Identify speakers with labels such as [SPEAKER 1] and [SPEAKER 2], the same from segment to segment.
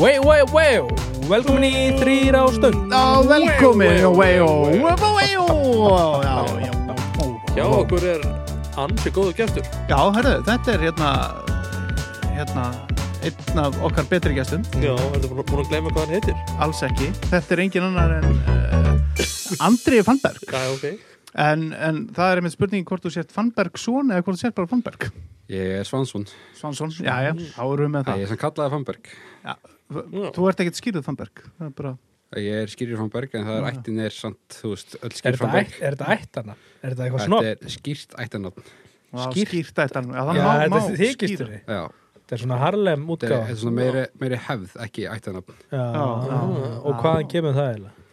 [SPEAKER 1] wow. Velkomin í þrýra á stöng
[SPEAKER 2] Já, velkomin
[SPEAKER 1] Wow, wow,
[SPEAKER 2] Weó,
[SPEAKER 1] wow.
[SPEAKER 2] weó Já, já,
[SPEAKER 1] Hjá okkur er ansi góðu gestur
[SPEAKER 2] Já, herru, þetta er hérna hérna, einn af okkar betri gestum,
[SPEAKER 1] Já, ertu búin, búin að gleyma hvað hann heitir?
[SPEAKER 2] alls ekki þetta er engin annar en uh, Andri Fannberg
[SPEAKER 1] Já, ok
[SPEAKER 2] en, en það er einmitt spurning hvort þú sért Fannberg son eða hvort þú sért bara Fannberg
[SPEAKER 3] Ég er Svansson,
[SPEAKER 2] Svansson, já, já, þá erum við með
[SPEAKER 3] það
[SPEAKER 2] það
[SPEAKER 3] ég er sem kallaði Fannberg
[SPEAKER 2] já, þú ert ekkert skýrðið Fannberg það er bara,
[SPEAKER 3] Ég er skýrir Fannberg en það er ættin er samt, þú veist, öll
[SPEAKER 1] Ah. Er
[SPEAKER 3] skýrir
[SPEAKER 1] þetta ætt-
[SPEAKER 3] Fannberg
[SPEAKER 1] er þetta ætt hana? Er þetta eitthvað snopp?
[SPEAKER 3] Þetta er skýrt ættanotn
[SPEAKER 2] Vá,
[SPEAKER 1] Skýrt.
[SPEAKER 2] skýrt þetta alveg. já, það
[SPEAKER 1] Já,
[SPEAKER 2] má,
[SPEAKER 1] þetta
[SPEAKER 2] má
[SPEAKER 1] er þykistur
[SPEAKER 2] skýra.
[SPEAKER 3] Já,
[SPEAKER 1] Þetta er svona Harlem
[SPEAKER 3] þetta er- þetta er
[SPEAKER 1] útgáð
[SPEAKER 3] svona meiri, meiri hefð, ekki ættanotn
[SPEAKER 2] já,
[SPEAKER 1] Og
[SPEAKER 2] já.
[SPEAKER 1] hvaðan kemur það eiginlega?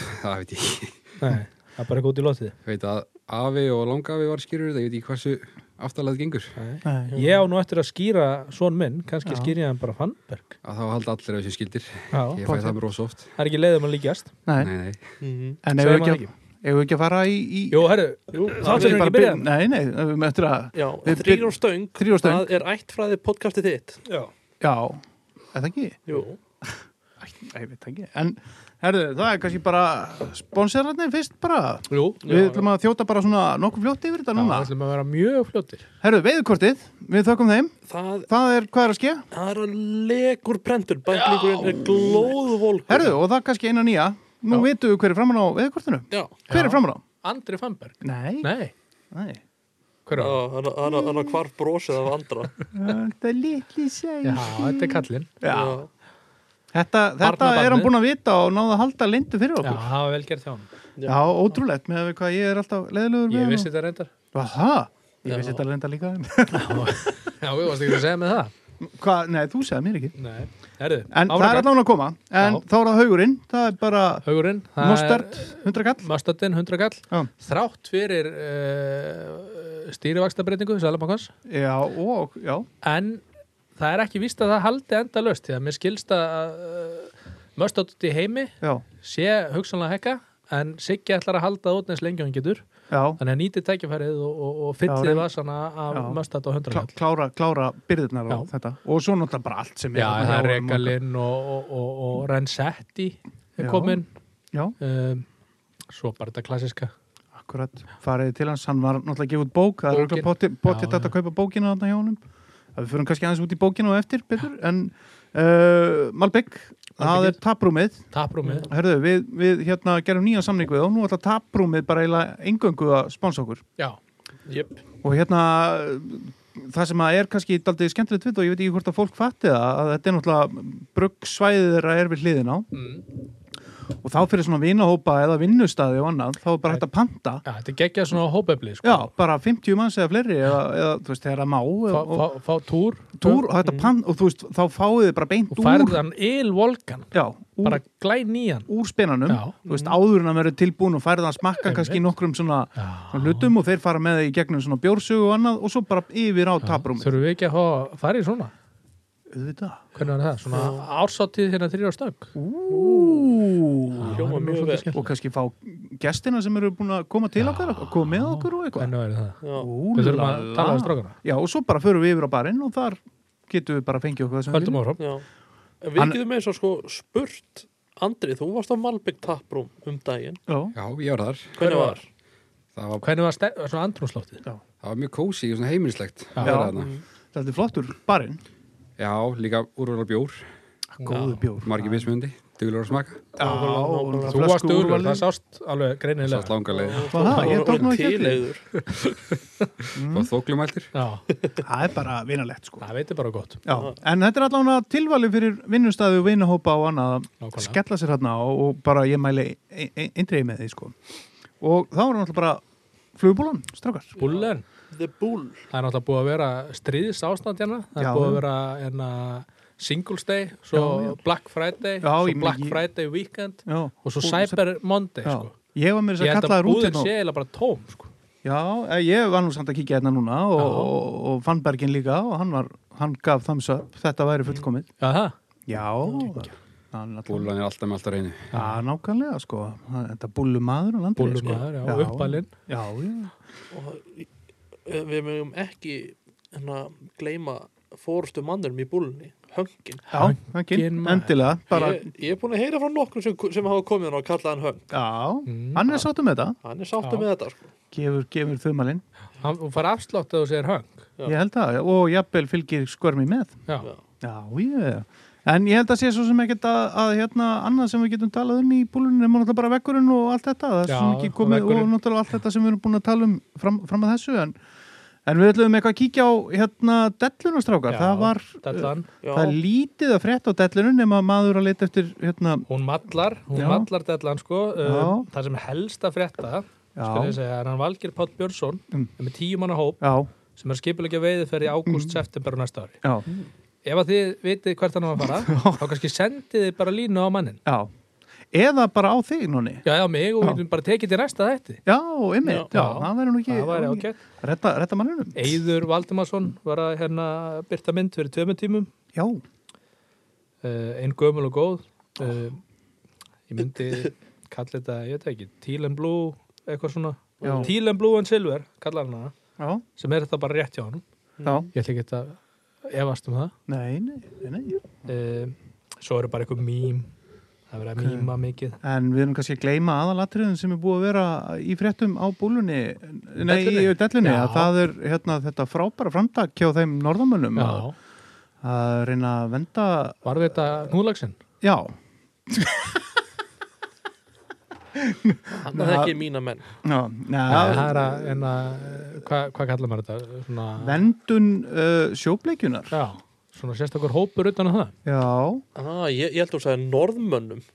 [SPEAKER 3] Það veit ég ekki
[SPEAKER 1] Nei, það er bara eitthvað út í lotið
[SPEAKER 3] Veit að afi og langafi var skýrir þetta, ég veit ekki hversu aftalega gengur
[SPEAKER 2] Nei,
[SPEAKER 1] Ég á nú eftir að skýra svon minn Kanski
[SPEAKER 2] Já.
[SPEAKER 1] skýri ég hann bara Fannberg
[SPEAKER 3] að þá halda allir af þessu skildir
[SPEAKER 1] Já,
[SPEAKER 3] Ég fæ
[SPEAKER 2] pottet.
[SPEAKER 3] það mér rosa oft
[SPEAKER 1] það er ekki leiðum að líkjast
[SPEAKER 2] nei.
[SPEAKER 3] Nei, nei,
[SPEAKER 2] en
[SPEAKER 1] Segir
[SPEAKER 2] ef við
[SPEAKER 1] maður
[SPEAKER 2] ekki, ef við ekki að fara í, í
[SPEAKER 1] Jú, herru, þáttur
[SPEAKER 2] við
[SPEAKER 1] er
[SPEAKER 2] bara
[SPEAKER 1] ekki byrjað
[SPEAKER 2] byrjum- nei, nei, við möttum eftir að
[SPEAKER 4] Já,
[SPEAKER 2] Við
[SPEAKER 4] þrýr
[SPEAKER 2] byr-
[SPEAKER 4] og stöng,
[SPEAKER 2] Þrír og Stöng.
[SPEAKER 4] það er ættfræði podcastið þitt
[SPEAKER 1] Já,
[SPEAKER 2] Já, er það ekki?
[SPEAKER 4] Jú,
[SPEAKER 2] Æ, Æ, ég veit það ekki. En herðu, það er kannski bara sponsorarnir fyrst bara.
[SPEAKER 1] jú
[SPEAKER 2] Við ætlum að þjóta bara svona nokkuð fljótt yfir þetta
[SPEAKER 1] Já,
[SPEAKER 2] núna.
[SPEAKER 1] Það ætlum að vera mjög fljóttir
[SPEAKER 2] Herðu, veiðkortið, við þökkum þeim.
[SPEAKER 4] það,
[SPEAKER 2] Það er, hvað er að ske?
[SPEAKER 4] það er að legur brendur, bæklingurinn er glóðvolkur
[SPEAKER 2] Herðu, og það er kannski eina nýja. Nú
[SPEAKER 1] Já.
[SPEAKER 2] vitum við hver er framann á veiðkortinu.
[SPEAKER 4] Já,
[SPEAKER 2] Hver
[SPEAKER 1] Já.
[SPEAKER 2] er framann á?
[SPEAKER 1] Andri Fannberg
[SPEAKER 2] Nei.
[SPEAKER 1] Nei,
[SPEAKER 2] Nei.
[SPEAKER 1] hver
[SPEAKER 4] Já,
[SPEAKER 1] á?
[SPEAKER 4] hann hann- hann að hvar brosið af andra
[SPEAKER 2] Það er litli seg.
[SPEAKER 1] Já, þetta er kallinn
[SPEAKER 2] Já. Þetta, þetta
[SPEAKER 1] Barnabarnið.
[SPEAKER 2] er hann búin að vita og náða að halda lindu fyrir
[SPEAKER 1] Já,
[SPEAKER 2] okkur.
[SPEAKER 1] það var vel gert hjá hann
[SPEAKER 2] Já, ótrúlegt með að við hvað ég er alltaf leiðilegur
[SPEAKER 1] Ég
[SPEAKER 2] hann
[SPEAKER 1] vissi
[SPEAKER 2] og-
[SPEAKER 1] þetta reyndar
[SPEAKER 2] Var það? Ég
[SPEAKER 4] Já.
[SPEAKER 2] vissi þetta lenda líka.
[SPEAKER 1] Já, við varst ekki að segja með það
[SPEAKER 2] Hvað, nei, þú segði mér ekki.
[SPEAKER 1] Nei, herðu,
[SPEAKER 2] En það er allan að koma En
[SPEAKER 1] Já.
[SPEAKER 2] þá er það haugurinn, það er bara
[SPEAKER 1] Haugurinn það er-
[SPEAKER 2] Mostard, 100 kall
[SPEAKER 1] Mustardinn, 100 kall
[SPEAKER 2] Já.
[SPEAKER 1] Þrátt fyrir uh, stýrivakstabreitingu Sælabankans
[SPEAKER 2] Já, og, já,
[SPEAKER 1] En það er ekki víst að það haldi enda löst Því að mér skilst að uh, Mustard út í heimi
[SPEAKER 2] já,
[SPEAKER 1] sé hugsanlega að hekka En Siggi ætlar að halda það út neins lengi og hann getur
[SPEAKER 2] já
[SPEAKER 1] Þannig að nýti tækifærið og, og, og
[SPEAKER 2] Já,
[SPEAKER 1] fyllið
[SPEAKER 2] reyn-
[SPEAKER 1] vasana af
[SPEAKER 2] Já.
[SPEAKER 1] Mustard á 100
[SPEAKER 2] Klá,
[SPEAKER 1] kall
[SPEAKER 2] Klára, klára byrðirnar á
[SPEAKER 1] Já.
[SPEAKER 2] þetta Og svo náttúrulega bara allt sem er
[SPEAKER 1] Já,
[SPEAKER 2] þarna
[SPEAKER 1] það er
[SPEAKER 2] hjá honum okkar.
[SPEAKER 1] Regalinn og, og, og, og Rensetti er
[SPEAKER 2] Já.
[SPEAKER 1] komin
[SPEAKER 2] Já,
[SPEAKER 1] um, Svo bara þetta klassiska
[SPEAKER 2] akkurat, farið til hans Hann var náttúrulega að gefa út bók Það er
[SPEAKER 1] Bókin.
[SPEAKER 2] náttúrulega potið
[SPEAKER 1] Já,
[SPEAKER 2] potið
[SPEAKER 1] já.
[SPEAKER 2] að kaupa bókina þarna hjá honum Það við fyrir kannski aðeins út í bókina og eftir betur En uh, Malbygg, það er taprúmið
[SPEAKER 1] Taprúmið
[SPEAKER 2] Herðu, við, við hérna gerum nýjan samning við og nú ætla taprúmið bara eiginlega engöngu að sponsa okkur
[SPEAKER 1] Já,
[SPEAKER 4] Jöp,
[SPEAKER 2] og hérna það sem að er kannski daldið skemmtilegt við og ég veit ekki hvort að fólk fatti það að þetta er náttúrulega bruggsvæðið þeirra er við hliðin á
[SPEAKER 1] mm.
[SPEAKER 2] og þá fyrir svona vinahópa eða vinnustæði og annað þá er bara hægt að panta
[SPEAKER 1] Já, þetta geggja svona hópeflið sko.
[SPEAKER 2] já, bara 50 manns eða fleiri eða, eða þú veist þegar að má
[SPEAKER 1] fá,
[SPEAKER 2] og,
[SPEAKER 1] fá, fá túr
[SPEAKER 2] og túr og þetta panta og þú veist þá fáið þið bara beint
[SPEAKER 1] og
[SPEAKER 2] úr
[SPEAKER 1] færðan ylvolgan
[SPEAKER 2] já, úr,
[SPEAKER 1] bara glæn í hann
[SPEAKER 2] úr spenanum
[SPEAKER 1] Já.
[SPEAKER 2] þú veist áður en að vera tilbúin og færið að smakka kannski í nokkrum svona
[SPEAKER 1] Já.
[SPEAKER 2] hlutum og þeir fara með það í gegnum svona bjórsögu og annað og svo bara yfir á taprúmi
[SPEAKER 1] Þurfum við ekki að hafa- fara í svona
[SPEAKER 2] auðvitað
[SPEAKER 1] Hvernig var það? Svona ársáttíð hérna þrýra stöng
[SPEAKER 2] Úúúú
[SPEAKER 4] hljóma mjög vel
[SPEAKER 2] og kannski fá gestina sem eru búin að koma til okkar og koma með okkur og eitthvað
[SPEAKER 1] Hvernig verður það?
[SPEAKER 4] Já,
[SPEAKER 2] Ú,
[SPEAKER 1] Við þurfum
[SPEAKER 2] la,
[SPEAKER 1] að
[SPEAKER 2] la.
[SPEAKER 1] tala við strákana
[SPEAKER 2] Já, og svo bara förum við yfir á barinn og þar getum við bara fengið okkur það sem
[SPEAKER 1] Höldum áfram
[SPEAKER 4] já En Við
[SPEAKER 2] Hann-
[SPEAKER 4] getum með þess að sko spurt Andri, þú varst á Malbygg Taprúm um daginn
[SPEAKER 2] Já,
[SPEAKER 3] já, ég var þar
[SPEAKER 4] Hvernig var?
[SPEAKER 3] Það var,
[SPEAKER 1] Hvernig var ste- svona andrúnslóttið?
[SPEAKER 3] það var mjög kósi og svona heimilislegt
[SPEAKER 1] Já. Mm.
[SPEAKER 3] að vera þarna.
[SPEAKER 2] þetta er flottur barinn
[SPEAKER 3] Já, líka úrvalar bjór,
[SPEAKER 2] Góðu bjór
[SPEAKER 1] Ah.
[SPEAKER 3] margir mismundi, duglur að smaka
[SPEAKER 2] Já, og
[SPEAKER 4] Þú
[SPEAKER 1] Þú varst úrvalið, það
[SPEAKER 2] úrvalið.
[SPEAKER 1] sást alveg greinilega
[SPEAKER 3] Sátt langarlega,
[SPEAKER 2] Var það? Ég tók nú ekki eftir því.
[SPEAKER 4] Tileiður
[SPEAKER 1] Mm.
[SPEAKER 3] það var þóklumæltir
[SPEAKER 1] Já,
[SPEAKER 2] Það er bara vinalegt sko
[SPEAKER 1] það veitir bara gott
[SPEAKER 2] Já, en þetta er allavega tilvalið fyrir vinnustæði og vinnahópa og annað að
[SPEAKER 1] Nákvæmlega.
[SPEAKER 2] skella sér hérna og, og bara ég mæli eindriði með því sko og þá er náttúrulega bara flugbúlan, strákar
[SPEAKER 1] Búllen,
[SPEAKER 4] The Bull
[SPEAKER 1] það er náttúrulega búið að vera stríðs ástand hérna, það
[SPEAKER 2] Já.
[SPEAKER 1] er búið að vera hérna, Singles Day, svo
[SPEAKER 2] Já, já.
[SPEAKER 1] Black Friday,
[SPEAKER 2] Já,
[SPEAKER 1] svo
[SPEAKER 2] ég meina,
[SPEAKER 1] Black
[SPEAKER 2] ég-
[SPEAKER 1] Friday Weekend
[SPEAKER 2] Já,
[SPEAKER 1] og svo Cyber Monday
[SPEAKER 2] Já.
[SPEAKER 1] sko.
[SPEAKER 2] Ég var mér
[SPEAKER 1] Ég
[SPEAKER 2] að
[SPEAKER 1] held
[SPEAKER 2] kalla
[SPEAKER 1] að
[SPEAKER 2] það
[SPEAKER 1] búðin
[SPEAKER 2] rútin
[SPEAKER 1] sé
[SPEAKER 2] og...
[SPEAKER 1] eiginlega bara tóm sko.
[SPEAKER 2] Já, eh, ég var nú samt að kíkja hérna núna og,
[SPEAKER 1] Já.
[SPEAKER 2] og, og fann Bergin líka og hann, var, hann gaf thumbs up, þetta væri fullkomið
[SPEAKER 1] Já, það?
[SPEAKER 2] Já, hann náttúrulega
[SPEAKER 3] Búlan er alltaf með alltaf reynu
[SPEAKER 2] Já, nákvæmlega sko, Hann- þetta búllumadur og landrið
[SPEAKER 1] Búllumaður, já,
[SPEAKER 2] sko.
[SPEAKER 1] uppalinn.
[SPEAKER 2] Já, já,
[SPEAKER 4] og eh, við mögum ekki hérna, gleyma fórustu mannum í búlunni höngin
[SPEAKER 2] Já, það
[SPEAKER 1] Höggin
[SPEAKER 2] kyn,
[SPEAKER 1] maður.
[SPEAKER 2] endilega bara,
[SPEAKER 4] ég, ég er búin að heyra frá nokkrum sem, sem hafa komið hann og kallað hann höng
[SPEAKER 2] Já,
[SPEAKER 1] Mm.
[SPEAKER 2] hann er sáttum með þetta
[SPEAKER 4] hann er sáttu
[SPEAKER 1] Já.
[SPEAKER 4] með þetta sko.
[SPEAKER 2] gefur, gefur þumalinn,
[SPEAKER 1] Hann hún fær afslátt að þú segir höng
[SPEAKER 4] Já.
[SPEAKER 2] ég held að og jafnvel fylgir skörmi með
[SPEAKER 1] Já,
[SPEAKER 4] Já.
[SPEAKER 2] Já, ég En ég held að sé svo sem ekkert að, að hérna, annað sem við getum talað um í búlunum er náttúrulega bara vekkurinn og allt þetta það er
[SPEAKER 1] Já,
[SPEAKER 2] svo mikið komið og
[SPEAKER 1] veggurinn.
[SPEAKER 2] náttúrulega allt þetta sem við erum búin að tala um fram, fram að þessu en, en við ætlum eitthvað að kíkja á hérna, dellunastrákar,
[SPEAKER 1] Já,
[SPEAKER 2] það var uh,
[SPEAKER 1] dellan
[SPEAKER 4] Já.
[SPEAKER 2] það er lítið að frétta á dellunum nema maður að leita eftir hérna,
[SPEAKER 1] Hún mallar, hún
[SPEAKER 2] Já.
[SPEAKER 1] mallar dellan sko um,
[SPEAKER 2] Já.
[SPEAKER 1] Það sem helst að frétta skal ég
[SPEAKER 2] já,
[SPEAKER 1] segja, er hann Valgir Páll Björnsson
[SPEAKER 2] Mm.
[SPEAKER 1] er með tíu manna hóp
[SPEAKER 2] já,
[SPEAKER 1] sem er skipulegja veiðiferð í
[SPEAKER 2] Mm.
[SPEAKER 1] ágúst, september og næsta ári
[SPEAKER 2] já,
[SPEAKER 1] Ef að þið vitið hvert hann á að fara þá kannski sendið þið bara línu á mannin
[SPEAKER 2] já eða bara á þig, Nóni
[SPEAKER 1] Já, já, mig og
[SPEAKER 2] Já.
[SPEAKER 1] við viljum bara tekið til næsta þætti
[SPEAKER 2] Já, einmitt, já,
[SPEAKER 1] Já.
[SPEAKER 2] það verður nú ekki
[SPEAKER 1] Það væri ágætt
[SPEAKER 2] Retta, retta manninum
[SPEAKER 1] Eyður Valdimarsson var að hérna byrta mynd fyrir tveimur tímum
[SPEAKER 2] Já,
[SPEAKER 1] uh, einn gömul og góð uh, ég myndi kalla þetta, ég veit það ekki, teal and blue eitthvað svona,
[SPEAKER 2] Já.
[SPEAKER 1] teal and blue and silver kalla hann það,
[SPEAKER 2] já,
[SPEAKER 1] sem er þetta bara rétt hjá hann
[SPEAKER 2] já
[SPEAKER 1] ég ætla ekki að efast um það
[SPEAKER 2] Nei, nei, nei, nei
[SPEAKER 1] uh, svo eru bara eitthvað mím það er verið að
[SPEAKER 2] Ok.
[SPEAKER 1] míma mikið
[SPEAKER 2] En við erum kannski að gleyma aðalatriðum sem er búið að vera í fréttum á búlunni Nei,
[SPEAKER 1] Dellunni.
[SPEAKER 2] í dellunni
[SPEAKER 1] Já.
[SPEAKER 2] að Það er hérna, þetta frábæra framtak hjá þeim norðamönnum að,
[SPEAKER 1] Já,
[SPEAKER 2] að reyna að venda
[SPEAKER 1] var þetta núlagsinn?
[SPEAKER 2] Já,
[SPEAKER 4] hann er ekki mína menn
[SPEAKER 2] já,
[SPEAKER 1] Það
[SPEAKER 2] neða
[SPEAKER 1] er að, en að, hvað hva kallar maður þetta? Svona,
[SPEAKER 2] Vendun uh, sjóbleikjunar
[SPEAKER 1] já, svona sérstakur hópur utan á það?
[SPEAKER 2] Já,
[SPEAKER 4] ah, ég, ég held að þú sagði norðmönnum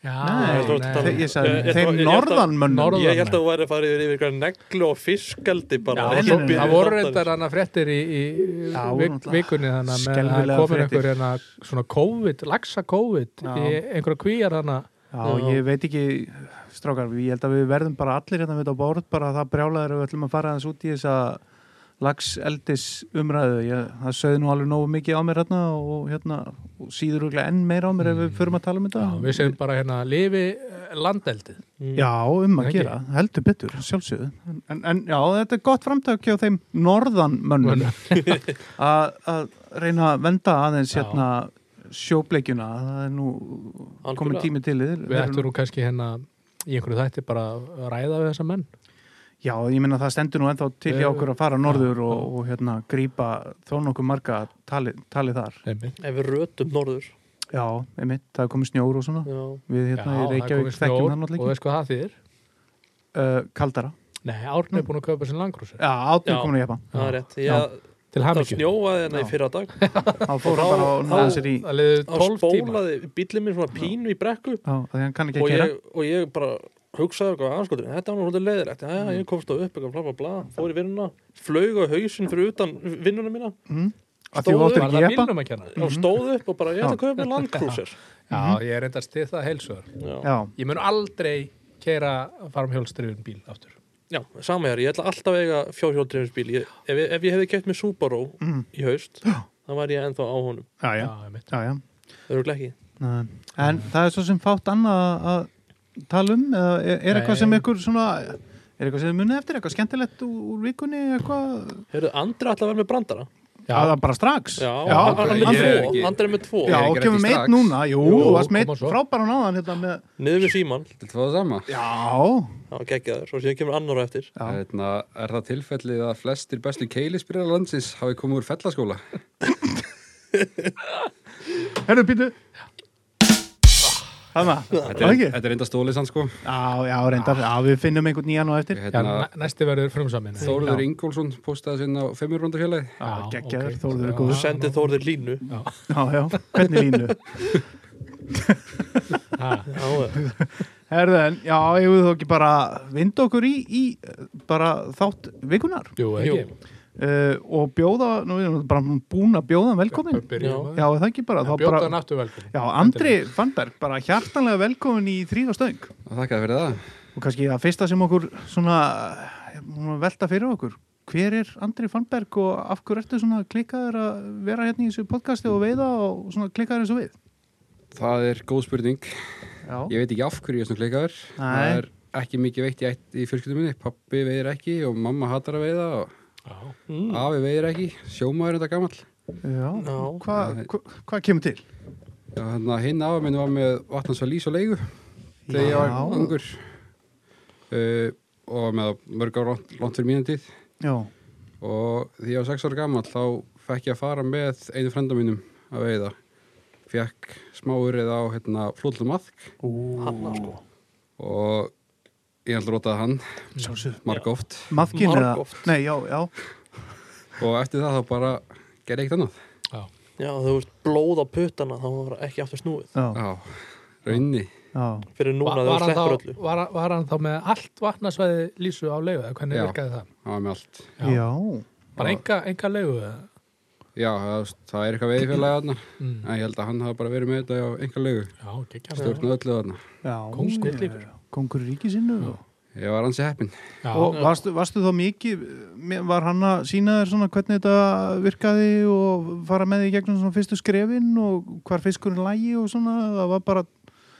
[SPEAKER 1] Já, Eh,
[SPEAKER 2] nei,
[SPEAKER 4] þú ert að tala
[SPEAKER 2] þe-
[SPEAKER 4] um-
[SPEAKER 2] ég
[SPEAKER 4] Ég-
[SPEAKER 2] sagði
[SPEAKER 4] ég- ég-
[SPEAKER 2] þeim
[SPEAKER 4] ég-
[SPEAKER 2] norðanmönnum
[SPEAKER 1] Norð- Norðanmenn.
[SPEAKER 4] ég held að þú væri að fara yfir yfir neglu og fiskaldi bara
[SPEAKER 1] Já,
[SPEAKER 2] nei,
[SPEAKER 1] svo,
[SPEAKER 2] nei, nei.
[SPEAKER 1] það voru reyndar hana fréttir í, í
[SPEAKER 2] Já,
[SPEAKER 1] vik,
[SPEAKER 2] náttúrulega.
[SPEAKER 1] vikunni þannig að með- það
[SPEAKER 2] Skelfilegar
[SPEAKER 1] komin
[SPEAKER 2] fréttir.
[SPEAKER 1] einhver hana, svona COVID, laxa COVID
[SPEAKER 2] Já.
[SPEAKER 1] í einhverja kvíjar hana
[SPEAKER 2] Já,
[SPEAKER 4] Já.
[SPEAKER 2] ég veit ekki, strákar, ég held að við verðum bara allir hérna við þetta á bórð, bara það brjálaður ef við ætlum að fara aðeins út í þessa lagseldis umræðu. Ég, það sögði nú alveg nógu mikið á mér hérna og hérna og síður örugglega enn meira á mér ef við förum að tala um þetta.
[SPEAKER 1] já, við segjum bara hérna lifi eh, landeldið
[SPEAKER 2] Já, um að
[SPEAKER 1] Ekki?
[SPEAKER 2] gera, heldur betur, sjálfsögðu. En, en, en já, þetta er gott framtök hjá þeim norðanmönnum að að reyna að venda aðeins
[SPEAKER 1] Já.
[SPEAKER 2] hérna sjóbleikjuna, það er nú komið
[SPEAKER 4] Algjörlega.
[SPEAKER 2] tími til yfir.
[SPEAKER 1] við ættum nú kannski hérna í einhverju þætti bara að ræða við þessa menn
[SPEAKER 2] Já, ég minna það stendur nú ennþá til hjá
[SPEAKER 1] Eh,
[SPEAKER 2] okkur að fara norður og, og hérna grípa þó nokkuð marga tali, tali þar.
[SPEAKER 1] einmitt.
[SPEAKER 4] Mm. ef við rötum norður
[SPEAKER 2] Já, einmitt, það er komið snjór og svona.
[SPEAKER 4] já,
[SPEAKER 2] Við
[SPEAKER 1] Já,
[SPEAKER 2] hérna í
[SPEAKER 1] það
[SPEAKER 2] Reykjavík
[SPEAKER 1] komið
[SPEAKER 2] þekkjum
[SPEAKER 1] snjór
[SPEAKER 2] það
[SPEAKER 1] og
[SPEAKER 2] náttúrulega ekki.
[SPEAKER 1] veist hvað það þýðir?
[SPEAKER 2] Uh, kaldara.
[SPEAKER 1] Nei, Árni er búin að kaupa sinni langrúsir
[SPEAKER 2] Já, átnum
[SPEAKER 4] Já.
[SPEAKER 2] komin að jæpa.
[SPEAKER 4] það er rétt ég,
[SPEAKER 1] til
[SPEAKER 4] það
[SPEAKER 1] hamingju
[SPEAKER 4] snjóaði henni
[SPEAKER 2] Já.
[SPEAKER 4] í fyrra dag
[SPEAKER 2] Þá fór hann
[SPEAKER 4] þá-
[SPEAKER 2] bara og
[SPEAKER 4] þá-
[SPEAKER 2] náði sér í...
[SPEAKER 1] það liði
[SPEAKER 4] þá
[SPEAKER 1] 12 tíma
[SPEAKER 4] spólaði bílið minn svona pínu í brekku
[SPEAKER 2] Já, því hann kann ekki
[SPEAKER 4] og
[SPEAKER 2] að gera.
[SPEAKER 4] ég, og ég bara hugsaði eitthvað anskotur, þetta var nú svolítið leiðilegt ja, ég komst á upp eitthvað bla bla bla, fór í vinnuna flaug á hausinn fyrir utan vinnuna mína
[SPEAKER 2] Mm, að því
[SPEAKER 4] stóð
[SPEAKER 2] þú áttir
[SPEAKER 1] var það
[SPEAKER 2] ekki að jæpa.
[SPEAKER 1] bílnum að kenna
[SPEAKER 4] og stóð upp og bara ég ætla að köpa mér landkrúsir
[SPEAKER 1] já, ég er reyndar stið það heilsuðar
[SPEAKER 4] já.
[SPEAKER 2] Já,
[SPEAKER 1] ég mun aldrei keira farmhjólstrifin bíl aftur
[SPEAKER 4] já, sama hér, ég ætla alltaf að eiga fjárhjóldreifins bíl ég, ef, ég- ef ég hefði keft mér Subaru
[SPEAKER 2] mm,
[SPEAKER 4] í haust, þá var ég ennþá á honum
[SPEAKER 2] já, já.
[SPEAKER 1] einmitt.
[SPEAKER 2] já, já.
[SPEAKER 4] auðvitað ekki
[SPEAKER 2] Nei. En það er svo sem fátt annað að tala um eða er, er eitthvað
[SPEAKER 1] Nei.
[SPEAKER 2] sem ykkur svona... Er eitthvað sem þið munið eftir, eitthvað skemmtilegt úr, úr vikunni, eitthvað...
[SPEAKER 4] Heyrðu, Andri ætla að vera með brandara
[SPEAKER 1] Já.
[SPEAKER 2] Já, það bara strax.
[SPEAKER 4] Já,
[SPEAKER 2] já,
[SPEAKER 4] hann er
[SPEAKER 2] ég
[SPEAKER 4] með
[SPEAKER 2] er
[SPEAKER 4] tvo,
[SPEAKER 3] ekki-
[SPEAKER 4] Andri er með tvo
[SPEAKER 2] já
[SPEAKER 3] Ég er ekki
[SPEAKER 2] kemur
[SPEAKER 3] rétt í
[SPEAKER 2] meitt
[SPEAKER 3] strax.
[SPEAKER 2] núna, jú,
[SPEAKER 1] Jú,
[SPEAKER 2] þú varst meitt
[SPEAKER 1] koma svo.
[SPEAKER 2] frábæran áðan hérna með,
[SPEAKER 4] niður við síman,
[SPEAKER 3] Þetta var það sama.
[SPEAKER 2] já,
[SPEAKER 4] já, geggjaður og síðan kemur annar á eftir
[SPEAKER 2] já,
[SPEAKER 3] Hérna, er það tilfellið að flestir bestu keilisbyrjar landsins hafi komið úr fellaskóla?
[SPEAKER 2] herru, býtu, það maður,
[SPEAKER 3] Ah. Þetta
[SPEAKER 2] það
[SPEAKER 3] er,
[SPEAKER 2] ekki,
[SPEAKER 3] þetta er enda stólið sann sko.
[SPEAKER 2] já, já, reyndar, já, við finnum einhvern nýjan og eftir,
[SPEAKER 1] Já,
[SPEAKER 3] Hérna,
[SPEAKER 1] næ- næsti verður frumsamin
[SPEAKER 3] Þóruður Ingólfsson postaði sinna á feimurbrandafélagi.
[SPEAKER 2] já, Ah, geggjaður, Þórður er góður.
[SPEAKER 4] þú sendið Þórðir línu
[SPEAKER 2] já, já, hvernig línu,
[SPEAKER 4] já,
[SPEAKER 2] herru, en, já, ég við þó ekki bara vinda okkur í, í, eh, bara þátt vikunar
[SPEAKER 1] Jú, ekki
[SPEAKER 2] uh, og bjóða, nú erum við bara búin að bjóða hann velkomin,
[SPEAKER 1] Byrjum
[SPEAKER 2] já,
[SPEAKER 1] að-
[SPEAKER 2] er það ekki bara,
[SPEAKER 1] En
[SPEAKER 2] þá
[SPEAKER 1] Bjóta
[SPEAKER 2] bara,
[SPEAKER 1] náttu velkomin
[SPEAKER 2] já, Andri Fannberg, bara hjartanlega velkomin í þrýra stöng.
[SPEAKER 3] Þakka fyrir það.
[SPEAKER 2] Og kannski það fyrsta sem okkur svona eh, velta fyrir okkur. Hver er Andri Fannberg og af hverju ertu svona klikkaður að vera hérna í þessu podcasti og veiða og svona klikkaður eins og við?
[SPEAKER 3] Það er góð spurning.
[SPEAKER 2] Já,
[SPEAKER 3] Ég veit ekki af hverju ég er svona klikaður. Það
[SPEAKER 2] Nei.
[SPEAKER 3] er ekki mikið veitt í, ætt- í fjölskyldum minni. Pappi veiðir ekki og mamma hatar að veiða og
[SPEAKER 1] Já.
[SPEAKER 4] Mm.
[SPEAKER 2] Hmm.
[SPEAKER 3] afi veiðir ekki. Sjómaður er þetta gamall.
[SPEAKER 2] Já,
[SPEAKER 4] Já.
[SPEAKER 2] hvað hva, hva kemur til?
[SPEAKER 3] Já, þannig að hinn afa minn var með vatnansvalís og leigu þegar ég var
[SPEAKER 2] Já.
[SPEAKER 3] ungur uh, og var með það mörg ára langt fyrir mínum tíð
[SPEAKER 2] Já,
[SPEAKER 3] og því ég var sex ára gammal þá fekk ég að fara með einu frenda mínum að veiða fekk smáurið á hérna, flóllum aðk
[SPEAKER 4] Hanna sko
[SPEAKER 3] og ég alltaf rótaði hann
[SPEAKER 2] sjálfsög
[SPEAKER 3] marg oft
[SPEAKER 2] Mafkin eða?
[SPEAKER 4] Margoft.
[SPEAKER 2] Nei, já, já
[SPEAKER 3] og eftir það þá bara gerði eitt annað
[SPEAKER 5] Já.
[SPEAKER 4] Já, þú veist, blóð á puttana þá var ekki aftur snúið
[SPEAKER 2] Já,
[SPEAKER 3] Já, raunni
[SPEAKER 2] já,
[SPEAKER 4] fyrir núna
[SPEAKER 5] Var, var,
[SPEAKER 4] þegar þú
[SPEAKER 5] hann
[SPEAKER 4] sleppur
[SPEAKER 5] þá,
[SPEAKER 4] öllu
[SPEAKER 5] var, var hann þá með allt vatnasvæði lísu á leigu eða hvernig
[SPEAKER 3] Já.
[SPEAKER 5] virkaði það?
[SPEAKER 3] það var með allt
[SPEAKER 5] Já.
[SPEAKER 2] já.
[SPEAKER 5] Bara enga, enga leigu eða?
[SPEAKER 3] Já, það, það er eitthvað veiðfélagi þarna
[SPEAKER 5] Mm.
[SPEAKER 3] en ég held að hann hafa bara verið með þetta á einhver leigu
[SPEAKER 5] Já, geggjað.
[SPEAKER 3] stjórna öllu þarna
[SPEAKER 2] já.
[SPEAKER 5] Kóngur lífur.
[SPEAKER 2] Kongur í ríkisinu og-
[SPEAKER 3] Ég var ansi heppin
[SPEAKER 5] Já,
[SPEAKER 2] Og varstu, varstu þá mikið, me- var hann að sína þér svona hvernig þetta virkaði og fara með því gegnum svona fyrstu skrefin og hvar fiskurinn lægi og svona, það var bara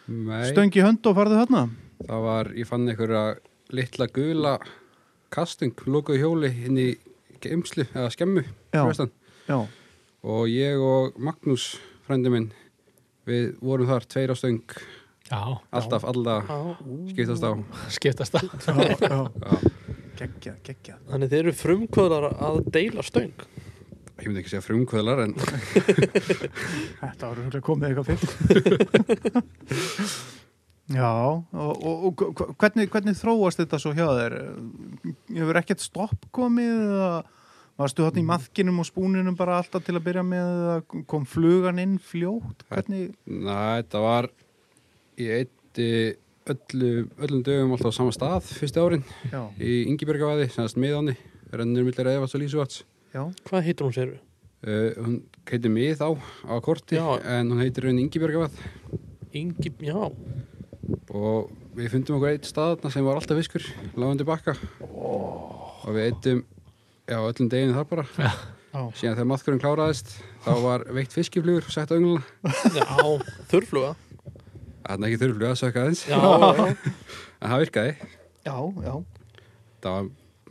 [SPEAKER 3] Nei,
[SPEAKER 2] stöng í hönd og farðu þarna?
[SPEAKER 3] það var, ég fann einhverja litla gula kastung lokuð hjóli inn í geimslu eða skemmu
[SPEAKER 2] Já.
[SPEAKER 3] fyrir vestan.
[SPEAKER 2] Já,
[SPEAKER 3] og ég og Magnús frændi minn við vorum þar tveir á stöng
[SPEAKER 5] já
[SPEAKER 3] alltaf, alltaf
[SPEAKER 4] Já,
[SPEAKER 3] skiptast á
[SPEAKER 5] skiptast það.
[SPEAKER 2] já, já. Gekkja, gekkja.
[SPEAKER 4] Þannig þeir eru frumkvöðlar að deila stöng
[SPEAKER 3] ég myndi ekki segja frumkvöðlar en
[SPEAKER 2] Þetta var rúglega komið eitthvað fyrir. Já, og, og, og hva- hvernig, hvernig þróast þetta svo hjá þér? Hefur ekkert stopp komið eða varstu hann í maðkinum og spúninum bara alltaf til að byrja með eða kom flugan inn fljótt? Hvernig,
[SPEAKER 3] Næ, þetta var ég eitti öllu, öllum dögum alltaf á sama stað fyrstu árin
[SPEAKER 2] já,
[SPEAKER 3] í Ingibjörgavæði, sannast miðáni rennur millir eðvats og lísuvats
[SPEAKER 2] já,
[SPEAKER 4] Hvað heitir hún séru?
[SPEAKER 3] uh, hún heitir mið á, á korti
[SPEAKER 4] Já.
[SPEAKER 3] en hún heitir raun Ingibjörgavæð
[SPEAKER 4] Ingi, já,
[SPEAKER 3] og við fundum okkur eitt staðarna sem var alltaf fiskur, lágandi bakka og við eittum já, öllum deginu þar bara
[SPEAKER 2] já.
[SPEAKER 3] síðan þegar maðkurinn kláraðist þá var veikt fiskiflugur sett á ungluna
[SPEAKER 4] já, þurrfluga
[SPEAKER 3] þannig ekki þurflu að sökka aðeins
[SPEAKER 4] Já, já,
[SPEAKER 3] en það virkaði,
[SPEAKER 2] Já, já.
[SPEAKER 3] það var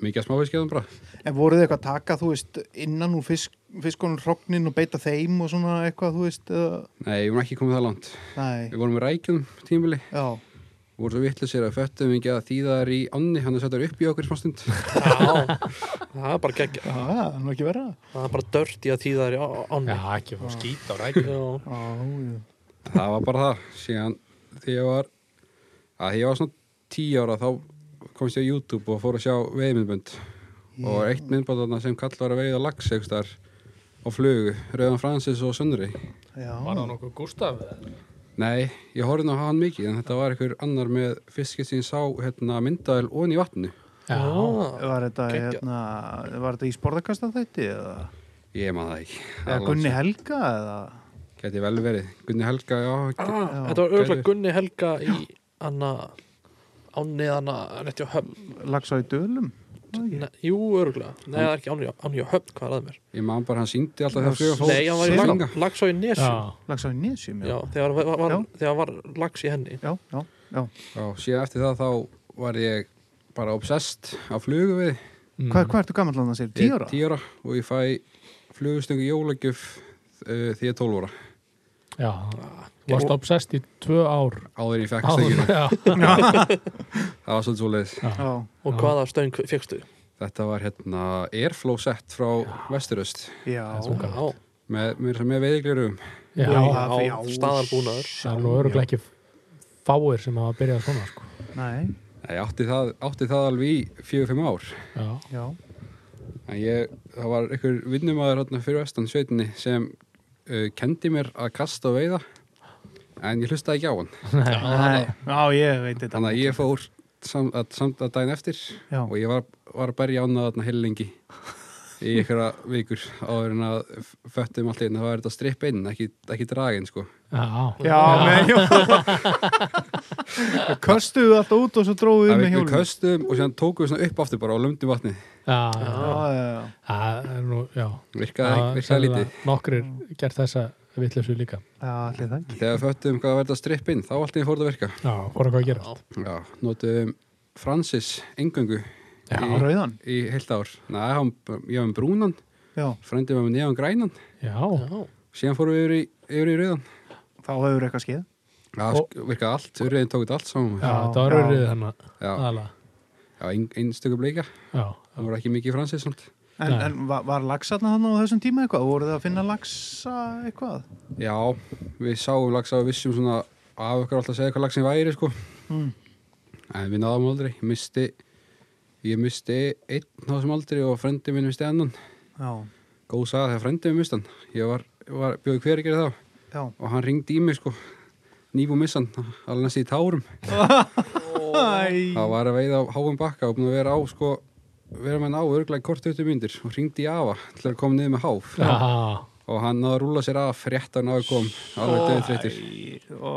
[SPEAKER 3] mikið að smáfiskjaðum bara
[SPEAKER 2] En voruð þið eitthvað að taka, þú veist, innan úr fisk, fiskunum hrognin og beita þeim og svona eitthvað, þú veist, eða,
[SPEAKER 3] Nei, við vorum ekki komið það langt.
[SPEAKER 2] nei,
[SPEAKER 3] Við vorum með rækjum tímili,
[SPEAKER 2] já.
[SPEAKER 3] vorum svo vittlisir að föttum ekki að þýða þær í ánni, hann að setja þær upp í okkur smá stund.
[SPEAKER 4] já Það er bara geggja
[SPEAKER 2] Já, það er nú ekki verið.
[SPEAKER 4] Það er bara dört í að tíða þær í á-
[SPEAKER 5] Já,
[SPEAKER 4] ánni
[SPEAKER 5] ekki fá skýt á rækjum.
[SPEAKER 4] Já,
[SPEAKER 2] Já, já.
[SPEAKER 3] það var bara það. Síðan því ég var, að því ég var svona tíu ára, þá komst ég á YouTube og fór að sjá veiðmyndbönd. Og
[SPEAKER 2] Hmm.
[SPEAKER 3] eitt myndbönd þarna sem kall var að veiða lax eitthvað þar á flugu, Rauðan Francis og Söndri.
[SPEAKER 2] Já,
[SPEAKER 5] Var það nokkuð Gustaf? eða?
[SPEAKER 3] Nei, ég horfði nú á hann mikið, en þetta var einhver annar með fiskið sem sá hérna, myndaðil ofan í vatnu.
[SPEAKER 5] Já.
[SPEAKER 4] Ah.
[SPEAKER 2] var þetta,
[SPEAKER 4] Geggjað.
[SPEAKER 2] hérna, var þetta í sporðakasta þætti eða,
[SPEAKER 3] Ég man það ekki.
[SPEAKER 2] eða Gunni Helga eða?
[SPEAKER 3] Gæti vel verið. Gunni Helga, já,
[SPEAKER 4] Ah, þetta var auðvitað Gunni Helga í anna ánni anna rétti á höfn
[SPEAKER 2] Lagsa í dölum? Var það ekki?
[SPEAKER 4] Ne, Jú, auðvitað, nei það er ekki ánni ánni á höfn, hvað er að mér?
[SPEAKER 3] Ég man bara hann síndi alltaf
[SPEAKER 2] Já,
[SPEAKER 3] þegar flugan fór
[SPEAKER 4] Nei, hann var í
[SPEAKER 3] siglinga.
[SPEAKER 4] lag- lags á í nesu
[SPEAKER 5] Já.
[SPEAKER 2] Lagsa í nesjum, já.
[SPEAKER 4] Já, þegar var, var,
[SPEAKER 2] Já.
[SPEAKER 4] þegar var lags í henni
[SPEAKER 2] Já, já, já.
[SPEAKER 3] Já, síðan eftir það þá var ég bara obsessed á flugu við
[SPEAKER 5] Mm.
[SPEAKER 2] Hvað, hvað ertu gammal að það sér? Tíu ára?
[SPEAKER 3] tíu ára og ég fæ flugustöngu jólagjöf uh, því ég er 12 ára
[SPEAKER 5] Já. Þú varst obsessed í tvö ár.
[SPEAKER 3] áður en ég fekk
[SPEAKER 5] Áður-
[SPEAKER 3] stöngjuna
[SPEAKER 5] Já.
[SPEAKER 3] það var svolítið svoleiðis
[SPEAKER 2] Já,
[SPEAKER 4] og
[SPEAKER 5] Já.
[SPEAKER 4] hvaða stöng fegstu?
[SPEAKER 3] þetta var hérna Airflow set frá Vesturöst
[SPEAKER 2] já.
[SPEAKER 5] þú-
[SPEAKER 4] Já,
[SPEAKER 3] með, með, með veiðiglurum
[SPEAKER 5] Já.
[SPEAKER 2] Já.
[SPEAKER 4] staðarbúnaður
[SPEAKER 5] Það er nú öruglega ekki fáir sem hafa byrjað svona, sko.
[SPEAKER 2] Nei,
[SPEAKER 3] ég átti það, átti það alveg í 4-5 ár
[SPEAKER 5] Já.
[SPEAKER 2] já.
[SPEAKER 3] en ég, það var einhver vinnumæður hérna fyrir vestan sveitinni sem uh, kendi mér að kasta og veiða en ég hlustaði ekki á hann
[SPEAKER 2] Nei, já, ég veit þetta.
[SPEAKER 3] þannig að ég fór sam, að, samt að daginn eftir
[SPEAKER 2] Já,
[SPEAKER 3] og ég var, var að berja ánað þarna heilengi í einhverja vikur áður en að f- föttum allt einn það var þetta stripp inn, ekki, ekki draginn sko
[SPEAKER 5] Já.
[SPEAKER 2] já, með, já. Köstuðu allt út og svo dróðu
[SPEAKER 3] það
[SPEAKER 2] með
[SPEAKER 3] við, við
[SPEAKER 2] hjólum.
[SPEAKER 3] köstum og séðan tókum við svona upp aftur bara og lömdum vatnið,
[SPEAKER 5] Já.
[SPEAKER 2] Já,
[SPEAKER 5] Já.
[SPEAKER 2] já, já.
[SPEAKER 5] Það er nú, já.
[SPEAKER 3] virkaði,
[SPEAKER 5] Já,
[SPEAKER 3] virkaði
[SPEAKER 5] sennilega
[SPEAKER 3] lítið
[SPEAKER 5] Nokkrir gert þessa vitleysu líka.
[SPEAKER 2] Já, allir það ekki.
[SPEAKER 3] þegar föttum hvað var þetta stripp inn, þá allt einn fór þetta að virka
[SPEAKER 5] Já, fór eitthvað að gera.
[SPEAKER 3] já, notum Francis engöngu
[SPEAKER 5] Já.
[SPEAKER 3] í,
[SPEAKER 2] Rauðan.
[SPEAKER 3] í heilt ár Nei, hann, ég var um brúnan
[SPEAKER 2] já,
[SPEAKER 3] Frændið var með neðan grænan
[SPEAKER 5] Já,
[SPEAKER 4] Já.
[SPEAKER 3] Síðan fórum við yfir í, yfir í rauðan
[SPEAKER 2] þá hefur eitthvað skeið
[SPEAKER 3] Það
[SPEAKER 5] Og-
[SPEAKER 3] sk- virkaði allt, urriðin tók þetta allt saman
[SPEAKER 5] já,
[SPEAKER 3] Já,
[SPEAKER 5] þetta var
[SPEAKER 2] já.
[SPEAKER 5] rauðrið hennar
[SPEAKER 3] já,
[SPEAKER 5] aðalega.
[SPEAKER 3] já ein, einstöku bleika
[SPEAKER 5] Já,
[SPEAKER 3] Það voru ekki mikið fransið samt
[SPEAKER 2] En,
[SPEAKER 5] Nei.
[SPEAKER 2] en var, var laxarna þannig á þessum tíma eitthvað? Voruð það að finna laxa eitthvað?
[SPEAKER 3] Já, við sáum laxa og vissum svona af okkar alltaf að segja hvað laxin væri sko
[SPEAKER 2] Mm.
[SPEAKER 3] En við náðum aldrei, ég misti Ég misti einn á þessum aldri og frendi minn misti annan
[SPEAKER 2] Já,
[SPEAKER 3] Góð saga þegar frendi minn misti hann Ég var, var bjóði hver að gera það
[SPEAKER 2] já.
[SPEAKER 3] og hann ringdi í mig sko nýbú missan, alveg næst í tárum
[SPEAKER 2] Æ,
[SPEAKER 3] það var að veiða á háum bakka og búin að vera á sko vera með hann á örglega kort 20 myndir og ringdi í afa til að koma niður með háf
[SPEAKER 5] já,
[SPEAKER 3] og hann náði að rúla sér af frétt að náðu kom alveg döðu þreytir
[SPEAKER 2] ó,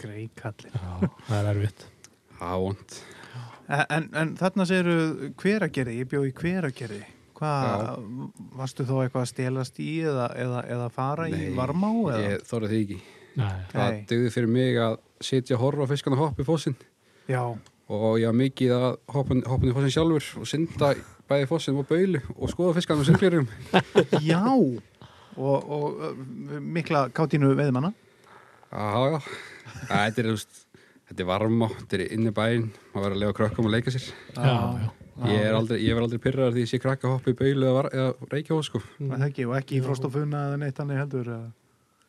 [SPEAKER 2] greikallir.
[SPEAKER 5] já, það er erfitt.
[SPEAKER 3] það var vond
[SPEAKER 2] E, En, en þarna segiru hveragerði, ég bjó í hveragerði. Hvað, varstu þó eitthvað að stelast í eða, eða, eða fara í
[SPEAKER 3] Nei,
[SPEAKER 2] varmá? Eða?
[SPEAKER 3] ég þorði því ekki
[SPEAKER 5] Nei,
[SPEAKER 3] það
[SPEAKER 2] Nei.
[SPEAKER 3] döðu fyrir mig að sitja og horfa á fiskana hoppa í fósinn
[SPEAKER 2] Já,
[SPEAKER 3] og ég var mikið að hoppa, hoppa í fósinn sjálfur og synda bæði fósinn og baulu og skoða fiskana og sirklirum
[SPEAKER 2] já. Og, og uh, mikla kátínu veðmanna.
[SPEAKER 3] Já, já. Æ, Þetta er, þú veist, þetta er varma, þetta er inn í bæinn, maður verður að lefa krökkum að leika sér.
[SPEAKER 5] já, já.
[SPEAKER 3] Ég er aldrei, ég verð aldrei pyrraðar því ég sé krakka hoppa í baulu eða, var- eða reykja sko.
[SPEAKER 4] Mm.
[SPEAKER 2] Var það ekki, og ekki í frost og funa eða neitt þannig heldur. eða?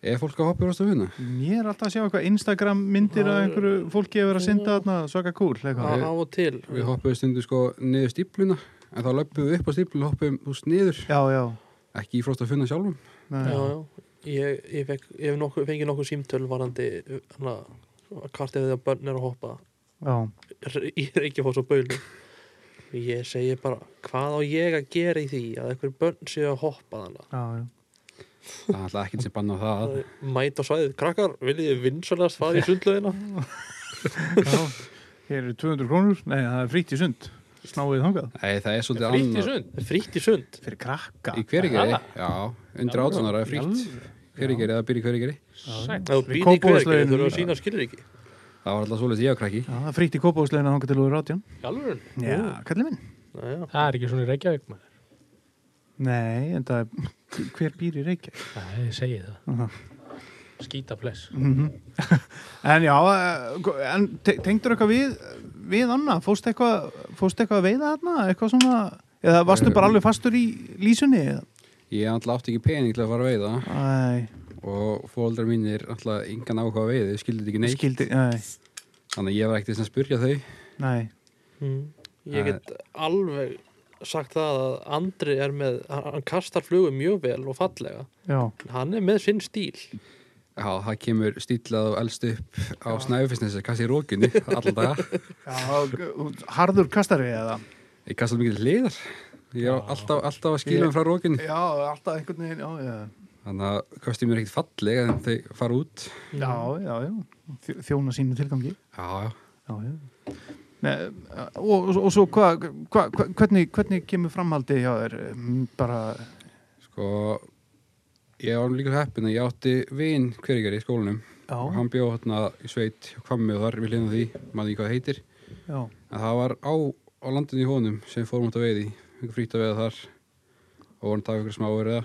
[SPEAKER 3] Er fólk að hoppa í rostu huna?
[SPEAKER 2] Mér er alltaf að sjá eitthvað Instagram myndir af einhverju fólki að vera að synda þarna svaka cool eitthvað.
[SPEAKER 3] Já.
[SPEAKER 4] af og til
[SPEAKER 3] Við hoppuðum stundum sko niður stípluna, en þá löpum við upp á stípluna og hoppuðum úst niður,
[SPEAKER 2] Já, já.
[SPEAKER 3] ekki í frost að finna sjálfum.
[SPEAKER 2] Nei.
[SPEAKER 4] já, já. Ég, ég, fekk, ég hef nokkuð, fengið nokkuð símtöl varandi hana, hvart ef þegar börn er að hoppa
[SPEAKER 2] já.
[SPEAKER 4] r- í Reykjafoss og Baulu ég segi bara hvað á ég að gera í því að einhver börn séu að hoppa þannig
[SPEAKER 2] Já, já.
[SPEAKER 3] Það er alltaf ekkert sem banna það.
[SPEAKER 4] mæta á svæðið, krakkar, viljið þið vinsalast fara í sundlöðina
[SPEAKER 2] já. Hér eru 200 krónur. Nei, það er frítt í sund. Snáið þangað.
[SPEAKER 3] Nei, það er svolítið
[SPEAKER 5] Frýtt í
[SPEAKER 3] annað.
[SPEAKER 5] sund.
[SPEAKER 4] frýtt í sund
[SPEAKER 2] Fyrir krakka.
[SPEAKER 3] Í hverigeri?
[SPEAKER 5] Aha.
[SPEAKER 3] Já, undir átunar er frítt. Hverigeri, það byrja í hverigeri.
[SPEAKER 4] ef þú býr í hverjum
[SPEAKER 2] Kópavogslaugin-
[SPEAKER 4] þú eru að sína skilriki
[SPEAKER 3] Það var alltaf svolítið ég að krakki.
[SPEAKER 2] Já, það er frítt í kópáðsleginu þangað til úr rátján.
[SPEAKER 5] Jálfurinn.
[SPEAKER 2] Já, kallið minn.
[SPEAKER 4] Næja.
[SPEAKER 5] Það er ekki svona í Reykjavík, maður.
[SPEAKER 2] Nei, en það er, hver býr í Reykjavík?
[SPEAKER 5] Nei, ég segi það.
[SPEAKER 2] Aha.
[SPEAKER 5] Skýta bless.
[SPEAKER 2] Mhm. En já, eh, en te- tengdur eitthvað við, við annað? Fóst eitthvað, fóst eitthvað að veiða þarna? Eitthvað svona, eða varstu bara alveg fastur í lísunni? eða?
[SPEAKER 3] Ég alltaf átti ekki pening til að fara að veiða.
[SPEAKER 2] Æ,
[SPEAKER 3] og fóldrar mínir alltaf engan áhuga á veiði, þau skildu ekki
[SPEAKER 2] Nei.
[SPEAKER 3] neitt
[SPEAKER 2] skildi, nei,
[SPEAKER 3] þannig að ég var ekkert að spyrja þau
[SPEAKER 2] nei,
[SPEAKER 4] Mm. Ég get alveg sagt það að Andri er með, hann hann kastar flugu mjög vel og fallega.
[SPEAKER 2] já,
[SPEAKER 4] Hann er með sinn stíl.
[SPEAKER 3] Já, það kemur stílað og elst upp á snæfisnesi, kassi í rókunni alltaf,
[SPEAKER 2] já og- harður kastari eða
[SPEAKER 3] ég kassi mikið til hliðar ég er alltaf, alltaf að skilja um frá rókunni
[SPEAKER 2] já, alltaf einhvern veginn, já, já
[SPEAKER 3] þannig að kosti mér ekkert falleg en þau fara út
[SPEAKER 2] já, já, já, Þjó- þjóna sínu tilgangi
[SPEAKER 3] Já, já,
[SPEAKER 2] Mm. já, já Nei, og, og, og svo hvað hva, hva, hvernig, hvernig kemur framhaldið hjá þér Mm, bara,
[SPEAKER 3] sko ég var líka svo heppin að ég átti vin hverjari í skólanum
[SPEAKER 2] já,
[SPEAKER 3] og hann bjó hérna í sveit hvammi og þar við hlina því, maður ekki hvað það heitir
[SPEAKER 2] já
[SPEAKER 3] En það var á, á landinu í honum sem fórum út að veiði, einhver frýtt að veiða þar og vorum að taka ykkur smá verða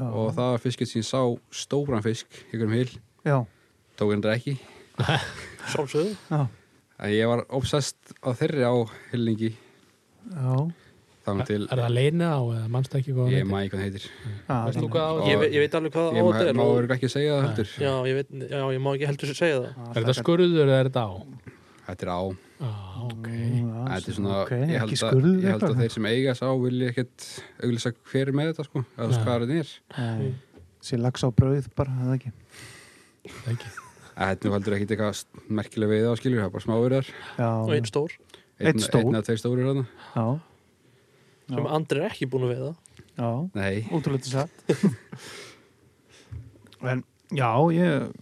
[SPEAKER 2] já,
[SPEAKER 3] og það var fiskinn sem ég sá stóran fisk ykkur um hil,
[SPEAKER 2] já,
[SPEAKER 3] tók hann ekki
[SPEAKER 4] Sálsöðu.
[SPEAKER 2] já,
[SPEAKER 3] en ég var obsessed á þeirri á hilningi
[SPEAKER 2] já,
[SPEAKER 3] þannig til
[SPEAKER 5] Er er það leina á eða mannstu ekki hvað
[SPEAKER 3] ég
[SPEAKER 5] hann heitir?
[SPEAKER 3] maður
[SPEAKER 5] Veist þú
[SPEAKER 2] já
[SPEAKER 3] ekki hvað hann heitir
[SPEAKER 2] þannig.
[SPEAKER 5] hvað á
[SPEAKER 4] Ég, ve- ég veit alveg hvað á
[SPEAKER 3] ég
[SPEAKER 4] þetta er.
[SPEAKER 3] má
[SPEAKER 4] og-
[SPEAKER 3] verið ekki að segja það heldur
[SPEAKER 4] Já, ég veit, já, ég má ekki heldur sér segja það.
[SPEAKER 5] Er þetta skurður eða er þetta á?
[SPEAKER 3] þetta er á,
[SPEAKER 5] Ah, ok.
[SPEAKER 2] Já,
[SPEAKER 3] þetta er svona
[SPEAKER 2] ok,
[SPEAKER 3] ég
[SPEAKER 2] ekki
[SPEAKER 3] held, að,
[SPEAKER 2] skurður
[SPEAKER 3] ég held að
[SPEAKER 2] eitthvað.
[SPEAKER 3] þeir sem eiga sá vilja ekkert auglýsa hver er með þetta sko, að þú
[SPEAKER 5] Nei.
[SPEAKER 3] skara þetta er
[SPEAKER 2] Nei, sér lags á brauð bara, eða ekki
[SPEAKER 5] Það ekki.
[SPEAKER 3] En þetta er nú heldur ekkert eitthvað merkilega veiða á skilur, það er bara smáverðar
[SPEAKER 4] Og
[SPEAKER 2] já,
[SPEAKER 4] einn stór,
[SPEAKER 2] Einn stór.
[SPEAKER 3] einn að tveir stórir hana
[SPEAKER 2] já,
[SPEAKER 4] sem
[SPEAKER 2] Já.
[SPEAKER 4] Andri er ekki búin að veiða.
[SPEAKER 2] já
[SPEAKER 3] nei,
[SPEAKER 2] Ótrúlega satt En já, ég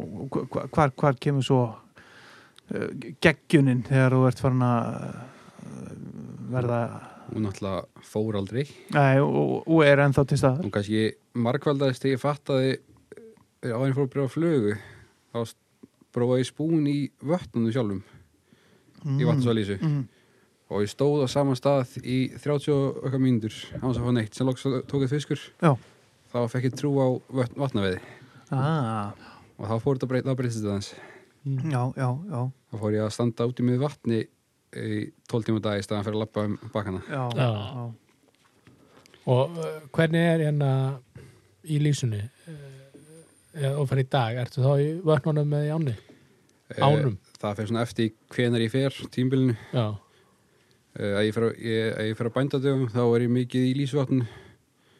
[SPEAKER 2] Hva- hva- hvar, hvar kemur svo uh, geggjunin þegar þú ert farin að uh, verða
[SPEAKER 3] hún náttúrulega fór aldrei
[SPEAKER 2] Nei, og, og er ennþá til staðar
[SPEAKER 3] hún kannski margfaldaðist þegar ég fattaði eh, áður en ég fór að byrja á flugu þá s- prófaði ég spún í vötnunum sjálfum í vatnsvalísu
[SPEAKER 2] mm,
[SPEAKER 3] og ég stóð á sama stað í 30 og eitthvað mínútur á þess að fá neitt sem loks tók ég fiskur
[SPEAKER 2] Já.
[SPEAKER 3] þá fekk ég trú á vötn, vatnaveiði
[SPEAKER 2] Ah,
[SPEAKER 3] og þá fór þetta breyt, þá breytist þetta aðeins
[SPEAKER 2] já, já, já,
[SPEAKER 3] þá fór ég að standa út í miður vatni í 12 tíma á dag í staðan fyrir að lappa um bakkana
[SPEAKER 2] já,
[SPEAKER 1] Já.
[SPEAKER 2] já.
[SPEAKER 1] Og uh, hvernig er hérna í lýsunni uh, og fyrir í dag? Ertu þá í vöknunum með í áni?
[SPEAKER 3] Eh,
[SPEAKER 1] Ánum?
[SPEAKER 3] það fyrir svona eftir hvenar ég fer tímbilinu
[SPEAKER 1] Já,
[SPEAKER 3] Eh, að ég fer, á- ég, að ég fer að bændadöfum þá er ég mikið í lísvatn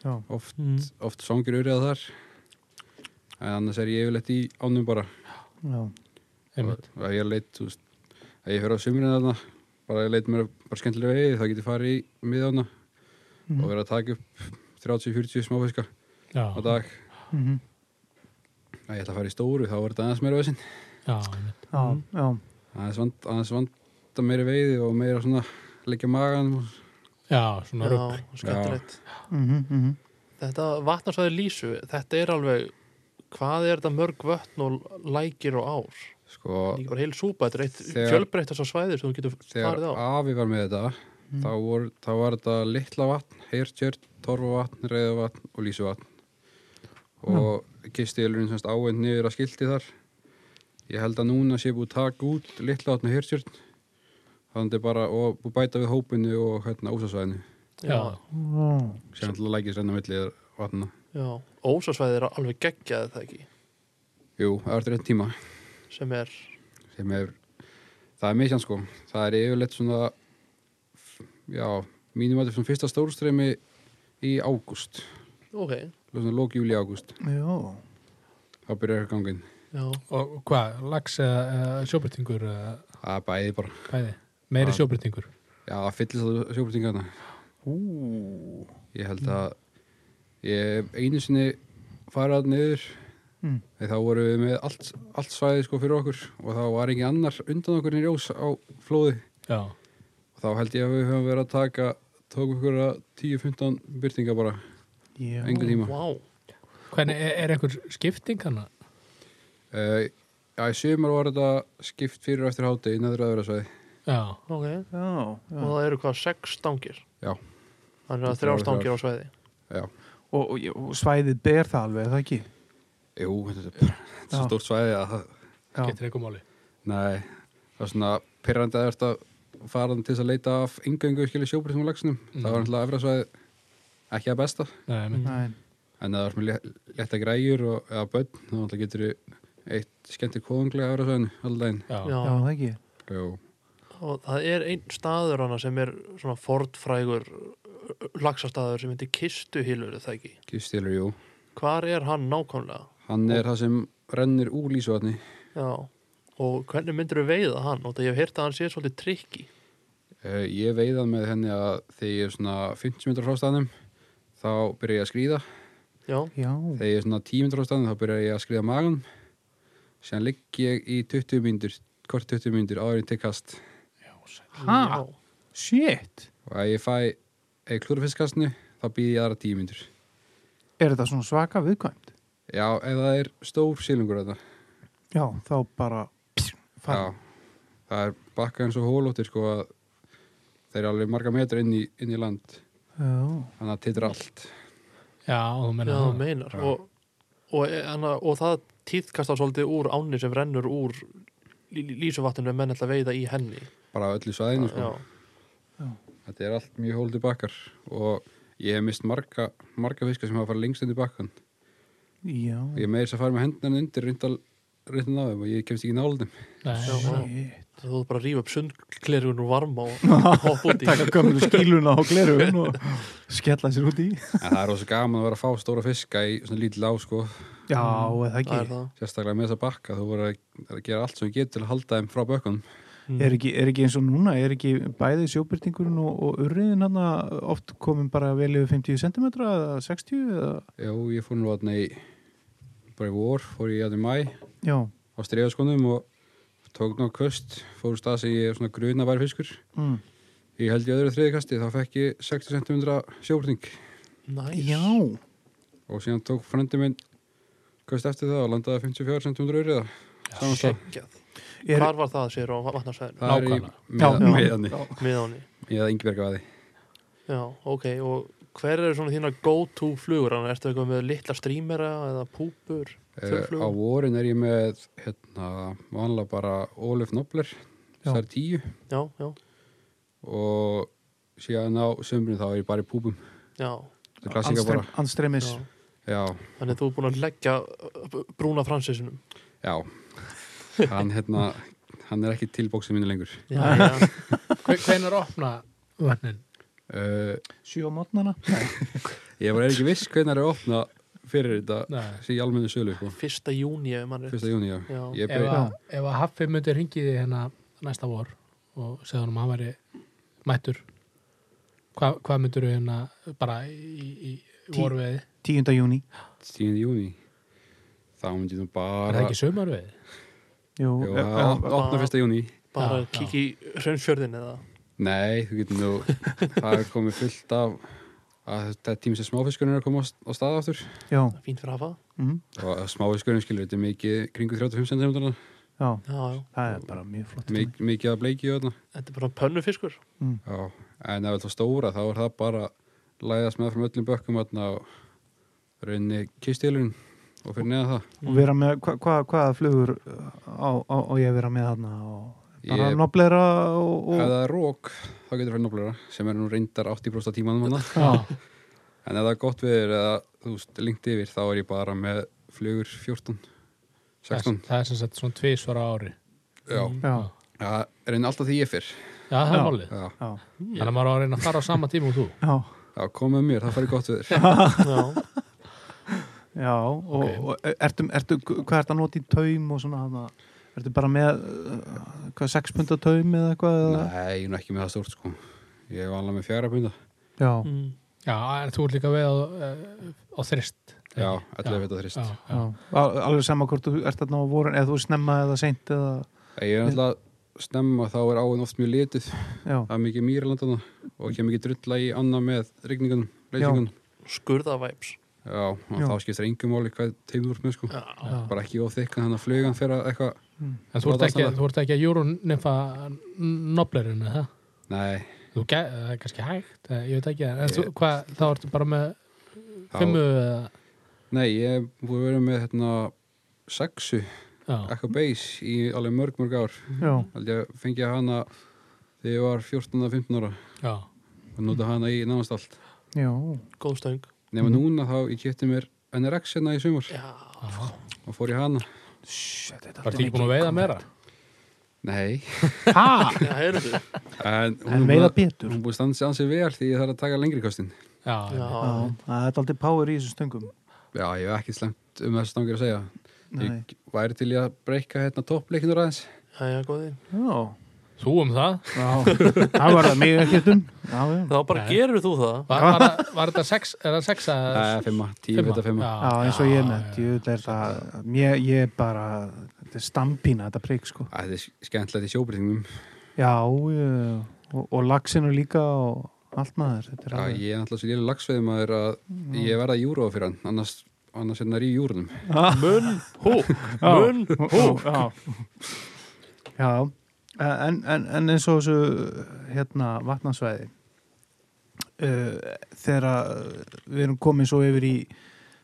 [SPEAKER 2] Já.
[SPEAKER 3] oft,
[SPEAKER 1] Mm.
[SPEAKER 3] oft sangir urið þar en annars er ég yfirleitt í ánum bara
[SPEAKER 2] já.
[SPEAKER 1] einmitt.
[SPEAKER 3] og að ég leit þú veist, að ég fer á sumrin þarna bara ég leit mér bara skemmtilega vegi þá get ég farið í miðána
[SPEAKER 2] Mhm.
[SPEAKER 1] Mm.
[SPEAKER 3] og verið að taka upp 30-40 smáfiska
[SPEAKER 1] Já,
[SPEAKER 3] á dag
[SPEAKER 2] Mhm.
[SPEAKER 3] að ég ætla að fara í stóru þá er þetta aðeins meira vesinn
[SPEAKER 1] já, einmitt.
[SPEAKER 2] já, já,
[SPEAKER 3] aðeins, vand, aðeins vanda meiri veiði og meira svona leggja magan og
[SPEAKER 1] Já, svona rugg.
[SPEAKER 4] Já, skemmtilegt
[SPEAKER 2] mhm, mhm.
[SPEAKER 4] Þetta vatnarsvæði Lísu, þetta er alveg hvað er þetta mörg vötn og lækir og ár?
[SPEAKER 3] sko
[SPEAKER 4] Líka bara heil súpa, þetta er eitt
[SPEAKER 3] Þegar-
[SPEAKER 4] fjölbreyttast á svæði sem þú getur
[SPEAKER 3] þegar
[SPEAKER 4] farið á Mm.
[SPEAKER 3] afi var með þetta þá, vor, þá var þetta litla vatn, heyrtjörn, torfavatn, reyðavatn og lýsuvatn og kistilurinn semst áend niður að skilti þar ég held að núna sé búið að taka út litla vatn og heyrtjörn þannig er bara og búið að bæta við hópinu og hérna ósasvæðinu
[SPEAKER 1] Já,
[SPEAKER 2] Já.
[SPEAKER 3] sem alltaf lækist hérna millið vatna
[SPEAKER 4] já. Ósasvæði er alveg geggjaði það ekki
[SPEAKER 3] jú, það er þetta tíma
[SPEAKER 4] sem er
[SPEAKER 3] sem er, það er misjan sko það er yfirleitt svona já, mínum að þetta er svona fyrsta stórstreymi í ágúst
[SPEAKER 4] ok,
[SPEAKER 3] svona lók júli ágúst
[SPEAKER 2] já,
[SPEAKER 3] þá byrjar gangin
[SPEAKER 4] já,
[SPEAKER 1] og hvað, lags eða eða sjóbyrtingur eða
[SPEAKER 3] það er bæði bara
[SPEAKER 1] bæði? Meiri
[SPEAKER 3] Já.
[SPEAKER 1] sjóbyrtingur?
[SPEAKER 3] já það fyllist það sjóbrytingana ég held að ég hef einu sinni farað niður
[SPEAKER 2] Mm.
[SPEAKER 3] þegar þá vorum við með allt, allt svæði sko fyrir okkur og þá var engin annar undan okkur í ljós á flóði
[SPEAKER 1] Já,
[SPEAKER 3] og þá held ég að við höfum verið að taka tók okkur að 10-15 byrtinga bara
[SPEAKER 2] já.
[SPEAKER 3] Engu tíma.
[SPEAKER 4] wow.
[SPEAKER 1] hvernig, er, er einhver skipting hana?
[SPEAKER 3] uh, já í sumar var þetta skipt fyrir og eftir háti í neðra öðra svæði
[SPEAKER 1] Já,
[SPEAKER 4] ok,
[SPEAKER 2] Já, já.
[SPEAKER 4] og það eru hvað sex stangir
[SPEAKER 3] Já.
[SPEAKER 4] þannig að
[SPEAKER 3] Þrjár,
[SPEAKER 4] þrjár stangir á svæði
[SPEAKER 3] já
[SPEAKER 2] Og, og, og svæðið ber það alveg, er það ekki?
[SPEAKER 3] Jú, þetta er bara þetta er svo
[SPEAKER 2] Já.
[SPEAKER 3] stórt svæði að það
[SPEAKER 2] Já,
[SPEAKER 1] getur eitthvað máli.
[SPEAKER 3] Nei, það er svona pyrrandi að þetta faraðan til þess að leita af yngöngu skilja sjóbrítum og lagsnum.
[SPEAKER 1] Mm.
[SPEAKER 3] Það var náttúrulega efra svæði ekki að besta.
[SPEAKER 1] Nei, einmitt.
[SPEAKER 2] næn,
[SPEAKER 3] En það var með lé- létta græjur og eða bönn, þá náttúrulega getur eitt skemmtir kóðunglega efra svæðinu allan daginn.
[SPEAKER 1] Já,
[SPEAKER 4] Já.
[SPEAKER 1] já,
[SPEAKER 2] já, er það ekki?
[SPEAKER 3] Jú,
[SPEAKER 4] og það er einn staður hana sem er svona fordfrægur lagsastæður sem heitir kistuhýlur er það ekki,
[SPEAKER 3] gifstilur, jú.
[SPEAKER 4] hvar er hann nákvæmlega
[SPEAKER 3] Hann er það sem rennir úr lísuvatni.
[SPEAKER 4] já, og hvernig myndir við veiða hann og það ég hef heyrt að hann sé svolítið trikki
[SPEAKER 3] Eh, Ég veiðan með henni að þegar ég er svona 50 metrar frá staðnum, þá byrja ég að skrýða.
[SPEAKER 4] já,
[SPEAKER 2] Já,
[SPEAKER 3] Þegar ég er svona 10 metrar á staðnum, þá byrja ég að skrýða magan. Sér ligg ég í 20 myndur, kort 20 myndur, áður en til kast.
[SPEAKER 2] Ha?
[SPEAKER 4] já,
[SPEAKER 2] shit,
[SPEAKER 3] og ef ég fæ eða klúrufiskastinu þá býð ég aðra tíu myndur
[SPEAKER 2] er þetta svona svaka viðkvæmt?
[SPEAKER 3] já, ef það er stór sílingur þetta
[SPEAKER 2] Já, þá bara
[SPEAKER 3] já, það er bakka eins og hólóttir sko að þeir eru alveg marga metra inn í, inn í land
[SPEAKER 2] Já,
[SPEAKER 3] þannig að titra allt
[SPEAKER 1] þú
[SPEAKER 4] já,
[SPEAKER 1] menna
[SPEAKER 4] þú
[SPEAKER 1] það.
[SPEAKER 4] meinar
[SPEAKER 3] Já.
[SPEAKER 4] og, og, e, hana, og það týðkast það svolítið úr ánni sem rennur úr lísuvattinu menn ætla að veiða í henni
[SPEAKER 3] bara á öllu svæðinu sko
[SPEAKER 4] já,
[SPEAKER 3] þetta er allt mjög hóldi bakkar og ég hef mist marga, marga fiska sem hafa farið lengst undir bakkan
[SPEAKER 2] já,
[SPEAKER 3] og ég meir þess að fara með hendunan undir reyndan á þeim og ég kemst ekki náldum
[SPEAKER 4] já,
[SPEAKER 1] Nei,
[SPEAKER 4] já.
[SPEAKER 2] shit.
[SPEAKER 4] þú þarf bara að rífa upp sundklerun og varma og hoppa út í
[SPEAKER 2] Taka gömlu skíluna á glerugun og skella sér út í.
[SPEAKER 3] en það er rosa gaman að vera að fá stóra fiska í svona lítið á sko
[SPEAKER 2] Já, er það
[SPEAKER 4] það er
[SPEAKER 2] ekki?
[SPEAKER 4] það
[SPEAKER 3] sérstaklega með þessa bakka þú voru að að gera allt sem ég getur til að halda þeim frá bökkunum
[SPEAKER 4] Mm.
[SPEAKER 2] Er ekki, er ekki eins og núna, er ekki bæði sjóbyrtingurinn og, og urriðin hann oft komin bara vel yfir 50 cm eða 60 eða,
[SPEAKER 3] Já, ég fór nú aðna í bara í vor, fór ég aðna í mæ
[SPEAKER 2] já,
[SPEAKER 3] á stríðaskonum og tók ná köst, fór úr stað sem ég er svona gruna væri fiskur.
[SPEAKER 2] mm.
[SPEAKER 3] Ég held í öðru þriðikasti, þá fekk ég 60 cm sjóbrning
[SPEAKER 4] Næs.
[SPEAKER 2] já,
[SPEAKER 3] og síðan tók frendi minn köst eftir það og landaði 54 cm öryða.
[SPEAKER 4] Geggjað.
[SPEAKER 2] er,
[SPEAKER 4] hvar var það sér á vatnarsvæðinu
[SPEAKER 3] Það er í
[SPEAKER 1] Nákvæmlega.
[SPEAKER 2] Já. Ah.
[SPEAKER 3] meðan- meðanni.
[SPEAKER 4] miðáni
[SPEAKER 3] eða yngibjörgavaði
[SPEAKER 4] Já, ok, og hver eru svona þína go-to flugur? Þannig ertu eitthvað með litla strímera eða púpur?
[SPEAKER 3] Eh, á
[SPEAKER 4] Þurrflugur?
[SPEAKER 3] vorin er ég með hérna, vanlega bara Ólef Nobler
[SPEAKER 2] Já.
[SPEAKER 3] þessar tíu
[SPEAKER 4] Já, já,
[SPEAKER 3] og síðan á sömbrinu þá er ég bara í púpum
[SPEAKER 4] já,
[SPEAKER 3] það er klassika bara
[SPEAKER 2] Anstremis
[SPEAKER 4] já.
[SPEAKER 3] já,
[SPEAKER 4] Þannig þú er búin að leggja uh, brúna fransisinum
[SPEAKER 3] já hann, hérna, hann er ekki til bóksið mínu lengur
[SPEAKER 4] Já, já,
[SPEAKER 1] Hvernig er opna vötnin?
[SPEAKER 3] uh,
[SPEAKER 2] Sjö á mótnana
[SPEAKER 3] ég var ekki viss hvernig er að opna fyrir þetta
[SPEAKER 1] Nei.
[SPEAKER 3] sí í almennu sölu sko.
[SPEAKER 4] fyrsta júni ef mann er
[SPEAKER 3] fyrsta júni, já,
[SPEAKER 4] Já.
[SPEAKER 3] Ég
[SPEAKER 1] Ef
[SPEAKER 3] byrja,
[SPEAKER 1] að- ef að Haffi myndi ringið þið hérna næsta vor og segða hann að hann væri mættur hvað hva myndur við hérna bara í, í, í
[SPEAKER 2] Tí-
[SPEAKER 1] vorveði?
[SPEAKER 2] 10. júni
[SPEAKER 3] tíundi júni þá myndi ég nú
[SPEAKER 1] Er
[SPEAKER 3] bara
[SPEAKER 1] það ekki sömarveði?
[SPEAKER 2] Jú,
[SPEAKER 3] Jú,
[SPEAKER 2] já,
[SPEAKER 3] að opna, opna fyrsta júni
[SPEAKER 4] bara
[SPEAKER 1] Já, já.
[SPEAKER 4] kíkja í hraunsfjörðin eða
[SPEAKER 3] nei, þú getur nú það er komið fullt af að þetta er tími sem smáfiskurinn er að koma á, á stað aftur
[SPEAKER 2] já,
[SPEAKER 4] fínt fyrir hafa
[SPEAKER 2] mm,
[SPEAKER 3] og smáfiskurinn skilur þetta er mikið kringu 35 cm
[SPEAKER 2] já,
[SPEAKER 4] já, já.
[SPEAKER 2] það er bara mjög flott
[SPEAKER 3] Mik, mikið að bleiki og þarna
[SPEAKER 4] þetta er bara pönnufiskur
[SPEAKER 3] Já, en ef þetta stóra þá er það bara læðast með frá öllum bökkum þarna á raunni kistilun og fyrir neða það
[SPEAKER 2] og vera með, hva, hva, hvaða flugur uh, á, á, á ég að vera með þarna og bara
[SPEAKER 3] Ég-
[SPEAKER 2] noblera og, og
[SPEAKER 3] Ef það er rók, þá getur það noblera sem er nú reyndar 80% af tímanum hana
[SPEAKER 1] Já,
[SPEAKER 3] en ef það er gott viður eða þú veist, lengt yfir, þá er ég bara með flugur 14
[SPEAKER 1] það er,
[SPEAKER 3] 16
[SPEAKER 1] það er sem sagt svona tvisvar á ári
[SPEAKER 3] Já,
[SPEAKER 4] Mm.
[SPEAKER 2] já,
[SPEAKER 3] það er reyndin alltaf því ég fyrr
[SPEAKER 1] Já, það er
[SPEAKER 2] Já.
[SPEAKER 1] málið
[SPEAKER 3] Já,
[SPEAKER 2] já,
[SPEAKER 1] Þannig að maður á að reyna að fara á sama tíma og þú
[SPEAKER 2] já,
[SPEAKER 3] já kom með mér, það færi gott viður
[SPEAKER 4] já,
[SPEAKER 2] já og,
[SPEAKER 1] Ok.
[SPEAKER 2] og ertu, ertu, hvað ertu að nota í taum og svona þarna ertu bara með uh, hvað, 6 punda taum eða eitthvað eða?
[SPEAKER 3] Nei, ég er nú ekki með það stórt sko Ég var alveg með fjara punda
[SPEAKER 2] já,
[SPEAKER 4] mm.
[SPEAKER 1] Já, en þú ert líka veið á, eh, á þrist
[SPEAKER 3] Já, 11 veit að þrist
[SPEAKER 1] Já, já.
[SPEAKER 2] já. Al- alveg sama hvort þú ert þarna á vorin eða þú er snemma eða seint eða,
[SPEAKER 3] Ég er alltaf snemma, þá er áin oft mjög litið
[SPEAKER 2] já,
[SPEAKER 3] það er mikið mýralandana og kemur mikið drulla í annað með rigningunum, leysingunum
[SPEAKER 4] skurðavæps
[SPEAKER 3] já, og
[SPEAKER 2] Já.
[SPEAKER 3] þá skiptir engum máli hvað teimur með sko,
[SPEAKER 4] já,
[SPEAKER 2] já,
[SPEAKER 3] bara ekki of þykkan þannig að flugan fyrir að eitthvað,
[SPEAKER 1] En þú ert
[SPEAKER 3] Láta
[SPEAKER 1] ekki,
[SPEAKER 3] standa.
[SPEAKER 1] þú ert ekki að júrunimfa noblerinu, það?
[SPEAKER 3] nei
[SPEAKER 1] Þú ge- það er kannski hægt, eh, ég veit ekki en
[SPEAKER 3] Ég-
[SPEAKER 1] þú, hvað, þá ertu bara með fimmu
[SPEAKER 3] þá,
[SPEAKER 1] eða,
[SPEAKER 3] nei, ég er búin að vera með hérna sexu,
[SPEAKER 1] já,
[SPEAKER 3] ekka base í alveg mörg mörg ár,
[SPEAKER 2] já,
[SPEAKER 3] held ég að fengja hana þegar ég var 14-15 ára
[SPEAKER 1] já,
[SPEAKER 3] og nota hana í nánast allt
[SPEAKER 2] já,
[SPEAKER 4] góð stöng
[SPEAKER 3] nema núna þá ég kipti mér NRX hérna í sumar
[SPEAKER 4] já,
[SPEAKER 3] og fór í hana,
[SPEAKER 1] það ertu ekki búin að veiða meira
[SPEAKER 3] nei
[SPEAKER 4] já, heyrðu já,
[SPEAKER 2] en
[SPEAKER 3] en er búin
[SPEAKER 2] veiða
[SPEAKER 3] að-
[SPEAKER 2] betur
[SPEAKER 3] hún er búin að standa ansið vel því ég þarf að taka lengri kostin
[SPEAKER 1] Já,
[SPEAKER 2] Já, það er aldrei power í þessum stöngum
[SPEAKER 3] Já, ég hef ekkert slemt um þessu stangir að segja.
[SPEAKER 2] Nei.
[SPEAKER 3] Ég væri til í að breyka hérna toppleikinur aðeins.
[SPEAKER 4] já, já, góði
[SPEAKER 2] Já,
[SPEAKER 1] þú um það
[SPEAKER 2] já, það var það mig ekkert um Já, já,
[SPEAKER 4] þá bara
[SPEAKER 1] Nei.
[SPEAKER 4] gerur þú það
[SPEAKER 1] Var, var, það- var þetta sex, er það sex að
[SPEAKER 3] Nei, fimma, tíu fyrir fimma.
[SPEAKER 2] já eins og ég nefnt Ég er það, mér, ég er bara Þetta er stampína, þetta prík sko
[SPEAKER 3] Æ, Þetta er skemmtilegt í sjóbreytingum.
[SPEAKER 2] Já, ég, og, og laxinu líka og allt maður Þetta er
[SPEAKER 3] Já,
[SPEAKER 2] alveg
[SPEAKER 3] ég er alltaf svo lélu lagsveðum að ég verða júróa fyrir hann, annars, annars er hann í júrunum.
[SPEAKER 4] mun húk, mun húk
[SPEAKER 2] Já, já. Eh, En, en, en eins og þessu hérna vatnansvæði uh, þegar að eh, við erum komin svo yfir í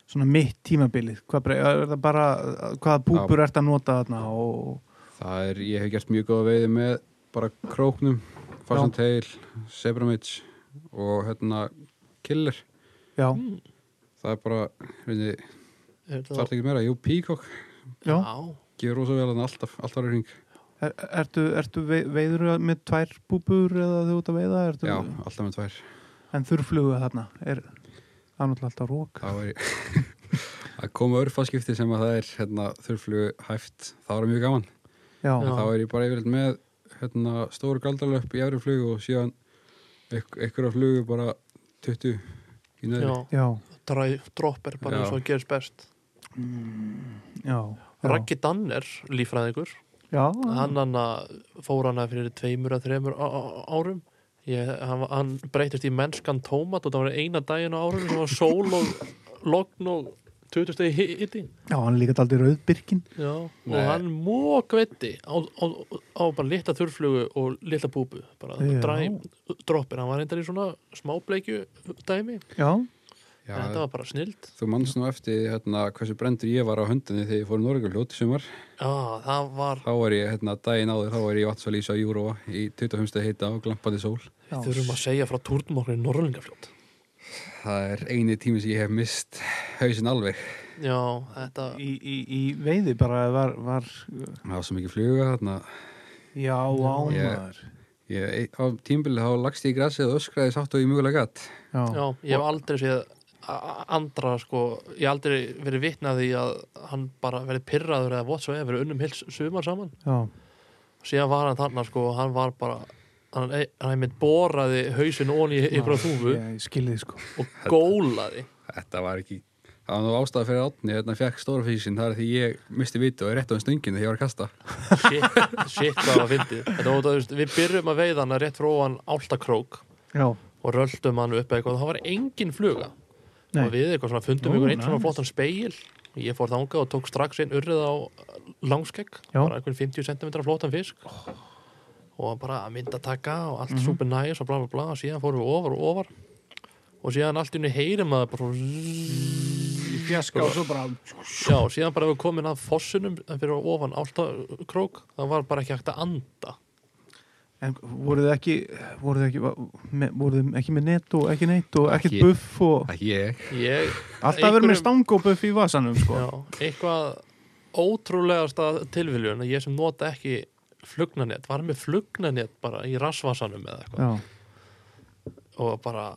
[SPEAKER 2] svona mitt tímabilið hvað, bre- er það bara, eh, hvaða púpur ert að nota þarna og
[SPEAKER 3] Það er, ég hef gert mjög góða veiði með bara króknum, farsan teil, sebramits og hérna killer.
[SPEAKER 2] já,
[SPEAKER 3] Það er bara, reyndi,
[SPEAKER 4] Er
[SPEAKER 3] það
[SPEAKER 4] það-
[SPEAKER 3] er ekki meira. Jú, Peacock
[SPEAKER 2] já.
[SPEAKER 4] já,
[SPEAKER 3] gefur rosa vel hann alltaf, alltaf er hring.
[SPEAKER 2] Er, ertu, ertu vei- veiður með tvær púpur eða þú ert að veiða ertu,
[SPEAKER 3] Já, alltaf með tvær.
[SPEAKER 2] en þurrflugu þarna er það er náttúrulega alltaf rók
[SPEAKER 3] þá er ég að koma örfaskipti sem að það er hérna, þurflugu hæft, það var mjög gaman
[SPEAKER 2] já,
[SPEAKER 3] en þá er ég bara yfirleitt með hérna, stóru galdralöp í efri flugu og síðan ykk- ykkur á flugu bara 20
[SPEAKER 4] já,
[SPEAKER 3] í neðri
[SPEAKER 2] já,
[SPEAKER 4] dræ- dropp er bara
[SPEAKER 3] Já.
[SPEAKER 4] eins og það gerist best
[SPEAKER 2] já, já.
[SPEAKER 4] Mm. Raggi Danner, líffræðingur
[SPEAKER 2] já,
[SPEAKER 4] hann hann fór hann fyrir tveimur að þreimur á- á- árum ég, hann, var- hann breytist í mennskan tómat og það var eina daginn á árum sem var sól og logn og 20 stegi hi- hiti
[SPEAKER 2] Já, hann er líka aldrei rauðbyrkin
[SPEAKER 4] Já, og
[SPEAKER 3] Nei.
[SPEAKER 4] hann mók veitti á, á, á bara litla þurrflugu og litla púpu bara
[SPEAKER 2] Já.
[SPEAKER 4] dræ, droppir, hann var reyndar í svona smábleikju dæmi
[SPEAKER 2] Já,
[SPEAKER 3] Já,
[SPEAKER 4] en þetta var bara snild
[SPEAKER 3] Þú manns nú eftir hérna, hversu brendur ég var á höndinni þegar ég fór í Norguljót í sumar.
[SPEAKER 4] Já, það var
[SPEAKER 3] Þá var ég, hérna, daginn áður, þá var ég vatnsalís á Júróa í 25. stað hita og glampandi sól.
[SPEAKER 2] já.
[SPEAKER 4] þurfum að segja frá túrnmokkur í Norrlingafljót
[SPEAKER 3] Það er eini tími sem ég hef mist hausinn alveg.
[SPEAKER 4] Já, þetta
[SPEAKER 2] Í, í, í veiði bara var, var
[SPEAKER 3] Það var svo mikið fluga, þarna.
[SPEAKER 2] Já, ámaður
[SPEAKER 3] Ég, á tímbilið þá lagst ég í grasið og öskraði sátt og ég mjögulega gatt.
[SPEAKER 2] Já,
[SPEAKER 4] Já, ég hef aldrei séð a- a- andra sko, ég hef aldrei verið vitnað því að hann bara verið pirraður eða whatsoever unnum heils sumar saman
[SPEAKER 2] já,
[SPEAKER 4] síðan var hann þarna sko, hann var bara hann, hann einmitt boraði hausin onni í ykkur á þúfu
[SPEAKER 2] ég, ég skilði sko
[SPEAKER 4] og gólaði
[SPEAKER 3] Þetta var ekki... Það var nú ástæða fyrir átni, hérna fekk stóra físin, það er því ég misti vitu og er rétt á enn stönginu þegar ég var að kasta.
[SPEAKER 4] shit, shit hvað það var fyndið Þetta var út af, þú veist, við byrjum að veiða hann rétt frá hann áltakrók
[SPEAKER 2] Já,
[SPEAKER 4] og röldum hann upp eitthvað og það var engin fluga
[SPEAKER 2] nei,
[SPEAKER 4] og við eitthvað svona fundum
[SPEAKER 2] Nú,
[SPEAKER 4] ykkur einn
[SPEAKER 2] nice.
[SPEAKER 4] svona flottan speil og ég fór þangað og tók strax einn urrið á langskegg,
[SPEAKER 2] Já.
[SPEAKER 4] bara einhvern 50 cm flottan fisk og bara mynda taka
[SPEAKER 2] Mhm.
[SPEAKER 4] og allt super nice og bla bla bla og síðan fórum við ofar og ofar og síðan allt í henni heyrim að bara
[SPEAKER 2] í fjaska og svo bara
[SPEAKER 4] já, og síðan bara ef við komin að fossunum fyrir ofan áltakrók það var bara ekki hægt að anda
[SPEAKER 2] En voruð þið ekki voruð þið ekki, me, voruð þið ekki með net og ekki neitt og ekkert
[SPEAKER 3] Ekki-
[SPEAKER 2] buff og
[SPEAKER 3] Ekki ég.
[SPEAKER 4] ég,
[SPEAKER 2] alltaf verið með
[SPEAKER 4] einhverjum-
[SPEAKER 2] stang og buff í vasanum sko
[SPEAKER 4] já, eitthvað ótrúlegasta tilviljun að ég sem nota ekki flugnanett, var með flugnanett bara í rassvasanum eða eitthvað
[SPEAKER 2] Já,
[SPEAKER 4] og bara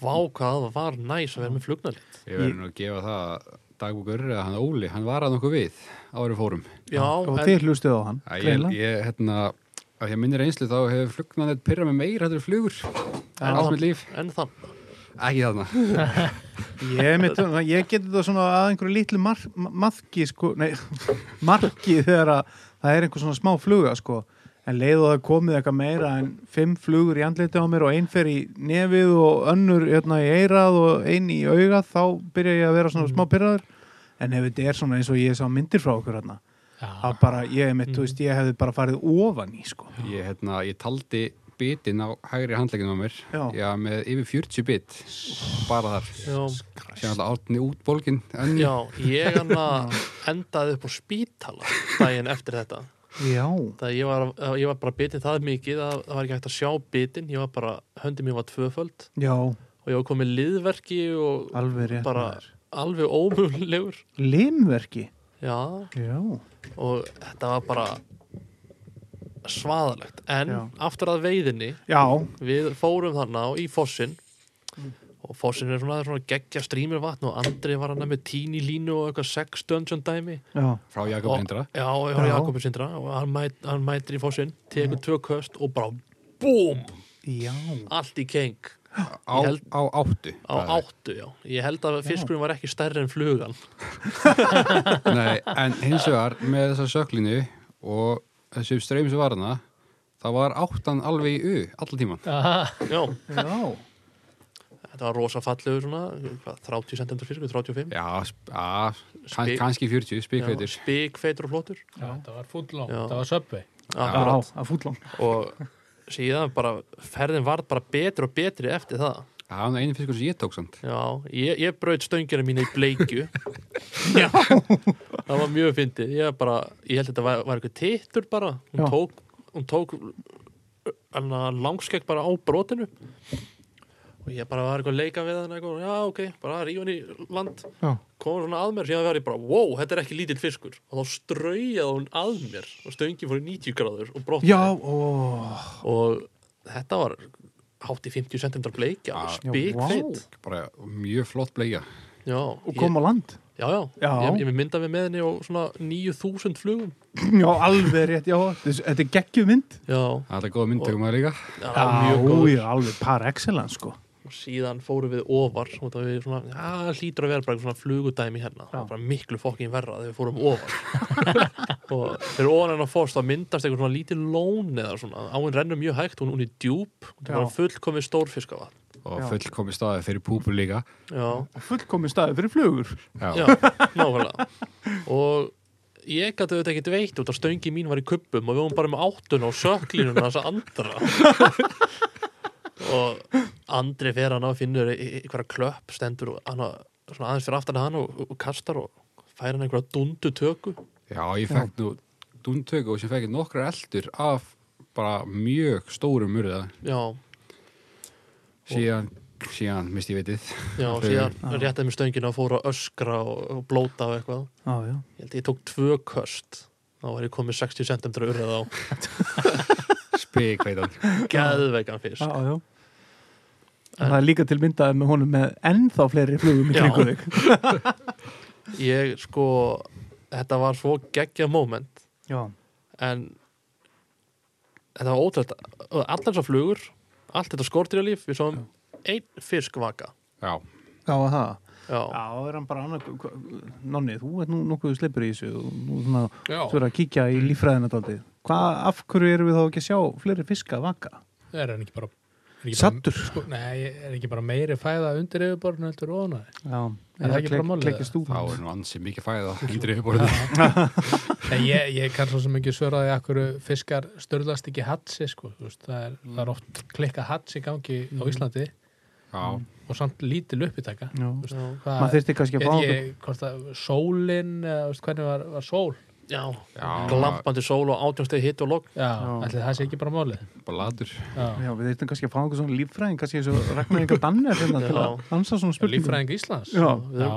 [SPEAKER 4] vá hvað það var næs að vera með flugnalit
[SPEAKER 3] Ég verður nú að gefa það að dagbúkur, hann Óli, hann var að nokkuð við árum fórum.
[SPEAKER 4] já,
[SPEAKER 2] og
[SPEAKER 4] en,
[SPEAKER 2] þið hlustuð á hann
[SPEAKER 3] Æ, Ég,
[SPEAKER 2] greinilega.
[SPEAKER 3] ég, hérna, að ég minnir einslu þá hefur flugnanett pyrra með meir hættur flugur.
[SPEAKER 4] Já.
[SPEAKER 3] Allt mitt líf.
[SPEAKER 4] en þann
[SPEAKER 3] Ekki þarna.
[SPEAKER 2] Ég, er með tölum- ég geti þetta svona að einhverju litlu mar, ma- maðki sko, nei, marki þegar að það er einhver svona smá fluga sko en leið og það er komið eitthvað meira en fimm flugur í andliti á mér og einn fer í nefið og önnur hérna, í eirað og einn í augað þá byrja ég að vera svona smá pyrraður en ef þetta er svona eins og ég sá myndir frá okkur hérna,
[SPEAKER 1] Já,
[SPEAKER 2] að bara ég, er mitt, þú veist, ég hefði bara farið ofan í sko
[SPEAKER 3] Ég, hérna, ég taldi bitin á hægri handleginu á mér.
[SPEAKER 2] Já.
[SPEAKER 3] Já, með yfir 40 bit. Bara þar.
[SPEAKER 4] já,
[SPEAKER 3] Sér alltaf átni útbólgin.
[SPEAKER 4] já, ég hann endaði upp á spítala daginn eftir þetta
[SPEAKER 2] Já,
[SPEAKER 4] það ég var, ég var bara bitin það mikið að það var ekki hægt að sjá bitin ég var bara, höndi mér var tvöföld
[SPEAKER 2] já,
[SPEAKER 4] og ég var komið liðverki og
[SPEAKER 2] alveg rétt
[SPEAKER 4] bara
[SPEAKER 2] maður.
[SPEAKER 4] alveg ómjögulegur
[SPEAKER 2] Limverki
[SPEAKER 4] já,
[SPEAKER 2] Já,
[SPEAKER 4] og þetta var bara svaðalegt en
[SPEAKER 2] Já.
[SPEAKER 4] aftur að veiðinni
[SPEAKER 2] já,
[SPEAKER 4] við fórum þarna og í fossin
[SPEAKER 2] Mm.
[SPEAKER 4] og fossin er svona, svona geggja strýmir vatn og Andri var hann með tíni línu og eitthvað sex dungeon dæmi
[SPEAKER 2] já.
[SPEAKER 3] Frá Jakob
[SPEAKER 4] og,
[SPEAKER 3] Lindra.
[SPEAKER 4] já, og já.
[SPEAKER 2] Já.
[SPEAKER 4] Jakobin sindra og hann, mæt, hann mætir í fossin, tekur tvö köst og bara búm,
[SPEAKER 2] já.
[SPEAKER 4] allt í keng
[SPEAKER 3] Á,
[SPEAKER 4] Ég held-
[SPEAKER 3] á áttu.
[SPEAKER 4] á áttu, já ég held að fiskurinn var ekki stærri en flugan
[SPEAKER 3] Nei, en hins vegar með þessa söklinu og þessu streymi sem var hana, það var áttan alveg í U, allan tíman.
[SPEAKER 4] já,
[SPEAKER 2] Já,
[SPEAKER 4] þetta var rosa fallegur svona, hvað, 30 cm fiskur 35
[SPEAKER 3] Já, sp- já, kann,
[SPEAKER 4] Spik-
[SPEAKER 3] kannski 40,
[SPEAKER 4] Já,
[SPEAKER 3] spikveitir.
[SPEAKER 4] spikfeitur og flottur
[SPEAKER 1] já, þetta var fúllón, þetta
[SPEAKER 4] Já.
[SPEAKER 1] var söpvi
[SPEAKER 2] já,
[SPEAKER 4] Akkurat.
[SPEAKER 2] að fúllón
[SPEAKER 4] og síðan bara ferðin varð bara betri og betri eftir það
[SPEAKER 3] Það var nú einu fiskur sem ég tók samt.
[SPEAKER 4] Já, ég, ég braut stöngina mína í bleikju Já Það var mjög fyndið Ég, bara, ég held að þetta var, var eitthvað tittur bara Hún
[SPEAKER 2] Já.
[SPEAKER 4] tók, hún tók hana, langskegg bara á brotinu og ég bara var eitthvað að leika við hann eitthvað, já ok, bara rífa hann í land
[SPEAKER 2] Já.
[SPEAKER 4] komur svona að mér, síðan var ég bara wow, þetta er ekki lítill fiskur og þá straujaði hún að mér og stöngin fór í 90 gráður og brotnaði
[SPEAKER 2] Já, ó,
[SPEAKER 4] og þetta var hátt í 50 cm bleikja,
[SPEAKER 3] Já,
[SPEAKER 4] spikfeitt
[SPEAKER 3] Bara mjög flott bleia.
[SPEAKER 4] Já,
[SPEAKER 2] og kom á land
[SPEAKER 4] ég, já, já,
[SPEAKER 2] Já.
[SPEAKER 4] Ég, ég mynda við með henni og svona 9000 flugum
[SPEAKER 2] Já, alveg rétt, já, þess- þetta er geggjum mynd
[SPEAKER 4] Já,
[SPEAKER 3] Það er góða myndtökum að líka.
[SPEAKER 4] það var
[SPEAKER 2] Já,
[SPEAKER 4] mjög góð
[SPEAKER 2] já, alveg par excellence sko
[SPEAKER 4] og síðan fórum við ofar og það við svona, já, það hlýtur að vera bara eitthvað svona flugudæmi hérna, það var bara miklu fokkin verra þegar við fórum ofar og fyrir ofan hennar fórst þá myndast eitthvað svona lítið lón eða svona, áinn rennur mjög hægt hún, hún er djúp, hún er
[SPEAKER 2] Já.
[SPEAKER 4] bara fullkomið stórfiskavatn
[SPEAKER 3] og
[SPEAKER 2] Já.
[SPEAKER 3] fullkomi staði fyrir púpur líka
[SPEAKER 4] já,
[SPEAKER 2] fullkomin staði fyrir flugur
[SPEAKER 3] já,
[SPEAKER 4] já, nákvæmlega og ég gæti auðvitað ekkert veit út að stöngi mín var í kuppum og við vorum bara með áttun og söklinuna þess að andra og Andri fer hann á að finnur e-, einhverja klöpp stendur og hann á- svona aðeins fyrir aftan hann og, og kastar og fær hann einhverja dundu töku
[SPEAKER 3] já ég fekk nú dúntöku og sem fekk ég nokkrar eldur af bara mjög stórum urða
[SPEAKER 4] já,
[SPEAKER 3] síðan, síðan misti ég vitið
[SPEAKER 4] já,
[SPEAKER 3] Fyrir-
[SPEAKER 4] síðan réttaði mér stöngina og fór að öskra og, og blóta og eitthvað
[SPEAKER 2] já, já.
[SPEAKER 4] ég held ég tók tvö köst þá var ég komið 60 cm urðið á
[SPEAKER 3] spikveitan
[SPEAKER 4] geðveikan fisk
[SPEAKER 2] Já, já. það er líka til myndaði með honum með ennþá fleiri flugum í
[SPEAKER 4] Já.
[SPEAKER 2] kringu þig
[SPEAKER 4] ég sko þetta var svo geggja moment
[SPEAKER 2] já,
[SPEAKER 4] en þetta var ótrúlega allar þessar flugur, allt þetta skortirjalíf við sáum einn fisk vaka
[SPEAKER 3] já,
[SPEAKER 2] já, það
[SPEAKER 4] já,
[SPEAKER 2] já, er hann bara annað hva- Nonni, þú ert nú nokkuð sleipur í þessu og nú svona,
[SPEAKER 1] Já.
[SPEAKER 2] þú er að kíkja í líffræðina daldið hvað, af hverju erum við þá ekki að sjá fleiri fiska vaka?
[SPEAKER 1] Er hann ekki bara... er ekki bara-
[SPEAKER 2] Sattur?
[SPEAKER 1] Sko, nei, er ekki bara meiri fæða undir yfirborðinu heldur og hana?
[SPEAKER 2] Já,
[SPEAKER 1] Er það ekki bara málið,
[SPEAKER 2] klekist út
[SPEAKER 3] þá er nú ansið mikið fæða undir yfirborðinu
[SPEAKER 1] Nei, ég, ég kann svo sem ekki svöraði að hverju fiskar störðlast ekki hatsi, sko. Þú Veist, það, er, það er oft klikka hats í gangi á Íslandi
[SPEAKER 3] já,
[SPEAKER 1] og samt lítil uppbytaka.
[SPEAKER 2] Já.
[SPEAKER 1] Þú veist, hvað-
[SPEAKER 2] maður þyrfti kannski að fá
[SPEAKER 1] Ég, ég, hvort að sólin, eða, þú veist, hvernig var, var sól?
[SPEAKER 4] já.
[SPEAKER 3] Já.
[SPEAKER 4] glampandi sól og átjónstegi hitt og logg
[SPEAKER 1] Já, ætli það sé ekki bara málið.
[SPEAKER 3] bara latur
[SPEAKER 1] Já.
[SPEAKER 2] Já, við þurftum kannski að fá einhver svona líffræðing kannski eins og Ragnar Inga Danner hérna, til að ansa svona
[SPEAKER 1] Já,
[SPEAKER 2] spurningu
[SPEAKER 1] Líffræðing Íslands.
[SPEAKER 2] Já,
[SPEAKER 1] Já,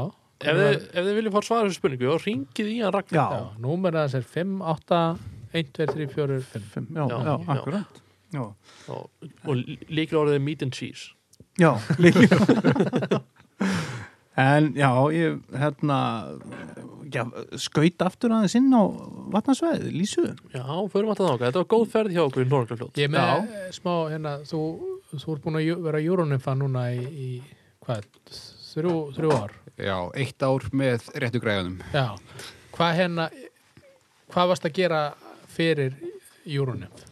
[SPEAKER 4] ef þið, ef þið viljið fór svara þessu spurningu og ringið í hann Ragnar
[SPEAKER 2] já,
[SPEAKER 1] já. Númer þess er 5, 8, 1, 2, 3, 4, 5.
[SPEAKER 2] fimm, já,
[SPEAKER 4] Já,
[SPEAKER 2] já,
[SPEAKER 4] já.
[SPEAKER 2] akkurat Já,
[SPEAKER 4] og, og líklega orðið er meat and cheese
[SPEAKER 2] já líka En já, ég hérna já, skaut aftur aðeins inn á vatnarsveið, Lísu
[SPEAKER 4] já, förum alltaf þáka, þetta var góð ferð hjá okkur í Norglafljót
[SPEAKER 1] Ég er með eh, smá, hérna, þú, þú ert búin að ju- vera júrónumfa núna í, í hvað, þrjú, þrjú ár?
[SPEAKER 3] já, eitt ár með réttu græðunum
[SPEAKER 1] Já. Hvað hérna, hvað varst að gera fyrir júrónum?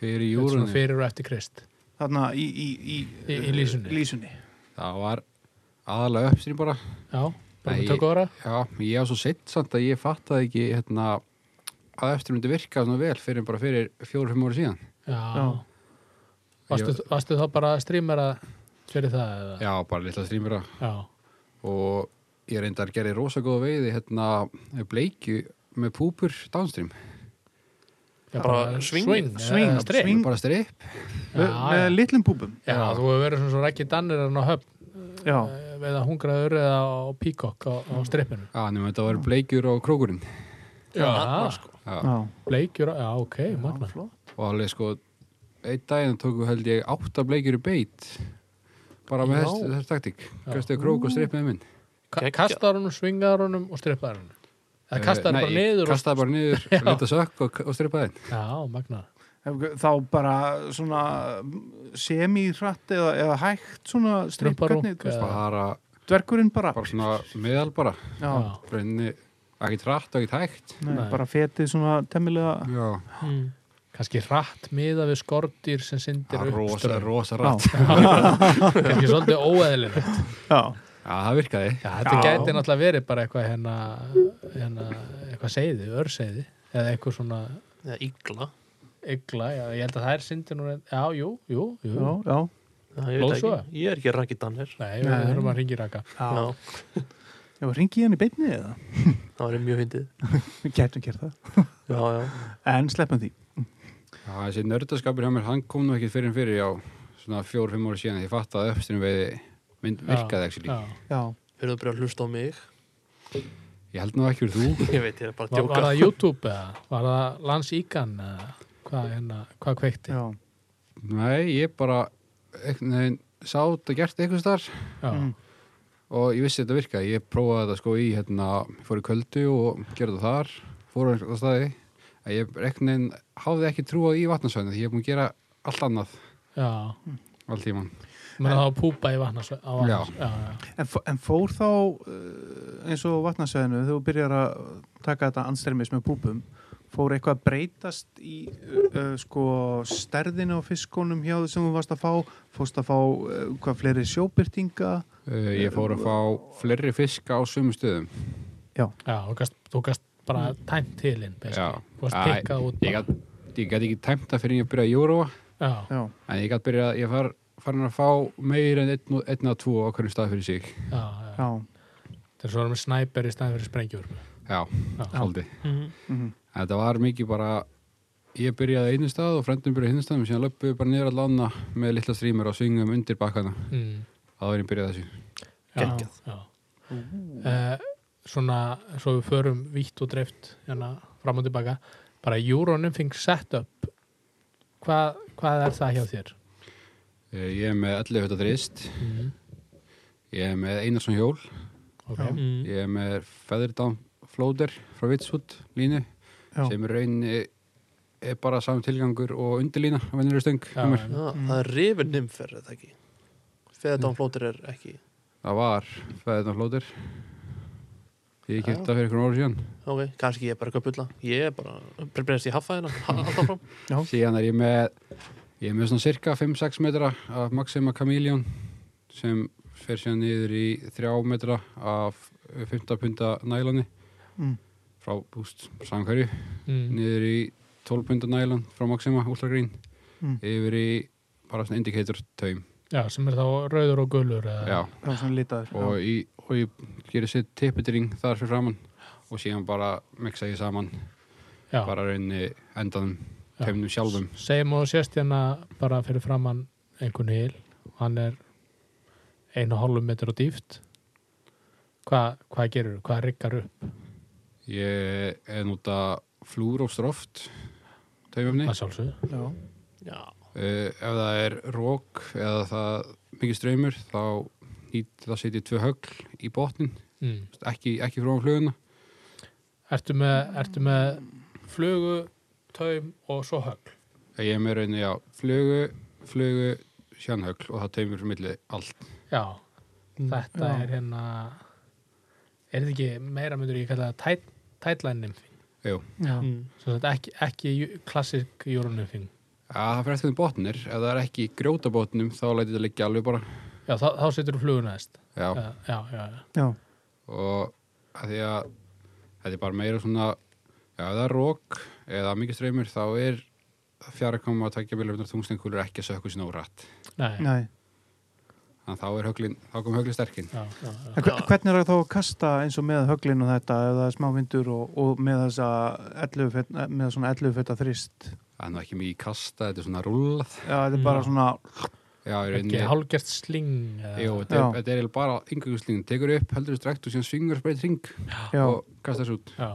[SPEAKER 3] fyrir júrunum
[SPEAKER 1] Fyrir og eftir krist.
[SPEAKER 2] þarna í, í, í,
[SPEAKER 1] Í- í Lísunni.
[SPEAKER 2] Lísunni.
[SPEAKER 3] það var aðalega uppstrým bara
[SPEAKER 1] Já, bara
[SPEAKER 3] Nei,
[SPEAKER 1] með tökku ára.
[SPEAKER 3] Já, ég á svo sitt samt að ég fattaði ekki hérna, að eftir myndi virka svona vel fyrir bara fyrir fjóru-fimm ára síðan.
[SPEAKER 1] Já.
[SPEAKER 2] Já.
[SPEAKER 1] Varstu, varstu þá bara að streamera fyrir það eða?
[SPEAKER 3] Já, bara litla strýmura
[SPEAKER 1] Já.
[SPEAKER 3] og ég reyndar að gera rosa góða veiði hérna bleikju með púpur downstream. Eh,
[SPEAKER 1] Já,
[SPEAKER 4] Bara swing-
[SPEAKER 1] swing,
[SPEAKER 2] swing,
[SPEAKER 1] eða strip.
[SPEAKER 2] swing.
[SPEAKER 3] Bara stripp.
[SPEAKER 2] Me,
[SPEAKER 1] Já,
[SPEAKER 2] með
[SPEAKER 1] já.
[SPEAKER 2] litlum púpum
[SPEAKER 1] Já, þú hefur verið svona svo rækki dannir en á höfn
[SPEAKER 2] Já,
[SPEAKER 1] eh, við að hungraður eða á píkokk á, á strippinu.
[SPEAKER 3] Já, nema þetta var bleikjur og krókurinn.
[SPEAKER 1] Já,
[SPEAKER 4] annars, sko.
[SPEAKER 3] Já.
[SPEAKER 2] já,
[SPEAKER 1] bleikjur, já, ok, magna.
[SPEAKER 2] flott
[SPEAKER 3] Og alveg sko, einn daginn tóku held ég átta bleikjur í beitt. Bara með
[SPEAKER 4] Já.
[SPEAKER 3] þess, þess taktík. Kastu krók og stripp með minn.
[SPEAKER 1] Ka-
[SPEAKER 4] Geggjað.
[SPEAKER 1] Kastar honum, svingar honum og strippar honum. Það kastar
[SPEAKER 3] Eh,
[SPEAKER 1] hann bara
[SPEAKER 3] nei,
[SPEAKER 1] niður og...
[SPEAKER 3] Kastaði bara niður, lita sökk og, og strippaði henn.
[SPEAKER 1] Já, magna.
[SPEAKER 2] Þá bara svona semi-hratt eða, eða hægt svona stripp,
[SPEAKER 1] Strumparunk
[SPEAKER 2] hvernig-
[SPEAKER 1] eða-
[SPEAKER 3] Bara,
[SPEAKER 2] Dvergurinn bara,
[SPEAKER 3] bara svona meðal bara.
[SPEAKER 2] Já,
[SPEAKER 1] Já.
[SPEAKER 3] Brunni, ekki trætt og ekki tækt.
[SPEAKER 2] Nei,
[SPEAKER 1] Nei.
[SPEAKER 2] bara fetið svona temmilega
[SPEAKER 3] Já,
[SPEAKER 4] mm.
[SPEAKER 1] Kanski rætt miða við skordýr sem syndir
[SPEAKER 3] það er rosa,
[SPEAKER 1] uppströð.
[SPEAKER 3] rosa rætt. Já,
[SPEAKER 1] Kanski svolítið óeðlilegt.
[SPEAKER 2] Já,
[SPEAKER 3] það virkaði.
[SPEAKER 1] Já, þetta
[SPEAKER 2] Já.
[SPEAKER 1] gæti náttúrulega verið bara eitthvað hérna, hérna eitthvað seiði, örseiði eða eitthvað svona
[SPEAKER 4] eða ígla
[SPEAKER 1] ygla, já, ég held að það er syndi núna, já, jú, jú, jú
[SPEAKER 2] já, já
[SPEAKER 4] Já, ég, veit
[SPEAKER 1] Blóðsuga?
[SPEAKER 4] ekki. ég er ekki Raggi Danner
[SPEAKER 1] Nei, við
[SPEAKER 2] Nei.
[SPEAKER 1] þurfum að ringi raka
[SPEAKER 4] já,
[SPEAKER 2] Já, ringi í hann í beinni eða?
[SPEAKER 4] það var mjög fyndið
[SPEAKER 2] Við gætum gert það
[SPEAKER 4] já, já
[SPEAKER 2] En sleppum því
[SPEAKER 3] Já, þessi nördaskapur hjá mér, hann kom nú ekki fyrir en fyrir, já, svona fjór, fimm ára síðan. Ég fatt að uppstyrnum veiði mynd virkaði ekki líka.
[SPEAKER 1] Já.
[SPEAKER 2] Já,
[SPEAKER 4] Fyrir að byrja að hlusta á mig
[SPEAKER 3] Ég held nú ekki úr þú.
[SPEAKER 4] Ég veit, ég er bara að
[SPEAKER 1] Var,
[SPEAKER 4] djóka
[SPEAKER 1] var það YouTube eða? Var það landsíkan eða? Hvað, hérna, hvað kveikti?
[SPEAKER 2] já,
[SPEAKER 3] Nei, ég bara, einhvern veginn, sá þetta gert eitthvað starf
[SPEAKER 1] Já.
[SPEAKER 2] Mm.
[SPEAKER 3] og ég vissi þetta virkaði. Ég prófaði þetta sko í, hérna, ég fór í köldu og gerði það þar, fór á einhverja staði. En Ég einhvern veginn hafði ekki trúað í vatnarsvæðinu, því ég er búin að gera allt annað
[SPEAKER 1] Já.
[SPEAKER 3] all tíman.
[SPEAKER 1] Mér það var púpa í vatnas, á vatnas. Já. Já,
[SPEAKER 2] en, fó- en fór þá eh, uh, eins og á vatnasveðinu þegar þú byrjar að taka þetta anstremis með púpum fór eitthvað að breytast í uh, sko stærðinu á fiskunum hjá því sem þú varst að fá fórst að fá uh, hvað fleiri sjóbyrtinga
[SPEAKER 3] Uh, ég fór að fá fleiri fiska á sumu stöðum.
[SPEAKER 1] Já, þú gast, þú gast bara
[SPEAKER 2] Mm.
[SPEAKER 1] tæmt tilinn
[SPEAKER 3] Já.
[SPEAKER 1] basically. Þú gast
[SPEAKER 3] Já,
[SPEAKER 1] pikkað út
[SPEAKER 3] Ég
[SPEAKER 1] bara.
[SPEAKER 3] gæti ég gat ekki tæmta fyrir ég að byrja að júróa,
[SPEAKER 1] Já,
[SPEAKER 2] já,
[SPEAKER 3] en ég gæti byrjað, ég far, farin að fá meira en einn og- einn að tvo á hverjum stað fyrir sig.
[SPEAKER 1] já, já.
[SPEAKER 2] já,
[SPEAKER 1] Það er svo með snæper í staðin fyrir sprengjur
[SPEAKER 3] Já,
[SPEAKER 1] Já.
[SPEAKER 3] svolítið.
[SPEAKER 2] mhm,
[SPEAKER 3] En Þetta var mikið bara, ég byrjaði einu stað og frendum byrjaði hinn staðum, síðan löpum við bara niður allan anna með litla strímur og svingum undir bakkana.
[SPEAKER 1] mm.
[SPEAKER 3] Það var ég byrjaði þessu.
[SPEAKER 1] Gengjað já. Uh, Svona, svo við förum vítt og dreift hérna fram og tilbaka bara júrónum feng set up Hva, hvað er það hjá þér?
[SPEAKER 3] Uh, Ég er með 11 hötta drist,
[SPEAKER 1] Mm.
[SPEAKER 3] ég er með Einarsson hjól,
[SPEAKER 1] Ok,
[SPEAKER 2] Já.
[SPEAKER 4] Mm.
[SPEAKER 3] ég er með Featherdam Floater frá Vitswood línu,
[SPEAKER 2] já,
[SPEAKER 3] sem í rauninni er bara saman tilgangur og undirlína á venjulegri stöng
[SPEAKER 1] Já,
[SPEAKER 3] um hjá mér.
[SPEAKER 1] já.
[SPEAKER 4] Já, Ah, það er rifin nimfer, er það ekki?
[SPEAKER 1] Mm.
[SPEAKER 4] Feðadán flótir er ekki.
[SPEAKER 3] Það var Featherdam Floater Ég kæfti það fyrir einhvern orðu síðan
[SPEAKER 4] Ok, kannski ég er bara eitthvað að bulla. Ég er bara, breyðist í haffaðina, alltaf fram.
[SPEAKER 2] Já.
[SPEAKER 3] Síðan er ég með ég er með svona cirka 5-6 metra af Maxima Chameleon sem fer síðan niður í 3 metra af 15 punta nælani
[SPEAKER 2] mm,
[SPEAKER 3] frá búst samkværi
[SPEAKER 1] mm.
[SPEAKER 3] niður í 12 punta nælan frá Maxima Ultra Green
[SPEAKER 2] mm,
[SPEAKER 3] yfir í bara svona indicator taum
[SPEAKER 1] já, sem er þá rauður og gulur eða,
[SPEAKER 3] Já,
[SPEAKER 2] já, svona litaður
[SPEAKER 3] og, í, og ég gerir sér tippitring þar fyrir framann og síðan bara mixa ég saman
[SPEAKER 1] já.
[SPEAKER 3] bara raunni endanum
[SPEAKER 1] Já.
[SPEAKER 3] taumnum sjálfum
[SPEAKER 1] segjum og sést hérna bara fyrir framann einhvern hýl og hann er einu og hálfum metr á dýft Hva, hvað gerur, hvað riggar upp
[SPEAKER 3] Ég er nota flúr og stroft taumöfni.
[SPEAKER 1] að sjálfsög
[SPEAKER 2] já,
[SPEAKER 4] Já,
[SPEAKER 3] Uh, ef það er rók eða það mikið ströymur þá nýtt það setja tvö högl í botnin,
[SPEAKER 1] mm.
[SPEAKER 3] ekki, ekki frá fluguna.
[SPEAKER 1] ertu, með, ertu með flugu, taum og svo högl
[SPEAKER 3] Ég er með rauninni á flugu, flugu, sjann högl og það taumur fyrir milli allt.
[SPEAKER 1] já, þetta
[SPEAKER 2] Já.
[SPEAKER 1] er hérna er þetta ekki meira myndur ég kalla það tætlæn nymfing
[SPEAKER 3] Jú.
[SPEAKER 2] já,
[SPEAKER 4] Mm.
[SPEAKER 1] Svo þetta ekki, ekki jú- klassik jórunumfing
[SPEAKER 3] Ja, það fyrir eftir hvernig botnin er, ef það er ekki í grjóta botnum þá læti þetta liggja alveg bara.
[SPEAKER 1] já, þá, þá setur þú fluguna þess
[SPEAKER 3] Já.
[SPEAKER 1] já, já, já, já.
[SPEAKER 2] já,
[SPEAKER 3] og að því að þetta er bara meira svona já, ef það er rók eða mikið streymur þá er fjara koma að takja bílöfnar þungstengulur ekki að sökku sinna úr rætt
[SPEAKER 1] Nei,
[SPEAKER 2] næ
[SPEAKER 3] þannig að þá, er höglin, þá kom höglin sterkinn
[SPEAKER 1] Já, já, já.
[SPEAKER 2] En hve- Hvernig er það þá að kasta eins og með höglin og þetta ef það er smá vindur og, og með þessa 11, fet- með svona 11 fetta þrist
[SPEAKER 3] það er nú ekki mikið í kasta, þetta er svona rúllað
[SPEAKER 2] Já, þetta er bara
[SPEAKER 1] Já.
[SPEAKER 2] svona
[SPEAKER 3] já, í rauninni
[SPEAKER 1] ekki hálgert sling eða-
[SPEAKER 3] jú, þetta, er,
[SPEAKER 2] Já.
[SPEAKER 3] þetta er eiginlega bara yngjöngslingin tekur upp, heldur þessu drækt og síðan svingur spreitt hring
[SPEAKER 2] Já,
[SPEAKER 3] og kastar þessu út
[SPEAKER 1] Já,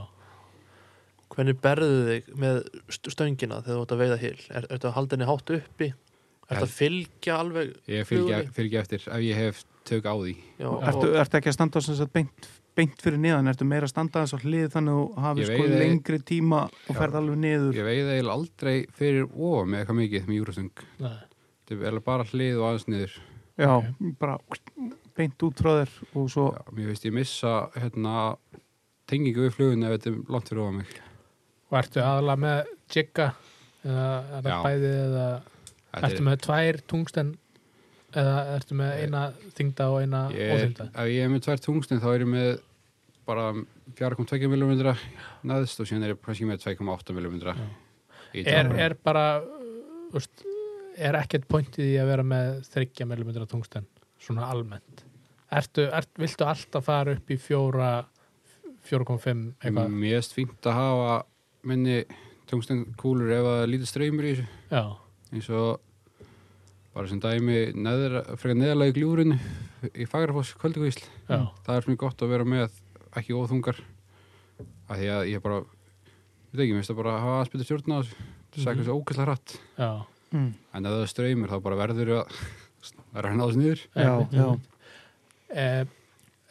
[SPEAKER 4] hvernig berðu þig með st- stöngina þegar þú ert að veiða hýl? Er þetta að halda henni hátt uppi? Er þetta að fylgja alveg?
[SPEAKER 3] ég fylgja,
[SPEAKER 4] Flugunni?
[SPEAKER 3] fylgja eftir ef ég hef tök á því
[SPEAKER 4] Já,
[SPEAKER 2] ertu,
[SPEAKER 4] og,
[SPEAKER 2] ertu ekki að standa sem sagt beint, beint fyrir niðan Ertu meira að standa eins og hlið þannig að þú hafi
[SPEAKER 3] Ég
[SPEAKER 2] sko
[SPEAKER 3] veiði-
[SPEAKER 2] lengri tíma og
[SPEAKER 3] Já.
[SPEAKER 2] ferð alveg niður
[SPEAKER 3] ég veiði eiginlega aldrei fyrir ofa með eitthvað mikið með júrastöng
[SPEAKER 1] nei.
[SPEAKER 3] þetta er eiginlega bara hlið og aðeins niður
[SPEAKER 2] Já, bara beint út frá þér og svo
[SPEAKER 3] Já, mér veist ég missa hérna, tengingu við flugun ef þetta er langt fyrir ofan mig.
[SPEAKER 1] Og ertu aðalega með jigga eða er það
[SPEAKER 3] Já.
[SPEAKER 1] bæði eða
[SPEAKER 3] Þetta
[SPEAKER 1] ertu með tvær tungsten eða ertu með eina þingda og eina
[SPEAKER 3] ég er,
[SPEAKER 1] óþingda
[SPEAKER 3] ef ég er með tvær tungstin þá er ég með bara 4,2 mm neðst og síðan er ég kannski með 2,8 mm í
[SPEAKER 1] er,
[SPEAKER 3] dagbrún.
[SPEAKER 1] er bara úst, er ekkert pointið í að vera með 30 mm tungsten svona almennt ertu, ert, viltu alltaf fara upp í fjóra 4,5 eitthvað
[SPEAKER 3] Mm, Mér veist fínt að hafa minni tungstin kúlur ef það er lítið streymur í þessu
[SPEAKER 1] já,
[SPEAKER 3] eins og bara sem dæmi neðra, frekar neðarlega í gljúrinu í Fagrafoss kvöldugvísl
[SPEAKER 1] já,
[SPEAKER 2] Mm.
[SPEAKER 3] það er mjög gott að vera með ekki óþungar af því að ég bara veit ekki, mér finnst að bara hafa aðspilta stjórn á þessu það er eitthvað svo ókvæslega hratt
[SPEAKER 1] já,
[SPEAKER 2] mm,
[SPEAKER 3] en ef það er streymur þá bara verður að verður hann á þessu niður
[SPEAKER 2] Já,
[SPEAKER 1] einmitt,
[SPEAKER 2] já,
[SPEAKER 1] einmitt. eh,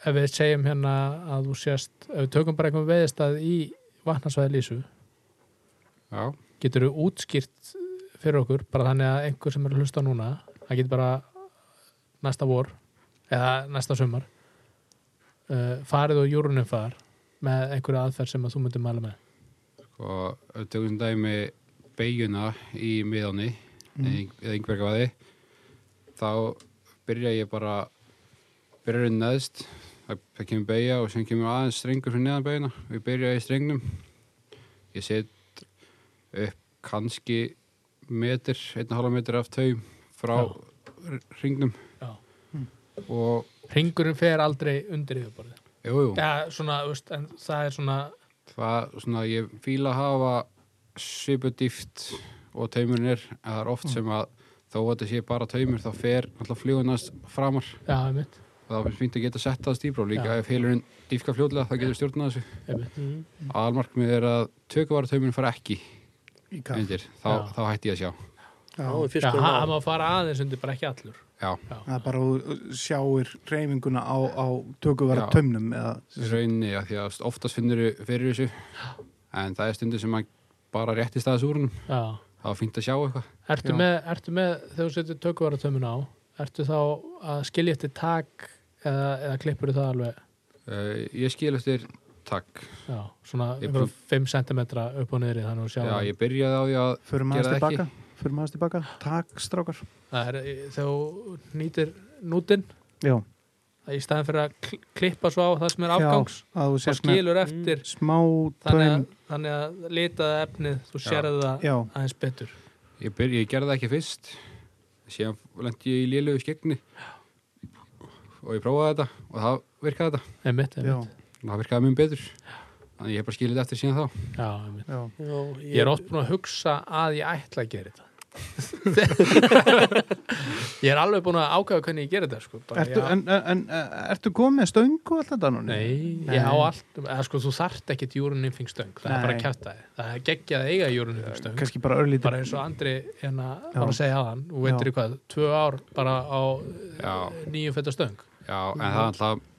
[SPEAKER 1] ef við segjum hérna að þú sést ef við tökum bara einhvern veðistað í vatnarsvæði Lísu
[SPEAKER 3] já,
[SPEAKER 1] getur þú útskýrt fyrir okkur bara þannig að einhver sem er að hlusta núna það getur bara næsta vor eða næsta sumar uh, farið og júrunum far með einhverja aðferð sem að þú myndir mæla með
[SPEAKER 3] og Sko, ef við tökum sem dæmi beiguna í miðáni mm. eða yngverkafaði þá byrja ég bara byrjar ég neðst það það kemur beigja og sem kemur aðeins strengur fyrir neðan beiguna og ég byrja í strengnum ég set upp kannski metir, einn og halva metir af taum frá
[SPEAKER 1] Já.
[SPEAKER 3] r- hringnum
[SPEAKER 1] Já.
[SPEAKER 3] og
[SPEAKER 1] Ringurinn fer aldrei undir yfirborðið.
[SPEAKER 3] jú, jú,
[SPEAKER 1] Já, svona, þú veist, en það er svona,
[SPEAKER 3] það svona ég fíla að hafa svipu dýft og taumurinn er en það er
[SPEAKER 1] Mm.
[SPEAKER 3] oft sem að þó að þetta sé bara taumur þá fer alltaf flugunast framar
[SPEAKER 1] já, einmitt,
[SPEAKER 3] og það finnst fínt að geta sett það stíbró líka
[SPEAKER 1] Já.
[SPEAKER 3] ef heilurinn dýfka fljóðlega það getur stjórnað þessu
[SPEAKER 1] einmitt. Mm-hmm.
[SPEAKER 3] aðalmarkmið er að tökuvara taumurinn fara ekki
[SPEAKER 2] í kall.
[SPEAKER 3] undir, þá,
[SPEAKER 1] Já.
[SPEAKER 3] þá hætti ég að sjá
[SPEAKER 2] Já.
[SPEAKER 4] Náðu
[SPEAKER 1] Já,
[SPEAKER 4] fiskurinn
[SPEAKER 1] hann hann
[SPEAKER 4] á.
[SPEAKER 1] má fara aðeins undir, bara ekki allur.
[SPEAKER 3] já,
[SPEAKER 2] Það er bara að þú uh, sjáir reyfinguna á, á tökuvara
[SPEAKER 3] Já.
[SPEAKER 2] tömnum eða
[SPEAKER 3] í rauninni að því að oftast finnur fyrir þessu en það er stundir sem að bara réttist aðeins úr honum
[SPEAKER 1] Já.
[SPEAKER 3] það er fínt að sjá eitthvað
[SPEAKER 1] Ertu
[SPEAKER 2] Já.
[SPEAKER 1] með, ertu með, þegar þú setur tökuvaratömmun á, ertu þá að skilja eftir tak eða, eða klippur það alveg,
[SPEAKER 3] uh, ég skil eftir takk
[SPEAKER 1] já, svona
[SPEAKER 3] Ég
[SPEAKER 1] einhverjum 5 cm upp og niðri þannig að sjá. um.
[SPEAKER 3] já, ég byrjaði á því að
[SPEAKER 2] förum
[SPEAKER 3] Gera
[SPEAKER 2] aðeins
[SPEAKER 3] það ekki.
[SPEAKER 2] tilbaka. Förum aðeins tilbaka. Takk, strákar.
[SPEAKER 1] Það er, eh, þegar þú nýtir nútin,
[SPEAKER 2] Já.
[SPEAKER 1] í staðin fyrir að kl- klippa svo á það sem er
[SPEAKER 2] Já,
[SPEAKER 1] afgangs,
[SPEAKER 2] að þú
[SPEAKER 1] þá
[SPEAKER 2] sést með Mm.
[SPEAKER 1] skilur eftir,
[SPEAKER 2] smá
[SPEAKER 1] þannig
[SPEAKER 2] taum.
[SPEAKER 1] að, þannig að litaða efnið, þú sérðu það
[SPEAKER 2] Já,
[SPEAKER 1] aðeins betur.
[SPEAKER 3] Ég, byrja, ég gerði það ekki fyrst síðan lendi ég í lélugu skegni og ég prófaði þetta og það virkaði þetta
[SPEAKER 1] Einmitt,
[SPEAKER 2] já,
[SPEAKER 1] einmitt.
[SPEAKER 3] og það virkaði mjög betur þannig ég hef bara skilið eftir síðan þá
[SPEAKER 1] Já, einmitt.
[SPEAKER 2] já.
[SPEAKER 4] Já,
[SPEAKER 1] Ég er oft búin að hugsa að ég ætla að gera þetta Ég er alveg búin að ákveða hvernig ég gera þetta sko. Bara,
[SPEAKER 2] Ertu,
[SPEAKER 1] já,
[SPEAKER 2] en, en, en ertu komið með stöng og allt þetta núna?
[SPEAKER 1] Nei,
[SPEAKER 2] Nei.
[SPEAKER 1] ég á allt eða, sko, Þú þarft ekkit júruninnfing stöng Það
[SPEAKER 2] Nei.
[SPEAKER 1] er bara að kjæfta þið Það er geggjað að eiga júruninnfing stöng
[SPEAKER 2] Kanski bara örlítið.
[SPEAKER 1] Bara eins og Andri hérna
[SPEAKER 2] Já.
[SPEAKER 1] var að segja aðan og
[SPEAKER 2] Já.
[SPEAKER 1] veitir hvað, tvö ár bara á
[SPEAKER 3] Já.
[SPEAKER 1] nýjum fætta stöng
[SPEAKER 3] já, en það er alltaf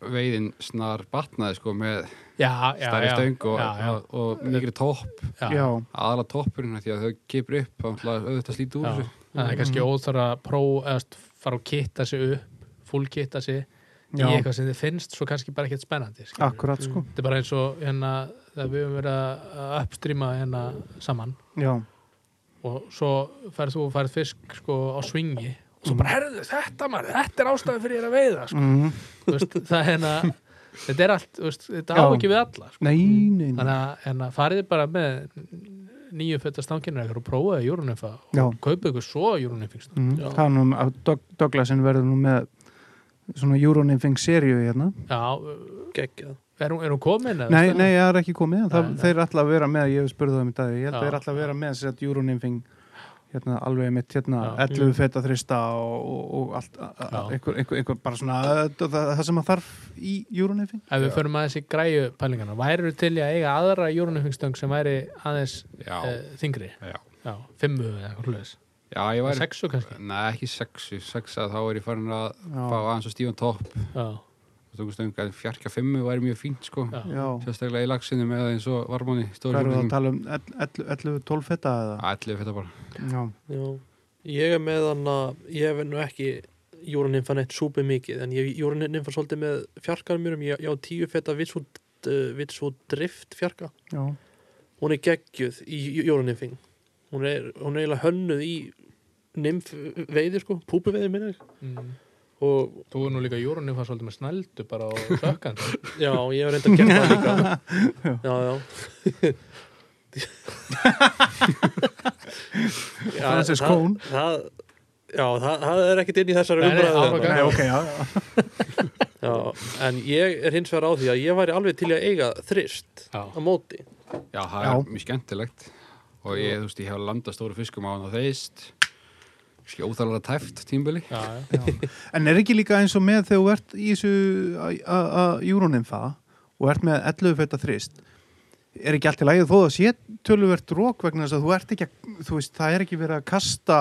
[SPEAKER 3] veiðin snar batnaði sko með
[SPEAKER 1] Já, já, já
[SPEAKER 3] stærri stöng og,
[SPEAKER 1] já, já,
[SPEAKER 3] og, og mikri topp
[SPEAKER 1] já,
[SPEAKER 2] Já,
[SPEAKER 3] aðla toppurinn af því að þau kipur upp þá ætla auðvitað slíti úr
[SPEAKER 1] já.
[SPEAKER 3] þessu
[SPEAKER 1] Það er kannski óþara að próf eða fara og kitta sig upp fullkitta sig í
[SPEAKER 2] já,
[SPEAKER 1] eitthvað sem þið finnst svo kannski bara ekkert spennandi skilurðu.
[SPEAKER 2] akkurat sko.
[SPEAKER 1] þetta er bara eins og hérna þegar við höfum verið að- að uppstrýma hérna saman
[SPEAKER 2] Já,
[SPEAKER 1] og svo færð þú og færð fisk sko á svingi og svo bara herðu þetta maður, þetta er ástæðan fyrir ég er að veiða sko.
[SPEAKER 2] mm.
[SPEAKER 1] Þú veist, það er hérna þetta er allt, þú veist, þetta á
[SPEAKER 2] Já.
[SPEAKER 1] ekki við alla sko.
[SPEAKER 2] nei, nei, nei.
[SPEAKER 1] þannig að hérna, farið bara með nýju fötta stanginir ykkur og prófaði júrunefa
[SPEAKER 2] Já.
[SPEAKER 1] og kaupið ykkur svo júrunefingst
[SPEAKER 2] Mm.
[SPEAKER 4] Já.
[SPEAKER 2] Það er nú að Doug, Douglasin verður nú með svona Euronymphing seríu hérna.
[SPEAKER 1] já,
[SPEAKER 4] geggjað.
[SPEAKER 1] er hún, er hún komin? eða
[SPEAKER 2] Nei,
[SPEAKER 1] veistu?
[SPEAKER 2] nei, það er ekki komið. Það,
[SPEAKER 1] Nei, nei.
[SPEAKER 2] Þeir ætla að vera með, ég hef spurðið það um þetta, ég held
[SPEAKER 1] Já.
[SPEAKER 2] að þeir ætla að vera með sett Euronymphing hérna alveg mitt hérna,
[SPEAKER 1] Já. Mm.
[SPEAKER 2] 11 feta þrista og, og, og allt, a- a-
[SPEAKER 1] Já.
[SPEAKER 2] einhver, einhver, einhver bara svona uh, það, það sem að þarf í Euronymphing.
[SPEAKER 1] ef við förum aðeins í græju pælingana væru til í að eiga aðra júrunefingstöng sem væri aðeins
[SPEAKER 3] já,
[SPEAKER 1] uh, þingri
[SPEAKER 3] já,
[SPEAKER 1] já, fimmu eða eitthvað hlutis
[SPEAKER 3] já, ég væri
[SPEAKER 1] sexu kannski
[SPEAKER 3] Nei, ekki sexu, sexa þá er ég farin að
[SPEAKER 2] Já.
[SPEAKER 3] fá aðeins og stífan topp
[SPEAKER 1] já,
[SPEAKER 3] og tókum stöng að fjarka fimmu væri mjög fínt sko
[SPEAKER 1] já.
[SPEAKER 2] Já,
[SPEAKER 3] Sérstaklega í lagsinu með eins og varmanni
[SPEAKER 2] hvað
[SPEAKER 3] stóri
[SPEAKER 2] eru það að
[SPEAKER 3] sjúklingum.
[SPEAKER 2] tala um 11, 11 12 feta eða?
[SPEAKER 3] Ætli fyrir þetta bara.
[SPEAKER 2] Já,
[SPEAKER 4] Já. Ég er með hann að ég hef nú ekki júraninfa neitt súpi mikið en ég júraninfa svolítið með fjarkar mjög um, ég, ég á tíu feta vitsú, uh, vitsú drift fjarka
[SPEAKER 2] já,
[SPEAKER 4] hún er geggjuð í júraninfing hún er, hún er eiginlega hönnuð í nymf veiði sko púpuveiði minni
[SPEAKER 1] Mm.
[SPEAKER 4] og
[SPEAKER 1] þú er nú líka júrunni fann svolítið með snældu bara á sökkand
[SPEAKER 4] já, ég hef reynda að gera það líka já, já Já,
[SPEAKER 2] Francis
[SPEAKER 4] það-
[SPEAKER 2] Cone.
[SPEAKER 4] það, Já, það, það er ekkert inn í þessari
[SPEAKER 1] Nei, nei,
[SPEAKER 4] umræðu
[SPEAKER 1] áfram
[SPEAKER 4] hérna.
[SPEAKER 1] gang.
[SPEAKER 2] Nei, ok, já, já.
[SPEAKER 4] Já, en ég er hins vegar á því að ég væri alveg til í að eiga þrist
[SPEAKER 1] Já.
[SPEAKER 4] á móti.
[SPEAKER 3] Já, það
[SPEAKER 2] Já.
[SPEAKER 3] er mjög skemmtilegt. Og ég, þú veist, ég hef landað stóru fiskum á hann og þeist. Ski óþarlega tæft tímbili.
[SPEAKER 1] já, já.
[SPEAKER 2] En er ekki líka eins og með þegar þú ert í þessu júrónimfa og ert með 11 feta þrist er ekki allt í lagið þó að sé töluvert rók vegna þess að þú ert ekki að, þú veist, það er ekki verið að kasta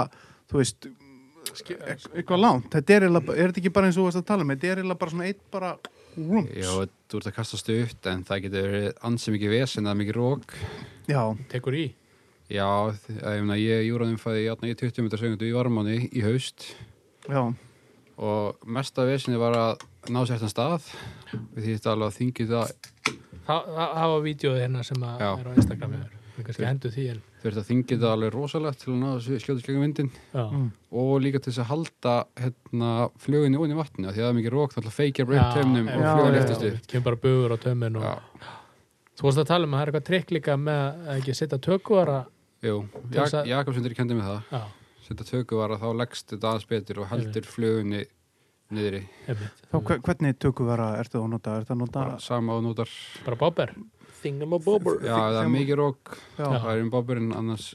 [SPEAKER 2] þú veist, e-
[SPEAKER 1] eh,
[SPEAKER 2] eitthvað langt þetta er, eiginlega- er þetta ekki bara eins og þú varst að tala um þetta er eiginlega bara svona eitt bara rúms
[SPEAKER 3] Já, þú ert að kasta stutt, en það getur verið ansið mikið vesen, það er mikið rók.
[SPEAKER 2] já,
[SPEAKER 1] tekur í
[SPEAKER 3] Já, þ- að ég meina, ég júraðum fæði í 20 metra segundu í varmanni í haust
[SPEAKER 2] já,
[SPEAKER 3] og mesta vesenið var að ná sér þann stað. Við því þetta alveg að þingi það
[SPEAKER 1] það það- það var vídeoð hérna sem að
[SPEAKER 3] Já.
[SPEAKER 1] er á Instagram hjá þér. Mm. Við kannski hendur því en
[SPEAKER 3] þurft að þingið það alveg rosalegt til að ná þessu skjótast gegn vindin
[SPEAKER 1] já,
[SPEAKER 2] Mm.
[SPEAKER 3] og líka til þess að halda hérna, fluginni ón í vatninu af því að það er mikið rók, þannig að feikja
[SPEAKER 1] Já,
[SPEAKER 3] breytt tömnum og
[SPEAKER 1] já,
[SPEAKER 3] flugan
[SPEAKER 2] já,
[SPEAKER 3] leftist
[SPEAKER 1] já,
[SPEAKER 3] upp
[SPEAKER 1] kemur bara bugur á tömmin og
[SPEAKER 3] Já,
[SPEAKER 1] þú varst að tala um að það er eitthvað trikk líka með að ekki setja tökvara
[SPEAKER 3] jú,
[SPEAKER 1] Til
[SPEAKER 3] Jak
[SPEAKER 1] þess að-
[SPEAKER 3] Jakobsundur kendi mig það
[SPEAKER 1] já,
[SPEAKER 3] setja tökuvara, þá leggst þetta aðeins betur og heldur flugunni niðri
[SPEAKER 1] einmitt,
[SPEAKER 2] Þá, hve- hvernig tökuvara ertu að nota? Ertu að nota
[SPEAKER 3] bara sama og notar
[SPEAKER 1] bara báber
[SPEAKER 4] Thingamabobber
[SPEAKER 3] já, það er
[SPEAKER 2] þeim-
[SPEAKER 3] mikið rók,
[SPEAKER 2] já,
[SPEAKER 3] það er um báburinn annars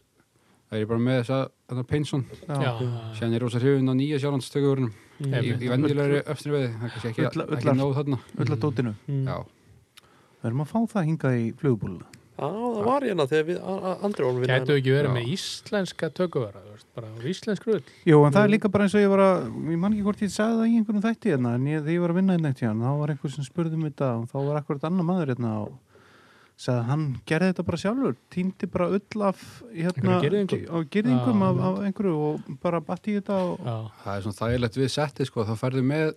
[SPEAKER 3] það er ég bara með þessa þarna peinsun,
[SPEAKER 2] já,
[SPEAKER 1] já,
[SPEAKER 3] sérna er rosa hrifin á nýja sjálfans tökuvörunum í,
[SPEAKER 1] Einmitt.
[SPEAKER 3] í venjulegri öfstri veði, það er kannski ekki,
[SPEAKER 2] Ullar-
[SPEAKER 3] ekki
[SPEAKER 2] ullar.
[SPEAKER 3] nóð þarna
[SPEAKER 2] öll að dótinu
[SPEAKER 1] Mm.
[SPEAKER 3] já,
[SPEAKER 2] Verðum að fá það hingað í flugbúluna
[SPEAKER 4] Já, það var hérna þegar við a- a- andri vorum vinna
[SPEAKER 1] gætu
[SPEAKER 4] hérna.
[SPEAKER 1] ekki verið
[SPEAKER 3] Já.
[SPEAKER 1] með íslenska tökvara þú veist, bara á íslensk rull
[SPEAKER 2] Jú, en það er líka bara eins og ég var að ég man ekki hvort ég sagði það í einhverjum þætti hérna, en ég, þegar ég var að vinna hérna eitt hérna þá var einhver sem spurði mig þetta og þá var akkurat annar maður hérna og sagði að hann gerði þetta bara sjálfur týndi bara ull af hérna,
[SPEAKER 1] Einhverjum girðingum?
[SPEAKER 2] á girðingum
[SPEAKER 1] Já,
[SPEAKER 2] af, af einhverju og bara batti í þetta og,
[SPEAKER 1] já,
[SPEAKER 3] það er svona þægilegt við setti sko, þá færðu með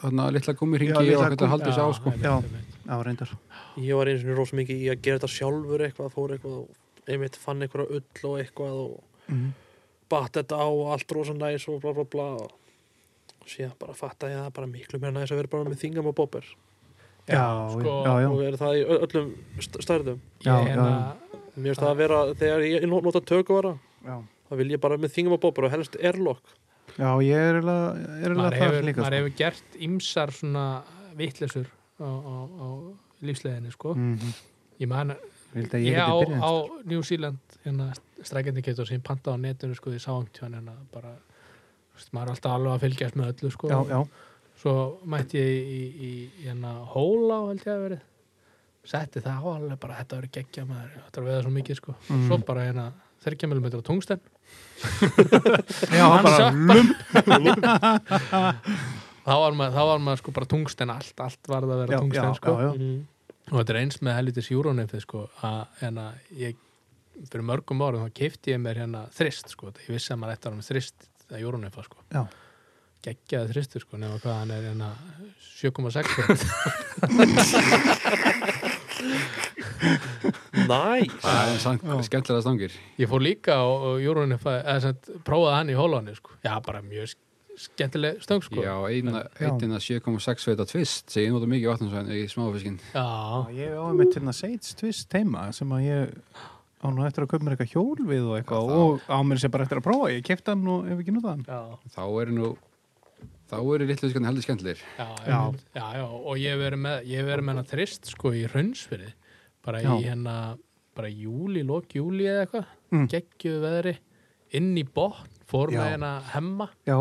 [SPEAKER 3] þarna litla
[SPEAKER 2] Já,
[SPEAKER 3] gummiringi
[SPEAKER 2] litla
[SPEAKER 3] og þetta
[SPEAKER 2] gúmmí-
[SPEAKER 3] haldur sér á sko
[SPEAKER 1] einmitt,
[SPEAKER 2] Já.
[SPEAKER 1] einmitt.
[SPEAKER 2] á reyndar
[SPEAKER 4] Ég var einu sinni rosa mikið í að gera þetta sjálfur eitthvað, fór eitthvað og einmitt fann einhverja ull og eitthvað og
[SPEAKER 1] Mhm.
[SPEAKER 2] mm.
[SPEAKER 4] batt þetta á og allt rosa næs og bla bla bla og síðan bara fatta ég að það er bara miklu meira næs að vera bara með Thingamabobber
[SPEAKER 2] já,
[SPEAKER 1] sko,
[SPEAKER 2] já, já,
[SPEAKER 4] og vera það í ö- öllum st- stærðum
[SPEAKER 2] Já,
[SPEAKER 1] ég hérna-
[SPEAKER 4] Mér finnst það að vera, þegar ég not- nota tökuvara
[SPEAKER 2] já.
[SPEAKER 4] þá vil ég bara með Thingamabobber og helst airlock
[SPEAKER 2] já, ég er eiginlega er
[SPEAKER 1] maður
[SPEAKER 2] eiginlega
[SPEAKER 1] hefur,
[SPEAKER 2] það líka
[SPEAKER 1] maður
[SPEAKER 2] sko.
[SPEAKER 1] hefur gert ymsar svona vittlesur á, á, á lífsleðinni sko.
[SPEAKER 2] Mhm.
[SPEAKER 1] ég man
[SPEAKER 2] Vildi að
[SPEAKER 1] ég
[SPEAKER 2] ég
[SPEAKER 1] á,
[SPEAKER 2] geti byrjað
[SPEAKER 1] á New Zealand hérna, strækjandi getur sem ég pantaði á netinu sko, því sángtjón hérna, bara, þú veist, maður er alltaf alveg að fylgjast með öllu sko.
[SPEAKER 2] já, já,
[SPEAKER 1] svo mætti ég í, í, í hérna, hóla held ég að verið setti það á alveg bara þetta verið geggja maður þetta er að veða svo mikið sko.
[SPEAKER 2] Mhm.
[SPEAKER 1] svo bara hérna 30 mm tungsten
[SPEAKER 2] já, bara
[SPEAKER 1] sökk
[SPEAKER 2] lump
[SPEAKER 1] þá var maður, þá var maður sko bara tungsten allt allt varð að vera
[SPEAKER 2] já, já,
[SPEAKER 1] tungsten sko.
[SPEAKER 2] já, já.
[SPEAKER 4] Mhm.
[SPEAKER 1] og þetta er eins með helvitis júrónefið sko, að hérna ég fyrir mörgum árum þá keipti ég mér hérna þrist sko, ég vissi að maður ætti að vera með þrist að júrónefa sko,
[SPEAKER 2] Já.
[SPEAKER 1] geggjaði þristur sko, nema hvað hann er hérna 7,6 fet.
[SPEAKER 4] Næs
[SPEAKER 3] það er samt skemmtilega stangir
[SPEAKER 1] ég fór líka og, og júrónefa eða sem prófaði hann í hólóni sko, já bara mjög sk- skemmtileg stöng sko
[SPEAKER 3] já, eina-
[SPEAKER 2] Já.
[SPEAKER 3] einnina 7,6 veita tvist sem ég nota mikið vatnansvæðin í smáfiskin
[SPEAKER 1] Já,
[SPEAKER 2] Ég á einmitt hérna Seitz tvist heima sem að ég á nú eftir að köpa mér eitthvað hjól við og eitthvað
[SPEAKER 3] Já,
[SPEAKER 2] og á mér sem bara eftir að prófa, ég kefti hann og ef ekki notað hann.
[SPEAKER 1] já.
[SPEAKER 3] þá eru nú þá eru litluðskan heldur skemmtilegir
[SPEAKER 1] Já,
[SPEAKER 2] Já.
[SPEAKER 1] já. já, já, og ég hef verið með, ég hef verið með hana þrist sko í hraunsfyrði, bara
[SPEAKER 2] Já.
[SPEAKER 1] í hérna, bara í júli, lók júli eða eitthvað,
[SPEAKER 2] Mm.
[SPEAKER 1] mm. geggjuðu veðri, inn í botn, fór
[SPEAKER 2] Já.
[SPEAKER 1] með hérna hemma,
[SPEAKER 2] Já,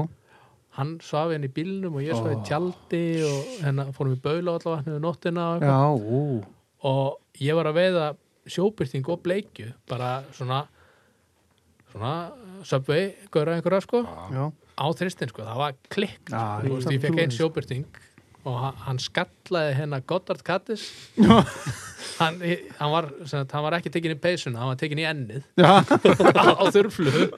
[SPEAKER 1] hann svaf henni í bílnum og ég svaf í tjaldi og hérna fórum við baula allavega hann við um nóttina og,
[SPEAKER 2] já,
[SPEAKER 1] eitthvað.
[SPEAKER 2] ú,
[SPEAKER 1] og ég var að veiða sjóbyrting og bleikju, bara svona, svona, söpvei, góra einhverja sko
[SPEAKER 2] já,
[SPEAKER 1] á þristin sko, það var klikk
[SPEAKER 2] Já,
[SPEAKER 1] sko, þú veist,
[SPEAKER 2] ég-
[SPEAKER 1] ég fekk einn sjóbyrting og ha- hann skallaði hérna Goddard Kattis hann, hann, var, sem sagt, hann var ekki tekinn í peysuna, hann var tekinn í ennið
[SPEAKER 2] já,
[SPEAKER 1] á, á þurflu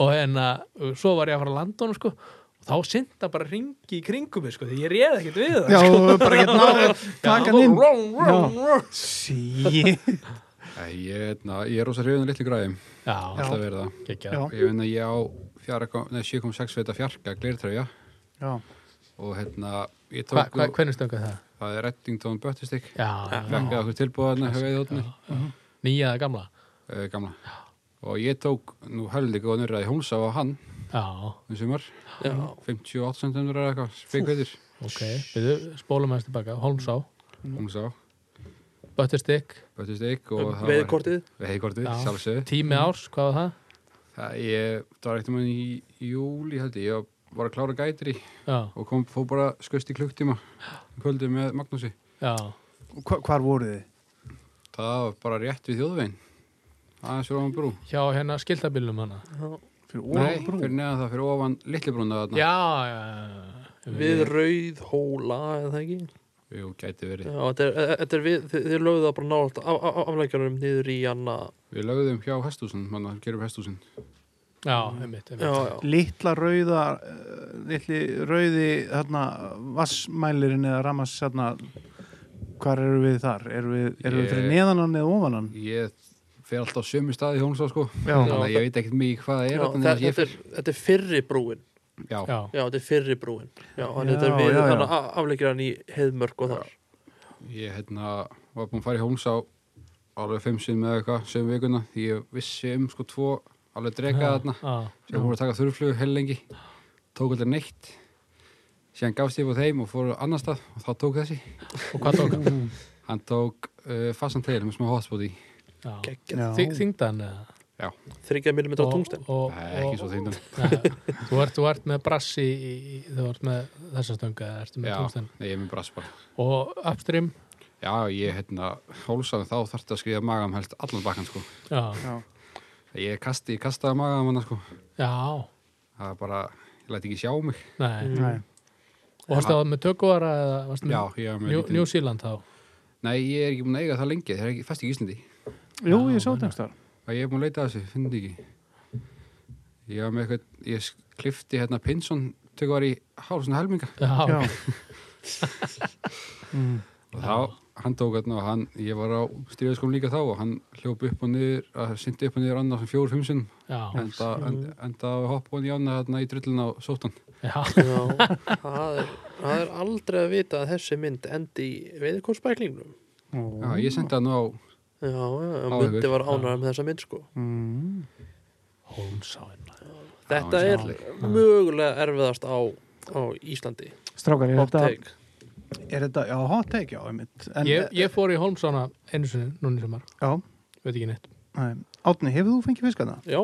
[SPEAKER 1] og hérna, uh, svo var ég að fara að landa honum sko og þá synda bara ringi í kringum mig sko, því ég réð ekkert við það
[SPEAKER 2] já,
[SPEAKER 1] sko.
[SPEAKER 2] bara gett náður, taka hann inn.
[SPEAKER 1] rong, rong, rong.
[SPEAKER 2] Sí,
[SPEAKER 3] Æ, ég, na, ég er rosa hrifin af litlu græðum
[SPEAKER 1] já,
[SPEAKER 3] alltaf verið það
[SPEAKER 1] gekkja
[SPEAKER 2] já,
[SPEAKER 3] ég finna ég á fjara, nei, 7,6 veita fjarka glirtröja
[SPEAKER 2] já,
[SPEAKER 3] og hérna ég
[SPEAKER 1] Hva,
[SPEAKER 3] tók
[SPEAKER 1] hva,
[SPEAKER 3] nú-
[SPEAKER 1] hvernig stöngu það?
[SPEAKER 3] það er Reddington Böttistik
[SPEAKER 1] Já,
[SPEAKER 3] fjarkaði okkur tilbúðan hefðið hóttni
[SPEAKER 1] nýja eða gamla
[SPEAKER 3] uh, gamla og ég tók nú heldig og nýrraði húnsa á hann
[SPEAKER 1] Já,
[SPEAKER 3] um sumar
[SPEAKER 4] Já,
[SPEAKER 3] 58 cm eða eitthvað spikveitur
[SPEAKER 1] ok, við spólum aðeins tilbaka Holmsá,
[SPEAKER 3] húnsa á
[SPEAKER 1] Böttistik
[SPEAKER 3] Böttistik
[SPEAKER 4] Um
[SPEAKER 3] og Sko, það var-
[SPEAKER 4] veiðkortið
[SPEAKER 3] veiðkortið
[SPEAKER 1] Já.
[SPEAKER 3] sjálfsögðu Mhm.
[SPEAKER 1] Tími árs, hvað var það?
[SPEAKER 3] Það ég, það var ekkert mann í júli held ég, ég var að klára gætri
[SPEAKER 1] Já,
[SPEAKER 3] og kom, fór bara skust í klukktíma um kvöldið með Magnúsi.
[SPEAKER 1] já,
[SPEAKER 2] Hva, hvar voruð þið?
[SPEAKER 3] Það var bara rétt við þjóðveginn. Aðeins fyrir ofan brú.
[SPEAKER 1] hjá hérna skiltabílum hana
[SPEAKER 2] Fyrir
[SPEAKER 3] Nei,
[SPEAKER 2] ofan brú?
[SPEAKER 3] fyrir neðan það, fyrir ofan litlubrúna þarna.
[SPEAKER 1] Já, já, já
[SPEAKER 4] Við rauð hóla, eða það ekki?
[SPEAKER 3] Jú, gæti verið.
[SPEAKER 4] Já, þetta er, e- þetta er við, þið, þið lögðu það bara nátt aflækjarum niður í hann að
[SPEAKER 3] Við lögðum hjá hestúsin, manna, gerum hestúsin.
[SPEAKER 1] Já, einmitt, einmitt
[SPEAKER 4] Já, já,
[SPEAKER 2] Littla rauða, eh, litli rauði, þarna, vassmælirinn eða rammas, þarna, hvar eru við þar? Eru við, eru við fyrir
[SPEAKER 3] Ég-
[SPEAKER 2] neðanan eða ofanan?
[SPEAKER 3] Ég fer alltaf sömu staði í Hólmsá sko
[SPEAKER 2] Já,
[SPEAKER 3] Þannig að ég veit ekkert mikið hvað það
[SPEAKER 4] Já,
[SPEAKER 3] er
[SPEAKER 4] þa-
[SPEAKER 3] þarna
[SPEAKER 4] þetta,
[SPEAKER 3] þegar ég
[SPEAKER 4] er, þetta er fyrri brúin
[SPEAKER 3] fer- Já,
[SPEAKER 1] já,
[SPEAKER 4] Já, þetta er fyrri brúin Já, hann
[SPEAKER 2] Já,
[SPEAKER 4] þetta er við
[SPEAKER 2] já, já.
[SPEAKER 4] þannig að afleikir hann í heiðmörk og þar
[SPEAKER 3] ég hérna var búinn að fara í Hólmsá alveg fimm sinn með eitthvað, sömu vikuna því ég vissi um sko tvo alveg drega þarna
[SPEAKER 1] já,
[SPEAKER 3] sem voru að taka þurrflug hel lengi tók aldrei neitt síðan gafst ég á þeim og fór annar stað og þá tók þessi
[SPEAKER 1] og hvað tók hann?
[SPEAKER 3] Mhm. hann tók uh, fastan tegil með smá hotspot í
[SPEAKER 1] Já.
[SPEAKER 2] Já.
[SPEAKER 1] Þyng- Þyngdan eða?
[SPEAKER 4] Þryggja millimetra
[SPEAKER 1] Og-
[SPEAKER 4] tungsten
[SPEAKER 1] og-
[SPEAKER 3] Nei, ekki
[SPEAKER 1] og-
[SPEAKER 3] svo þýndan
[SPEAKER 1] Nei, þú, ert, þú ert með brassi í, í- þú ert með þessa stöngu eða ertu með
[SPEAKER 3] Já,
[SPEAKER 1] tómstinn
[SPEAKER 3] nei, ég er með brass bara
[SPEAKER 1] og upstream
[SPEAKER 3] Já, ég hérna, hólsaði þá þarfti að skrifa magam helst allan bakkan sko
[SPEAKER 1] já,
[SPEAKER 2] já.
[SPEAKER 3] Ég, kasti, ég kastaði magam hann sko
[SPEAKER 1] já,
[SPEAKER 3] Það er bara, ég læti ekki sjá mig
[SPEAKER 1] nei
[SPEAKER 2] Nei.
[SPEAKER 1] og varstu það með tökuvara eða varstu
[SPEAKER 3] Já,
[SPEAKER 1] með
[SPEAKER 3] ég er með
[SPEAKER 1] New,
[SPEAKER 3] lítinn-
[SPEAKER 1] New Zealand þá
[SPEAKER 3] Nei, ég er ekki búin að eiga það lengi, það er ekki fast ekki í Íslandi
[SPEAKER 2] Jú,
[SPEAKER 1] Já,
[SPEAKER 2] ég sá
[SPEAKER 1] meinar.
[SPEAKER 2] þetta þar.
[SPEAKER 3] Það ég er búin að leita að þessu, finnum þetta ekki Ég var með eitthvað, ég klifti hérna Pinson Tökur var í hálf svona helminga
[SPEAKER 1] já,
[SPEAKER 2] Já. Mm.
[SPEAKER 3] Og þá, hann tók hérna og hann, ég var á styrjaðskom líka þá Og hann hljóp upp og niður, að syndi upp og niður annars fjóru fimm sinn
[SPEAKER 1] já,
[SPEAKER 3] Enda, enda, enda hoppa hann í ána hérna í drullin á sóttan
[SPEAKER 1] já,
[SPEAKER 4] Já, það er, það er aldrei að vita að þessi mynd endi í veiðkómsbæklingnum
[SPEAKER 3] Já, ég sendi hann á
[SPEAKER 4] Já, já, já,
[SPEAKER 3] Áður.
[SPEAKER 4] myndi var ánægð með þessa mynd sko
[SPEAKER 2] Mm.
[SPEAKER 1] Holmsáin
[SPEAKER 4] Þetta
[SPEAKER 3] Já,
[SPEAKER 4] er mögulega erfiðast á, á Íslandi
[SPEAKER 2] Strákar, er
[SPEAKER 4] Hot
[SPEAKER 2] þetta,
[SPEAKER 4] take
[SPEAKER 2] er þetta, já, hot take, já, einmitt. En, eh,
[SPEAKER 1] ég, ég fór í Holmsána einu sinni núna í sumar,
[SPEAKER 2] Já,
[SPEAKER 1] veit ekki neitt
[SPEAKER 2] nei. Átni, hefur þú fengið fiskana?
[SPEAKER 4] Já,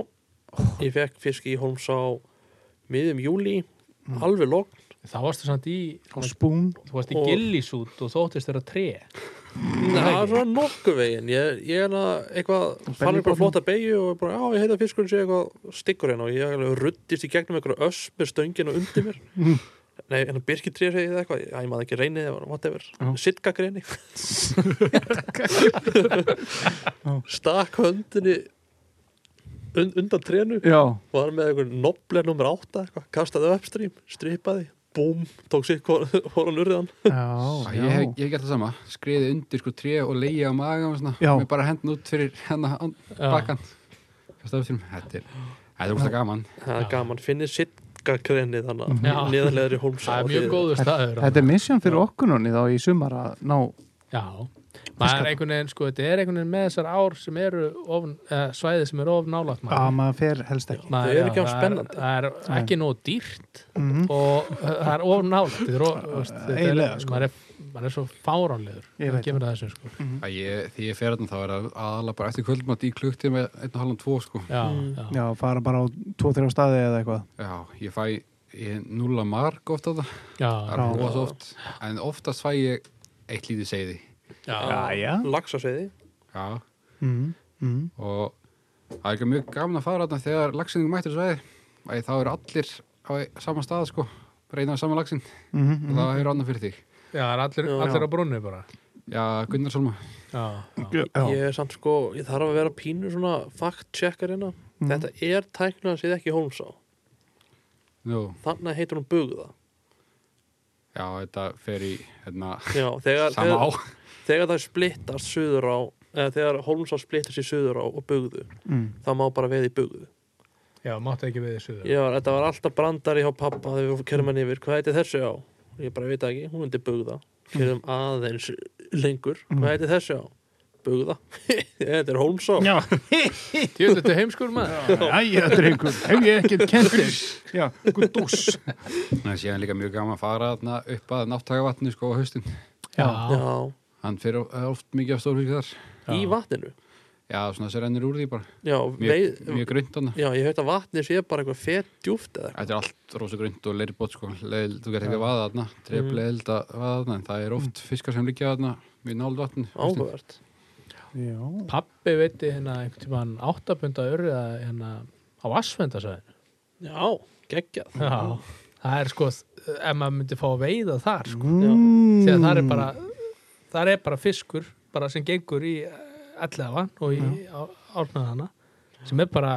[SPEAKER 4] ég fekk fisk í Holmsá miðum júli,
[SPEAKER 2] Mm.
[SPEAKER 4] alveg logn
[SPEAKER 1] þá varstu samt í,
[SPEAKER 2] Á spún?
[SPEAKER 1] þú varst í
[SPEAKER 4] Og-
[SPEAKER 1] gillisút og þóttist þeirra tre
[SPEAKER 4] Það er svona nokkuð veginn Ég, ég er að eitthvað, fann eitthvað
[SPEAKER 2] Bellybotten.
[SPEAKER 4] flotta beigju og bara, já, ég heita fiskurinn sé eitthvað stikkur hérna og ég alveg ruddist í gegnum eitthvað ösp með stöngina undir mér
[SPEAKER 2] Mm.
[SPEAKER 4] Nei, en birkitré segið þið eitthvað, já, ég maður ekki reynið eða whatever, sitkagreini Stakk höndinni und, undan trénu
[SPEAKER 2] Já.
[SPEAKER 4] var með einhvern nobler nummer 8 eitthvað, kastaði upstream, stripaði búm, tók sér hóran urðan
[SPEAKER 2] Já,
[SPEAKER 3] Ég hef, ég hef gert það sama, skriði undir sko tré og leiði á maga og svona,
[SPEAKER 2] Já.
[SPEAKER 3] með bara hendin út fyrir hérna hennar bakkan Kastaði upp til mér. þetta er, þetta er úrst gaman
[SPEAKER 4] það er
[SPEAKER 1] Já.
[SPEAKER 4] gaman, finnir sitkagreini þannig
[SPEAKER 1] Já.
[SPEAKER 4] að niðarleðri hólmsá
[SPEAKER 1] það er mjög góður staður
[SPEAKER 2] Þetta er misjón fyrir okkur núni þá í sumar að ná
[SPEAKER 1] Já, maður er einhvern veginn sko, þetta er einhvern veginn með þessar ár sem eru of, eh, svæðið sem eru of nálægt
[SPEAKER 2] að maður fer helst ekki.
[SPEAKER 1] Maður-
[SPEAKER 4] Þau eru ekki
[SPEAKER 1] já,
[SPEAKER 4] of
[SPEAKER 1] það
[SPEAKER 4] spennandi.
[SPEAKER 1] Það er ekki nóg dýrt
[SPEAKER 2] Mhm.
[SPEAKER 1] og eh, það er of nálægt Þetta er of, veist, þetta er,
[SPEAKER 2] Eiginlega, sko.
[SPEAKER 1] maður, er, maður er svo fáránlegur
[SPEAKER 2] Ég
[SPEAKER 1] Það
[SPEAKER 2] veit
[SPEAKER 1] kemur að þessu sko
[SPEAKER 3] Að ég, Því ég fer þarna þá er það aðalega bara eftir kvöldmatt í klukti með einn og halvan tvo sko
[SPEAKER 1] Já,
[SPEAKER 4] Mm.
[SPEAKER 1] já,
[SPEAKER 2] Já, fara bara á tvo-þrjá staði eða eitthvað.
[SPEAKER 3] Já, ég fæ ég nulla marg oft á það,
[SPEAKER 1] já,
[SPEAKER 3] það
[SPEAKER 1] já,
[SPEAKER 3] er
[SPEAKER 2] Já.
[SPEAKER 3] rosa oft En oftast fæ ég eitt lítið seiði
[SPEAKER 2] Jæja.
[SPEAKER 4] lagsaseiði
[SPEAKER 3] Já,
[SPEAKER 2] Mm. Mm.
[SPEAKER 3] og það er ekki mjög gaman að fara þarna þegar lagsinning mættur svæði Æ, Þá eru allir á sama stað sko, reyna saman lagsin
[SPEAKER 2] Mm
[SPEAKER 3] og það hefur annað fyrir þig
[SPEAKER 1] já, það er allir,
[SPEAKER 4] Já.
[SPEAKER 1] allir á brunni bara
[SPEAKER 3] Já, Gunnar Solma
[SPEAKER 1] Já, já,
[SPEAKER 2] Já,
[SPEAKER 4] ég er samt sko, ég þarf að vera pínu svona fact-checker hérna
[SPEAKER 2] Mhm.
[SPEAKER 4] þetta er tæknilega séð ekki hólmsá
[SPEAKER 3] Nú,
[SPEAKER 4] þannig heitur hún bugða
[SPEAKER 3] já, þetta fer í hérna,
[SPEAKER 4] Já, þegar,
[SPEAKER 3] sama á
[SPEAKER 4] þegar, þegar það splittast suður á eða þegar hólmsá splittast í suður á og bugðu,
[SPEAKER 2] mm.
[SPEAKER 4] þá má bara veið í bugðu
[SPEAKER 1] já, máttu ekki við þessu
[SPEAKER 4] Já, þetta var alltaf brandari hjá pappa þegar við kerðum hann yfir, hvað heitir þessu á? Ég bara veit það ekki, hún myndi bugða kerðum aðeins lengur hvað
[SPEAKER 3] Mm.
[SPEAKER 4] heitir þessu á? Bugða Þetta er Holmsá
[SPEAKER 2] Já.
[SPEAKER 1] Jú, þetta er heimskur maður
[SPEAKER 2] Æja, drengur, hef ég ekkert kent þér. Já, gudús.
[SPEAKER 3] en síðan líka mjög gaman að fara þarna upp að náttagavatni sko á haustin
[SPEAKER 1] Já,
[SPEAKER 4] Já,
[SPEAKER 3] hann fer of- eh, oft mikið af stórfík þar
[SPEAKER 4] í vatninu
[SPEAKER 3] já, svona þessi rennir úr því bara
[SPEAKER 4] Já,
[SPEAKER 3] mjög,
[SPEAKER 4] veið
[SPEAKER 3] mjög grönt þarna
[SPEAKER 4] Já, ég höfði að vatni sé bara eitthvað fett djúft eða eitthvað.
[SPEAKER 3] þetta er allt rosa grönt og leirbót sko leil, þú getur ekki að vaða þarna treflega held að vaða þarna en það er oft fiskar sem liggja þarna mjög náld vatni haustin.
[SPEAKER 4] áhugavert
[SPEAKER 2] Já.
[SPEAKER 1] pappi veiti hérna einhvern tímann áttapunda örða hérna á Asfendasvæðin
[SPEAKER 4] Já, geggjað
[SPEAKER 1] Já, það er sko ef maður myndi fá að veiða þar sko.
[SPEAKER 2] Mm.
[SPEAKER 1] þegar það er bara það er bara fiskur bara sem gengur í allafan og í árnaðana sem er bara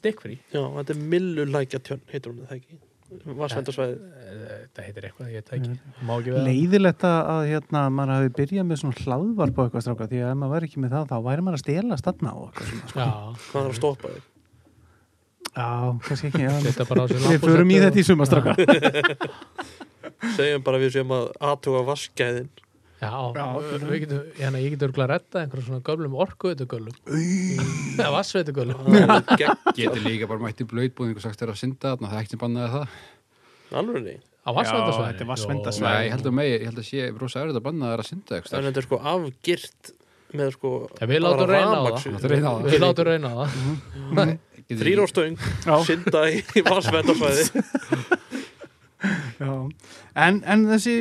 [SPEAKER 1] stikkfrí
[SPEAKER 4] Já, þetta er millulækja tjörn heitur hún það ekki
[SPEAKER 6] vassvendarsvæði
[SPEAKER 3] Eh,
[SPEAKER 1] þetta heitir eitthvað, ég veit það ekki má ekki vera
[SPEAKER 2] leiðilegt að að, hérna, maður hafi byrjað með svona hlaðvarp og eitthvað stráka því að ef maður væri ekki með það þá væri maður að stela stanna og eitthvað svona
[SPEAKER 1] já,
[SPEAKER 6] hvað er að stoppa þig
[SPEAKER 2] Já, kannski ekki, já
[SPEAKER 1] þetta bara á sér
[SPEAKER 2] Við förum í þetta í suma stráka
[SPEAKER 6] segjum bara að við séum að aðtuga vaskæðin
[SPEAKER 1] já, við getum, hérna, ég get örgulega að retta einhverjum svona gömlum orkuveitugölum eða vassveitugölum
[SPEAKER 3] Getur líka bara mætti blöytbúðing og sagt þér að synda þarna, það er ekki sem bannaði það.
[SPEAKER 6] alveg nei,
[SPEAKER 1] á vassvendarsvæðinu
[SPEAKER 2] þetta er vatnsverndarsvæði.
[SPEAKER 3] Nei, ég held að megi, ég held að sé rosa erfitt að banna þær að synda eitthvað.
[SPEAKER 6] þannig að
[SPEAKER 3] staðar.
[SPEAKER 6] þetta er sko afgirt með sko
[SPEAKER 1] Já, við látum
[SPEAKER 6] bara
[SPEAKER 1] reyna á það.
[SPEAKER 6] rafmagns-
[SPEAKER 3] Láttu reyna á það.
[SPEAKER 1] við látum reyna á það
[SPEAKER 3] Getur
[SPEAKER 6] þrýr á
[SPEAKER 3] ekki-
[SPEAKER 6] stöng,
[SPEAKER 2] Já.
[SPEAKER 6] synda í vassvendarsvæði
[SPEAKER 2] Já, en, en þessi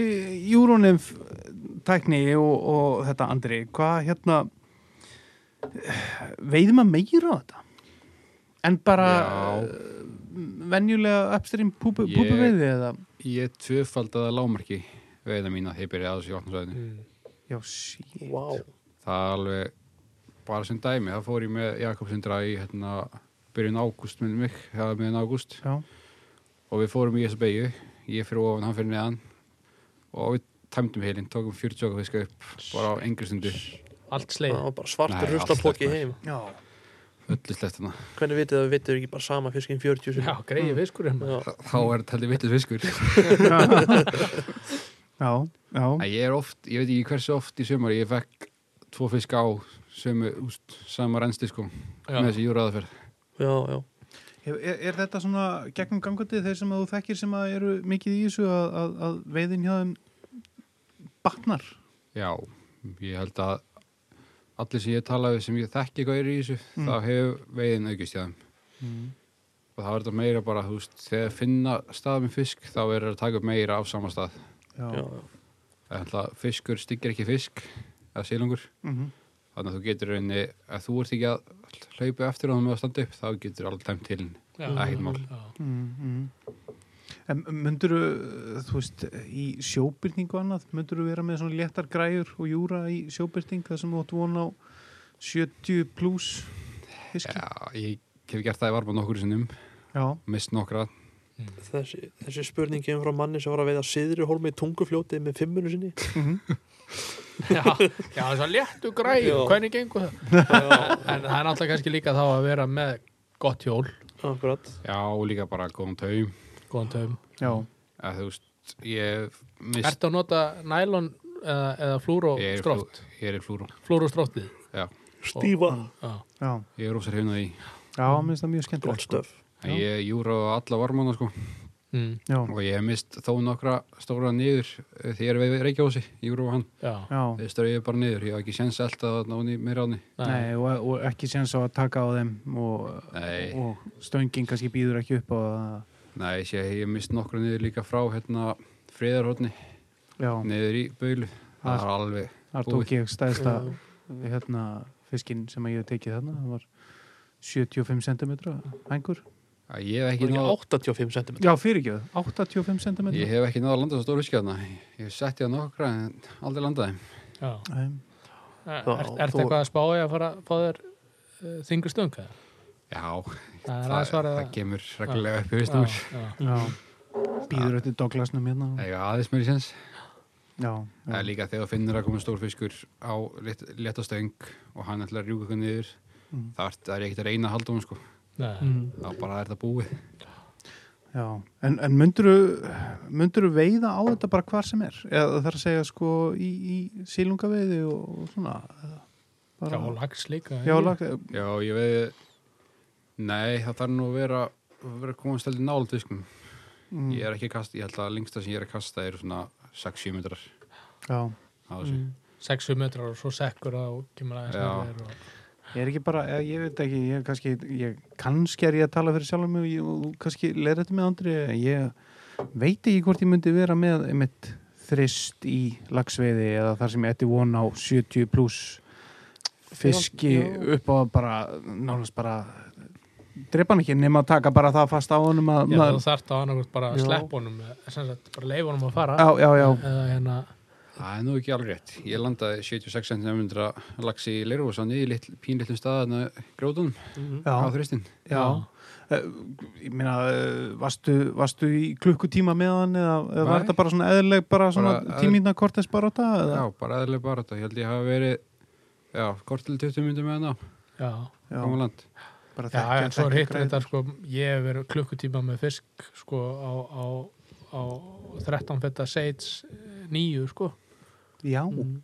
[SPEAKER 2] Euronymf tækni og, og þetta Andri, hvað hérna veiði maður meira á þetta? En bara
[SPEAKER 3] Já.
[SPEAKER 2] uh, venjulega upstream púpu,
[SPEAKER 3] Ég-
[SPEAKER 2] púpu veiði eða?
[SPEAKER 3] Ég tvöfaldaði lámarki veiða mína þegar ég byrjaði að þessu vatnarsvæðinu.
[SPEAKER 2] Já, sí.
[SPEAKER 6] wow.
[SPEAKER 3] Það er alveg bara sem dæmi. Það fór ég með Jakobsundra í hérna, byrjun ágúst með mig, það er meðan ágúst.
[SPEAKER 2] Já,
[SPEAKER 3] og við fórum í þessa beigju ég fyrir ofan, hann fyrir neðan og við tæmdum heilin, tókum 40 okkar fiska upp bara á engri stundu
[SPEAKER 1] allt sleið
[SPEAKER 6] það var bara svartur
[SPEAKER 3] Nei,
[SPEAKER 6] ruslapóki
[SPEAKER 3] allt
[SPEAKER 6] heim
[SPEAKER 2] já.
[SPEAKER 3] öllu hérna. slett hana
[SPEAKER 6] hvernig vitið það við vitið ekki bara sama fiskinn 40 sinni
[SPEAKER 1] já, greiði fiskur hérna
[SPEAKER 6] Já.
[SPEAKER 3] þá er þetta heldur vitlis fiskur
[SPEAKER 2] Já, já.
[SPEAKER 3] Æ, ég er oft, ég veit ekki hversu oft í sömur ég fekk tvo fiska á sömu, úst, sama rennsti sko með
[SPEAKER 1] Já.
[SPEAKER 3] þessi júraðaferð
[SPEAKER 6] já, já
[SPEAKER 2] Er, er þetta svona gegnum gangandi þeir sem að þú þekkir sem að eru mikið í þessu að, að, að veiðin hjá þeim batnar?
[SPEAKER 3] já, ég held að allir sem ég talaði sem ég þekki hvað er í þessu,
[SPEAKER 2] Mm.
[SPEAKER 3] þá hefur veiðin aukist hjá þeim og það er þetta meira bara, þú veist, þegar finna stað með fisk, þá er það að taka upp meira af sama stað
[SPEAKER 2] Já.
[SPEAKER 6] Já,
[SPEAKER 2] já.
[SPEAKER 6] já.
[SPEAKER 3] Ætla, fiskur styggir ekki fisk eða sílungur,
[SPEAKER 2] Mhm,
[SPEAKER 3] þannig að þú getur í rauninni, ef þú ert ekki að hlaupa eftir honum með að standa upp, þá getur alveg tæmt til henni. Ekkert mál.
[SPEAKER 1] Já.
[SPEAKER 2] Mm, mm. En mynduru, þú veist, í sjóbyrningu annað, mynduru vera með svona léttar græjur og júra í sjóbyrning þar sem þú átt von á 70 pluss fiski?
[SPEAKER 3] Já, ég hef gert það í varma nokkur sinnum,
[SPEAKER 2] Já.
[SPEAKER 3] mist nokkra
[SPEAKER 6] Þessi, þessi spurning kemur frá manni sem var að veiða siðri hólmi í tungufljóti með fimmunum sinni
[SPEAKER 1] Já, já, þess að léttu græð
[SPEAKER 6] Já.
[SPEAKER 1] hvernig gengur það en það er náttúrulega kannski líka þá að vera með gott hjól,
[SPEAKER 6] Akkurat
[SPEAKER 3] Já, og líka bara góðan taum
[SPEAKER 1] góðan taum
[SPEAKER 2] Já.
[SPEAKER 3] eða þú veist, ég hef mist,
[SPEAKER 1] Ertu að nota nælon eða, eða
[SPEAKER 3] ég er, í flú,
[SPEAKER 1] flúróstrótt
[SPEAKER 3] ég er í flúru
[SPEAKER 1] flúróstróttið
[SPEAKER 3] Já,
[SPEAKER 6] Stífa
[SPEAKER 1] já,
[SPEAKER 2] Já.
[SPEAKER 3] ég er ósar hefna því
[SPEAKER 2] Já, mér finnst það mjög
[SPEAKER 6] Gott
[SPEAKER 2] skemmtilegt. sko.
[SPEAKER 6] stöf
[SPEAKER 3] En ég júra á alla varmana sko
[SPEAKER 1] mm,
[SPEAKER 2] Já.
[SPEAKER 3] og ég hef mist þó nokkra stóra niður eh, þegar við reykjási, júra á hann
[SPEAKER 1] já,
[SPEAKER 2] Já.
[SPEAKER 3] þeir störu ég bara niður, ég hef ekki séns alltaf að náni meira á hann
[SPEAKER 1] nei,
[SPEAKER 2] Nei, og, og ekki séns á að taka á þeim og,
[SPEAKER 3] Nei.
[SPEAKER 2] og stöngin kannski býður ekki upp á það.
[SPEAKER 3] Nei, sé, ég hef mist nokkru niður líka frá hérna friðarhóttni,
[SPEAKER 2] Já,
[SPEAKER 3] niður í Baulu það
[SPEAKER 2] Það-
[SPEAKER 3] er alveg,
[SPEAKER 2] þar
[SPEAKER 3] búið.
[SPEAKER 2] tók ég stæðsta
[SPEAKER 6] Já.
[SPEAKER 2] hérna, fiskinn sem ég hef tekið þarna, það var 75 cm hængur.
[SPEAKER 3] að ég hef ekki
[SPEAKER 6] Ekki
[SPEAKER 3] náð
[SPEAKER 6] 85 cm
[SPEAKER 2] Já, fyrirgjöð, 85 cm
[SPEAKER 3] ég hef ekki náð að landa svo stóru skjáðna ég hef sett ég að nokkra en aldrei landaði
[SPEAKER 1] já. Er,
[SPEAKER 6] Já,
[SPEAKER 1] Ertu
[SPEAKER 6] þú-
[SPEAKER 1] eitthvað að spája að fara að fá þér uh, þingur stunga?
[SPEAKER 3] já,
[SPEAKER 1] Það er
[SPEAKER 3] það,
[SPEAKER 1] aðeins
[SPEAKER 3] það,
[SPEAKER 1] svarað
[SPEAKER 3] kemur reglulega upp í vistum úr
[SPEAKER 1] já,
[SPEAKER 2] Já, býður eftir Douglasnum hérna.
[SPEAKER 3] ég hef aðeins mér í sens
[SPEAKER 2] Já,
[SPEAKER 3] það er
[SPEAKER 2] já.
[SPEAKER 3] líka þegar þú finnur að koma stór fiskur á létt, léttastöng og hann ætlar að rjúka eitthvað niður
[SPEAKER 2] Mm.
[SPEAKER 3] það er, það er ekkert að reyna að halda um sko.
[SPEAKER 1] já, já.
[SPEAKER 6] Mhm.
[SPEAKER 2] Mm,
[SPEAKER 3] þá bara er það búið
[SPEAKER 2] já. En, en myndur þú veiða á þetta bara hvar sem er? Eða það er að segja sko í, í sílungaveiði og, og svona? eða
[SPEAKER 1] já,
[SPEAKER 2] Bara,
[SPEAKER 1] og lags líka
[SPEAKER 2] já, lag,
[SPEAKER 3] já, ég veið nei, það þarf nú að vera vera að koma stældið nált fiskum
[SPEAKER 2] mm,
[SPEAKER 3] Ég er ekki að kasta, ég held að lengsta sem ég er að kasta er svona 6-7 metrar
[SPEAKER 2] já.
[SPEAKER 3] á þessu.
[SPEAKER 1] Mm. 6 metrar og svo sekkur það og kemur aðeins
[SPEAKER 3] Já.
[SPEAKER 1] nærri þér og-
[SPEAKER 2] Ég er ekki bara, eða, ég veit ekki, ég er kannski, ég, kannski er ég að tala fyrir sjálfum mig og ég- og þú kannski leir þetta með andri, en ég veit ekki hvort ég myndi vera með mitt þrist í lagsveiði eða þar sem ég ætti von á 70 pluss fiski
[SPEAKER 6] Já,
[SPEAKER 2] upp á bara, nánast bara, drepa hann ekki nema að taka bara það fast á honum að,
[SPEAKER 1] Já,
[SPEAKER 2] maður-
[SPEAKER 1] þú þarft á annarkvæmt bara að
[SPEAKER 2] Já.
[SPEAKER 1] sleppa honum eh, sem sagt, bara leifa honum að fara
[SPEAKER 2] já, já, já,
[SPEAKER 1] eða hérna
[SPEAKER 3] Það er nú ekki alveg rétt. Ég landaði 76 cm laxi í Leirvósan í litl, pínlítlum staðan grótunum á
[SPEAKER 2] Já,
[SPEAKER 3] þristinn.
[SPEAKER 2] já. Eh, Ég meina, eh, varstu, varstu í klukkutíma með hann eða, eða var
[SPEAKER 3] Nei.
[SPEAKER 2] þetta bara svona eðlileg bara svona
[SPEAKER 3] Bara-
[SPEAKER 2] tímínna kortes bara þetta?
[SPEAKER 3] Já, bara eðlilega bara þetta. Ég held ég hafa verið, já, kort til 20 minnum með hann á,
[SPEAKER 1] já,
[SPEAKER 3] kom á land.
[SPEAKER 2] bara
[SPEAKER 1] já, en svo er hitt
[SPEAKER 2] græði.
[SPEAKER 1] þetta sko, ég hef verið klukkutíma með fisk sko á, á, á 13 fetta seits nýju sko
[SPEAKER 2] Já,
[SPEAKER 6] Mhm.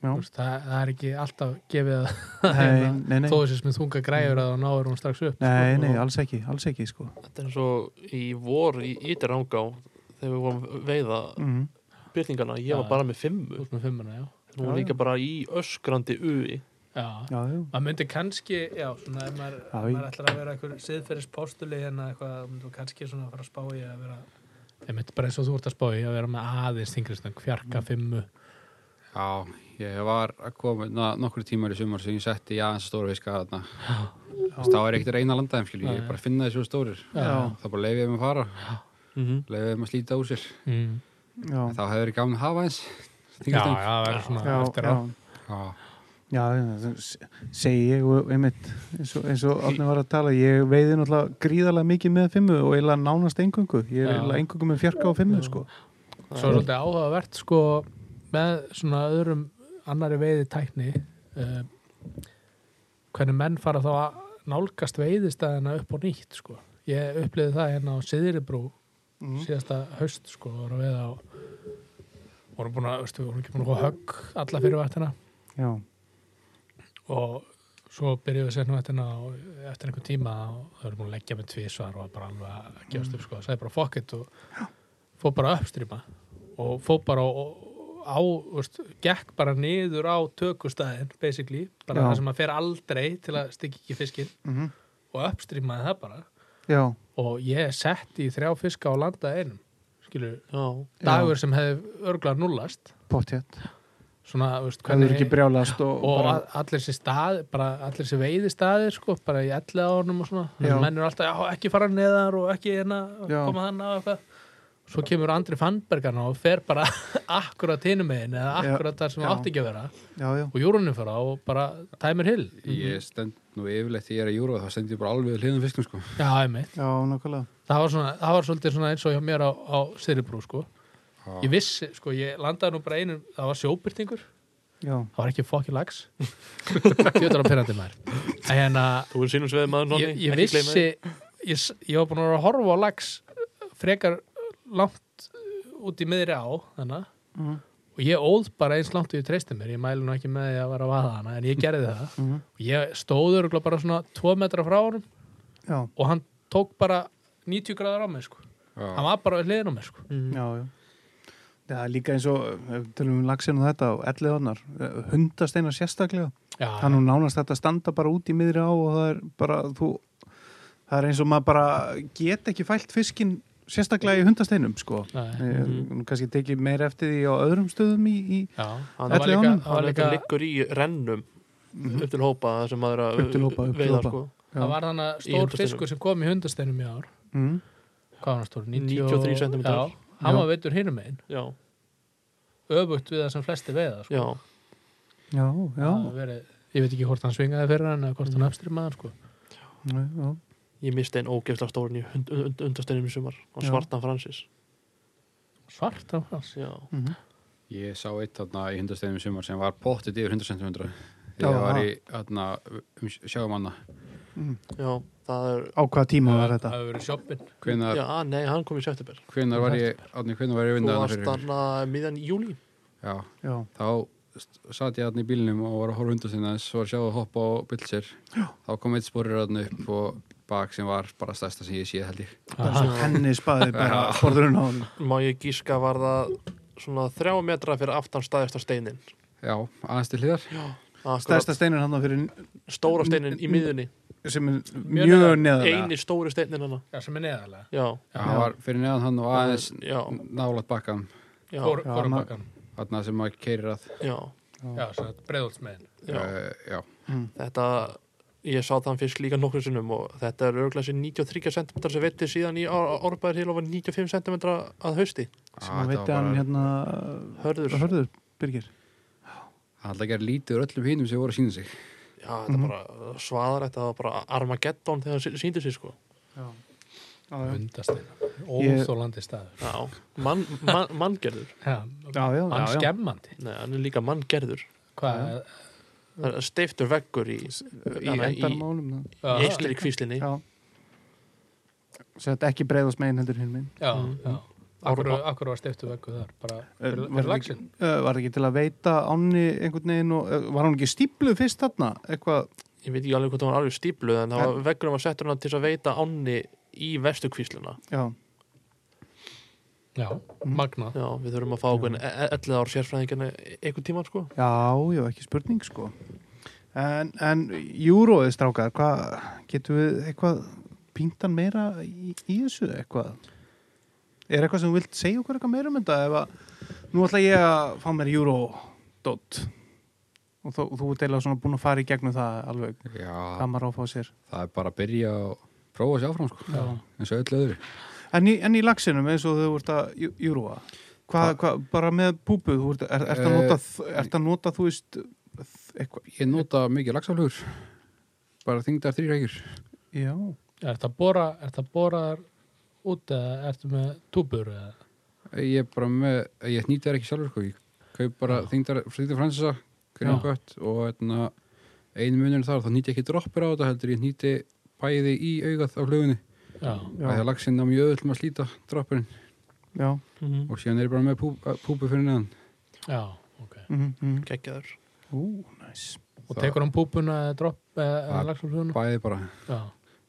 [SPEAKER 2] já,
[SPEAKER 1] Þú veist, það, það er ekki alltaf gefið að hérna
[SPEAKER 2] nei, nei, nei,
[SPEAKER 1] þó þessi sem þunga græður að þá náður hún strax upp
[SPEAKER 2] nei,
[SPEAKER 1] sko,
[SPEAKER 2] nei,
[SPEAKER 1] og-
[SPEAKER 2] alls ekki, alls ekki, sko.
[SPEAKER 6] Þetta er eins og í vor í Ítirangá þegar við vorum að veiða
[SPEAKER 2] Mm.
[SPEAKER 6] byrtingana, ég var
[SPEAKER 1] Já.
[SPEAKER 6] bara með fimmu
[SPEAKER 1] þú ert með fimmuna, já,
[SPEAKER 6] nú
[SPEAKER 2] Já,
[SPEAKER 6] er líka bara í öskrandi uvi
[SPEAKER 1] já.
[SPEAKER 2] Já, já,
[SPEAKER 1] maður myndi kannski, já, svona ef maður,
[SPEAKER 2] Já,
[SPEAKER 1] maður
[SPEAKER 2] ég-
[SPEAKER 1] ætlar að vera einhver siðferðispostuli hérna eitthvað, þá myndi þú kannski svona fara að spá í að vera ég myndi bara eins og þú ert að spá í að vera með aðeins þingrisnöng, fjarka fimmu
[SPEAKER 3] Já, ég var að koma na, nokkur tímar í sumar sem ég setti í aðeins stóra fiska þarna. Þess að það var ekkert að reyna að landa þeim, skilji. Ég
[SPEAKER 1] Nei.
[SPEAKER 3] bara finna þessu stórir.
[SPEAKER 2] Já.
[SPEAKER 3] Það bara leifið þeim að fara,
[SPEAKER 2] Mhm.
[SPEAKER 3] leifið þeim að slíta úr sér.
[SPEAKER 1] mm.
[SPEAKER 2] já,
[SPEAKER 3] En þá hefur verið gaman að hafa eins.
[SPEAKER 1] já, já, það verður svona
[SPEAKER 2] já,
[SPEAKER 1] eftir á
[SPEAKER 2] já.
[SPEAKER 3] Já,
[SPEAKER 2] Já, það se- segi ég og einmitt eins og, eins og Átni var að tala ég veiði náttúrulega gríðarlega mikið með fimmu og eiginlega nánast engungu ég
[SPEAKER 1] Já.
[SPEAKER 2] er eiginlega engungu með fjarka og fimmu sko.
[SPEAKER 1] svo er svolítið áhugavert sko með svona öðrum annari veiði tækni uh, hvernig menn fara þá að nálgast veiðistæðina upp og nýtt sko ég upplifði það hérna á Siðiribrú
[SPEAKER 2] Mhm.
[SPEAKER 1] síðasta haust sko voru við á voru búin að, veistu, voru ekki búin að fá högg alla fyrirvættina
[SPEAKER 2] Já,
[SPEAKER 1] og svo byrjuðu við sennvættina og eftir einhvern tíma og þau eru búin að leggja með tvísvar og bara alveg að gefast
[SPEAKER 2] Mm.
[SPEAKER 1] upp sko, það sagði bara fuck it og fór bara að uppstrýma og fór bara á, á veist, gekk bara niður á tökustæðin basically, bara
[SPEAKER 2] Já.
[SPEAKER 1] það sem maður fer aldrei til að stykki ekki fiskinn
[SPEAKER 2] Mhm.
[SPEAKER 1] og uppstrýmaði það bara
[SPEAKER 2] já,
[SPEAKER 1] og ég setti í þrjá fiska og landaði einum skilur,
[SPEAKER 6] Já,
[SPEAKER 1] dagur sem hefði örgla nullast
[SPEAKER 2] pottjætt
[SPEAKER 1] svona, þú veist,
[SPEAKER 2] Hvernig er ekki brjálast og,
[SPEAKER 1] og
[SPEAKER 2] bara,
[SPEAKER 1] bara... allir þessi stað bara allir þessi veiði staðir sko bara í elli ánum og svona
[SPEAKER 2] Já.
[SPEAKER 1] menn eru alltaf, já, ekki fara neðar og ekki hérna
[SPEAKER 2] Já.
[SPEAKER 1] koma hann á eitthvað svo kemur Andri Fannbergan og fer bara akkurat hinum megin eða
[SPEAKER 2] Já.
[SPEAKER 1] akkurat þar sem
[SPEAKER 2] Já.
[SPEAKER 1] átti ekki að vera
[SPEAKER 2] já, já,
[SPEAKER 1] og júrunum fara og bara tæmir hill
[SPEAKER 3] ég stend nú yfirleitt þegar ég er að júra þá stend ég bara alveg hliðan fiskum sko.
[SPEAKER 1] já, einmitt
[SPEAKER 2] já, nákvæmlega
[SPEAKER 1] það var, svona, það var svolítið svona eins og hjá mér á, á Siribrú sko
[SPEAKER 3] Já.
[SPEAKER 1] ég vissi, sko, ég landaði nú bara einum það var sjóbyrtingur
[SPEAKER 2] Já,
[SPEAKER 1] það var ekki fokkin lags fjötur á pyrrandi maður en hérna
[SPEAKER 6] þú er sínum sveið maður Nonni,
[SPEAKER 1] ég, ég
[SPEAKER 6] ekki gleyma því.
[SPEAKER 1] vissi ég, s- ég var búin að vera að horfa á lags frekar langt uh, út í miðri á þannig
[SPEAKER 2] Mhm.
[SPEAKER 1] og ég óð bara eins langt og ég treysti mér ég mælu nú ekki með því að vera að vaða hana en ég gerði það
[SPEAKER 2] Mhm.
[SPEAKER 1] og ég stóður og bara svona 2 metra frá honum
[SPEAKER 2] já,
[SPEAKER 1] og hann tók bara 90 gráður á mig sko. hann
[SPEAKER 3] Já,
[SPEAKER 1] var bara við hliðin á mig sko.
[SPEAKER 6] Mm.
[SPEAKER 2] já, já Það er líka eins og, ef við tölum um laxinu þetta og ellið honar, hundasteina sérstaklega
[SPEAKER 1] já,
[SPEAKER 2] Það er nú nánast þetta standa bara út í miðri á og það er bara, þú, það er eins og maður bara get ekki fælt fiskinn sérstaklega í hundasteinum, sko.
[SPEAKER 1] nei,
[SPEAKER 2] Ég, Nú kannski tekið meir eftir því á öðrum stöðum í, í
[SPEAKER 1] já.
[SPEAKER 6] Hann
[SPEAKER 1] það var
[SPEAKER 2] Ellefu
[SPEAKER 1] líka,
[SPEAKER 2] ánum.
[SPEAKER 1] það var
[SPEAKER 6] hann
[SPEAKER 1] líka
[SPEAKER 6] líka liggur í rennum upp til hópa það sem maður er að
[SPEAKER 2] Mhm. Upp til hópa, upp til
[SPEAKER 6] veiða,
[SPEAKER 2] hópa.
[SPEAKER 6] sko.
[SPEAKER 1] það var þannig að
[SPEAKER 6] Í
[SPEAKER 1] stór
[SPEAKER 6] hundasteinum.
[SPEAKER 1] fiskur sem kom í hundasteinum í ár
[SPEAKER 2] mm,
[SPEAKER 1] hvað var hann stór? 90
[SPEAKER 6] 93 cm.
[SPEAKER 1] já, hann
[SPEAKER 2] Já.
[SPEAKER 1] var veitur hinum einn
[SPEAKER 6] já,
[SPEAKER 1] öfugt við það sem flesti veiða sko.
[SPEAKER 6] já,
[SPEAKER 2] já, já,
[SPEAKER 1] Það hafi verið, ég veit ekki hvort hann svingaði fyrir hann eða hvort hann uppstrymaði hann sko.
[SPEAKER 2] já, já,
[SPEAKER 6] ég misti einn ógefla stórin í und, und, und, undasteynum í sumar á
[SPEAKER 2] Já.
[SPEAKER 6] svartan Francis
[SPEAKER 1] svart af hans
[SPEAKER 6] já,
[SPEAKER 2] mhm,
[SPEAKER 3] ég sá eitt þarna í hundasteginum sumar sem var pottet yfir 100 cm.
[SPEAKER 2] Já,
[SPEAKER 3] Þegar ég var
[SPEAKER 2] ha.
[SPEAKER 3] í þarna, um, sjáum hana,
[SPEAKER 6] já, það er
[SPEAKER 2] á hvaða tíma var
[SPEAKER 1] það
[SPEAKER 2] þetta?
[SPEAKER 1] hefur verið sjoppin
[SPEAKER 3] hvenar,
[SPEAKER 6] já, ah, nei, hann kom í september
[SPEAKER 3] hvenar var ég, átni, hvenar var ég
[SPEAKER 6] þú
[SPEAKER 3] vindaðan
[SPEAKER 6] varst
[SPEAKER 3] fyrir?
[SPEAKER 6] hann að miðjan í júli
[SPEAKER 3] Já,
[SPEAKER 2] Já,
[SPEAKER 3] þá st- sat ég þarna í bílnum og var að horfa hundasteginum þess, var að sjá að hoppa á bylsir. Þá kom eitt spórir þarna upp og bak sem var bara stærsta sem ég séð held ég.
[SPEAKER 2] bara svo henni spaði bara borðurinn á hann.
[SPEAKER 6] má ég gíska var það svona þrjá metra fyrir aftan staðista steinin
[SPEAKER 3] Já, aðeins til hliðar.
[SPEAKER 6] Akkurat,
[SPEAKER 2] Stærsta steinar hann fyrir
[SPEAKER 6] stóra steinin í miðunni
[SPEAKER 2] sem er
[SPEAKER 1] Mjög
[SPEAKER 2] mjög
[SPEAKER 1] neðar.
[SPEAKER 2] neðarlega.
[SPEAKER 6] eini stóri steinin hana
[SPEAKER 1] já, sem er neðarlega
[SPEAKER 6] já,
[SPEAKER 3] Já, hann var fyrir neðan hann og aðeins
[SPEAKER 6] já,
[SPEAKER 3] nálat bakkan,
[SPEAKER 6] já,
[SPEAKER 1] Hvor-
[SPEAKER 2] Já,
[SPEAKER 1] hvorum
[SPEAKER 2] ma-
[SPEAKER 1] bakkanum.
[SPEAKER 3] þarna sem maður keirir að.
[SPEAKER 6] já,
[SPEAKER 1] já, sem sagt breiðoltsmeðin
[SPEAKER 6] já.
[SPEAKER 3] Eh, já.
[SPEAKER 6] þetta ég sá þann fisk líka nokkrum sinnum og þetta er örgulega sem 93 cm sem vetti síðan í árbæðir til og var 95 cm að hausti
[SPEAKER 3] Ah,
[SPEAKER 2] Sem að veitti hann hérna
[SPEAKER 6] hörður
[SPEAKER 2] hörður Birgir
[SPEAKER 3] Það er alltaf að gera lítið úr öllum hinum sem voru að sína sig.
[SPEAKER 4] Já, þetta er bara svaðarætt að það var bara Armageddon þegar það síndi sér sko
[SPEAKER 2] Já,
[SPEAKER 1] Undasteina. Óþólandi staður.
[SPEAKER 4] Já, mann man, manngerður
[SPEAKER 1] Já,
[SPEAKER 2] já, já,
[SPEAKER 1] hann
[SPEAKER 2] já.
[SPEAKER 1] skemmandi.
[SPEAKER 4] Nei, hann er líka manngerður
[SPEAKER 1] Hvað?
[SPEAKER 4] Það er Steiftur veggur í,
[SPEAKER 2] í
[SPEAKER 4] hana, í,
[SPEAKER 2] endarmálum
[SPEAKER 1] Já,
[SPEAKER 2] það.
[SPEAKER 4] í eistlir í kvíslinni
[SPEAKER 2] Já Sett ekki breiðast megin heldur hinn minn
[SPEAKER 1] Já, já. Akkur, akkur var stiftu veggu þar, bara
[SPEAKER 2] Eh,
[SPEAKER 1] fyrir, fyrir lagsin.
[SPEAKER 2] Uh, var ekki til að veita ánni einhvern veginn og uh, var hann ekki stípluð fyrst þarna eitthvað,
[SPEAKER 4] Ég veit ekki alveg hvort það var alveg stípluð en það var veggurum að settur hann til þess að veita ánni í vestu kvísluna
[SPEAKER 2] já,
[SPEAKER 1] Já,
[SPEAKER 2] Mm.
[SPEAKER 1] magnað.
[SPEAKER 4] Já, við þurfum að fá okkur 11 ár sérfræðingarna einhvern tíma sko
[SPEAKER 2] já, já, ekki spurning sko en, en júróið strákar, hvað getum við eitthvað píntan meira í, í þessu eitthvað er eitthvað sem þú vilt segja okkur eitthvað meira um þetta ef að, nú ætla ég að fá mér júródótt og þú, þú ert eiginlega svona búin að fara í gegnum það alveg,
[SPEAKER 3] Já,
[SPEAKER 2] hvað maður á að fá sér
[SPEAKER 3] það er bara að byrja og prófa sér áfram, sko.
[SPEAKER 2] já
[SPEAKER 3] eins og öllu öðru.
[SPEAKER 2] En í, en í laxinum eins og þau vart að jú- júrúa hva, Eh, hva, bara með púpu þú ert, er, ert, að nota, ert að nota þú veist þ- eitthvað
[SPEAKER 3] Ég nota mikið lagsaflugur, bara þingdar þrýrækjur.
[SPEAKER 2] já,
[SPEAKER 1] Er þetta bóra, er þetta bóraðar út eða ertu með túbur eða?
[SPEAKER 3] Ég er bara með, ég nýti þær ekki sjálfur, sko. Ég kaup bara þingdar, þingdar fransisa,
[SPEAKER 1] Já.
[SPEAKER 3] greinbött og hérna, einu munur þar, þá nýti ég ekki droppir á þetta heldur, ég nýti bæði í augað á flugunni.
[SPEAKER 1] Já,
[SPEAKER 3] Það
[SPEAKER 2] já,
[SPEAKER 3] er lagsinn á mjög öðvöldum að slíta droppurinn
[SPEAKER 2] já.
[SPEAKER 4] mm.
[SPEAKER 3] og síðan er ég bara með pú, púpu fyrir neðan.
[SPEAKER 1] já, ok.
[SPEAKER 2] Mm -hmm.
[SPEAKER 4] Gekkjaður
[SPEAKER 2] ú, næs
[SPEAKER 1] Og
[SPEAKER 3] Það-
[SPEAKER 1] tekur hann púpuna eða dropp eða
[SPEAKER 3] Það-
[SPEAKER 1] lagsfólfuna?
[SPEAKER 3] Bæði bara.
[SPEAKER 1] Já,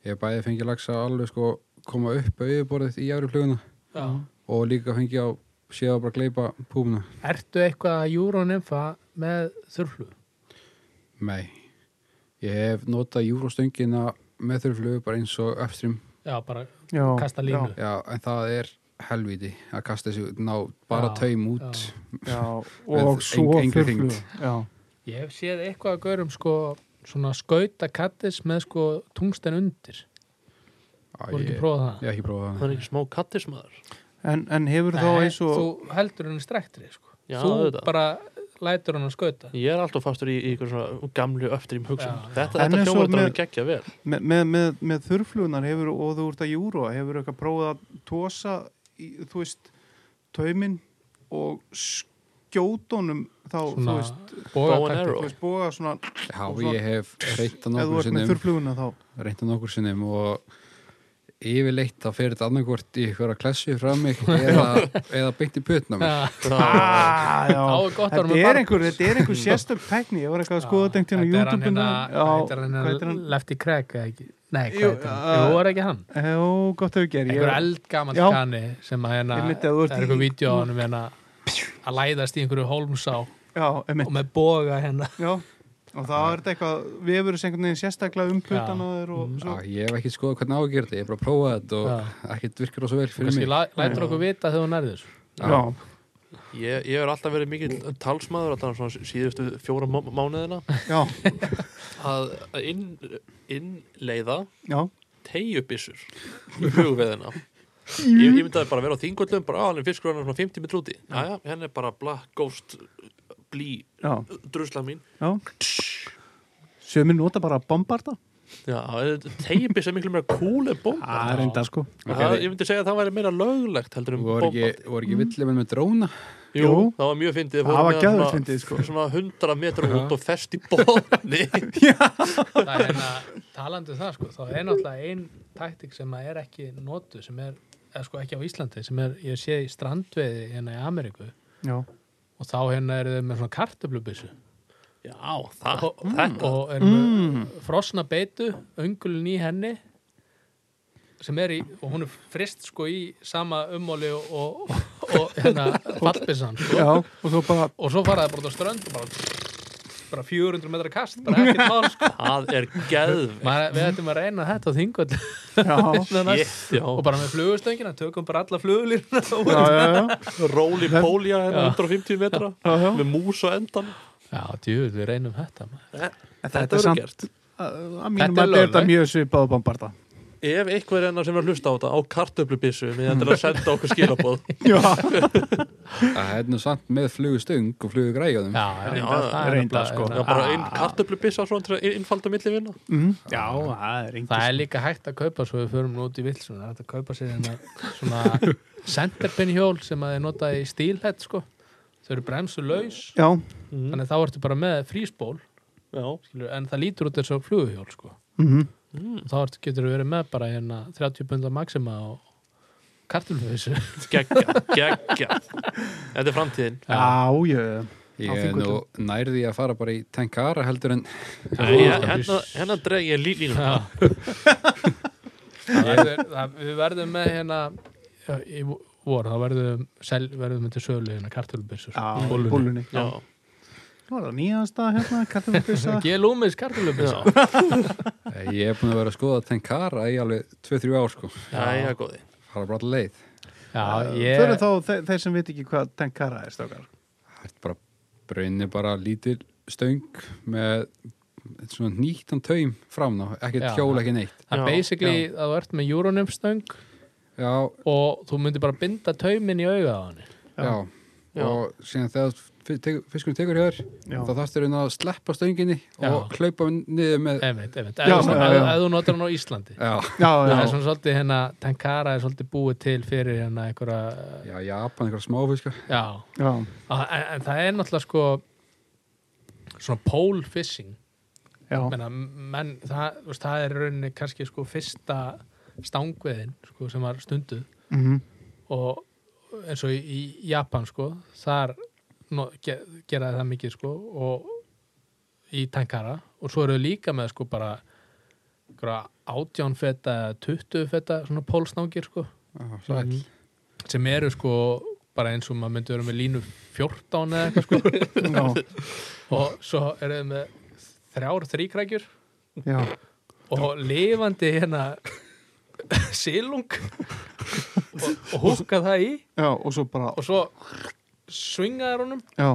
[SPEAKER 3] Ég hef bæði fengið lagsa alveg sko koma upp á yfirborðið í jæfri fluguna
[SPEAKER 1] já.
[SPEAKER 2] Mm.
[SPEAKER 3] og líka fengið á séða bara gleypa púmuna.
[SPEAKER 1] Ertu eitthvað að júrónymfa með þurflu?
[SPEAKER 3] Nei. Ég hef notað júróstöngina með þurrflugu bara eins og upstream.
[SPEAKER 1] Já, bara
[SPEAKER 2] já,
[SPEAKER 1] kasta línu.
[SPEAKER 3] Já, en það er helviti að kasta þessu, ná bara
[SPEAKER 1] Já,
[SPEAKER 3] taum út.
[SPEAKER 1] já.
[SPEAKER 2] já, já,
[SPEAKER 3] Með
[SPEAKER 2] og svo
[SPEAKER 3] eng- enga
[SPEAKER 2] þurflu
[SPEAKER 3] hringd.
[SPEAKER 2] já,
[SPEAKER 1] Ég hef séð eitthvað að gaurum sko svona skauta kattis með sko tungsten undir.
[SPEAKER 3] Já,
[SPEAKER 1] Þú ekki
[SPEAKER 3] ég,
[SPEAKER 1] prófað það?
[SPEAKER 3] ég hef ekki prófað
[SPEAKER 4] Það
[SPEAKER 3] það.
[SPEAKER 4] er ekki smá kattismæður
[SPEAKER 2] en, en hefur þá
[SPEAKER 1] Nei,
[SPEAKER 2] eins og
[SPEAKER 1] Þú heldur henni strektri sko.
[SPEAKER 4] Já,
[SPEAKER 1] Þú
[SPEAKER 4] auðvitað.
[SPEAKER 1] bara lætur henni að skauta
[SPEAKER 4] Ég er alltaf fastur í, í ykkur svona gamlu öftrým hugsun
[SPEAKER 1] Já, já.
[SPEAKER 4] Þetta,
[SPEAKER 2] En
[SPEAKER 4] þetta
[SPEAKER 2] eins og
[SPEAKER 4] hljómar þetta
[SPEAKER 2] með-
[SPEAKER 4] alveg gekkja vel
[SPEAKER 2] með, með, með, með þurflunar hefur og þú ert að júrúa, hefur eitthvað prófað að tósa, í, þú veist tauminn og skjótonum þá, þú
[SPEAKER 1] Svona
[SPEAKER 2] veist
[SPEAKER 4] bow and
[SPEAKER 1] bogataktik
[SPEAKER 4] arrow.
[SPEAKER 2] þú veist búið að svona ef
[SPEAKER 3] Já, ég hef reynt að
[SPEAKER 2] þú
[SPEAKER 3] nokkur
[SPEAKER 2] ert með
[SPEAKER 3] sinnum.
[SPEAKER 2] þurfluguna þá
[SPEAKER 3] reynda nokkur sinnum og yfirleitt þá fer þetta annarkvort í ykkur að klessu fram mig eða, eða beint í putna mér.
[SPEAKER 1] Já,
[SPEAKER 2] ah, já.
[SPEAKER 1] Þá er gott að vera
[SPEAKER 2] þetta
[SPEAKER 1] með
[SPEAKER 2] er
[SPEAKER 1] barn.
[SPEAKER 2] einhver, þetta er einhver sérstök tækni ég var eitthvað að skoða þetta einhvern
[SPEAKER 1] þetta er hann
[SPEAKER 2] veginn
[SPEAKER 1] hérna
[SPEAKER 2] á
[SPEAKER 1] Þetta er
[SPEAKER 2] YouTube
[SPEAKER 1] hann
[SPEAKER 2] hvað heitir
[SPEAKER 1] hérna
[SPEAKER 2] hann?
[SPEAKER 1] Lefty Craig eða ekki Nei, hvað
[SPEAKER 2] Jú,
[SPEAKER 1] heitir hann?
[SPEAKER 2] uh,
[SPEAKER 1] Jú, er ekki hann
[SPEAKER 2] Jó, gott að við gerir
[SPEAKER 1] Einhver eldgamall
[SPEAKER 2] Já.
[SPEAKER 1] kanni sem að hérna
[SPEAKER 2] Ég myndi að þú ert
[SPEAKER 1] Það er eitthvað
[SPEAKER 2] í-
[SPEAKER 1] vídeo á hann hérna að læðast í einhverju hólmsá
[SPEAKER 2] Já, emitt
[SPEAKER 1] og með boga hérna
[SPEAKER 2] Já, og þá er þetta eitthvað við verum einhvern veginn sérstaklega umputan á þér og
[SPEAKER 3] Já,
[SPEAKER 2] svo
[SPEAKER 3] ég hef ekkert skoðað hvernig á að gera þetta, ég hef bara prófað þetta og ekkert virkar það svo vel fyrir
[SPEAKER 1] Kannski
[SPEAKER 3] mig.
[SPEAKER 1] lá- lætur okkur vita þegar hún er þess
[SPEAKER 2] Já,
[SPEAKER 4] Ég, ég er alltaf verið mikill talsmaður alltaf svona síðustu fjóra má- mánuðina
[SPEAKER 2] já,
[SPEAKER 4] að að inn, innleiða
[SPEAKER 2] já
[SPEAKER 4] teigjubissur í hugveðina ég, ég myndi að bara vera á þingullum bara á hann er fiskur hann er svona 50 metr úti Jæja, henn er bara black ghost blí
[SPEAKER 2] Já,
[SPEAKER 4] drusla mín
[SPEAKER 2] já Sjömi nota bara að bombarda
[SPEAKER 4] Já, teigjubissa er miklu meira cool en bomba
[SPEAKER 2] Það er enda sko
[SPEAKER 4] það, ég myndi segja að það væri meira löglegt heldur um
[SPEAKER 3] Voru
[SPEAKER 4] bomba
[SPEAKER 3] ekki, voru ekki
[SPEAKER 1] Mm.
[SPEAKER 3] villimenn með dróna?
[SPEAKER 4] Jú,
[SPEAKER 2] Jú.
[SPEAKER 4] það var mjög fyndið
[SPEAKER 2] Það var
[SPEAKER 4] Fórum með
[SPEAKER 2] geðveikt
[SPEAKER 4] svona-
[SPEAKER 2] fyndið, sko.
[SPEAKER 4] svona 100 metrum út og fest í bóðni
[SPEAKER 1] Það er hérna talandi um það sko þá er náttúrulega ein taktik sem að er ekki notu sem er, eða sko ekki á Íslandi sem er, ég sé í strandveiði hérna í Ameríku
[SPEAKER 2] Já,
[SPEAKER 1] og þá hérna eru þau með svona kartöflubissu
[SPEAKER 4] Já, það,
[SPEAKER 2] Mm.
[SPEAKER 4] þetta
[SPEAKER 1] og eru með frosna beitu öngulun í henni sem er í, og hún er frist sko í sama ummáli og, og, og hérna fallbissan sko.
[SPEAKER 2] já, og svo bara
[SPEAKER 1] og svo faraði bara út á strönd og bara, bara 400 metra kast bara ekkert mál sko.
[SPEAKER 4] það er geðvegt
[SPEAKER 1] Maður, við ættum að reyna þetta á þingvöld
[SPEAKER 2] Já,
[SPEAKER 4] Shit, já.
[SPEAKER 1] og bara með flugustöngina, tökum bara alla flugulýrna
[SPEAKER 2] já, já, já,
[SPEAKER 4] Róli hérna Pólia
[SPEAKER 1] Já.
[SPEAKER 4] 150 metra
[SPEAKER 2] já, já.
[SPEAKER 4] með mús á endan
[SPEAKER 1] Já, djúvel, við reynum þetta maður.
[SPEAKER 2] Þetta
[SPEAKER 4] verður
[SPEAKER 2] er samt
[SPEAKER 4] gert.
[SPEAKER 2] að að
[SPEAKER 1] Þetta
[SPEAKER 2] mínum
[SPEAKER 1] er
[SPEAKER 2] að þetta
[SPEAKER 1] löglegt.
[SPEAKER 2] mjög svipað og bombarda
[SPEAKER 4] ef einhver enna sem er að hlusta á þetta á kartöflubissu með endur að senda okkur skilabóð
[SPEAKER 3] Það er nú samt með flugustöng og flugugræðum.
[SPEAKER 1] Já, reyndar,
[SPEAKER 4] já,
[SPEAKER 1] það er
[SPEAKER 2] reyndar,
[SPEAKER 1] nefnilega-
[SPEAKER 2] sko.
[SPEAKER 4] Já, bara einn kartöflubissa svona til að innfalda milli vinna
[SPEAKER 2] Mm. Já, það er
[SPEAKER 1] Það er líka hægt að kaupa svo við förum nú út í vill svona, hægt að kaupa sér hérna svona centerpin hjól sem að þið nota í stílhett sko þau eru bremsu laus
[SPEAKER 2] Já,
[SPEAKER 1] þannig að þá ertu bara með frísból
[SPEAKER 4] Mm. Já, Mm.
[SPEAKER 1] skilur, en það lítur út eins og fluguhjól sko
[SPEAKER 2] mhm.
[SPEAKER 1] og þá ertu, getur þú verið með bara hérna 30 pundar maxima og kartulfeysu
[SPEAKER 4] geggja, geggja Þetta er framtíðin
[SPEAKER 2] já, já. Á
[SPEAKER 3] Ég er nú nærði að fara bara í Tenkara heldur en
[SPEAKER 4] Nei, ég- Hérna, hérna dreg ég lílínu
[SPEAKER 1] Já. það verður, það, við verðum með hérna já, í vor, þá verðum sel, verðum við til sölu hérna kartulfeysu
[SPEAKER 2] Já, Ah. bólunni.
[SPEAKER 4] Já,
[SPEAKER 2] Nú er það nýjasta hérna, kartaflubissa.
[SPEAKER 1] Gelúmis kartulfeysu
[SPEAKER 3] Eh, ég er búin að vera að skoða Tenkara í alveg 2-3 ár sko.
[SPEAKER 4] já, já, góði
[SPEAKER 3] Fara bara allir leið.
[SPEAKER 1] Já,
[SPEAKER 2] Þau
[SPEAKER 1] ég
[SPEAKER 2] eru þá þeir, þeir sem veit ekki hvað tenkara er stókar.
[SPEAKER 3] Það er bara brunni bara lítil stöng með svona nýttan taum fram ná, ekkert
[SPEAKER 1] Já.
[SPEAKER 3] hjól, ekki neitt.
[SPEAKER 1] Það er
[SPEAKER 4] Já,
[SPEAKER 1] basically að þú ert með Euronymp stöng
[SPEAKER 3] Já,
[SPEAKER 1] og þú myndir bara binda taumin í auga á henni.
[SPEAKER 2] Já.
[SPEAKER 3] já.
[SPEAKER 4] Já.
[SPEAKER 3] Og síðan þegar fi- tekur- fiskurinn tekur hjá þér,
[SPEAKER 2] Já.
[SPEAKER 3] þá þarfstu raun að sleppa stönginni
[SPEAKER 1] Já.
[SPEAKER 3] og hlaupa niður
[SPEAKER 4] Eh.
[SPEAKER 3] með...
[SPEAKER 1] Einmitt, einmitt.
[SPEAKER 2] Já,
[SPEAKER 1] Ef þú-
[SPEAKER 2] já,
[SPEAKER 1] ef
[SPEAKER 2] já.
[SPEAKER 1] ef þú notar hann á Íslandi.
[SPEAKER 3] Já,
[SPEAKER 2] Já,
[SPEAKER 1] Það
[SPEAKER 2] já.
[SPEAKER 1] er svona svolítið hérna, Tenkara er svolítið búið til fyrir hérna einhverja,
[SPEAKER 3] já, Japan, einhverja smáfiska.
[SPEAKER 1] já.
[SPEAKER 2] já.
[SPEAKER 1] En, en það er náttúrulega sko svona pole fishing.
[SPEAKER 2] Já,
[SPEAKER 1] Menna, menn, það, þú veist, það er í rauninni kannski sko fyrsta stangveðin sko, sem var stunduð
[SPEAKER 2] mhm.
[SPEAKER 1] og eins og í, í Japan sko, þar no, ge, geraði það mikið sko og í tankara og svo eru þau líka með sko bara einhverja átján feta eða 20 feta svona pólsnángir sko
[SPEAKER 3] Já, sæll.
[SPEAKER 2] Mhm.
[SPEAKER 1] sem eru sko bara eins og maður myndi vera með línu 14 eða eitthvað sko
[SPEAKER 2] já,
[SPEAKER 1] og svo eru þau með þrjár þríkrækjur
[SPEAKER 2] já.
[SPEAKER 1] og lifandi hérna silung og, og húka það í
[SPEAKER 2] Já, og svo bara,
[SPEAKER 1] og svo svingaðar honum
[SPEAKER 2] já.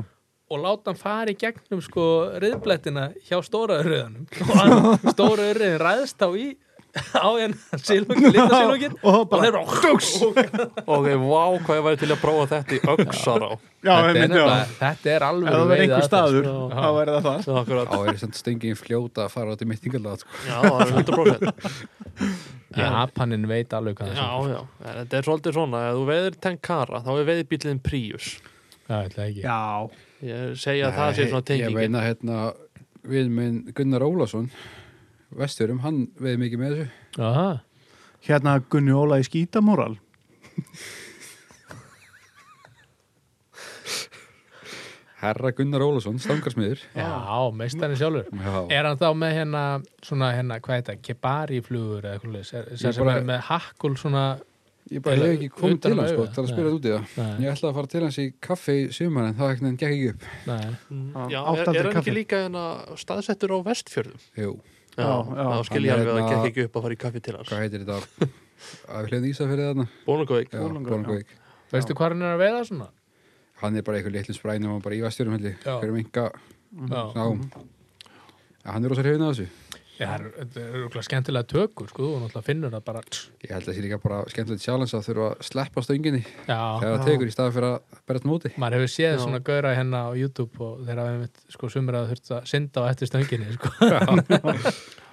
[SPEAKER 1] og láta hann fara í gegnum sko riðblettina hjá stóra rauðanum og hann, stóra rauðin ræðst á í á hérna sílungin, lita sílungin
[SPEAKER 2] Og
[SPEAKER 1] og
[SPEAKER 2] bara,
[SPEAKER 1] þeir bara
[SPEAKER 4] Ok, vá, hvað ég væri til að prófa þetta í öxar á
[SPEAKER 2] já,
[SPEAKER 1] þetta, er
[SPEAKER 2] einmitt, já.
[SPEAKER 1] nefnilega- þetta er
[SPEAKER 2] Ef
[SPEAKER 1] alveg
[SPEAKER 2] það verður einhver staður,
[SPEAKER 1] sko.
[SPEAKER 2] þá verður það það.
[SPEAKER 4] Já, akkurat.
[SPEAKER 3] Þá er þess að stöngin fljóta að fara út í mittingalega, sko.
[SPEAKER 4] Já, það er 100%
[SPEAKER 1] Japanin veit alveg hvað
[SPEAKER 4] Já,
[SPEAKER 1] það
[SPEAKER 4] já, en þetta er svolítið svona Ef þú veðir tenkara, þá er veðibílinn Prius
[SPEAKER 1] er það ekki
[SPEAKER 2] Já,
[SPEAKER 4] Ég segja að það sé svona
[SPEAKER 3] Ég
[SPEAKER 4] tengingin
[SPEAKER 3] veina hérna, við minn Gunnar Ólason, vesturum, hann veið mikið með þessu.
[SPEAKER 1] Aha.
[SPEAKER 2] hérna Gunni Óla í skítamóral.
[SPEAKER 3] Herra Gunnar Ólason, stangarsmiður.
[SPEAKER 1] já, meistarinn sjálfur
[SPEAKER 3] Já,
[SPEAKER 1] er hann þá með hérna svona hérna, hvað heit það, kebari flugur eða eitthvað leis, er, sem
[SPEAKER 3] Ég
[SPEAKER 1] sem
[SPEAKER 3] bara-
[SPEAKER 1] er með hakkul svona
[SPEAKER 3] ég bara hef ekki komið til
[SPEAKER 1] Utan
[SPEAKER 3] hans, sko,
[SPEAKER 1] auga.
[SPEAKER 3] til að spyrja
[SPEAKER 1] Nei.
[SPEAKER 3] þetta út í það.
[SPEAKER 1] nei,
[SPEAKER 3] Ég ætlaði að fara til hans í kaffi í sumar en það ekki nefn gekk ekki upp.
[SPEAKER 1] nei.
[SPEAKER 4] Mm, Já, er,
[SPEAKER 2] Áttaldri
[SPEAKER 4] er hann
[SPEAKER 2] kaffi.
[SPEAKER 4] ekki líka hérna staðsettur á vestfjörðum?
[SPEAKER 3] Jú,
[SPEAKER 4] Já,
[SPEAKER 2] Já, já.
[SPEAKER 4] þá skil ég
[SPEAKER 3] Hann er
[SPEAKER 4] alveg að það
[SPEAKER 3] hérna-
[SPEAKER 4] gekk ekki upp að fara í kaffi til hans
[SPEAKER 3] hvað heitir þetta? Að við hliðum Ísafjörði þarna?
[SPEAKER 4] Bónungavík
[SPEAKER 3] Já,
[SPEAKER 2] Bolungarvík,
[SPEAKER 3] Bolungavík.
[SPEAKER 1] veistu hvað hann er að veiða svona?
[SPEAKER 3] Hann er bara einhver litlum sprænum og bara í vestjurum held ég.
[SPEAKER 1] Já.
[SPEAKER 3] Fyrir minga,
[SPEAKER 1] Já. Mhm.
[SPEAKER 3] ná.
[SPEAKER 2] Mhm.
[SPEAKER 3] Hann er rosa hrifin að þessu.
[SPEAKER 1] Já, það eru- þetta eru okkur skemmtilega tökur sko, og náttúrulega finnur það bara
[SPEAKER 3] Ég held að það sé líka bara skemmtilegt challenge að þurfa að sleppa stönginni
[SPEAKER 1] Já,
[SPEAKER 3] þegar það tekur í staði fyrir að berða móti.
[SPEAKER 1] maður hefur séð
[SPEAKER 4] Já.
[SPEAKER 1] svona gauðra hérna á YouTube og þeirra hefur mitt sko sumir að þurft að synda á eftir stönginni sko.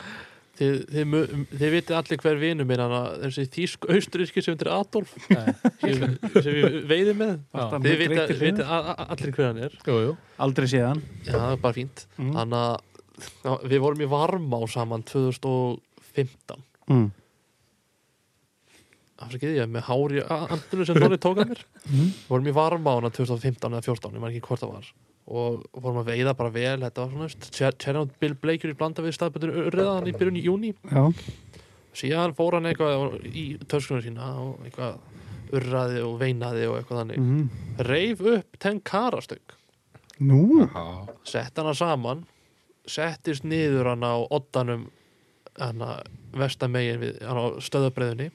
[SPEAKER 4] Þið, þið, mu- þið vitið allir hver vinur minn hana, þessi þýsk austuríski sem þetta er Adolf
[SPEAKER 1] Nei.
[SPEAKER 4] sem, sem við veiðum með
[SPEAKER 1] Já.
[SPEAKER 4] þið vitið viti allir hver hann er
[SPEAKER 1] Jú, jú,
[SPEAKER 2] Aldrei séðan.
[SPEAKER 4] já, það er bara fínt
[SPEAKER 2] Mm.
[SPEAKER 1] Mhm.
[SPEAKER 4] þannig að já, við vorum í varma á saman 2015
[SPEAKER 2] Mm.
[SPEAKER 4] afsakið ég er með hári andinu sem Donni tók að mér
[SPEAKER 2] Mhm.
[SPEAKER 4] við vorum í varma á hana 2015 eða 14 ég maður ekki hvort það var og vorum að veiða bara vel þetta var svona veist, Tjer- Chernobyl Blaker í blanda við staðbundur urriðan í byrjun í júni
[SPEAKER 2] Já.
[SPEAKER 4] síðan fór hann eitthvað í törskunum sína og eitthvað urraði og veinaði og eitthvað þannig
[SPEAKER 2] Mm.
[SPEAKER 4] reif upp tenkarastöng
[SPEAKER 2] Nú,
[SPEAKER 3] Já.
[SPEAKER 4] sett hana saman settist niður hann á oddanum hann vestamegin við hann á stöðabreðunni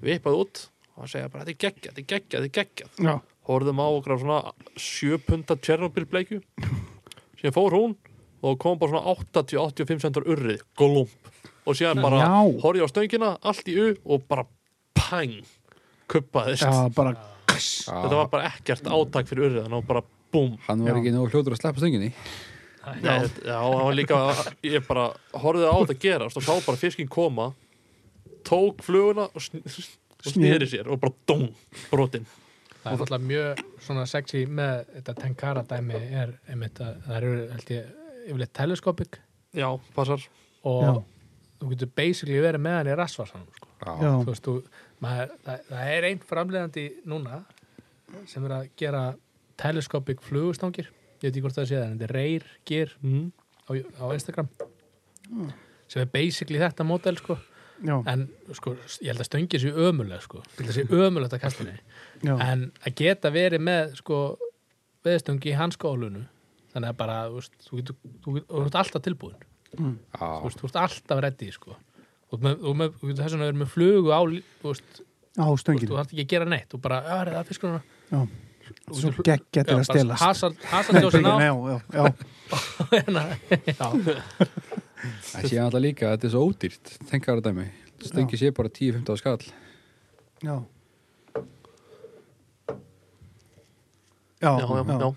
[SPEAKER 4] vipaði út og hann segja bara þetta er geggjað, þetta er geggjað, þetta er geggjað
[SPEAKER 2] já.
[SPEAKER 4] horfðum á okkur á svona 7 punta Tjernobyl bleikju síðan fór hún og kom bara svona 80-85 centur urrið, golump og síðan bara
[SPEAKER 2] Já.
[SPEAKER 4] horfði á stöngina, allt í u og bara pang kuppaðist
[SPEAKER 2] Já, bara
[SPEAKER 4] þetta var bara ekkert átak fyrir urriðan og bara búm
[SPEAKER 3] Hann var
[SPEAKER 2] Já.
[SPEAKER 3] ekki nógu hljótur að sleppa stönginni
[SPEAKER 4] Nei, þetta- já, það var líka ég bara horfði á þetta gerast og sá bara fiskinn koma tók fluguna og, sn og sneri sér og bara dong, brotinn
[SPEAKER 1] Það er alltaf mjög svona sexy með þetta tenkara dæmi er einmitt að það eru held ég yfirleitt teleskopik
[SPEAKER 4] já, passar
[SPEAKER 1] og
[SPEAKER 2] Já.
[SPEAKER 1] þú getur basically verið með hann í rassvarsanum sko.
[SPEAKER 2] Já,
[SPEAKER 1] þú veist, þú, maður, það, það er einn framlegandi núna sem er að gera teleskopik flugustangir ég veit ekki hvort það sé það, en þetta er Reyr Gear
[SPEAKER 4] mm.
[SPEAKER 1] á, á Instagram sem er basically þetta mótel sko.
[SPEAKER 2] já,
[SPEAKER 1] en sko, ég held að stöngi sér ömulega sko. ég held að sér ömulegt að kasta henni
[SPEAKER 2] já,
[SPEAKER 1] en að geta verið með sko, veðstöng í hanskólunu þannig að bara, þú veist, þú getur þú, getur- þú ert alltaf tilbúin, þú,
[SPEAKER 3] Já,
[SPEAKER 1] veist, þú ert alltaf reddi, sko og með, og með, þú getur þess vegna verið með flugu á lí- þú veist, þú
[SPEAKER 2] á
[SPEAKER 1] veist,
[SPEAKER 2] stöngin
[SPEAKER 1] þú þarf ekki að gera neitt þú bara, já, er það fiskur hana
[SPEAKER 2] Svo gegg getur að stelast
[SPEAKER 1] hasardjósin á
[SPEAKER 2] Já, já, já,
[SPEAKER 1] hérna, já,
[SPEAKER 3] það sé alltaf líka að þetta er svo ódýrt Tenkara dæmi, stöngi sé bara 10-15 skall
[SPEAKER 2] já
[SPEAKER 4] já, já, já.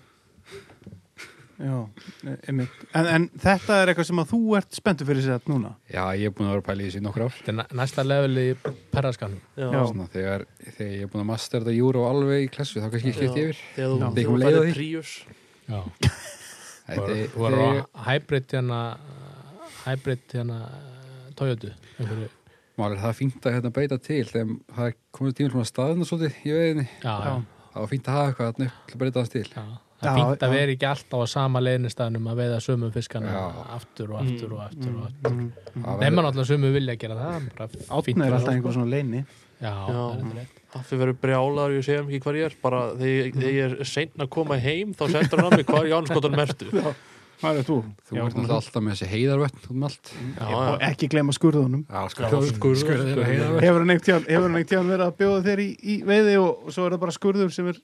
[SPEAKER 2] já, einmitt. en, en þetta er eitthvað sem að þú ert spenntu fyrir sér núna
[SPEAKER 3] Já, ég er búin að vera að pæla í þessi í nokkur ár
[SPEAKER 1] þetta er næ- næsta level í perraskanum
[SPEAKER 4] Já,
[SPEAKER 2] Já.
[SPEAKER 3] Svona, þegar, þegar ég er búin að master þetta júru og alveg í klassu þá kannski ég
[SPEAKER 4] Já.
[SPEAKER 3] skipti yfir
[SPEAKER 4] þegar
[SPEAKER 2] Já.
[SPEAKER 4] þú, þegar þú
[SPEAKER 3] Leikum leið á
[SPEAKER 4] færir
[SPEAKER 3] því.
[SPEAKER 4] príus
[SPEAKER 1] já,
[SPEAKER 3] Æ,
[SPEAKER 1] var,
[SPEAKER 3] þeg-
[SPEAKER 1] var á
[SPEAKER 3] þegar
[SPEAKER 1] hybrid hérna hybrid hérna Toyota, einhverju,
[SPEAKER 3] Mál er það fínt að hérna beita til þegar það er komið tímil svona staðin og svolítið í veginni
[SPEAKER 1] já, já
[SPEAKER 2] Já.
[SPEAKER 3] það var fínt að hafa eitthvað þarna upp til að breyta hans til
[SPEAKER 1] Já,
[SPEAKER 2] Já,
[SPEAKER 1] það er fínt að
[SPEAKER 2] já.
[SPEAKER 1] vera ekki alltaf á sama leiðnistæðnum að veiða sömu fiskana
[SPEAKER 3] Já.
[SPEAKER 1] aftur og aftur og aftur
[SPEAKER 2] Mm,
[SPEAKER 1] og aftur.
[SPEAKER 3] Það
[SPEAKER 1] Nefna
[SPEAKER 3] verður-
[SPEAKER 1] náttúrulega sömu vilja að gera það, bara fínt.
[SPEAKER 2] Átna er alltaf einhver svona leini
[SPEAKER 1] Já,
[SPEAKER 4] Já.
[SPEAKER 1] það er þetta rétt.
[SPEAKER 4] Affi verður brjálar, ég segja ekki hvað ég er bara þegar, ég- þegar ég er seinn að koma heim þá sendur hann á mig hvað er Jánskotan mertu já,
[SPEAKER 2] Hvað er þú?
[SPEAKER 3] þú ert náttúrulega alltaf með þessi heiðarvötn út um allt
[SPEAKER 4] já,
[SPEAKER 2] Og ekki gleyma skurðunum
[SPEAKER 3] skurður, skurður, skurður og heiðarvötn
[SPEAKER 2] Hefur hann einhvern tíðan, hefur hann einhvern tíðan verið að bjóða þér í, í veiði og, og svo er það bara skurður sem er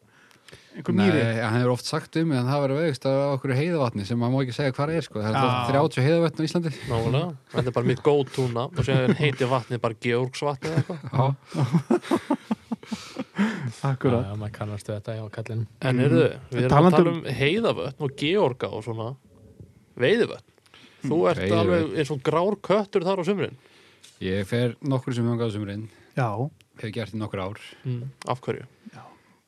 [SPEAKER 2] einhver
[SPEAKER 3] Nei,
[SPEAKER 2] mýri
[SPEAKER 3] hann hefur oft sagt um mig en það verður veðist á okkur heiðavatni sem maður má ekki segja hvað það er sko. það er
[SPEAKER 2] Já.
[SPEAKER 3] alltaf 30 heiðavatn á Íslandi
[SPEAKER 4] nálega þetta er bara mitt góðtúna og séðan heiti vatnið bara Georgsvatni eða eitthvað
[SPEAKER 1] Já,
[SPEAKER 2] Akkurat
[SPEAKER 1] já, maður kannast við þetta, já, kallinn.
[SPEAKER 4] En eru þau, við erum að
[SPEAKER 2] Talandi
[SPEAKER 4] tala um heiðavötn og georga og svona veiðivötn. Þú ert
[SPEAKER 3] Veiðivötn.
[SPEAKER 4] alveg eins og grár köttur þar á sumrin.
[SPEAKER 3] ég fer nokkur sem hangað á sumrin
[SPEAKER 2] Já,
[SPEAKER 3] hefur gert í nokkur ár
[SPEAKER 4] Af hverju?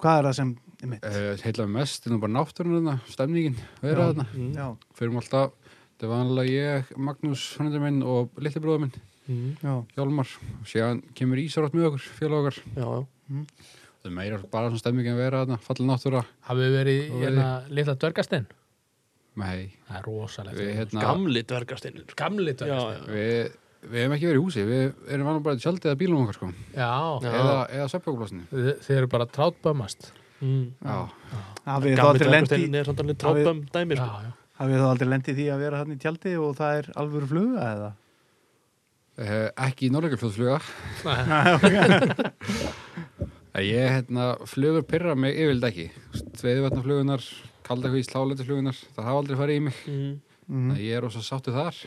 [SPEAKER 2] hvað er það sem er mitt?
[SPEAKER 3] uh, heila mest, er nú bara náttúrunna stemningin, vera þarna
[SPEAKER 4] Mm.
[SPEAKER 2] Já,
[SPEAKER 3] fyrir alltaf, þetta var annarlega ég Magnús, hröndur minn og litli bróður minn
[SPEAKER 4] Mm.
[SPEAKER 2] já,
[SPEAKER 3] Hjálmar, og síðan kemur Ísarótt með okkur, félag okkar
[SPEAKER 4] Já, já.
[SPEAKER 3] það er meira bara svona stemming en vera þarna, falla náttúra
[SPEAKER 1] Hafið þið verið í
[SPEAKER 3] Og
[SPEAKER 1] hérna litla dörgastinn?
[SPEAKER 3] nei,
[SPEAKER 1] Það er rosalegt.
[SPEAKER 3] við hérna
[SPEAKER 4] Gamli dvergastinnir.
[SPEAKER 1] Gamli
[SPEAKER 4] Já,
[SPEAKER 1] dörgastinn.
[SPEAKER 4] já.
[SPEAKER 3] við, við hefum ekki verið í húsi, við erum annað bara í tjaldi eða bílum okkar sko,
[SPEAKER 1] Já,
[SPEAKER 3] eða, eða söpjókulásinu
[SPEAKER 1] þið þið eru bara trátbömmast.
[SPEAKER 4] Mm.
[SPEAKER 3] já,
[SPEAKER 2] hafið þá
[SPEAKER 4] Gamli
[SPEAKER 2] aldrei lendi
[SPEAKER 4] dvergastinnir er samt
[SPEAKER 2] Hafið-
[SPEAKER 4] alveg trápum dæmi.
[SPEAKER 1] Já,
[SPEAKER 4] sko.
[SPEAKER 1] já.
[SPEAKER 2] hafið þá aldrei lendi því að vera hann í tjaldi og það er alvöru fluga eða?
[SPEAKER 3] uh, ekki í norðleikafljóðfluga ég hérna, flugur pyrra mig yfirlega ekki, tveiðvatnaflugunar kaldakvís, hláleituflugunar, það hafa aldrei farið í mig
[SPEAKER 4] Mm.
[SPEAKER 2] Mm.
[SPEAKER 3] þannig að ég er ósa sáttu þar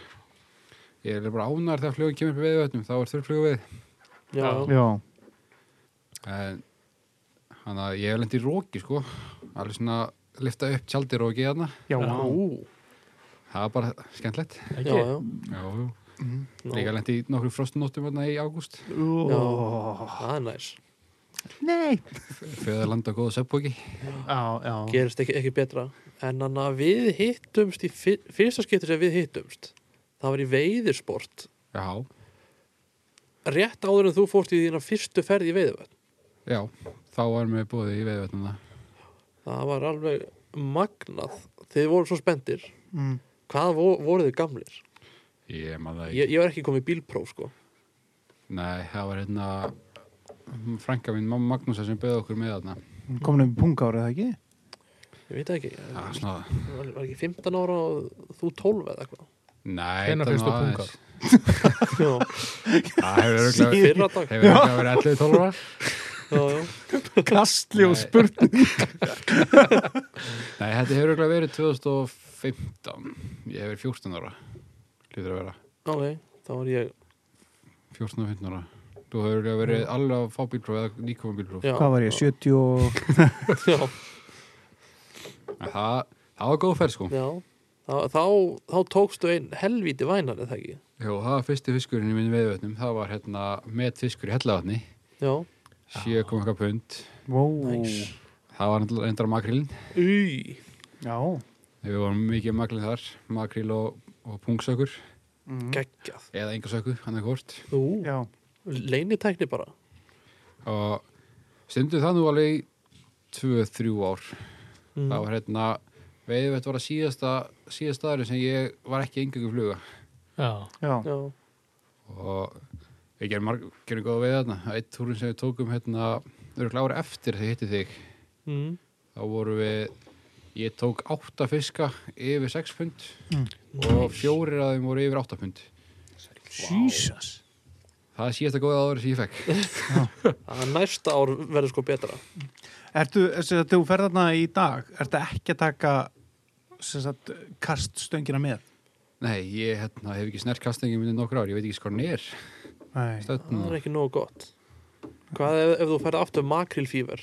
[SPEAKER 3] ég er bara ánar þegar flugun kemur upp í veiðvötnum, þá er þurrflugu við
[SPEAKER 4] Já, já.
[SPEAKER 2] Já,
[SPEAKER 3] en hann að ég hef lendi í róki sko alveg svona lifta upp tjaldir róki þarna
[SPEAKER 2] já,
[SPEAKER 4] Já.
[SPEAKER 2] ú.
[SPEAKER 3] það var bara skemmtlegt
[SPEAKER 1] Ekki?
[SPEAKER 4] Já, já.
[SPEAKER 3] já, jú.
[SPEAKER 2] Mm.
[SPEAKER 4] Nú,
[SPEAKER 3] líka lendi í nokkru frostunóttum þarna í ágúst
[SPEAKER 2] Ó.
[SPEAKER 4] Það er næs.
[SPEAKER 2] Nei
[SPEAKER 3] fyrir landa á góða söpbóki
[SPEAKER 2] Já, já,
[SPEAKER 4] Gerist ekki, ekki betra. En hann að við hittumst í fyr, fyrsta skipti sem við hittumst það var í veiðisport
[SPEAKER 3] já,
[SPEAKER 4] rétt áður en þú fórst í þína fyrstu ferð í veiðivötn.
[SPEAKER 3] já, þá var mér búið í veiðvötnum það
[SPEAKER 4] Það var alveg magnað Þið voru svo spendir
[SPEAKER 2] Mm.
[SPEAKER 4] Hvað vo, voru þið gamlir?
[SPEAKER 3] ég maður það
[SPEAKER 4] Ég,
[SPEAKER 3] ekki
[SPEAKER 4] ég var ekki komið í bílpróf sko
[SPEAKER 3] nei, það var hérna frænka mín, mamma Magnúsa sem beði okkur með þarna
[SPEAKER 2] komin um pungára eða ekki?
[SPEAKER 4] Ég veit það ekki
[SPEAKER 3] já,
[SPEAKER 4] ég
[SPEAKER 3] svona,
[SPEAKER 4] var, var ekki 15 ára og þú 12 eða eitthvað
[SPEAKER 3] nei
[SPEAKER 1] Hvenær
[SPEAKER 3] þetta
[SPEAKER 1] fyrstu
[SPEAKER 3] nú aðeins.
[SPEAKER 1] pungar?
[SPEAKER 4] Já,
[SPEAKER 3] það hefur örugglega-
[SPEAKER 4] Fyrra dag
[SPEAKER 3] hefur örugglega verið 11-12
[SPEAKER 4] já, já.
[SPEAKER 3] ára
[SPEAKER 2] Kastli og
[SPEAKER 3] Nei.
[SPEAKER 2] spurt
[SPEAKER 3] Nei, þetta hefur örugglega verið 2015 Ég hefur 14 ára Lítur að vera
[SPEAKER 4] Ok, þá var ég
[SPEAKER 3] 14 og 15 ára þú hefur örugglega verið alveg að fá bílpróf eða nýkoma bílpróf
[SPEAKER 4] Já.
[SPEAKER 2] Hvað var ég, 70 og...
[SPEAKER 4] Já,
[SPEAKER 3] En það, það var góð ferð sko
[SPEAKER 6] já þá, þá, þá tókstu einn helvíti vænan eða ekki
[SPEAKER 3] Jó, það var fyrsti fiskurinn í minni veiðvötnum það var hérna metfiskur í hellavatni
[SPEAKER 6] já,
[SPEAKER 3] 7,1 pund
[SPEAKER 2] Wow.
[SPEAKER 6] Nice.
[SPEAKER 3] það var náttúrulega endara makrílin
[SPEAKER 6] Í.
[SPEAKER 2] Já.
[SPEAKER 3] við vorum mikið makrílin þar makríl og, og pungsökur
[SPEAKER 2] Mm.
[SPEAKER 6] geggjað
[SPEAKER 3] eða engasöku, hann er hvort
[SPEAKER 6] Ú,
[SPEAKER 2] Já.
[SPEAKER 6] leinitækni bara
[SPEAKER 3] og stundum það nú alveg 2-3 ár
[SPEAKER 6] mm.
[SPEAKER 4] Mhm.
[SPEAKER 3] það var hérna veiðvötn var að síðasta síðasta aðri sem ég var ekki engöngu fluga
[SPEAKER 1] Já,
[SPEAKER 2] Já.
[SPEAKER 6] já,
[SPEAKER 3] og við gerum, marg, gerum góða veið þarna eitt túrin sem við tókum hérna við erum klára eftir þegar ég hitti þig
[SPEAKER 6] mm.
[SPEAKER 3] þá voru við ég tók átta fiska yfir 6 pund
[SPEAKER 2] Mm.
[SPEAKER 3] og fjórir af þeim voru yfir 8 pund
[SPEAKER 2] Jesus.
[SPEAKER 3] það er síðasta góða áður sem ég fekk
[SPEAKER 6] að næsta ár verður sko betra
[SPEAKER 2] Ertu, þess að þú ferð þarna í dag, ertu ekki að taka sem sagt, kaststöngina með?
[SPEAKER 3] nei, ég hérna, hef ekki snert kastingi minni nokkur ár, ég veit ekki hvað hann er
[SPEAKER 2] Nei.
[SPEAKER 3] stödd
[SPEAKER 6] það er
[SPEAKER 2] Mm.
[SPEAKER 3] núna.
[SPEAKER 6] ekki nógu gott hvað ef, ef þú færði aftur makrilfíver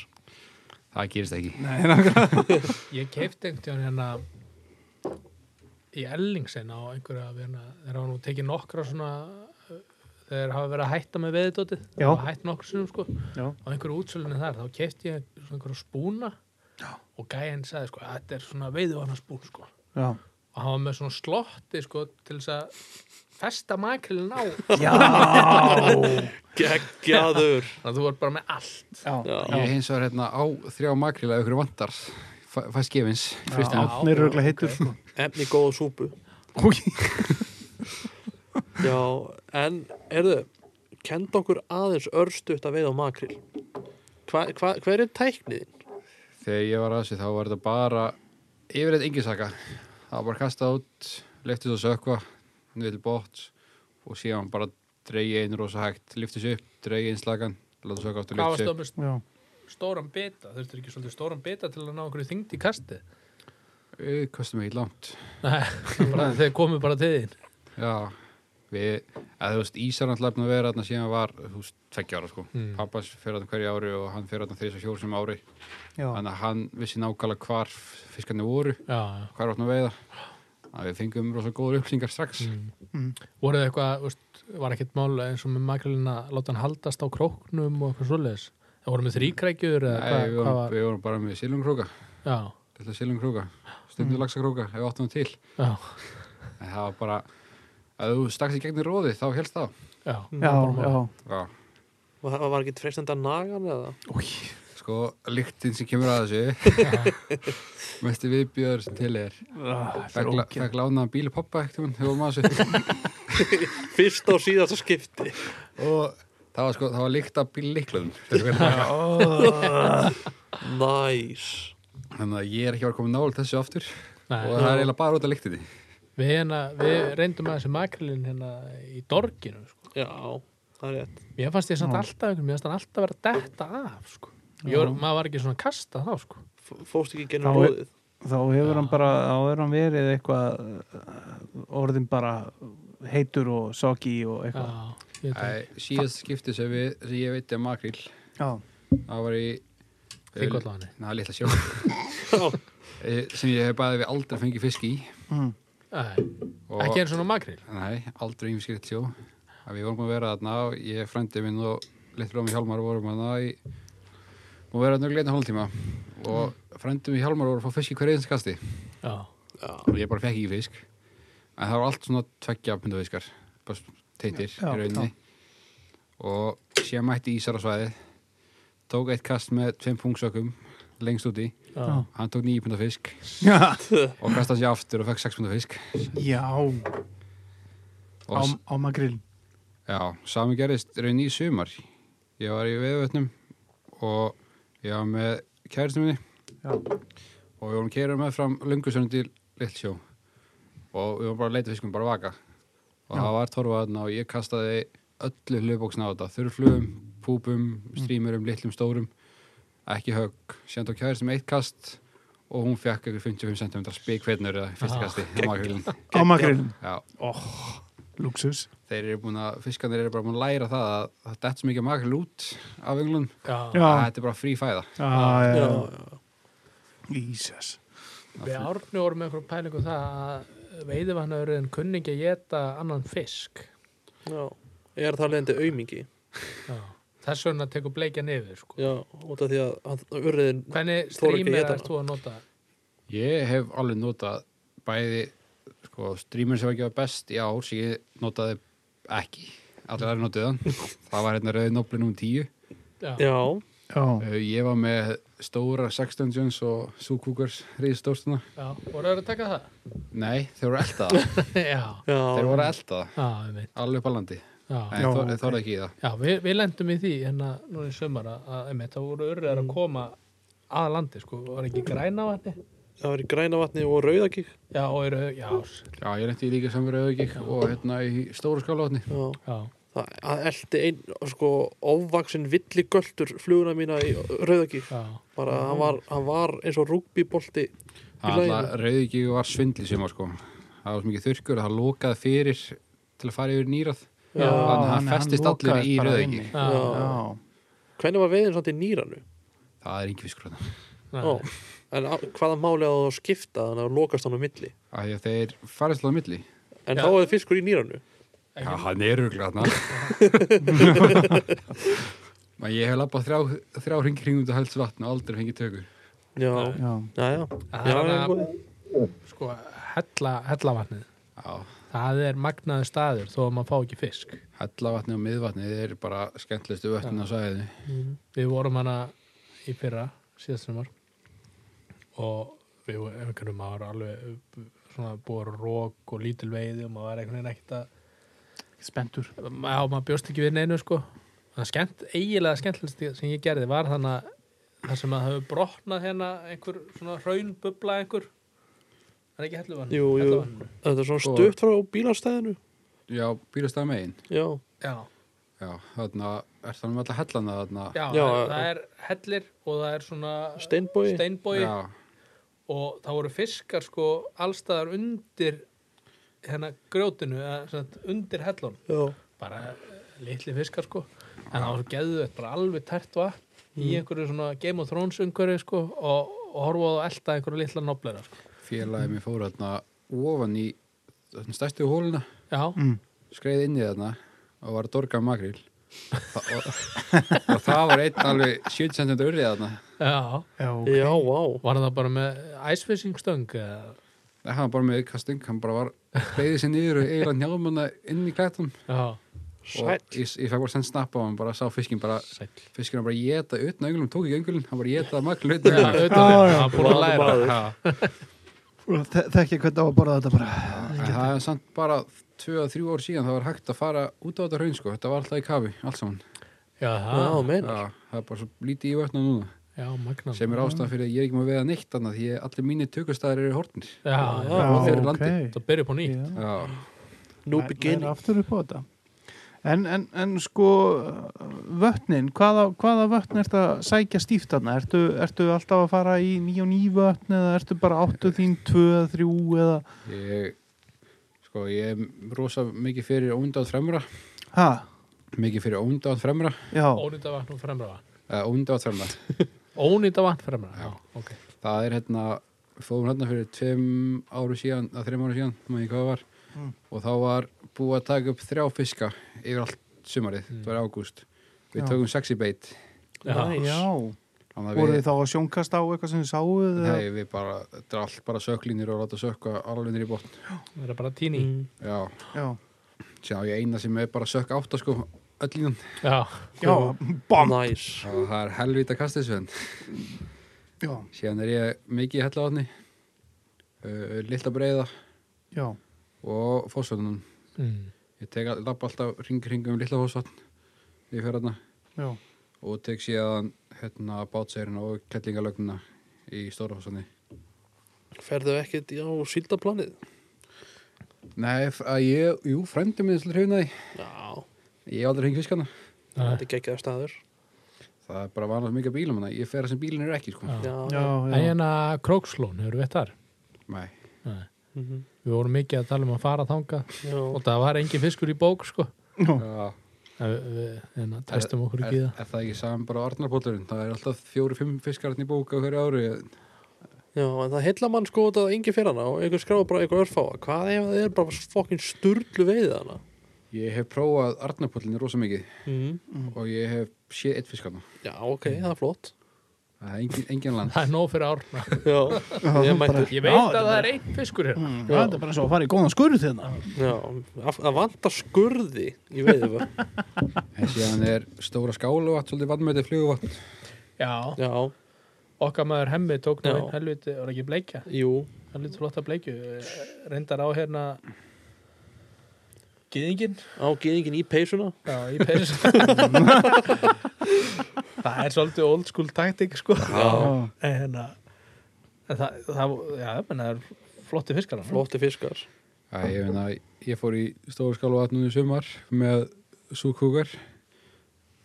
[SPEAKER 3] það gerist ekki
[SPEAKER 2] Nei, nákvæmlega.
[SPEAKER 1] ég keipti einhvern veginn hérna í Ellingsen á einhverja hérna, þeir hafa nú tekið nokkra svona uh, þeir hafa verið að hætta með veðdótið þeir
[SPEAKER 2] Já.
[SPEAKER 1] hafa hætt nokkra sinum sko
[SPEAKER 2] Já.
[SPEAKER 1] á einhverju útsölunni þar, þá keipti ég svona einhverju spúna Já. og gæinn sagði sko, "Að þetta er svona veiðvana spún sko
[SPEAKER 2] Já.
[SPEAKER 1] og hann var með svona slotti sko til þess að festa makrilin á
[SPEAKER 2] Já.
[SPEAKER 6] geggjaður
[SPEAKER 1] þannig að þú var bara með allt
[SPEAKER 2] Já.
[SPEAKER 6] já,
[SPEAKER 3] ég hins var hérna á þrjá makríla ykkur vantar, fæ, fæ skefins fyrst hennar
[SPEAKER 2] Átni er auðvitað heitur.
[SPEAKER 1] ok.
[SPEAKER 2] sko.
[SPEAKER 6] efni í góða súpu já, en erðu kenda okkur aðeins örstuðt að veiða á makril hva, hva, hver er tækniðin?
[SPEAKER 3] þegar ég var að þessu þá var þetta bara yfirleitt engisaka það var bara kastað út, liftið svo sökva niður til bótt og síðan bara dreigja einn rosa hægt liftið sér upp, dreigja einn slagan láta sökva aftur
[SPEAKER 1] hvað varst
[SPEAKER 3] liftið sér
[SPEAKER 1] það
[SPEAKER 3] upp
[SPEAKER 1] með
[SPEAKER 2] Já.
[SPEAKER 1] stóran beta þurftur ekki svolítið stóran beta til að ná einhverju þyngd í kasti
[SPEAKER 3] við kostum ekki langt
[SPEAKER 1] Nei, bara, þeir komu bara til þín
[SPEAKER 3] já, við, að þú veist Ísar hann lefna að vera þarna síðan var þú veist, tveggja ára sko, mm.
[SPEAKER 1] Mm.
[SPEAKER 3] pappas fyrir þarna hverju ári og hann fyrir þarna þess að sem ári
[SPEAKER 2] Já.
[SPEAKER 3] þannig að hann vissi nákvæmlega hvar fiskarnir voru,
[SPEAKER 1] já, já.
[SPEAKER 3] hvar áttum að veiða að við fengum rosa góður upplýsingar strax
[SPEAKER 2] Mm.
[SPEAKER 1] voru þið eitthvað, veist, var ekkert mál eins og með makrilin að láta hann haldast á króknum og eitthvað svoleiðis það voru með þríkrækjur eða
[SPEAKER 3] Nei,
[SPEAKER 1] hvað,
[SPEAKER 3] við
[SPEAKER 1] hvað
[SPEAKER 3] vorum,
[SPEAKER 1] var
[SPEAKER 3] við vorum bara með silungkróka
[SPEAKER 1] já,
[SPEAKER 3] Þetta silungkróka, stundum mm. laxakróka ef við áttum það til,
[SPEAKER 1] já,
[SPEAKER 3] en það var bara að þú stakst í gegnir róði þá helst það
[SPEAKER 1] já,
[SPEAKER 2] Já, já.
[SPEAKER 3] já.
[SPEAKER 6] Var, var ekki freistandi að naga hann eða?
[SPEAKER 3] sko, lyktin sem kemur að þessu mestu viðbjöður sem til er
[SPEAKER 1] Ah,
[SPEAKER 3] fekk lánaðan bíl pappa ekkert þegar vorum að þessu
[SPEAKER 6] Fyrst og síðasta skipti
[SPEAKER 3] og það var sko, það var lykt af bíl liklum
[SPEAKER 6] Næs
[SPEAKER 3] þannig að ég er ekki var komin nála þessu aftur og
[SPEAKER 1] Nei,
[SPEAKER 3] það er eiginlega bara út af lyktinni
[SPEAKER 1] við, hérna, við reyndum að þessi makrilin hérna í dorginu sko.
[SPEAKER 6] Já, það er rétt
[SPEAKER 1] mér fannst ég samt
[SPEAKER 2] Já.
[SPEAKER 1] alltaf einhvern, mér fannst hann alltaf vera detta af sko. ég var, maður var ekki svona að kasta þá sko.
[SPEAKER 6] F- Fórst ekki genið
[SPEAKER 2] Þá er-
[SPEAKER 6] blóðið
[SPEAKER 2] Þá hefur hann bara, þá er hann verið eitthvað uh, orðin bara heitur og soggy og
[SPEAKER 1] já,
[SPEAKER 2] eitthvað.
[SPEAKER 1] ég veit það.
[SPEAKER 3] Æ, síðast skipti sem, við, sem ég veitti að makríl
[SPEAKER 2] Já.
[SPEAKER 3] það var í
[SPEAKER 1] Þingvallahafni.
[SPEAKER 3] Nei, litla sjó Eh, sem ég hef bæðið við aldrei fengið fisk í
[SPEAKER 2] Mm.
[SPEAKER 1] Nei,
[SPEAKER 3] og
[SPEAKER 1] ekki eins og ná makril
[SPEAKER 3] Nei, aldrei yngvi skritt sjó að við vorum að vera þarna og ég frendi minn og litlu blómi Hjálmar vorum þarna í og vera þarna gleina hálftíma og frendi minn Hjálmar voru að fá fisk í hverju einst kasti
[SPEAKER 1] já,
[SPEAKER 6] Já,
[SPEAKER 3] og ég bara fekk ekki fisk en það var allt svona tveggja pundafiskar bara teitir
[SPEAKER 2] Já,
[SPEAKER 3] í rauninni og síðan mætti Ísar á svæðið tók eitt kast með tveim pungsökum lengst úti,
[SPEAKER 1] já.
[SPEAKER 3] hann tók níu pundafisk
[SPEAKER 2] Já.
[SPEAKER 3] og kastaði sér aftur og fekk sex pundafisk
[SPEAKER 2] Já. Á,
[SPEAKER 3] og
[SPEAKER 2] á magrill.
[SPEAKER 3] Já, sami gerðist raun í sumar. Ég var í veðvötnum og ég var með kæristinu minni
[SPEAKER 2] Já.
[SPEAKER 3] og við vorum keirað með fram lungusönum til Lillsjó og við vorum bara að leita fiskum, bara að vaka og það var torfaðna og ég kastaði öllu hlubóksna á þetta, þurrflugum, púpum, strímurum, litlum, stórum, ekki högg. Sjönd á kæristum eitt kast og hún fekk eitthvað 55 cm spikveitnur eða í fyrsta
[SPEAKER 1] Ah,
[SPEAKER 3] kasti á makrílinn.
[SPEAKER 2] Á magrill.
[SPEAKER 3] Já.
[SPEAKER 2] Luxus.
[SPEAKER 3] Þeir eru búin að, fiskarnir eru bara búin að læra það að það dett svo mikið makril út af ynglun
[SPEAKER 1] Já,
[SPEAKER 3] að
[SPEAKER 2] Já,
[SPEAKER 3] þetta er bara frí fæða.
[SPEAKER 2] já,
[SPEAKER 6] já,
[SPEAKER 2] já.
[SPEAKER 6] já.
[SPEAKER 2] Ísas.
[SPEAKER 1] við árni vorum með einhverjum pælingu það að veiðivannurinn kunningi að geta annan fisk
[SPEAKER 6] Já, er það leðandi aumingi
[SPEAKER 1] Já. þess vegna tekur bleikjan yfir sko.
[SPEAKER 6] Já, út af því að hann- urriðin
[SPEAKER 1] hvernig
[SPEAKER 6] Þorir ekki að
[SPEAKER 1] streamer
[SPEAKER 6] éta
[SPEAKER 1] ert þú að nota
[SPEAKER 3] Ég hef alveg notað bæði, sko, streamer sem var ekki var best í ár sem ég notaði ekki. Allir aðri notaði hann. Það var hérna rauði nobli núm 10.
[SPEAKER 1] já,
[SPEAKER 6] Já,
[SPEAKER 2] Já,
[SPEAKER 3] Uh, Ég var með stóra Sex Dungeons og Súkúkars ríðstórstuna.
[SPEAKER 1] já. voru það að taka það?
[SPEAKER 3] Nei, þeir voru eldaða.
[SPEAKER 1] já,
[SPEAKER 6] já
[SPEAKER 3] þeir voru eldaða.
[SPEAKER 1] já, einmitt.
[SPEAKER 3] Alveg upp á landi.
[SPEAKER 1] já.
[SPEAKER 3] En
[SPEAKER 2] Já,
[SPEAKER 3] þor,
[SPEAKER 2] ok.
[SPEAKER 3] þorði ekki í það.
[SPEAKER 1] já við, við lendum í því hérna núna í sömar að, að einmitt, það voru urðar
[SPEAKER 6] Mm.
[SPEAKER 1] að koma að landi sko, var ekki græna vatni
[SPEAKER 6] Það var í græna vatni og rauðakík
[SPEAKER 1] já, og eru, já, s-
[SPEAKER 3] Já, ég reyndi líka samverðu auðvík og hérna í stóra skálaotni.
[SPEAKER 6] Já,
[SPEAKER 1] já,
[SPEAKER 6] það það elti ein, sko, ofvaksin villigöldur fluguna mína í rauðakík
[SPEAKER 1] já,
[SPEAKER 6] bara, hann var, hann var eins og rúkbíbolti laginu.
[SPEAKER 3] Rauðvík var svindli sem var sko. Það var svo mikið þurrkur að það lokaði fyrir til að fara yfir nýrað.
[SPEAKER 1] já,
[SPEAKER 2] Já.
[SPEAKER 1] já.
[SPEAKER 3] Þannig að hann
[SPEAKER 2] hann- hann
[SPEAKER 3] festist allir
[SPEAKER 2] lokaðist
[SPEAKER 3] í
[SPEAKER 2] bara
[SPEAKER 3] Rauðvík.
[SPEAKER 2] inni.
[SPEAKER 6] Já.
[SPEAKER 2] já.
[SPEAKER 6] Hvernig var veiðin samt í nýranu?
[SPEAKER 3] Það er yngi fiskur þarna.
[SPEAKER 1] já.
[SPEAKER 6] Ó, en á- hvaða máli að það skipta þannig að lokast hann á milli
[SPEAKER 3] Af því að þeir farist alveg á milli.
[SPEAKER 6] En
[SPEAKER 1] Já.
[SPEAKER 6] þá var fiskur í nýranu
[SPEAKER 1] Ekki-
[SPEAKER 3] Já, hann er ruglega þarna. Men Ég hef labbað þrjá, þrjá hringir hringum til helst vatn og aldrei fengið tökur.
[SPEAKER 6] Já,
[SPEAKER 2] já.
[SPEAKER 6] já, já,
[SPEAKER 1] Það
[SPEAKER 6] já,
[SPEAKER 1] er
[SPEAKER 6] já,
[SPEAKER 1] að-
[SPEAKER 6] góði.
[SPEAKER 1] sko, hella, hella vatnið
[SPEAKER 3] Já,
[SPEAKER 1] það er magnaður staður þó að maður fá ekki fisk
[SPEAKER 3] hellavatni og miðvatni er bara skemmtlustu vötnin á sæðinu.
[SPEAKER 1] við vorum hana í fyrra síðastumar og við vorum einhvern veginn maður var alveg svona búið rók og lítil veiði og maður var einhvern veginn ekkert að
[SPEAKER 2] Spendur.
[SPEAKER 1] já, maður bjóst ekki við neinu sko það skemmt, eiginlega skemmtilegst sem ég gerði var þannig að það sem að hafi brotnað hérna einhver svona hraunbubla einhver það er ekki helluvann
[SPEAKER 6] Jú, jú. Þetta er svona
[SPEAKER 3] Sko.
[SPEAKER 6] stutt frá bílastæðinu
[SPEAKER 3] Já, býrast það megin.
[SPEAKER 6] Já,
[SPEAKER 1] Já,
[SPEAKER 3] Já, þarna er það um alla hellana þarna.
[SPEAKER 1] já,
[SPEAKER 6] Já,
[SPEAKER 1] það, er,
[SPEAKER 6] já.
[SPEAKER 1] það er hellir og það er svona
[SPEAKER 6] steinbói
[SPEAKER 1] steinbói
[SPEAKER 3] Já,
[SPEAKER 1] og það voru fiskar sko allstaðar undir hérna grjótinu eða sem sagt, undir hellun
[SPEAKER 6] Já,
[SPEAKER 1] bara eh, litli fiskar sko en það var geðu þetta bara alveg tært vatn í einhverju svona Game of Thrones umhverju sko og, og horfaðu að elta einhverju litla noblera sko.
[SPEAKER 3] félagið mér fór þarna ofan í þarna stærstu hóluna,
[SPEAKER 1] já,
[SPEAKER 2] Mm.
[SPEAKER 3] skreið inn í þarna og var að dorga makril. og, og það var einn alveg 70 cm urrið þarna.
[SPEAKER 1] já,
[SPEAKER 2] Já,
[SPEAKER 6] já, vá
[SPEAKER 1] var það bara með icefishing stöng eða?
[SPEAKER 3] Það var bara með kasting, hann bara var beðið sér niður og eiginlega njálum hana inn í klættum
[SPEAKER 1] já,
[SPEAKER 3] og
[SPEAKER 6] Sæll
[SPEAKER 3] ég, ég fæk bara sendt snappa og hann bara sá fiskinn bara,
[SPEAKER 1] sæll
[SPEAKER 3] fiskinn var bara að geta utan öngulum, tók ekki öngulin, hann bara að geta makril utan
[SPEAKER 1] já,
[SPEAKER 3] öngulum.
[SPEAKER 1] auðvitað, það var búin að læra
[SPEAKER 6] Maður,
[SPEAKER 3] Ha,
[SPEAKER 2] Þe- Þekki hvernig á að borða þetta bara.
[SPEAKER 3] en Það er samt bara 2-3 ár síðan það var hægt að fara út á þetta hraun sko, þetta var alltaf í kafi, allt saman.
[SPEAKER 1] já,
[SPEAKER 2] Ah.
[SPEAKER 6] Já,
[SPEAKER 1] það,
[SPEAKER 6] menn
[SPEAKER 3] Já, það er bara svo lítið í vötna núna.
[SPEAKER 1] já, magna
[SPEAKER 3] sem er ástæðan fyrir að ég er ekki með að veða neitt annað því að allir mínir tökustæðar eru hortnir
[SPEAKER 1] já, já,
[SPEAKER 6] Já,
[SPEAKER 3] þeir
[SPEAKER 2] Já,
[SPEAKER 3] eru
[SPEAKER 2] ok.
[SPEAKER 3] landið.
[SPEAKER 1] það byrja upp á nýtt
[SPEAKER 2] Já.
[SPEAKER 3] Já,
[SPEAKER 6] Nú
[SPEAKER 2] Læ-
[SPEAKER 6] beginn
[SPEAKER 2] læra aftur upp á þetta en, en, en sko vötnin, hvaða, hvaða vötn ertu að sækja stíft þarna? Ertu, ertu alltaf að fara í ný og ný vötn eða ertu bara áttu þín, tvö eða þrjú eða,
[SPEAKER 3] ég sko, ég er rosa mikið fyrir óndáð fremra,
[SPEAKER 2] ha,
[SPEAKER 3] mikið fyrir óndáð fremra
[SPEAKER 2] já
[SPEAKER 1] ónýta vatn og fremra vatn
[SPEAKER 3] eða óndáð fremra,
[SPEAKER 1] ónýta vatn fremra, já, ok
[SPEAKER 3] það er hérna við fórum hérna fyrir tveim áru síðan að þreim áru síðan, maður ekki hvað það var
[SPEAKER 2] Mm.
[SPEAKER 3] og þá var búið að taka upp þrjá fiska yfir allt sumarið, það var í ágúst við
[SPEAKER 2] Mm. Já.
[SPEAKER 3] tökum sexy bait
[SPEAKER 6] Nice.
[SPEAKER 2] já,
[SPEAKER 3] þannig að
[SPEAKER 2] voru
[SPEAKER 3] við-
[SPEAKER 2] þið þá að sjónkast á eitthvað sem þið sáuð eða?
[SPEAKER 3] Nei, við bara, þetta er allt bara söklinir og láta sökka alveg niður í botn.
[SPEAKER 1] það er bara tíni
[SPEAKER 6] Mm.
[SPEAKER 3] Já,
[SPEAKER 2] já,
[SPEAKER 3] Sjá, ég eina sem er bara sökk átta sko öll í hann.
[SPEAKER 1] Já,
[SPEAKER 2] já, bam
[SPEAKER 6] Nice
[SPEAKER 3] Og það er helvita kastisvenn.
[SPEAKER 2] já,
[SPEAKER 3] Síðan er ég mikið í hellavatni, uh, lilla breiða
[SPEAKER 2] já,
[SPEAKER 3] og fósvöldunum.
[SPEAKER 1] mm.
[SPEAKER 3] Ég tek að lappa alltaf ring ring um lilla fósvöldn í ferðarna
[SPEAKER 2] já
[SPEAKER 3] og tek síðan hérna bátseirin og kettlingalögnina í stóra fósvöldni.
[SPEAKER 6] Ferðu ekkert á síldaplanið?
[SPEAKER 3] Nei, f- að ég, jú, frændi minn er svolítið hrifnaði.
[SPEAKER 6] Já,
[SPEAKER 3] Ég er aldrei hring fiskana.
[SPEAKER 6] þetta er geggjaður staður
[SPEAKER 3] Það er bara vanað mikið af bílum hana. Ég fer að sem bílinn er ekki, sko.
[SPEAKER 1] Já.
[SPEAKER 6] Já,
[SPEAKER 2] já,
[SPEAKER 1] En hérna Krókslón, hefur við þar?
[SPEAKER 3] Nei.
[SPEAKER 1] Nei.
[SPEAKER 4] Mhm.
[SPEAKER 1] við vorum mikið að tala um að fara þangað
[SPEAKER 4] Já.
[SPEAKER 1] og það var engin fiskur í bók sko
[SPEAKER 3] Já,
[SPEAKER 1] en við, við hérna, testum okkur
[SPEAKER 3] er,
[SPEAKER 1] ekki í það
[SPEAKER 3] er það ekki saman bara Arnarpóllurinn? Það er alltaf fjóri-fimm fiskarinn í bóka hverju ári.
[SPEAKER 4] Já, en það heilla mann sko út að engi fyrir hana og einhver skráði bara eitthvað örfáa. Hvað ef það er bara fokkin sturlu veiðið hana?
[SPEAKER 3] Ég hef prófað Arnarpóllurinn rosa mikið
[SPEAKER 4] Mm.
[SPEAKER 3] og ég hef séð eitt fiskarna.
[SPEAKER 4] Já, ok, það er flott.
[SPEAKER 3] Það er engin, engin land.
[SPEAKER 1] það er nóg fyrir árna
[SPEAKER 4] Já, ég mættur.
[SPEAKER 1] ég veit að það er einn fiskur hérna
[SPEAKER 2] Mm. Já, þetta er bara svo að fara í góðan skurð hérna
[SPEAKER 4] Já, af- það vantar skurði í veiðið.
[SPEAKER 3] En síðan er stóra skálu vatn, svolítið vannmötið fluguvatn.
[SPEAKER 1] já,
[SPEAKER 4] Já,
[SPEAKER 1] okkar maður hemmi tók nú
[SPEAKER 4] Já.
[SPEAKER 1] einn helviti, var ekki bleikja
[SPEAKER 4] jú,
[SPEAKER 1] helviti flotta bleikju, eh, reyndar á hérna gyðingin
[SPEAKER 4] á geðingin í peysuna.
[SPEAKER 1] já, í pers það er svolítið old school taktik sko
[SPEAKER 2] Já.
[SPEAKER 1] en hérna en það, það, já, menn það er flotti fiskar hann.
[SPEAKER 4] Flotti fiskar.
[SPEAKER 3] Já, ég finna, ég fór í stóra skálu vatn núna í sumar með súkúkar.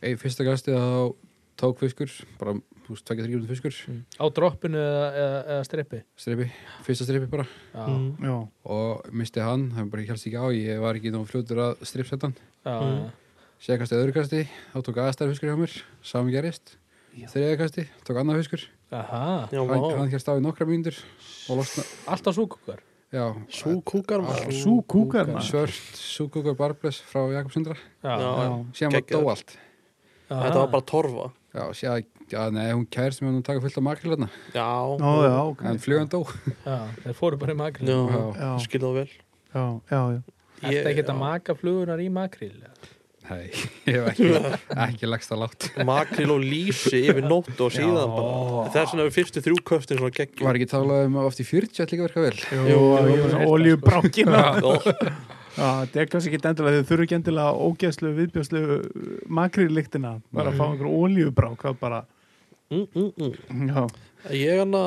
[SPEAKER 3] Í fyrsta gasti þá tók fiskur, bara, þú veist, tvekja þrjum fiskur,
[SPEAKER 1] á droppinu eða, eða, eða strippi
[SPEAKER 3] streipi, fyrsta streipi bara.
[SPEAKER 1] já,
[SPEAKER 4] Mm.
[SPEAKER 2] Já,
[SPEAKER 3] og misti hann, það bara helst ekki á ég var ekki nóg fljótur að stripsetta hann
[SPEAKER 1] já,
[SPEAKER 4] Mm.
[SPEAKER 1] já.
[SPEAKER 3] séðkasti öðrukasti, þá tók aðstæður fiskur hjá mér sami gerist, þriðakasti tók annað fiskur,
[SPEAKER 1] Aha,
[SPEAKER 4] Já,
[SPEAKER 3] hann,
[SPEAKER 4] vá.
[SPEAKER 3] hann helst á í nokkra mínútur og losna,
[SPEAKER 1] alltaf súkukar
[SPEAKER 3] já
[SPEAKER 4] Sú kúkar maður.
[SPEAKER 2] sú kúkar maður
[SPEAKER 3] svört, súkúkur barbless frá Jakobsundra,
[SPEAKER 4] Já, já.
[SPEAKER 3] síðan var
[SPEAKER 4] Geggjað.
[SPEAKER 3] dó allt
[SPEAKER 4] Þetta var bara torfa.
[SPEAKER 3] já, síðan, já, nei, hún kærst mér hún taka fullt af makril hérna,
[SPEAKER 4] Já,
[SPEAKER 2] Já, já, ok
[SPEAKER 3] en flugan dó
[SPEAKER 1] Já, þeir fóru bara í makril
[SPEAKER 4] já,
[SPEAKER 3] Já.
[SPEAKER 2] Já,
[SPEAKER 4] skil það vel.
[SPEAKER 2] já, já, já.
[SPEAKER 1] Þetta
[SPEAKER 4] Ég-
[SPEAKER 1] ekki að
[SPEAKER 4] já.
[SPEAKER 1] maka flugunar í makril
[SPEAKER 3] nei, ég hef ekki, ekki lagst að látt
[SPEAKER 4] makril og lýsi yfir nótt og síðan bara þess vegna við fyrstu þrjú köftin svona geggjum
[SPEAKER 3] var ekki talað um að oft í 40 ætli ekki að verka vel
[SPEAKER 2] Jú,
[SPEAKER 4] jú,
[SPEAKER 2] jú,
[SPEAKER 4] jú,
[SPEAKER 2] jú, oljubrákina
[SPEAKER 4] Ó,
[SPEAKER 2] Já, þetta er kannski ekki endilega þið þurfi ekki endilega ógeðslu viðbjörslu makriðlíktina bara að fá einhver olíubrák það bara,
[SPEAKER 4] mm, mm, mm.
[SPEAKER 2] já,
[SPEAKER 4] ég hann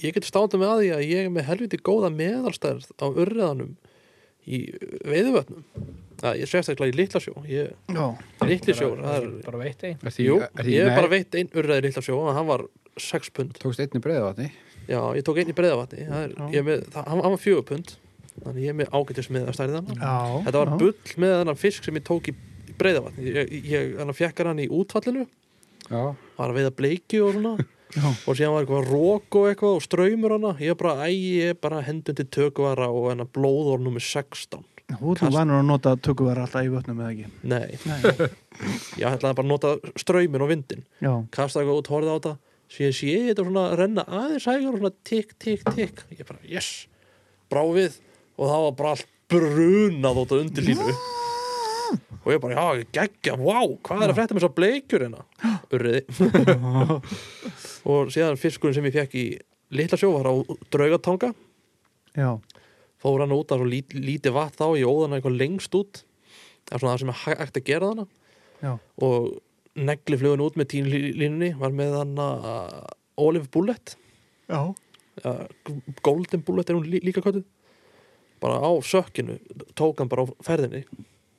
[SPEAKER 4] ég get stándið með að því að ég er með helviti góða meðalstærð á urriðanum í veiðuvötnum Já, ég sést ekki í Littlasjó ég,
[SPEAKER 2] já,
[SPEAKER 4] Litlasjó, það er
[SPEAKER 1] Bara veitt einn
[SPEAKER 3] Ertu í-
[SPEAKER 4] Jú,
[SPEAKER 3] ertu í
[SPEAKER 4] ég hef
[SPEAKER 3] með-
[SPEAKER 4] bara veitt einn urriði Littlasjó en hann var 6 pund
[SPEAKER 3] tókst einni breiða vatni
[SPEAKER 4] Já, ég tók einn í breiðavatni það er,
[SPEAKER 2] Já.
[SPEAKER 4] ég er með, það, hann hann var 4 pund þannig ég er með ágætis meðalstærðan
[SPEAKER 2] já
[SPEAKER 4] Þetta var
[SPEAKER 2] já.
[SPEAKER 4] bull með þennan fisk sem ég tók í breiðavatni ég, ég, hann fjekkar hann í útfallinu
[SPEAKER 3] já,
[SPEAKER 4] var að veiða bleikju og svona
[SPEAKER 2] Já.
[SPEAKER 4] og síðan var eitthvað rók og eitthvað og ströymur hana ég bara, æ, ég bara hendun til tökvara og hennar blóðor nummer 16
[SPEAKER 2] Þú ert nú
[SPEAKER 4] Kast-
[SPEAKER 2] vanur að nota tökuverð alltaf í vötnum eða ekki
[SPEAKER 4] nei,
[SPEAKER 2] Nei,
[SPEAKER 4] ég ætlaði bara að nota ströymin og vindin,
[SPEAKER 2] já,
[SPEAKER 4] kasta eitthvað út, horfði á þetta síðan sé ég þetta svona renna aðeins hægur og svona tikk, tikk, tikk ég bara, yes, brá við og það var bara allt brunað út á undirlínu og ég bara, já, geggja, wow hvað er að frétta með þessa bleikjur hérna urriði og síðan fiskurinn sem ég fekk í litla sjó var á draugatanga
[SPEAKER 2] já,
[SPEAKER 4] fór hann út að svo lít, lítið vatn þá ég óða hann eitthvað lengst út það er svona það sem er hæ- hægt að gera þarna
[SPEAKER 2] já
[SPEAKER 4] og negli flugun út með tínlínunni var með hann að Olive Bullet
[SPEAKER 2] Já,
[SPEAKER 4] uh, Golden Bullet er hún lí, líka kvöldu bara á sökkinu tók hann bara á ferðinni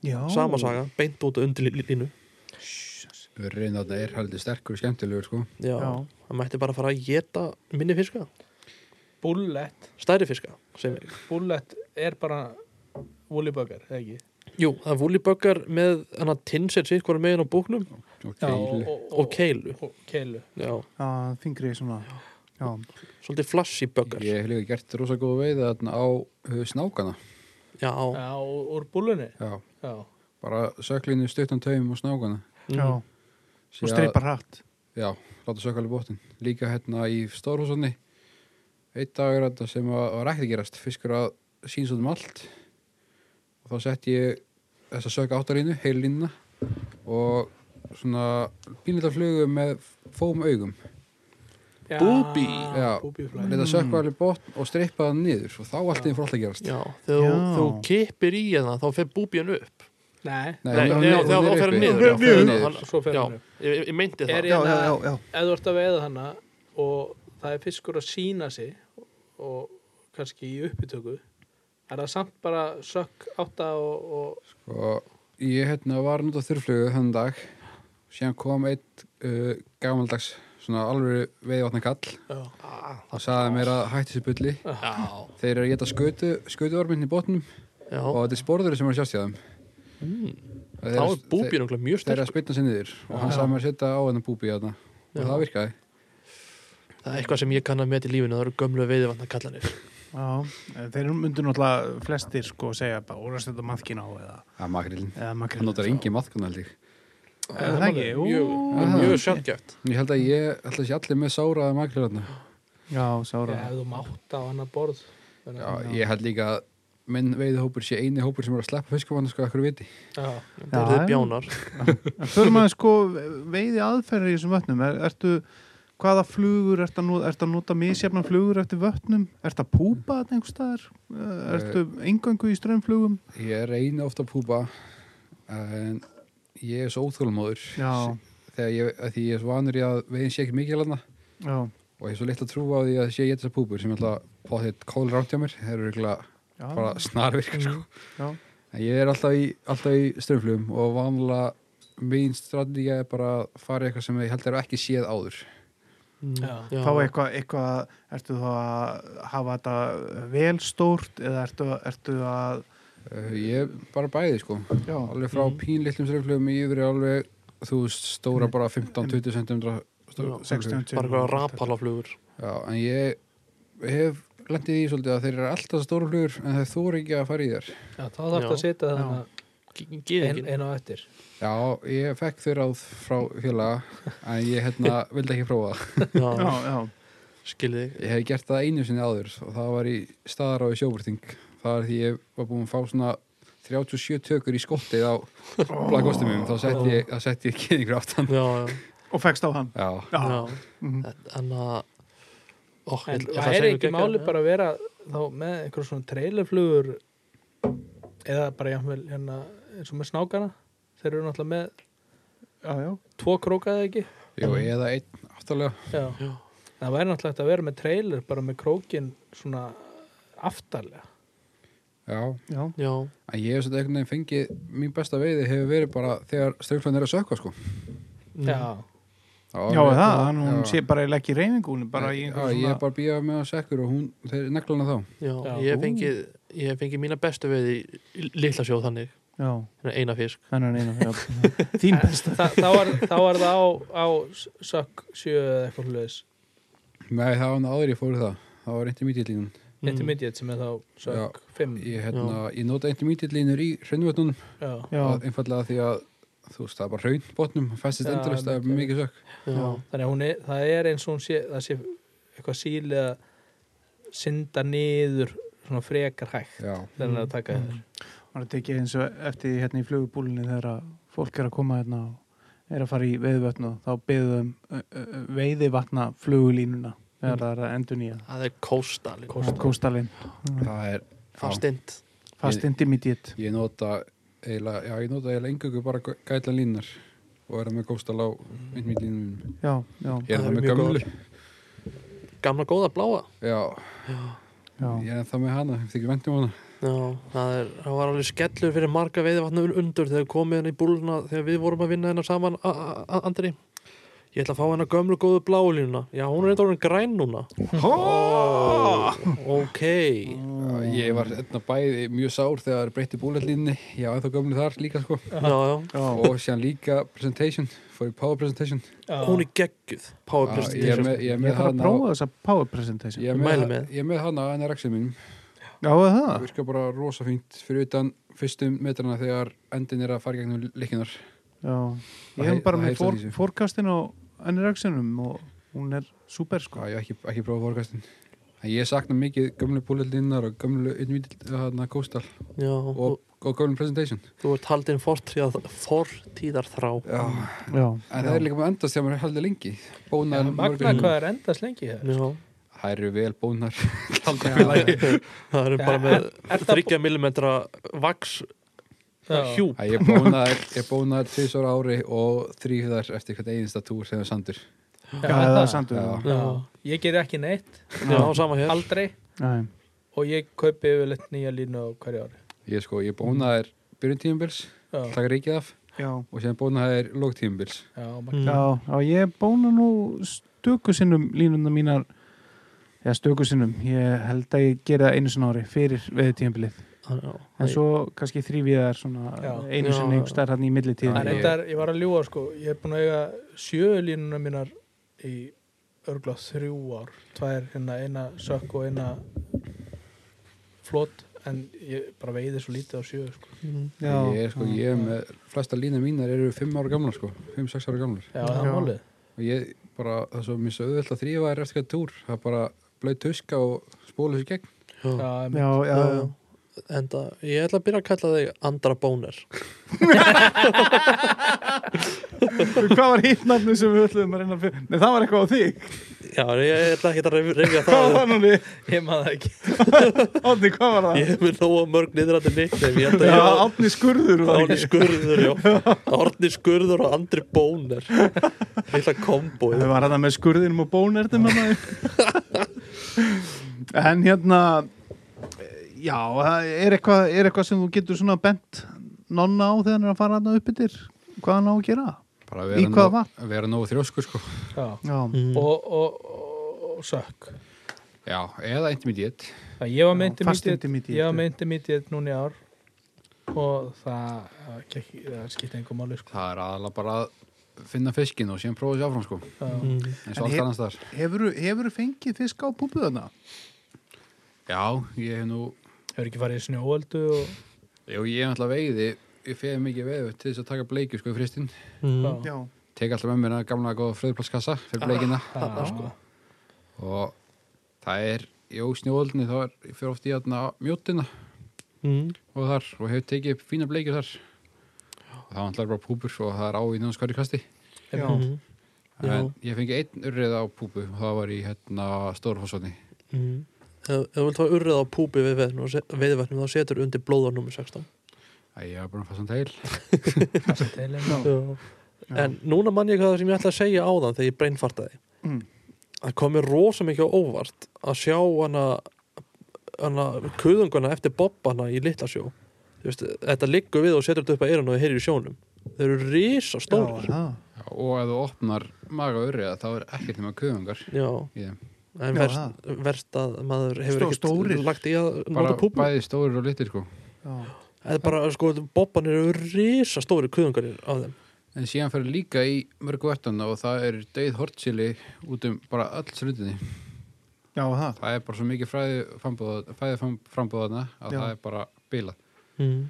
[SPEAKER 2] já
[SPEAKER 4] sama saga, beint út á undirlínu
[SPEAKER 3] Urrin þarna er haldið sterkur og skemmtilegur sko.
[SPEAKER 4] já,
[SPEAKER 2] Já.
[SPEAKER 4] hann mætti bara fara að geta minni fiska,
[SPEAKER 1] Bullet,
[SPEAKER 4] stærri fiska sem ég
[SPEAKER 1] bullet er bara Woollybugar, eða ekki
[SPEAKER 4] Jú, það er vúliböggar með hann að tinsett sitt hvora megin á búknum
[SPEAKER 3] og
[SPEAKER 1] Já, og,
[SPEAKER 3] keilu.
[SPEAKER 1] og,
[SPEAKER 4] og keilu.
[SPEAKER 1] og keilu
[SPEAKER 4] Já,
[SPEAKER 2] Já, fingri svona Já,
[SPEAKER 4] svolítið flassi böggar.
[SPEAKER 3] Ég hef líka gert rosa góða veið þarna á uh, snákana
[SPEAKER 4] Já,
[SPEAKER 1] Já, og- úr búlunni
[SPEAKER 3] Já,
[SPEAKER 1] Já,
[SPEAKER 3] bara söklinu stuttan taum og snákana
[SPEAKER 2] já,
[SPEAKER 4] mm,
[SPEAKER 3] Sé
[SPEAKER 2] og
[SPEAKER 3] að-
[SPEAKER 2] streipar hratt
[SPEAKER 3] Já, láta sökka alveg bóttin Líka hérna í Stórhúsunni Eitt dag er þetta sem að, var ekki að gerast Fiskur að síns út um allt Og þá sett ég þessa sökka áttalínu, heil línuna Og svona pínlita flugu með fóm augum
[SPEAKER 1] Já,
[SPEAKER 4] Booby.
[SPEAKER 3] Já.
[SPEAKER 1] búbíflæ.
[SPEAKER 3] Leita sökka alveg bóttin og streipa það niður Og þá allt einn fór alltaf að gerast
[SPEAKER 4] já,
[SPEAKER 2] Já.
[SPEAKER 4] þegar þú- þegar þú kippir í hérna þá fer búbjörn upp.
[SPEAKER 1] Nei,
[SPEAKER 3] Nei,
[SPEAKER 4] Nei,
[SPEAKER 3] hún er-
[SPEAKER 4] nei,
[SPEAKER 3] hún
[SPEAKER 4] þá- þá
[SPEAKER 3] er
[SPEAKER 4] fer
[SPEAKER 3] uppi.
[SPEAKER 4] hann niður.
[SPEAKER 3] Já,
[SPEAKER 4] Já,
[SPEAKER 3] fer hún
[SPEAKER 4] niður.
[SPEAKER 3] niður.
[SPEAKER 1] svo fer
[SPEAKER 4] Já,
[SPEAKER 1] hann upp.
[SPEAKER 4] ég, ég meinti
[SPEAKER 1] Er
[SPEAKER 4] það.
[SPEAKER 1] ég-
[SPEAKER 2] Já, já, já, já
[SPEAKER 1] Ef þú ert að veiða hana og það er fiskur að sína sig og kannski í uppbytöku er það samt bara sökk átta og, og
[SPEAKER 3] og ég hérna var nút á þurrflugu þann dag síðan kom eitt uh, gamaldags svona alveg veiðvatna kall
[SPEAKER 1] Ah,
[SPEAKER 3] og sagði mér að hætti sér bulli
[SPEAKER 4] Já,
[SPEAKER 3] þeir eru að geta skötu, skötuorminn í botnum
[SPEAKER 4] já,
[SPEAKER 3] og þetta er sporður sem er að sjást hjá þeim Og þeir
[SPEAKER 4] mm, þá
[SPEAKER 3] eru-
[SPEAKER 4] er búbín okkur mjög
[SPEAKER 3] þeir eru
[SPEAKER 4] sterk
[SPEAKER 3] að spilna sér niður og hann
[SPEAKER 1] Já.
[SPEAKER 3] sagði mér að setja á hennar búbi þarna og
[SPEAKER 4] Já.
[SPEAKER 3] það virkaði
[SPEAKER 4] Það er eitthvað sem ég kann að meta í lífinu, það eru gömlu veiðivatna kallanir
[SPEAKER 2] Já, þeir myndu náttúrulega flestir sko segja bara úrast þetta maðkin á eða,
[SPEAKER 3] að makrillin,
[SPEAKER 2] eða makrillin.
[SPEAKER 3] hann notar engin matkun held ég
[SPEAKER 2] Er það ekki? Ú,
[SPEAKER 4] Mjög,
[SPEAKER 3] já.
[SPEAKER 4] mjög sjálfgæft
[SPEAKER 3] ég held að ég ætla að sé allir með sáraða makrill þarna
[SPEAKER 2] Já, sára.
[SPEAKER 1] ef þú mátt á annar borð
[SPEAKER 3] Já, ég held líka að minn veiðihópur sé eini hópur sem er að sleppa fiskum hann sko ekkur viti.
[SPEAKER 1] Já.
[SPEAKER 4] Það eru
[SPEAKER 2] já.
[SPEAKER 4] þið bjánar
[SPEAKER 2] En förum að sko veiði aðferðir í þessum vötnum. Er, ertu, hvaða flugur, ertu að, nota, ertu að nota misjafna flugur eftir vötnum? Ertu að púpa þetta einhvers staðar? Eh, Ertu engöngu í strömmflugum?
[SPEAKER 3] Ég reyni ofta að púpa en ég er svo óþólmóður
[SPEAKER 2] Já,
[SPEAKER 3] þegar ég, að því ég er svo vanur í að veiðin sé ekki mikið hana
[SPEAKER 2] já,
[SPEAKER 3] og ég er svo litla trú á því að sé ég þessar púpur sem alltaf potið kól rámt hjá mér þeir eru eiginlega
[SPEAKER 2] já,
[SPEAKER 3] bara snarvirkar
[SPEAKER 4] Mm.
[SPEAKER 3] sko.
[SPEAKER 2] já.
[SPEAKER 3] en ég er alltaf í, alltaf í ströflum og vanlega mín strategið er bara að fara í eitthvað sem ég held að eru ekki séð áður
[SPEAKER 4] Mm. Já.
[SPEAKER 2] Þá eitthvað, eitthvað, ertu þá að hafa þetta vel stórt eða ertu, ertu að,
[SPEAKER 3] Uh, ég er bara bæði sko
[SPEAKER 2] já,
[SPEAKER 3] alveg frá
[SPEAKER 4] Mhm.
[SPEAKER 3] pínlillum ströflum yfir í alveg þú veist stóra bara 15-20 cm
[SPEAKER 4] Já,
[SPEAKER 2] 60
[SPEAKER 4] Bara eitthvað rapalaflugur
[SPEAKER 3] Já, en ég hef lendið í því svolítið að þeir eru alltaf stóra flugur en þeir þóra ekki að fara í þér
[SPEAKER 1] Já, þá þarf
[SPEAKER 4] Já.
[SPEAKER 1] að setja
[SPEAKER 2] Já.
[SPEAKER 1] þannig ein,
[SPEAKER 4] Gýðingin
[SPEAKER 1] ein á eftir
[SPEAKER 3] Já, ég fekk þau ráð frá félaga en ég hérna vildi ekki prófa það
[SPEAKER 2] Já, já,
[SPEAKER 4] Skilði þig
[SPEAKER 3] Ég hef gert það einu sinni áður og það var í staðar á í sjóburting það er því ég var búin að fá svona 37 tökur í skottið á blakostum mjög, þá setti ég, þá setti ég kynningur aftan
[SPEAKER 4] Já, já,
[SPEAKER 2] og fegst á hann.
[SPEAKER 3] Já,
[SPEAKER 2] Já,
[SPEAKER 4] já
[SPEAKER 2] Mhm.
[SPEAKER 4] Þannig að Ó, ég-
[SPEAKER 1] en
[SPEAKER 4] ég ætla að
[SPEAKER 1] það er
[SPEAKER 4] segja
[SPEAKER 1] ekki
[SPEAKER 4] geggjað,
[SPEAKER 1] máli
[SPEAKER 4] já.
[SPEAKER 1] bara að vera þá með einhver svona trailerflugur eða bara jafnvel hérna eins og með snákana þeir eru náttúrulega með
[SPEAKER 2] já, já.
[SPEAKER 1] tvo króka eða ekki
[SPEAKER 3] Jú, eða einn aftalega
[SPEAKER 1] Já.
[SPEAKER 4] Já.
[SPEAKER 1] það væri náttúrulega hægt að vera með trailer bara með krókin svona aftarlega
[SPEAKER 3] Já,
[SPEAKER 2] já.
[SPEAKER 4] Já,
[SPEAKER 3] En ég hef svolítið einhvern veginn fengið, mín besta veiði hefur verið bara þegar ströflan er að sökka sko.
[SPEAKER 4] Mm.
[SPEAKER 1] Já,
[SPEAKER 3] Já,
[SPEAKER 2] Já, það, hann hún
[SPEAKER 3] Já.
[SPEAKER 2] sé bara eiginlega ekki í reyfingunum, bara í
[SPEAKER 3] Já,
[SPEAKER 2] einhverjum
[SPEAKER 3] Ég er bara býjað með að sekkur og hún, þeir negla hana þá.
[SPEAKER 4] já,
[SPEAKER 1] Já.
[SPEAKER 4] ég hef fengið Ég hef fengið mína bestu veið í litla sjóð þannig
[SPEAKER 2] Já,
[SPEAKER 4] Eina fisk
[SPEAKER 2] þannig er einu, já. Þín
[SPEAKER 1] En þa þá, er, þá er það á, á sökk sjö eða eitthvað hlutis
[SPEAKER 3] Nei, það var hann áður ég fór í það. Það var intermediate-línun.
[SPEAKER 1] intermediate sem er þá sökk fimm
[SPEAKER 3] Ég, hérna, ég nota intermediate-línur í hraunvötnunum,
[SPEAKER 1] já.
[SPEAKER 2] Já,
[SPEAKER 3] einfallega því að þú veist, það er bara hraunbotnum, festist
[SPEAKER 1] Já,
[SPEAKER 3] endurist, það er
[SPEAKER 1] einmitt.
[SPEAKER 3] mikið sökk.
[SPEAKER 4] Já,
[SPEAKER 1] þannig að hún er, það er eins og hún sé það sé eitthvað síli að synda niður svona frekar hægt
[SPEAKER 3] Já,
[SPEAKER 1] þegar hann er að taka þér
[SPEAKER 2] maður tekið eins og eftir því hérna í flugubúlinni þegar að fólk er að koma hérna og er að fara í veiðvötn og þá um, beðum veiðivatna flugulínuna þegar það er að endur nýja
[SPEAKER 4] það er kóstal
[SPEAKER 2] kóstalinn,
[SPEAKER 3] það er, já,
[SPEAKER 4] Fastind
[SPEAKER 2] fast intermediate
[SPEAKER 3] ég nota eiginlega, já, ég nota eiginlega engungu bara gæ- gæla línar og er með góstal á intermediate-línunum.
[SPEAKER 2] já, já,
[SPEAKER 4] Það
[SPEAKER 3] Ég er það
[SPEAKER 4] eru
[SPEAKER 3] með
[SPEAKER 4] mjög
[SPEAKER 3] gömlu.
[SPEAKER 4] Gamla góða bláa
[SPEAKER 3] Já,
[SPEAKER 2] já,
[SPEAKER 3] ég er það með hana, þeim þykir vendum hana.
[SPEAKER 4] Já, það, er, það var alveg skellur fyrir marga veiðvatna undur þegar komið henni í búluna þegar við vorum að vinna hennar saman a- a- a- Andri Ég ætla að fá hennar gömlu góðu bláulínuna Já, hún er eitthvað orðin græn núna oh, Ok
[SPEAKER 3] Já, Ég var einna bæði mjög sár þegar það breytti búletlínni, ég á ennþá gömlu þar líka sko
[SPEAKER 4] Já, já,
[SPEAKER 2] já,
[SPEAKER 3] og síðan líka presentation, fór í power presentation
[SPEAKER 4] hún er geggjuð Power
[SPEAKER 3] Já, Ég er
[SPEAKER 4] Presentation
[SPEAKER 3] með, ég er
[SPEAKER 2] ég
[SPEAKER 3] með
[SPEAKER 2] þarf að
[SPEAKER 3] hana
[SPEAKER 2] prófa þessa power presentation
[SPEAKER 3] ég er
[SPEAKER 4] Mæli
[SPEAKER 3] með,
[SPEAKER 4] með.
[SPEAKER 3] ég er með hana en er axið mínum
[SPEAKER 2] já, er
[SPEAKER 3] það
[SPEAKER 2] það,
[SPEAKER 3] virkar bara rosa fínt fyrir utan fyrstum metrana þegar endin er að fara gegnum likkinar
[SPEAKER 2] já ég
[SPEAKER 3] Það hei-
[SPEAKER 2] hef bara
[SPEAKER 3] það
[SPEAKER 2] með
[SPEAKER 3] heitir
[SPEAKER 2] fór,
[SPEAKER 3] þessu.
[SPEAKER 2] fórkastin og NRX-inum og hún er super sko
[SPEAKER 3] Já, ég hef ekki, ekki prófað vorkastin En ég sakna mikið gömlu búletlínnar og gömlu innvítil hana kóstal
[SPEAKER 4] Já,
[SPEAKER 3] og, og gömlu presentation
[SPEAKER 4] þú, þú ert haldin fortíðar, fortíðarþrá
[SPEAKER 3] Já,
[SPEAKER 2] já,
[SPEAKER 3] en það er líka með að endast þegar maður er heldur lengi
[SPEAKER 1] Já,
[SPEAKER 3] Bónar
[SPEAKER 1] magna hvað er endast lengi hér
[SPEAKER 4] Já,
[SPEAKER 3] Það eru vel bónar
[SPEAKER 4] það eru
[SPEAKER 1] Já,
[SPEAKER 4] bara með
[SPEAKER 1] er það
[SPEAKER 4] 30 mm vaks
[SPEAKER 1] já,
[SPEAKER 4] hjúp
[SPEAKER 3] Æ, ég bónaði, ég bónaði tvisar ári og þrýðar eftir hvert einasta túr sem er sandur.
[SPEAKER 2] já, það er
[SPEAKER 3] Já.
[SPEAKER 2] sandur
[SPEAKER 1] Já. ég ger ekki neitt,
[SPEAKER 4] Já, sama hér
[SPEAKER 1] aldrei
[SPEAKER 2] já,
[SPEAKER 1] og ég kaupi yfirleitt nýja línu á hverju ári
[SPEAKER 3] Ég sko, ég bónaði þær byrjun tímabils,
[SPEAKER 1] já,
[SPEAKER 3] taka ríkið af
[SPEAKER 2] já
[SPEAKER 3] og séðan bónaði þær lók tímabils.
[SPEAKER 1] já, magna.
[SPEAKER 4] Mm.
[SPEAKER 2] Já, já, ég bóna nú s- stöku sinnum línuna mínar eða stöku sinnum, ég held að ég geri það einu sinna ári fyrir veðu tíðanbilið en svo kannski þrýfið þær svona
[SPEAKER 1] Já.
[SPEAKER 2] einu
[SPEAKER 7] Já.
[SPEAKER 2] sinni einhver stær hann í millitíðin
[SPEAKER 1] En reyndar, ég var að ljúa sko, ég er búin að eiga sjölínuna mínar í örgla þrjú ár, tvær hérna eina sökk og eina flott, en ég bara veiði svo lítið á sjö sko.
[SPEAKER 4] Mm.
[SPEAKER 2] Já,
[SPEAKER 3] ég er sko, ég er með flesta lína mínar eru 5 ára gamlar sko, 5-6 ára gamlar
[SPEAKER 1] Já, það er
[SPEAKER 2] Já.
[SPEAKER 1] málið.
[SPEAKER 3] og ég bara, það er svo mjög svo auðvelt að þrýfa er eftir hvað túr, það er bara blöð tuska og spóla þessu gegn
[SPEAKER 1] Já, em-
[SPEAKER 2] já, já, já.
[SPEAKER 4] Enda, ég ætla að byrja að kalla þig Andra Bóner
[SPEAKER 2] Hvað var hitt nafni sem við ætlum að reyna að finna? Nei, það var eitthvað á þig.
[SPEAKER 4] Já, ég ætla ekki að ref- rifja
[SPEAKER 2] Hvað var
[SPEAKER 4] það upp.
[SPEAKER 2] það núni?
[SPEAKER 1] ég maður það ekki.
[SPEAKER 2] Átni, hvað var það?
[SPEAKER 4] Ég hef mér nóga mörg niðrandi nickname Ég held að
[SPEAKER 2] Já,
[SPEAKER 4] ég á
[SPEAKER 2] Átni Skurður var
[SPEAKER 4] Árni
[SPEAKER 2] ekki.
[SPEAKER 4] Skurður, já Árni Skurður og Andri Bóner Lilla kombóið
[SPEAKER 2] Það var hann með skurðinum og bónerdum hann En hérna, já, það er eitthvað, er eitthvað sem þú getur svona bent nonna á þegar hann er að fara hann upp yfir? Hvað hann á að gera?
[SPEAKER 3] bara
[SPEAKER 2] Í
[SPEAKER 3] vera,
[SPEAKER 2] hvaða
[SPEAKER 3] nóg, vera nógu þrjósku sko
[SPEAKER 1] Já,
[SPEAKER 2] Já,
[SPEAKER 4] Mm,
[SPEAKER 1] og, og, og, og sökk.
[SPEAKER 3] já, eða intermediate
[SPEAKER 1] Það, Ég var
[SPEAKER 2] Já,
[SPEAKER 1] meinti
[SPEAKER 2] fast
[SPEAKER 1] mítið,
[SPEAKER 2] intermediate.
[SPEAKER 1] ég var meinti mítið núna í ár og það, það, gekk- það skipti engum máli sko.
[SPEAKER 3] það er aðalega bara að finna fiskin og síðan prófa þessu áfram sko
[SPEAKER 1] Já.
[SPEAKER 2] Hmm.
[SPEAKER 4] mm,
[SPEAKER 3] eins
[SPEAKER 2] En
[SPEAKER 3] og allt
[SPEAKER 2] ég-
[SPEAKER 3] annars þar
[SPEAKER 2] hefurðu hefur fengið fisk á púpu þarna?
[SPEAKER 3] já, ég hef nú,
[SPEAKER 1] Hefur ekki farið í snjóöldu og...
[SPEAKER 3] jú, ég hef alltaf veiði ég feði mikið veiði til þess að taka bleikju sko í fristinn,
[SPEAKER 4] mm,
[SPEAKER 1] Já.
[SPEAKER 2] Já,
[SPEAKER 3] tek alltaf með mér að gamla góða fröðplasskassa fyrir bleikina
[SPEAKER 1] Það, sko.
[SPEAKER 3] og það er, jú, snjóöldinni þá er, ég fyrir oft í aðna mjótina og þar og hefur tekið upp fína bleikjur þar og það var alltaf bara púpur og það er á í náttúrulega hverju kasti
[SPEAKER 4] mm,
[SPEAKER 2] já,
[SPEAKER 3] en ég fengi einn urrið á púpu og það var í hérna Stórfossoni
[SPEAKER 4] Mm. Ef ef þú vilt hafa urrið á púpi við veðinu og se- veiðivætnum þá setur undir blóðar nummer 16
[SPEAKER 3] að ég var bara að fassa hann til
[SPEAKER 1] Passa til, hérna. en-
[SPEAKER 4] En núna man ég hvað sem ég ætla að segja áðan þegar ég breinfartaði
[SPEAKER 2] Mm.
[SPEAKER 4] Það kom mér rosa mikið á óvart að sjá hana, hana kuðunguna eftir bobbana í litla sjó Just, Þetta liggur við og setur þetta upp að eyrun og þið heyrir í sjónum Þeir eru risa stóri Já,
[SPEAKER 2] já.
[SPEAKER 3] Já, og ef þú opnar maga urriða þá er ekkert nema kuðungar í þeim.
[SPEAKER 4] en
[SPEAKER 2] Já,
[SPEAKER 4] verst, verst að maður hefur
[SPEAKER 2] Stó- stórir.
[SPEAKER 4] ekkert lagt í að
[SPEAKER 3] bara
[SPEAKER 4] nota púpa
[SPEAKER 3] bæði stórir og litir sko
[SPEAKER 2] já.
[SPEAKER 4] Það er bara, sko, bobban eru risa stóri kuðungar á þeim
[SPEAKER 3] en síðan fyrir líka í mörgu verðana og það er döið hortsili út um bara öll srundinni
[SPEAKER 2] Já, það.
[SPEAKER 3] það er bara svo mikið fræði fræðiframbúðana að
[SPEAKER 2] Já.
[SPEAKER 3] það er bara bilað
[SPEAKER 4] mm.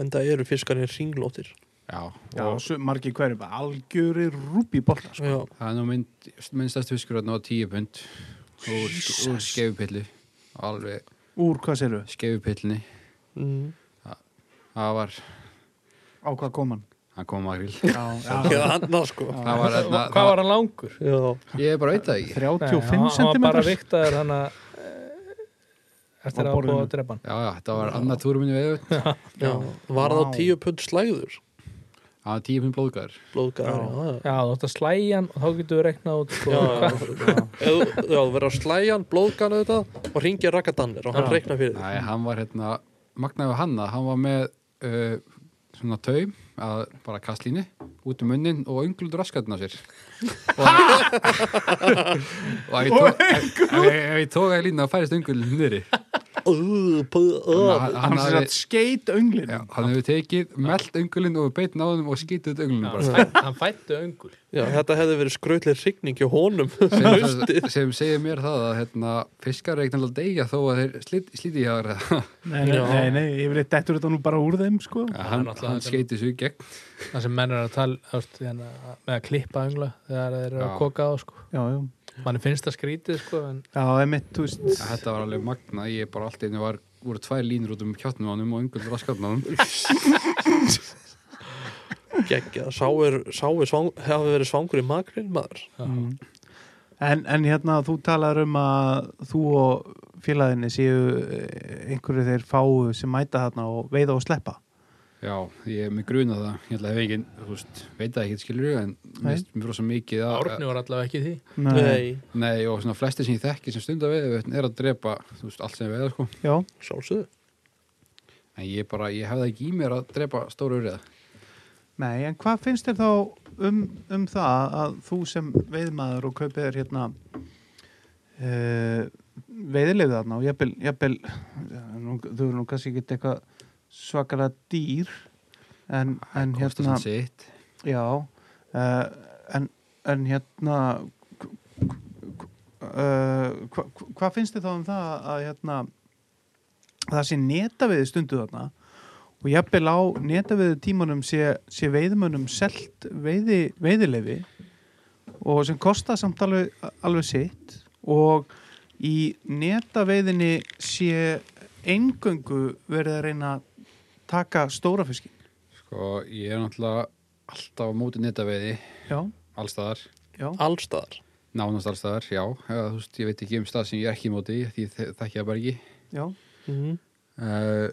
[SPEAKER 4] En það eru fiskarnir ringlótir
[SPEAKER 3] já,
[SPEAKER 2] Já,
[SPEAKER 3] og
[SPEAKER 2] sum- margir hverju, bara algjörir rúbi bolta, sko.
[SPEAKER 4] Já,
[SPEAKER 3] það er nú mynd, minnstast fiskur að ná tíu pund úr, úr skefupillu alveg
[SPEAKER 2] Úr hvað sérðu?
[SPEAKER 3] skefupillinni
[SPEAKER 4] mm.
[SPEAKER 3] það var,
[SPEAKER 2] Á hvað kom hann?
[SPEAKER 3] hann kom magril
[SPEAKER 2] Já, já.
[SPEAKER 4] já annars sko
[SPEAKER 3] það
[SPEAKER 1] Hvað
[SPEAKER 3] var, hérna,
[SPEAKER 1] var hann langur?
[SPEAKER 4] Já,
[SPEAKER 3] ég bara veit það ekki
[SPEAKER 2] 35
[SPEAKER 1] Nei, hann var bara
[SPEAKER 2] cm?
[SPEAKER 1] viktaður hann að eh, eftir
[SPEAKER 2] Á
[SPEAKER 1] að búa
[SPEAKER 2] borðinu.
[SPEAKER 1] að drepa hann
[SPEAKER 3] já, já, þetta var annað túrminni við
[SPEAKER 4] já, var það
[SPEAKER 2] Vá.
[SPEAKER 4] á tíu pund slæður
[SPEAKER 3] það var tíu pund blóðgæður
[SPEAKER 4] blóðgæðar, já, já.
[SPEAKER 1] Já, þú ætti að slæja hann og þá getur við reiknað út sko,
[SPEAKER 4] Já, já,
[SPEAKER 1] hvað-
[SPEAKER 4] Ef þú- já, þú verður að slæja hann blóðgæðan auðvitað og ringja rakadannir og hann reikna fyrir þig
[SPEAKER 3] Nei, hann var hérna, magnaði hanna, hann var með uh, svona taum, að, bara kastlíni, út um munnin og öngluð raskatinn á sér. Og, og ef ég tók- ef- ef- ef ég tók að lína að færist öngulinn niðri.
[SPEAKER 4] Ú, puð, ú.
[SPEAKER 3] Þannig að Hann,
[SPEAKER 2] Hann sem
[SPEAKER 3] hann, hafði-
[SPEAKER 2] sagt skeit önglin.
[SPEAKER 3] já, hann hefur tekið, meld öngulinn og beitt náðum og skítið út öngulinn bara.
[SPEAKER 1] Fæ- hann fættu öngul
[SPEAKER 4] Já, þetta hefði verið skrautlega rigning hjá honum
[SPEAKER 3] Sem, sem segir mér það að hérna, fiskar er ekkert alveg að deyja þó að þeir slit, slíti hjá þeirra.
[SPEAKER 2] Nei, nei,
[SPEAKER 4] Já.
[SPEAKER 2] nei, nei, yfirleitt dettur þetta nú bara úr þeim, sko.
[SPEAKER 3] Hann, hann skeiti svo í gegn.
[SPEAKER 1] það sem menn er að tala ást, hérna, með að klippa öngla þegar þeir eru að
[SPEAKER 3] Já.
[SPEAKER 1] koka á sko.
[SPEAKER 2] Já, já.
[SPEAKER 1] mann finnst það skrítið sko, en
[SPEAKER 2] Já, emitt, þú veist.
[SPEAKER 3] Ja, Þetta var alveg magna, ég bara allt einu var voru tvær línur út um kjáttnum ánum og yngur raskatnum
[SPEAKER 4] Gekkja, sá er, sá er svang, hefði verið svangur í makrinn maður
[SPEAKER 2] En, en hérna, þú talar um að þú og félaginni séu eh, einhverju þeir fáu sem mæta þarna og veiða og sleppa.
[SPEAKER 3] Já, ég er með gruna það ég held að hef engin, þú veist, veit það ekki skilur en
[SPEAKER 2] Nei.
[SPEAKER 3] mist mér frá svo mikið að
[SPEAKER 1] Árni var allavega ekki í því
[SPEAKER 2] Eh,
[SPEAKER 4] Nei,
[SPEAKER 3] Nei, og svona flesti sem ég þekki sem stundar veið er að drepa, þú veist, allt sem veið sko.
[SPEAKER 2] Já,
[SPEAKER 4] sjálfsögðu
[SPEAKER 3] en ég bara, ég hefði ekki í mér að drepa stóru urið
[SPEAKER 2] Nei, en hvað finnst þér þá um, um það að þú sem veiðmaður og kaupið er hérna uh, veiðilegð þarna og jafnvel, jafnvel nú, þú eru nú kannski ekki eitthvað svakara dýr en, en
[SPEAKER 3] Kostar
[SPEAKER 2] hérna
[SPEAKER 3] sem sitt
[SPEAKER 2] já, uh, en, en hérna uh, hva, hvað finnst þér þá um það að hérna það sé netaviði stundu þarna og jafnvel á netaviði tímanum sé, sé veiðmönnum selt veiði, veiðilefi og sem kosta samt alveg, alveg sitt og í netaveiðinni sé eingöngu verið að reyna að taka stóra fiskin
[SPEAKER 3] Sko, ég er náttúrulega alltaf á móti netaveiði
[SPEAKER 2] já,
[SPEAKER 3] allstaðar,
[SPEAKER 2] já,
[SPEAKER 6] allstaðar
[SPEAKER 3] nánast allstaðar, já eða, þú veist, ég veit ekki um stað sem ég er ekki á móti því ég þe- þekki það bara ekki
[SPEAKER 2] já
[SPEAKER 4] Mhm.
[SPEAKER 3] uh,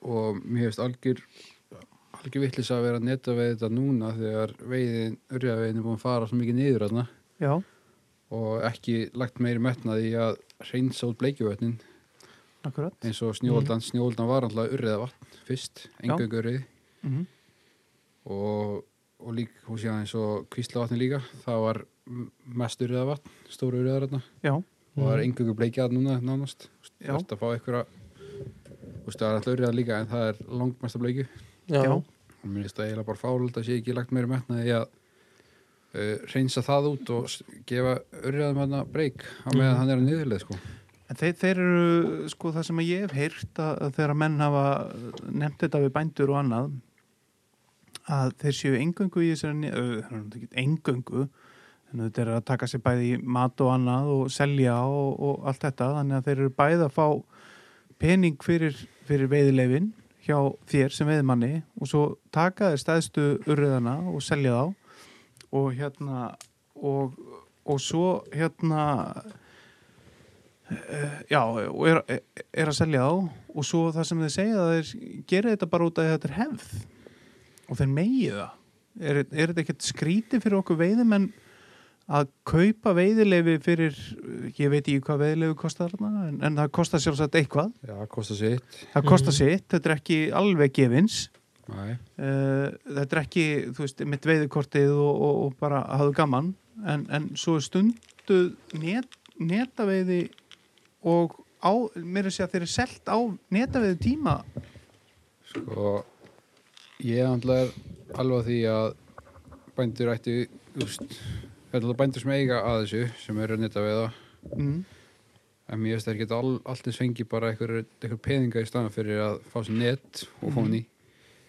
[SPEAKER 3] og mér hefst algjör algjör vittlis að vera að netaveiði þetta núna þegar veiðin, urjaveiðin er búin að fara svo mikið niður þarna
[SPEAKER 2] Já,
[SPEAKER 3] og ekki lagt meiri metnaði í að reynsa út bleikjuvötnin
[SPEAKER 2] akkurat.
[SPEAKER 3] eins og snjóaldan, snjóaldan var alltaf urriða vatn fyrst, engöngu urrið
[SPEAKER 2] Mm
[SPEAKER 3] og, og líka, og síðan eins og kvíslavatni líka, það var m- mest urriða vatn, stóru urriða þarna
[SPEAKER 2] Já,
[SPEAKER 3] og það er engöngu bleikjað núna nánast
[SPEAKER 2] Já.
[SPEAKER 3] þú ert að fá einhverja þú veist það er alltaf urriða líka en það er langmesta bleikju
[SPEAKER 6] já,
[SPEAKER 2] já,
[SPEAKER 3] og mér finnst það eiginlega bara fálult að sé ekki lagt meiri metnaði í að Uh, reynsa það út og s- gefa urriðaðum hann að breyk á meðan hann er að niðurlega sko
[SPEAKER 2] en þeir, þeir eru sko það sem ég hef heyrt að, að þegar að menn hafa nefnt þetta við bændur og annað að þeir séu engöngu í þessari engöngu en þetta er að taka sér bæði í mat og annað og selja og, og allt þetta þannig að þeir eru bæði að fá pening fyrir, fyrir veiðileifin hjá þér sem veiðmanni og svo taka þeir stæðstu urriðana og selja þá og hérna og, og svo hérna já, og er, er að selja á og svo það sem þeir segja að þeir gera þetta bara út af því að þetta er hefð og þeir megi það er, er þetta ekkert skríti fyrir okkur veiðimenn að kaupa veiðileifi fyrir, ég veit ekki hvað veiðileifi kostar þarna, en, en það kostar sjálfsagt eitthvað,
[SPEAKER 3] Já, kostar sitt
[SPEAKER 2] það kostar sitt þetta er ekki alveg gefins
[SPEAKER 3] Nei.
[SPEAKER 2] uh, þetta er ekki, þú veist, mitt veiðikortið og, og, og bara hafðu gaman en, en svo er stundu net, netaveiði og á, mér er að segja þeir eru selt á netaveiði tíma
[SPEAKER 3] Sko, ég er náttúrulega alveg á því að bændur ættu, úst, þetta er alveg bændur sem eiga að þessu, sem eru að nýta við það,
[SPEAKER 2] mm,
[SPEAKER 3] en mér finnst það ekki all, allt eins fengi bara einhver, einhver peninga í staðan fyrir að fá sér net og fá hann í.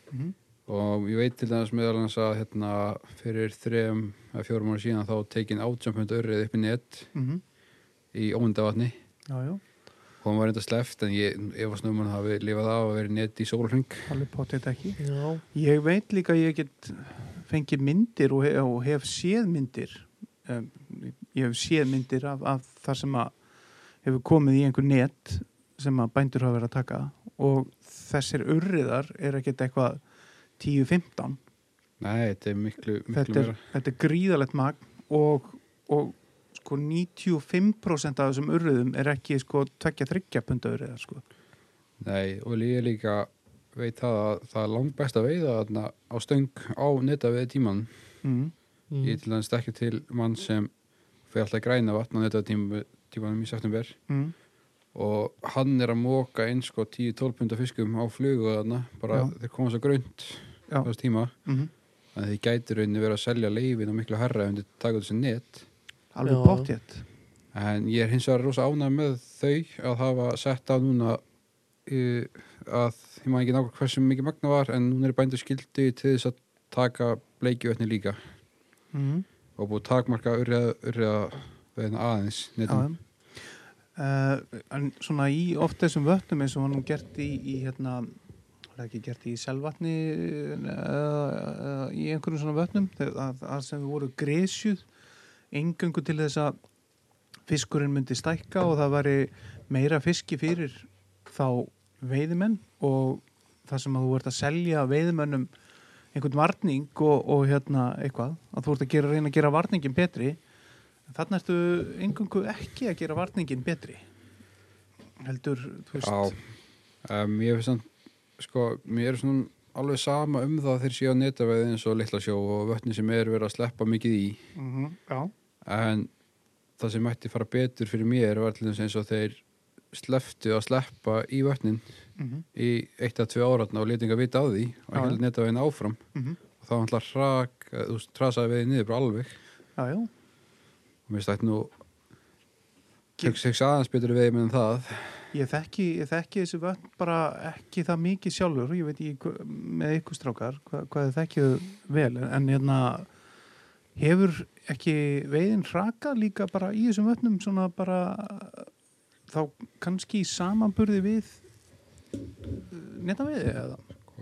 [SPEAKER 2] Mhm.
[SPEAKER 3] Og ég veit til dæmis meðal hans að hérna, fyrir þrejum að fjórum ára síðan þá tekin átjömpund örrið upp í net
[SPEAKER 2] mm,
[SPEAKER 3] í ómundavatni.
[SPEAKER 2] já, já,
[SPEAKER 3] Og hann var reynda sleft en ég, ég var snúmann að hafi lifað af að vera í net í sólhring.
[SPEAKER 2] alveg potið ekki
[SPEAKER 4] Já.
[SPEAKER 2] ég veit líka að ég get fengið myndir og, hef, og hef séð myndir um, ég hef séð myndir af, af þar sem að hefur komið í einhver net sem að bændur hafa verið að taka og þessir urriðar er ekkert eitthvað 10-15
[SPEAKER 3] Nei, þetta er miklu, miklu
[SPEAKER 2] þetta, er-
[SPEAKER 3] meira.
[SPEAKER 2] þetta er gríðalegt magn og, og sko 95% af þessum urriðum er ekki sko 23 punda urriðar sko.
[SPEAKER 3] Nei, og ég líka veit það að það er langt best að veiða þarna á stöng á netta við tíman.
[SPEAKER 2] mm.
[SPEAKER 3] Ég til dæmis stekki til mann sem fyrir alltaf græna vatn á netta tímanum í september
[SPEAKER 2] Mm.
[SPEAKER 3] og hann er að móka eins sko 10-12 punda fiskum á flugu þarna, bara
[SPEAKER 2] Já.
[SPEAKER 3] þeir koma svo grönt
[SPEAKER 2] Já.
[SPEAKER 3] þess tíma.
[SPEAKER 2] Mm
[SPEAKER 3] Þannig að þið gæti rauninni verið að selja leifin og miklu herra ef þið taka þessi net.
[SPEAKER 2] alveg
[SPEAKER 4] Já.
[SPEAKER 2] pottjett
[SPEAKER 3] En ég er hins vegar rosa ánægð með þau að hafa sett á núna uh, að ég maður ekki nákvæmlega hversu mikið magna var en núna er bændur skildi til þess að taka bleikjöfni líka
[SPEAKER 2] mm.
[SPEAKER 3] og búið takmarka urriða, urriða veginn aðeins netum.
[SPEAKER 2] Uh, en svona í oft þessum vötnum eins og hann gert í, í hérna var það ekki gert í selvatni uh, í einhverjum svona vötnum þar sem við voru gresjuð engöngu til þess að fiskurinn myndi stækka og það væri meira fiski fyrir þá veiðimenn og það sem að þú ert að selja veiðimennum einhvern varning og, og hérna eitthvað að þú ert að gera, reyna að gera varningin betri þannig ertu engungu ekki að gera varningin betri heldur, þú veist
[SPEAKER 3] Já, um, ég finnst þann sko, mér er svona alveg sama um það þeir séu á netaveiði eins og litla sjó og vötni sem er verið að sleppa mikið í
[SPEAKER 2] Mhm, Já,
[SPEAKER 3] en það sem mætti fara betur fyrir mér var til þess eins og þeir sleftu að sleppa í vötnin
[SPEAKER 2] Mhm.
[SPEAKER 3] í eitt að tvö áratna og litinga vita á því og
[SPEAKER 2] Já,
[SPEAKER 3] held netaveiðin áfram
[SPEAKER 2] Mhm.
[SPEAKER 3] og þá hann hrak, eh, þú veist, trasaði veiði niður bara alveg
[SPEAKER 2] já, já.
[SPEAKER 3] og mér stætt nú hugsa hugsa aðeins betur veiði með það
[SPEAKER 2] Ég þekki, ég þekki þessi vötn bara ekki það mikið sjálfur, ég veit ekki hva- með ykkur strákar hva, hvað þið þekkið vel, en, en hérna hefur ekki veiðin hraka líka bara í þessum vötnum svona bara þá kannski í samanburði við netta veiði eða?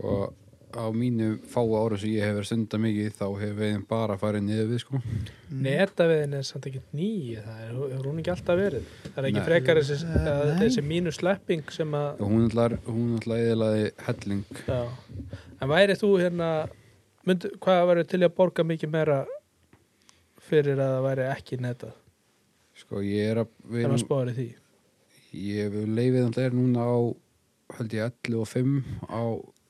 [SPEAKER 3] og á mínu fáa ára sem ég hef verið stunda mikið þá hefur veiðin bara farið niður við sko
[SPEAKER 1] Mm.
[SPEAKER 5] Netaviðin er samt ekki ný það er, hefur hún ekki alltaf verið það er ekki
[SPEAKER 3] Nei.
[SPEAKER 5] frekar þessi,
[SPEAKER 1] Eh,
[SPEAKER 5] að,
[SPEAKER 2] nei.
[SPEAKER 5] þessi mínu slepping sem að
[SPEAKER 3] og hún ætlar, hún ætlar eðlaði helling
[SPEAKER 5] já. en væri þú hérna mynd, hvað væri til í að borga mikið meira fyrir að það væri ekki netað
[SPEAKER 3] sko ég er að við
[SPEAKER 5] ef
[SPEAKER 3] erum,
[SPEAKER 5] að spáður í því
[SPEAKER 3] ég hef leifið alltaf er núna á held ég 11 og 5 á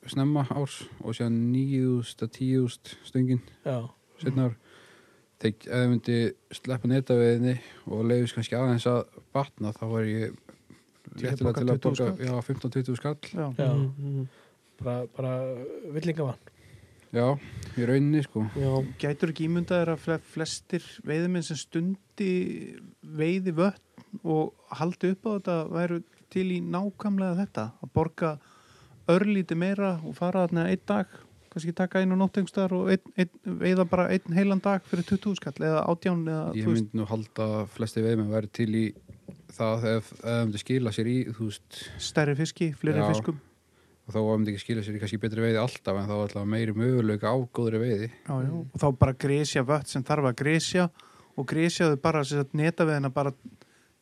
[SPEAKER 3] snemma árs og séðan 9.000 að 10.000 stöngin
[SPEAKER 5] já,
[SPEAKER 3] setna ár þegar ef ég myndi sleppa netaviðinni og leifis kannski aðeins að batna þá var ég
[SPEAKER 2] Til að
[SPEAKER 3] réttilega
[SPEAKER 2] borga
[SPEAKER 3] til að
[SPEAKER 2] 20
[SPEAKER 3] borga
[SPEAKER 2] skall.
[SPEAKER 3] já, 15-20 skall
[SPEAKER 2] Já.
[SPEAKER 5] já.
[SPEAKER 4] Mhm.
[SPEAKER 5] bara, bara villingavann
[SPEAKER 3] já, í rauninni sko
[SPEAKER 4] Já,
[SPEAKER 2] Gætur ekki ímyndaðir að fle- flestir veiðimenn sem stundi veiði vötn og haldi upp á þetta væru til í nákvæmlega þetta að borga örlíti meira og fara þarna einn dag kannski taka einu nóttengstar og einn, einn, veiða bara einn heilan dag fyrir 20 skall eða átján eða
[SPEAKER 3] ég
[SPEAKER 2] þú veist
[SPEAKER 3] myndi nú halda að flesti veiðmenn væri til í það ef ef það myndi skila sér í þú veist,
[SPEAKER 2] stærri fiski, fleiri
[SPEAKER 3] Já.
[SPEAKER 2] fiskum
[SPEAKER 3] og þá myndi ekki skila sér í kannski betri veiði alltaf en þá alltaf meiri möguleika á góðri veiði
[SPEAKER 2] já, já. og þá bara grésja vött sem þarf að grésja og grésja þau bara sem sagt, netaveðina bara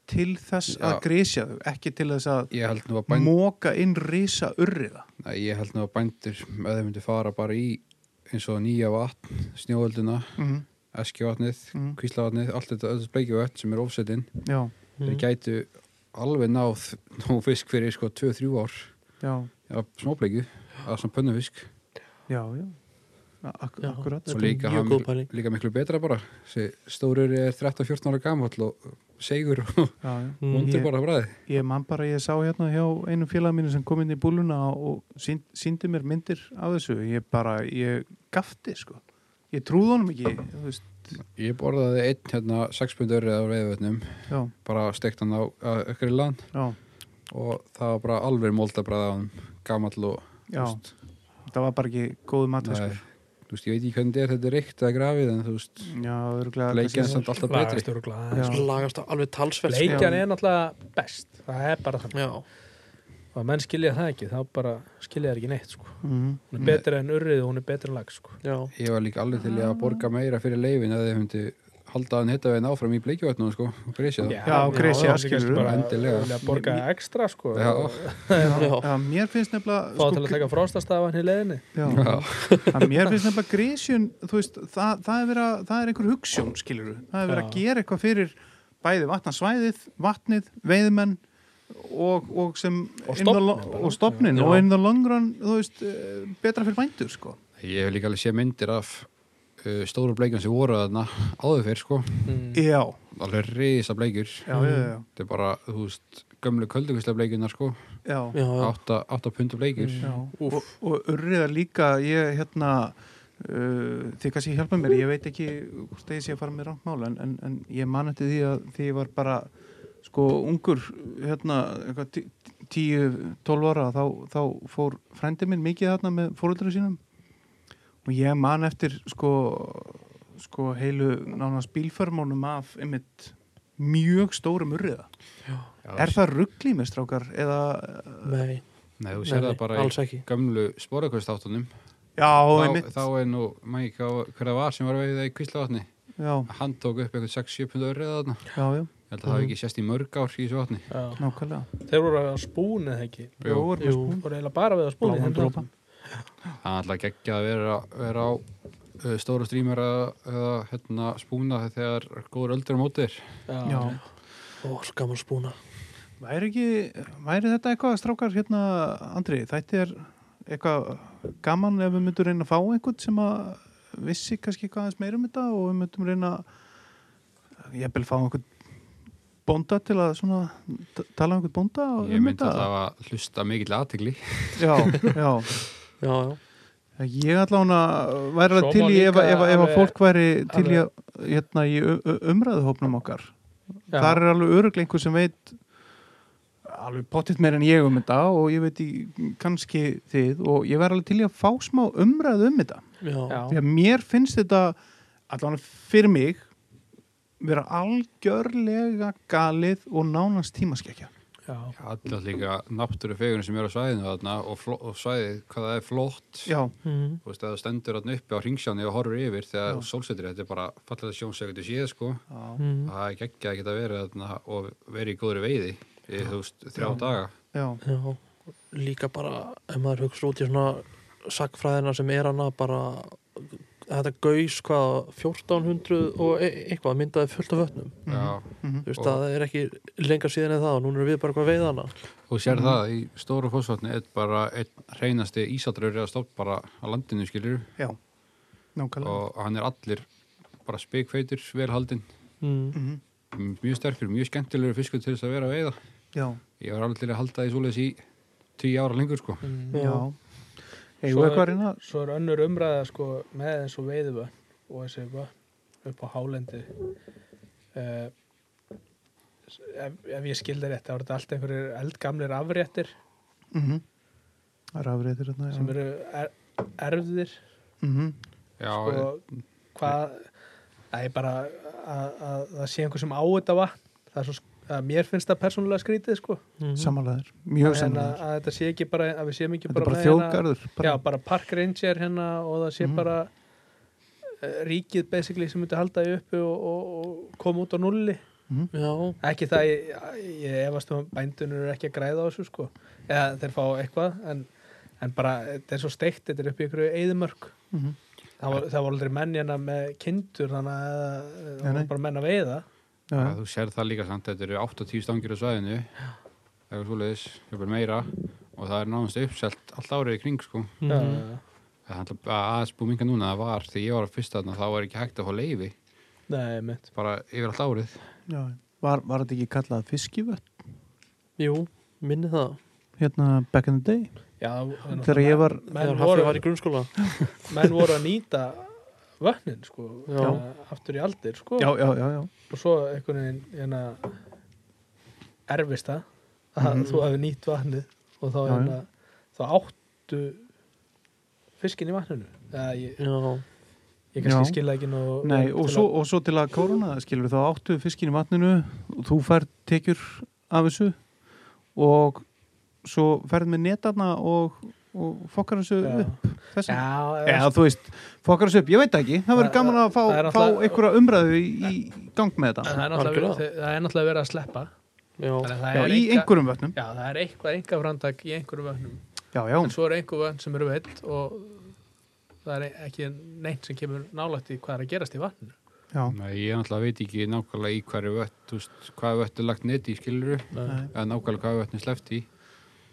[SPEAKER 2] til þess að
[SPEAKER 3] Já.
[SPEAKER 2] grésja þau ekki til þess að
[SPEAKER 3] ég held nú að bænd,
[SPEAKER 2] móka inn risa urriða
[SPEAKER 3] Nei, ég held nú að bændur ef þeir myndi fara bara í eins og nýja vatn, snjóölduna
[SPEAKER 2] mm
[SPEAKER 3] eskjavatnið,
[SPEAKER 2] Mhm.
[SPEAKER 3] kvíslavatnið allt þetta öll bleikjavatn sem er ofsettinn
[SPEAKER 2] Já,
[SPEAKER 3] þeir
[SPEAKER 4] Mhm.
[SPEAKER 3] gætu alveg náð nú fisk fyrir sko 2-3 ár
[SPEAKER 2] já,
[SPEAKER 3] já, smábleikju, að svona pönnufisk
[SPEAKER 2] já, já. Ak
[SPEAKER 4] Já,
[SPEAKER 2] Akkurat,
[SPEAKER 4] þetta
[SPEAKER 3] og
[SPEAKER 4] er
[SPEAKER 3] líka,
[SPEAKER 4] mjög
[SPEAKER 3] hann-
[SPEAKER 4] góð pæling.
[SPEAKER 3] líka miklu betra bara stórur er 13-14 ára gamall og segur og
[SPEAKER 2] já,
[SPEAKER 5] Mm.
[SPEAKER 2] já.
[SPEAKER 4] Mhm.
[SPEAKER 3] vondur
[SPEAKER 2] ég-
[SPEAKER 3] bara bræði
[SPEAKER 2] Ég man bara, ég sá hérna hjá einum félagi mínu sem kom inn í búluna og sínd, síndi mér myndir á þessu. Ég bara, ég gafti, sko. Ég trúði honum ekki, þú veist,
[SPEAKER 3] ég borðaði einn hérna 6 pund öryð af veiðvötnum,
[SPEAKER 2] já,
[SPEAKER 3] bara steikt hann á ökkri land
[SPEAKER 2] já,
[SPEAKER 3] og það var bara alveg moldabræði á hann gamall og
[SPEAKER 2] já. Það var bara ekki sko. góðu matfiskur.
[SPEAKER 3] Nei, þú veist, ég veit ekki hvernig þetta er, þetta er reykt að grafið en þú veist,
[SPEAKER 2] Já, örgulega.
[SPEAKER 3] bleikjan er samt alltaf betri
[SPEAKER 5] lagast og
[SPEAKER 2] Já.
[SPEAKER 5] glæð
[SPEAKER 6] lagast alveg talsvert sko.
[SPEAKER 5] bleikjan er náttúrulega best það er bara þannig
[SPEAKER 6] já,
[SPEAKER 5] og að menn skilja það ekki þá bara skilja það ekki neitt sko.
[SPEAKER 2] Mm -hmm.
[SPEAKER 5] hún er betri en urrið og hún er betri en lag sko.
[SPEAKER 6] já,
[SPEAKER 3] Ég var líka alveg til í að borga meira fyrir leifin eða þið hundi halda hann hitta veginn áfram í bleikjavötnum sko, og grísja það.
[SPEAKER 2] Já, Grisi,
[SPEAKER 5] já,
[SPEAKER 2] skilur
[SPEAKER 5] skilur
[SPEAKER 2] við.
[SPEAKER 5] bara
[SPEAKER 3] Endilega.
[SPEAKER 5] vilja borga ekstra sko,
[SPEAKER 3] Já.
[SPEAKER 5] og
[SPEAKER 2] já, já, mér finnst nefnilega... sko,
[SPEAKER 5] fá til að taka frostastafan í leiðinni
[SPEAKER 2] Já, að mér finnst nefnilega grísjun þú veist, það, það, er vera, það er einhver hugssjón skilur það er verið að gera eitthvað fyrir bæði vatnarsvæðið, vatnið veiðmenn og, og sem
[SPEAKER 5] Og
[SPEAKER 2] in the lo-
[SPEAKER 5] stofninn bara.
[SPEAKER 2] og stopnin
[SPEAKER 4] Já.
[SPEAKER 2] og in the long run, þú veist eh, betra fyrir bændur, sko
[SPEAKER 3] Ég hef líka alveg séð myndir af uh, stóru bleikjum sem voru þarna áður fyrr sko,
[SPEAKER 5] Mm.
[SPEAKER 2] Já,
[SPEAKER 3] alveg risa bleikjur.
[SPEAKER 2] já, já, já,
[SPEAKER 3] Þetta er bara, þú veist, gömlu kölduguslega bleikjunar sko,
[SPEAKER 2] já. Mm.
[SPEAKER 4] já, já.
[SPEAKER 3] átta, átta pundu bleikjur.
[SPEAKER 2] Já, og, og urriðar líka ég hérna uh, þið kannski hjálpa mér, ég veit ekki hvort það ég sé að fara með rámt mál en, en, en ég man eftir því að því ég var bara sko ungur hérna eitthvað tí- tíu, tólf ára þá, þá fór frændi minn mikið þarna með fóröldra sínum og ég man eftir sko sko heilu nánast bílförmónum af einmitt mjög stórum urriða Er það rugglið með strákar eða
[SPEAKER 4] Nei,
[SPEAKER 3] Nei, þú
[SPEAKER 4] nei,
[SPEAKER 3] sér
[SPEAKER 4] nei,
[SPEAKER 3] það bara
[SPEAKER 4] alls
[SPEAKER 3] í
[SPEAKER 4] ekki
[SPEAKER 3] gömlu spórakvistáttunum.
[SPEAKER 2] Já,
[SPEAKER 3] Þá,
[SPEAKER 2] einmitt
[SPEAKER 3] þá er nú, maður ekki hvað- hver það var sem var að veiða í kvíslavatni.
[SPEAKER 2] Já,
[SPEAKER 3] Hann tók upp eitthvað 6-7 pundu öryða þarna.
[SPEAKER 2] já, já
[SPEAKER 3] Ég held að það hafi ekki sést í mörg ár í þessu vatni.
[SPEAKER 5] Já.
[SPEAKER 2] Nákvæmlega.
[SPEAKER 5] þeir voru að spúna eða ekki
[SPEAKER 2] Jú, er með spún.
[SPEAKER 5] voru eiginlega bara við að spúna
[SPEAKER 2] Bláan
[SPEAKER 5] í þeim
[SPEAKER 2] dropa.
[SPEAKER 5] þáttum.
[SPEAKER 3] Það er alltaf geggja að vera, vera á uh, stóru strýmur eða, eða hérna, spúna þegar góður öldur á móti þér.
[SPEAKER 2] Já.
[SPEAKER 5] Já.
[SPEAKER 4] Ó, svo gaman spúna
[SPEAKER 2] Væri, ekki, væri þetta eitthvað, strákar, hérna, Andri, þetta er eitthvað gaman ef við myndum reyna að fá einhvern sem að vissi kannski eitthvað aðeins meira um þetta og við myndum reyna að ég vil fá einhvern bónda til að svona t- tala um einhvern bónda og-
[SPEAKER 3] Ég
[SPEAKER 2] um
[SPEAKER 3] myndi alltaf að hlusta mikill aðtegli.
[SPEAKER 2] Já, já
[SPEAKER 4] já, já.
[SPEAKER 2] Ég allavega væri
[SPEAKER 8] Svo
[SPEAKER 2] alveg til
[SPEAKER 8] má
[SPEAKER 2] í ef,
[SPEAKER 8] líka
[SPEAKER 2] ef, ef að
[SPEAKER 8] alveg-
[SPEAKER 2] fólk væri til í, að- hérna, í u- u- umræðuhópnum okkar
[SPEAKER 8] Já.
[SPEAKER 2] þar er alveg öruglega einhver sem veit alveg pottitt meir en ég um þetta og ég veit í, kannski þið og ég væri alveg til í að fá smá umræðu um þetta
[SPEAKER 4] Já.
[SPEAKER 8] Já.
[SPEAKER 2] því að mér finnst þetta allan fyrir mig vera algjörlega galið og nánast tímaskekkja
[SPEAKER 8] Já.
[SPEAKER 3] Alltaf líka náttúrufegunum sem eru á svæðinu þarna og, fló, og svæðið, hvað það er flott.
[SPEAKER 2] já,
[SPEAKER 4] Mhm.
[SPEAKER 8] Mm.
[SPEAKER 3] Þú veist, að það stendur þarna uppi á ringsjáni og horfur yfir
[SPEAKER 2] Já.
[SPEAKER 3] þegar sólsetur, þetta er bara fallega sjónsökundu síða, sko.
[SPEAKER 8] Mm.
[SPEAKER 2] já,
[SPEAKER 4] Mhm.
[SPEAKER 3] Það er geggjað að geta verið þarna og verið í góðri veiði í, þú veist, þrjá daga.
[SPEAKER 2] já,
[SPEAKER 4] Já, líka bara ef maður hugsa út í svona sakfræðina sem er hana bara þetta gaus hvað 1400 og e eitthvað myndaði fullt af vötnum
[SPEAKER 2] Mhm.
[SPEAKER 3] Já.
[SPEAKER 2] mhm,
[SPEAKER 4] þú veist
[SPEAKER 3] Og-
[SPEAKER 4] að það er ekki lengra síðan en það og núna erum við bara hvað veið hana
[SPEAKER 3] Þú sér
[SPEAKER 2] Mhm.
[SPEAKER 3] það, í stóru fósvatni er bara einn hreinasti ísatröður eða stopp bara á landinu, skilur,
[SPEAKER 2] já nákvæmlega
[SPEAKER 3] og hann er allir bara spikfeitur, velhaldinn,
[SPEAKER 4] mm.
[SPEAKER 2] Mhm,
[SPEAKER 3] mjög sterkur, mjög skemmtilegur fiskur til þess að vera að veiða.
[SPEAKER 2] já,
[SPEAKER 3] Ég var alveg til að halda því svoleiðis í tíu ára lengur, sko.
[SPEAKER 2] já
[SPEAKER 4] Já.
[SPEAKER 2] eigum
[SPEAKER 1] Svo
[SPEAKER 2] við
[SPEAKER 1] er-
[SPEAKER 2] eitthvað reyna
[SPEAKER 1] svo er önnur umræða sko með eins og veiðvötn og þessi vötn upp á hálendi uh, ef, ef ég skildi rétt þá er þetta allt einhverjir eldgamlir afréttir
[SPEAKER 2] mhm. það er afreitir þarna já.
[SPEAKER 1] sem eru er, erfðir
[SPEAKER 2] Mhm,
[SPEAKER 3] Já, sko,
[SPEAKER 1] sko hvað það er bara að, að það sé einhver sem á þetta vatn það er svo sk- að mér finnst það persónulega skrítið sko
[SPEAKER 4] Mhm.
[SPEAKER 2] samanlegaðir, mjög
[SPEAKER 1] En að,
[SPEAKER 2] samanlegaðir
[SPEAKER 1] að þetta sé ekki bara að við séum ekki
[SPEAKER 2] þetta er
[SPEAKER 1] bara,
[SPEAKER 2] bara
[SPEAKER 1] með
[SPEAKER 2] þjóðgarður
[SPEAKER 1] hérna, já, bara park ranger hérna og það sé
[SPEAKER 2] Mhm.
[SPEAKER 1] bara eh, ríkið basically sem myndi halda því uppi og, og, og koma út á nulli
[SPEAKER 4] já,
[SPEAKER 1] ekki það, ég, ég efast um að bændunur er ekki að græða á þessu sko eða þeir fá eitthvað en, en bara, þetta er svo steikt, þetta er upp í ykkur eðumörk,
[SPEAKER 2] Mhm.
[SPEAKER 1] það var, það var aldrei menn hérna með kindur þannig að eh,
[SPEAKER 2] Nei,
[SPEAKER 1] það
[SPEAKER 2] nei.
[SPEAKER 1] var bara menn að veiða
[SPEAKER 2] Já, já.
[SPEAKER 3] þú sér það líka samt, þetta eru 8-10 stangir á svæðinu, eitthvað svoleiðis, eitthvað meira, og það er náðast uppselt allt árið í kring, sko.
[SPEAKER 1] mm
[SPEAKER 2] Mhm.
[SPEAKER 1] -hmm.
[SPEAKER 3] Það er alltaf- að- aðeins búið minga núna, það var, þegar ég var að fyrsta þarna, þá var ekki hægt að fá leifi,
[SPEAKER 1] Nei, mitt
[SPEAKER 3] bara yfir allt árið.
[SPEAKER 2] Já, var, var þetta ekki kallað fiskivött
[SPEAKER 4] jú, minni það
[SPEAKER 2] hérna back in the day
[SPEAKER 1] Já, það er
[SPEAKER 2] þegar ég var
[SPEAKER 1] menn
[SPEAKER 4] þegar
[SPEAKER 1] voru,
[SPEAKER 4] Hafið var í grunnskóla
[SPEAKER 1] menn voru að nýta vötnin sko
[SPEAKER 4] Já.
[SPEAKER 1] eh, aftur í aldir sko
[SPEAKER 2] já, já, já, já.
[SPEAKER 1] og svo einhvern veginn hérna, erfist það að þú hefur nýtt vatnið og þá,
[SPEAKER 2] Mhm. Já, já.
[SPEAKER 1] hérna, þá áttu fiskin í vatninu eða ég,
[SPEAKER 4] já,
[SPEAKER 1] ég kannski
[SPEAKER 2] Já.
[SPEAKER 1] skilja ekki nóg
[SPEAKER 2] Nei,
[SPEAKER 1] vel
[SPEAKER 2] og,
[SPEAKER 1] til
[SPEAKER 2] svo,
[SPEAKER 1] að-
[SPEAKER 2] og svo til að korona skilur þá áttu fiskin í vatninu og þú fær tekjur af þessu og svo færð með netarna og, og fokkar þessu
[SPEAKER 1] Já.
[SPEAKER 2] upp þessu.
[SPEAKER 1] já, já,
[SPEAKER 2] Eða þú veist, fokkar þessu upp, ég veit það ekki það verður
[SPEAKER 1] Það-
[SPEAKER 2] gaman að fá,
[SPEAKER 1] það er
[SPEAKER 2] fá
[SPEAKER 1] náttúrulega-
[SPEAKER 2] einhverja umræðu í, í gang með
[SPEAKER 1] það
[SPEAKER 2] þetta
[SPEAKER 1] er náttúrulega
[SPEAKER 4] Algjörlega.
[SPEAKER 1] verið- það er náttúrulega verið að sleppa
[SPEAKER 4] já,
[SPEAKER 1] Þannig að það
[SPEAKER 2] Já,
[SPEAKER 1] er
[SPEAKER 2] í
[SPEAKER 1] eitthvað-
[SPEAKER 2] einhverjum vötnum
[SPEAKER 1] já, það er eitthvað enga framtak í einhverjum vötnum
[SPEAKER 2] Já, já,
[SPEAKER 1] en svo er einhver vötn sem eru veitt og það er ekki neitt sem kemur nálægt í hvað er að gerast í vatninu
[SPEAKER 2] já
[SPEAKER 3] Nei, ég náttúrulega veit ekki nákvæmlega í hverju vött, þú veist, hvað vött er lagt neti í skiluru,
[SPEAKER 2] Nei.
[SPEAKER 3] eða nákvæmlega hvað vötn er sleppt í.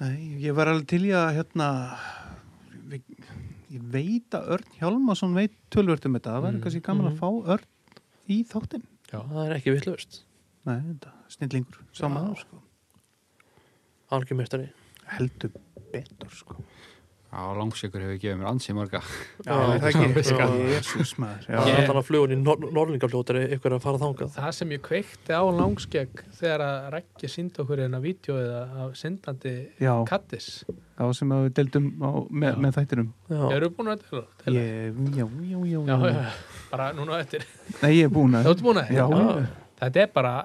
[SPEAKER 2] Nei, ég var alveg til í að hérna við, ég veit að Örn Hjálmarsson veit tölvört um þetta, það verður
[SPEAKER 1] Mm.
[SPEAKER 2] kannski gaman
[SPEAKER 4] Mhm.
[SPEAKER 2] að fá Örn í þáttinn
[SPEAKER 4] það er ekki vitlaust
[SPEAKER 2] Nei, þetta, snillingur,
[SPEAKER 4] Já.
[SPEAKER 2] saman sko.
[SPEAKER 4] algjörmestari
[SPEAKER 2] heldur betur sko.
[SPEAKER 3] Já, langsekur hefur gefið mér ansið marga.
[SPEAKER 4] Já, það er ekki. Já.
[SPEAKER 2] Jésús maður
[SPEAKER 4] það
[SPEAKER 2] já.
[SPEAKER 4] er þannig að flugun í nor norlingafljótur er ykkur að fara þangað
[SPEAKER 1] Það sem ég kveikti á langskegg þegar að Rækki sýndi okkur hérna vídjóið af syndandi
[SPEAKER 2] já,
[SPEAKER 1] kattis.
[SPEAKER 2] já, sem að við deildum á, með, með þættinum
[SPEAKER 4] já,
[SPEAKER 1] Eru búin að deila?
[SPEAKER 2] ég,
[SPEAKER 1] deila?
[SPEAKER 2] já, já, já,
[SPEAKER 1] Já, já, já, bara núna á eftir.
[SPEAKER 2] Nei, ég er búin
[SPEAKER 1] Það
[SPEAKER 2] að
[SPEAKER 1] ertu búin að
[SPEAKER 2] já,
[SPEAKER 1] þetta? Þetta er bara,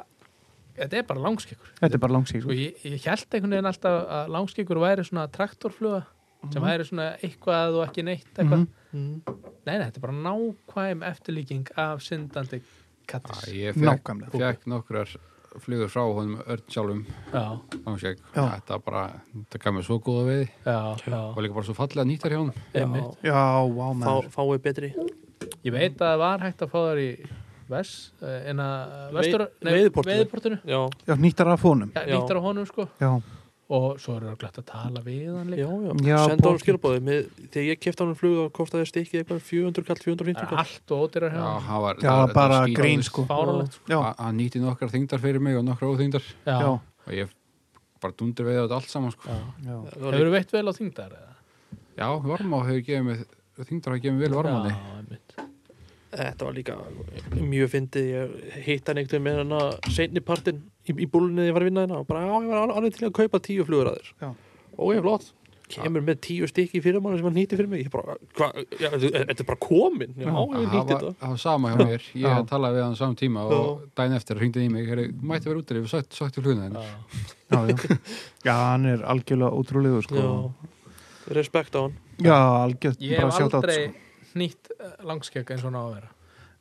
[SPEAKER 1] þetta er bara langskeggur.
[SPEAKER 2] þetta er bara langsík
[SPEAKER 1] Sko, ég, ég held einhvern veginn alltaf að langskeggur væri svona traktorfluga sem væri svona eitthvað og ekki neitt eitthvað.
[SPEAKER 2] Mhm.
[SPEAKER 4] mm.
[SPEAKER 1] Nei, nei, þetta er bara nákvæm eftirlíking af syndandi
[SPEAKER 3] Já,
[SPEAKER 1] kattis.
[SPEAKER 3] ég fekk,
[SPEAKER 2] nákvæmlega
[SPEAKER 3] fekk nokkrar flugur frá honum örn sjálfum,
[SPEAKER 1] Já,
[SPEAKER 3] langsek.
[SPEAKER 2] Já.
[SPEAKER 3] Þetta bara, þetta gaf mér svo góða veiði
[SPEAKER 1] já, já.
[SPEAKER 3] og líka bara svo fallega nýttar hjá honum.
[SPEAKER 4] já,
[SPEAKER 1] Einmitt.
[SPEAKER 2] já, vá
[SPEAKER 4] fá,
[SPEAKER 2] maður
[SPEAKER 4] fáið betri
[SPEAKER 1] Ég veit að það var hægt að fá þar í vers, en að
[SPEAKER 4] Vei-
[SPEAKER 1] vestur,
[SPEAKER 4] veiðiportinu.
[SPEAKER 1] veiðportinu.
[SPEAKER 4] já,
[SPEAKER 2] já, nýttar af honum
[SPEAKER 1] Já,
[SPEAKER 4] Já.
[SPEAKER 1] nýttar á honum sko
[SPEAKER 2] já,
[SPEAKER 1] og svo eru glætt að tala við hann
[SPEAKER 4] já,
[SPEAKER 1] líka
[SPEAKER 4] já,
[SPEAKER 2] Já,
[SPEAKER 4] senda
[SPEAKER 2] pocket.
[SPEAKER 4] honum skilabóði með, þegar ég kefti honum flug og kostaði stikkið eitthvað 400 kall, 450
[SPEAKER 1] það
[SPEAKER 4] kall
[SPEAKER 1] er Ah, allt og ódýra hjá
[SPEAKER 3] Já,
[SPEAKER 1] hann
[SPEAKER 3] það var,
[SPEAKER 2] Já,
[SPEAKER 3] það- það
[SPEAKER 2] bara
[SPEAKER 3] var skít-
[SPEAKER 2] grín sko
[SPEAKER 1] fáralegt
[SPEAKER 2] Já,
[SPEAKER 3] Hann- Hann nýtti nokkar þyngdar fyrir mig og nokkar óþyngdar
[SPEAKER 1] já,
[SPEAKER 2] já,
[SPEAKER 1] já.
[SPEAKER 3] og ég bara dundur veið þetta allt saman sko.
[SPEAKER 2] já.
[SPEAKER 1] hefur veitt vel á þingdar eða?
[SPEAKER 3] Já, varmá hefur gefið mig þyngdar hafa gefið mig vel varmáni
[SPEAKER 1] já, einmitt.
[SPEAKER 4] þetta var líka mjög fyndið ég hitt hann einhvern veginn með hann seinni partinn í, í búlunni þegar ég var að vinna hérna og bara já, ég var alveg- alveg til að kaupa tíu flugur að
[SPEAKER 2] Já.
[SPEAKER 4] þér og ég flott kemur með tíu stykki fyrir mann sem hann nýtti fyrir mig ég bara, hvað, já, þetta þetta er bara komin já,
[SPEAKER 3] Já,
[SPEAKER 4] ég
[SPEAKER 3] Það
[SPEAKER 4] nýtti
[SPEAKER 3] var,
[SPEAKER 4] þetta
[SPEAKER 3] það var sama hjá mér,
[SPEAKER 2] Já.
[SPEAKER 3] ég talaði við hann saman tíma og daginn eftir hringdi hann í mig, "Heyrðu, þú mætti vera út í við sagt, sagt til hluna hennar.
[SPEAKER 2] já, já. já, hann er algjörlega ótrúlegur sko.
[SPEAKER 4] Já. respekt á hann
[SPEAKER 2] Já, algjört
[SPEAKER 1] ég
[SPEAKER 2] bara
[SPEAKER 1] hef
[SPEAKER 2] sjátt átt
[SPEAKER 1] aldrei
[SPEAKER 2] sko.
[SPEAKER 1] nýtt langskegg eins og hann á að vera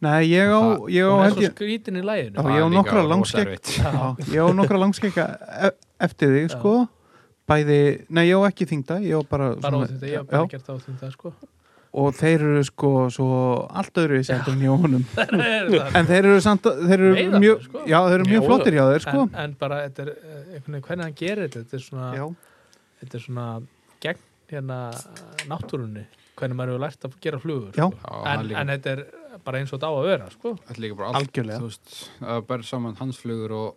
[SPEAKER 2] Nei, ég á,
[SPEAKER 3] Það-
[SPEAKER 2] ég á
[SPEAKER 1] hún er
[SPEAKER 2] held
[SPEAKER 1] svo
[SPEAKER 2] ég
[SPEAKER 1] skrítin í
[SPEAKER 2] Já,
[SPEAKER 1] læginu
[SPEAKER 3] Það
[SPEAKER 2] ég á
[SPEAKER 3] er líka
[SPEAKER 2] nokkra
[SPEAKER 3] rosa
[SPEAKER 2] langskegg
[SPEAKER 3] erfitt.
[SPEAKER 2] Já, ég á nokkra langskegga e- eftir þig
[SPEAKER 1] Já.
[SPEAKER 2] sko Bæði, nei, ég á ekki þingda Ég á bara,
[SPEAKER 1] bara á þetta, ég hef
[SPEAKER 2] já,
[SPEAKER 1] bara gert á þingdar sko
[SPEAKER 2] og þeir eru sko svo allt öðru í sendur en ég á honum
[SPEAKER 1] Það er það.
[SPEAKER 2] en þeir eru samt, þeir eru
[SPEAKER 1] Veiðarnir,
[SPEAKER 2] mjög
[SPEAKER 1] sko.
[SPEAKER 2] já, þeir eru
[SPEAKER 4] Já,
[SPEAKER 2] mjög
[SPEAKER 4] já.
[SPEAKER 2] flottir hjá þeir sko
[SPEAKER 1] en, en bara þetta er, eh, einhvern veginn, hvernig hann gerir þetta þetta er svona,
[SPEAKER 2] já,
[SPEAKER 1] þetta er svona gegn hérna náttúrunni hvernig maður hefur lært að gera flugur
[SPEAKER 2] Já.
[SPEAKER 1] sko.
[SPEAKER 3] Já, það er
[SPEAKER 1] en,
[SPEAKER 3] líka-
[SPEAKER 1] en þetta er bara eins og þetta á að vera sko.
[SPEAKER 3] Það er líka bara allt,
[SPEAKER 2] Algjörlega.
[SPEAKER 3] þú veist, að berð saman hansflugur og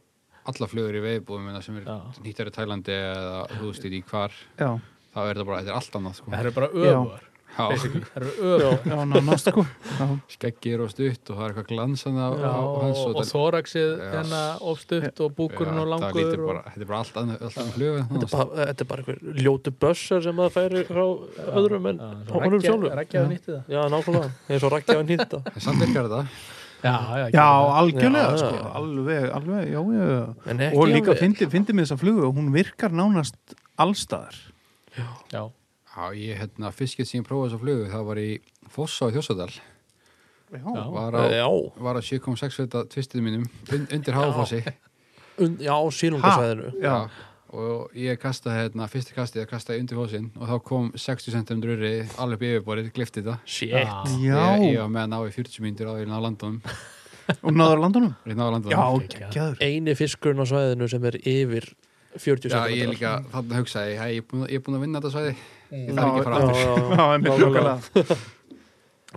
[SPEAKER 3] alla flugur í veiðbúðum sem er
[SPEAKER 1] Já.
[SPEAKER 3] nýttari Tælandi eða þú veist í hvar,
[SPEAKER 2] já,
[SPEAKER 3] þá er þetta bara, þetta er allt annað sko.
[SPEAKER 1] það eru bara
[SPEAKER 2] Já.
[SPEAKER 1] öfur
[SPEAKER 3] Já,
[SPEAKER 1] það eru öfur
[SPEAKER 2] já, nánast sko já,
[SPEAKER 3] skeggir og stutt og það er eitthvað glansandi á, á hans
[SPEAKER 1] og, og
[SPEAKER 3] þetta-
[SPEAKER 1] þóraksið
[SPEAKER 3] Já.
[SPEAKER 1] hérna ofstutt og búkurinn
[SPEAKER 3] Já,
[SPEAKER 1] og
[SPEAKER 3] það lítur
[SPEAKER 1] langur og,
[SPEAKER 3] bara, þetta er bara allt annað, allt annað flug
[SPEAKER 4] þetta er bara, þetta er bara einhver ljótu bössar sem það færi frá öðrum en honum sjálfum
[SPEAKER 1] reggjaði nýtti það
[SPEAKER 4] Já, nákvæmlega, eins og rakki á hann hýtta
[SPEAKER 3] samt virkar þetta
[SPEAKER 1] já, já,
[SPEAKER 2] já,
[SPEAKER 1] já,
[SPEAKER 2] algjörlega
[SPEAKER 4] Já, já,
[SPEAKER 2] sko
[SPEAKER 4] já.
[SPEAKER 2] alveg, alveg, já, já, já
[SPEAKER 4] En ekki
[SPEAKER 2] og líka
[SPEAKER 4] alveg.
[SPEAKER 2] fyndi, fyndi með þessa flugu og hún virkar nánast allstaðar
[SPEAKER 1] já.
[SPEAKER 3] Já, ég, hérna, fiskið sem ég prófaði þessa flugu það var í Fossa á Þjósadal
[SPEAKER 2] já,
[SPEAKER 3] var á,
[SPEAKER 4] Já,
[SPEAKER 3] var á 7,6 feta tvistið mínum un, undir háfossi
[SPEAKER 4] und, já sílungasæðinu
[SPEAKER 2] já,
[SPEAKER 3] og ég kastaði, hérna, fyrsti kastið að kastaði undir fossin og þá kom 60 cm röri alveg upp í yfirborið, glifti þetta
[SPEAKER 4] Shit,
[SPEAKER 2] já.
[SPEAKER 3] Ég, ég var með að ná í 40 mínútur á því ná landunum
[SPEAKER 2] og náður landunum
[SPEAKER 3] ég náði landunum
[SPEAKER 2] já, geggjaður
[SPEAKER 4] eini fiskurinn á sæðinu sem er yfir 40
[SPEAKER 3] Já,
[SPEAKER 4] sentimetrar.
[SPEAKER 3] ég líka, þarna hugsaði ég, hei, ég er búinn að- ég er búin að vinna þetta svæði
[SPEAKER 1] Mm.
[SPEAKER 3] ég
[SPEAKER 2] Já,
[SPEAKER 3] þarf ekki að fara
[SPEAKER 4] Já, já,
[SPEAKER 3] aftur
[SPEAKER 4] já.
[SPEAKER 2] Já, einmitt,
[SPEAKER 4] Nákvæmlega.
[SPEAKER 2] nákvæmlega.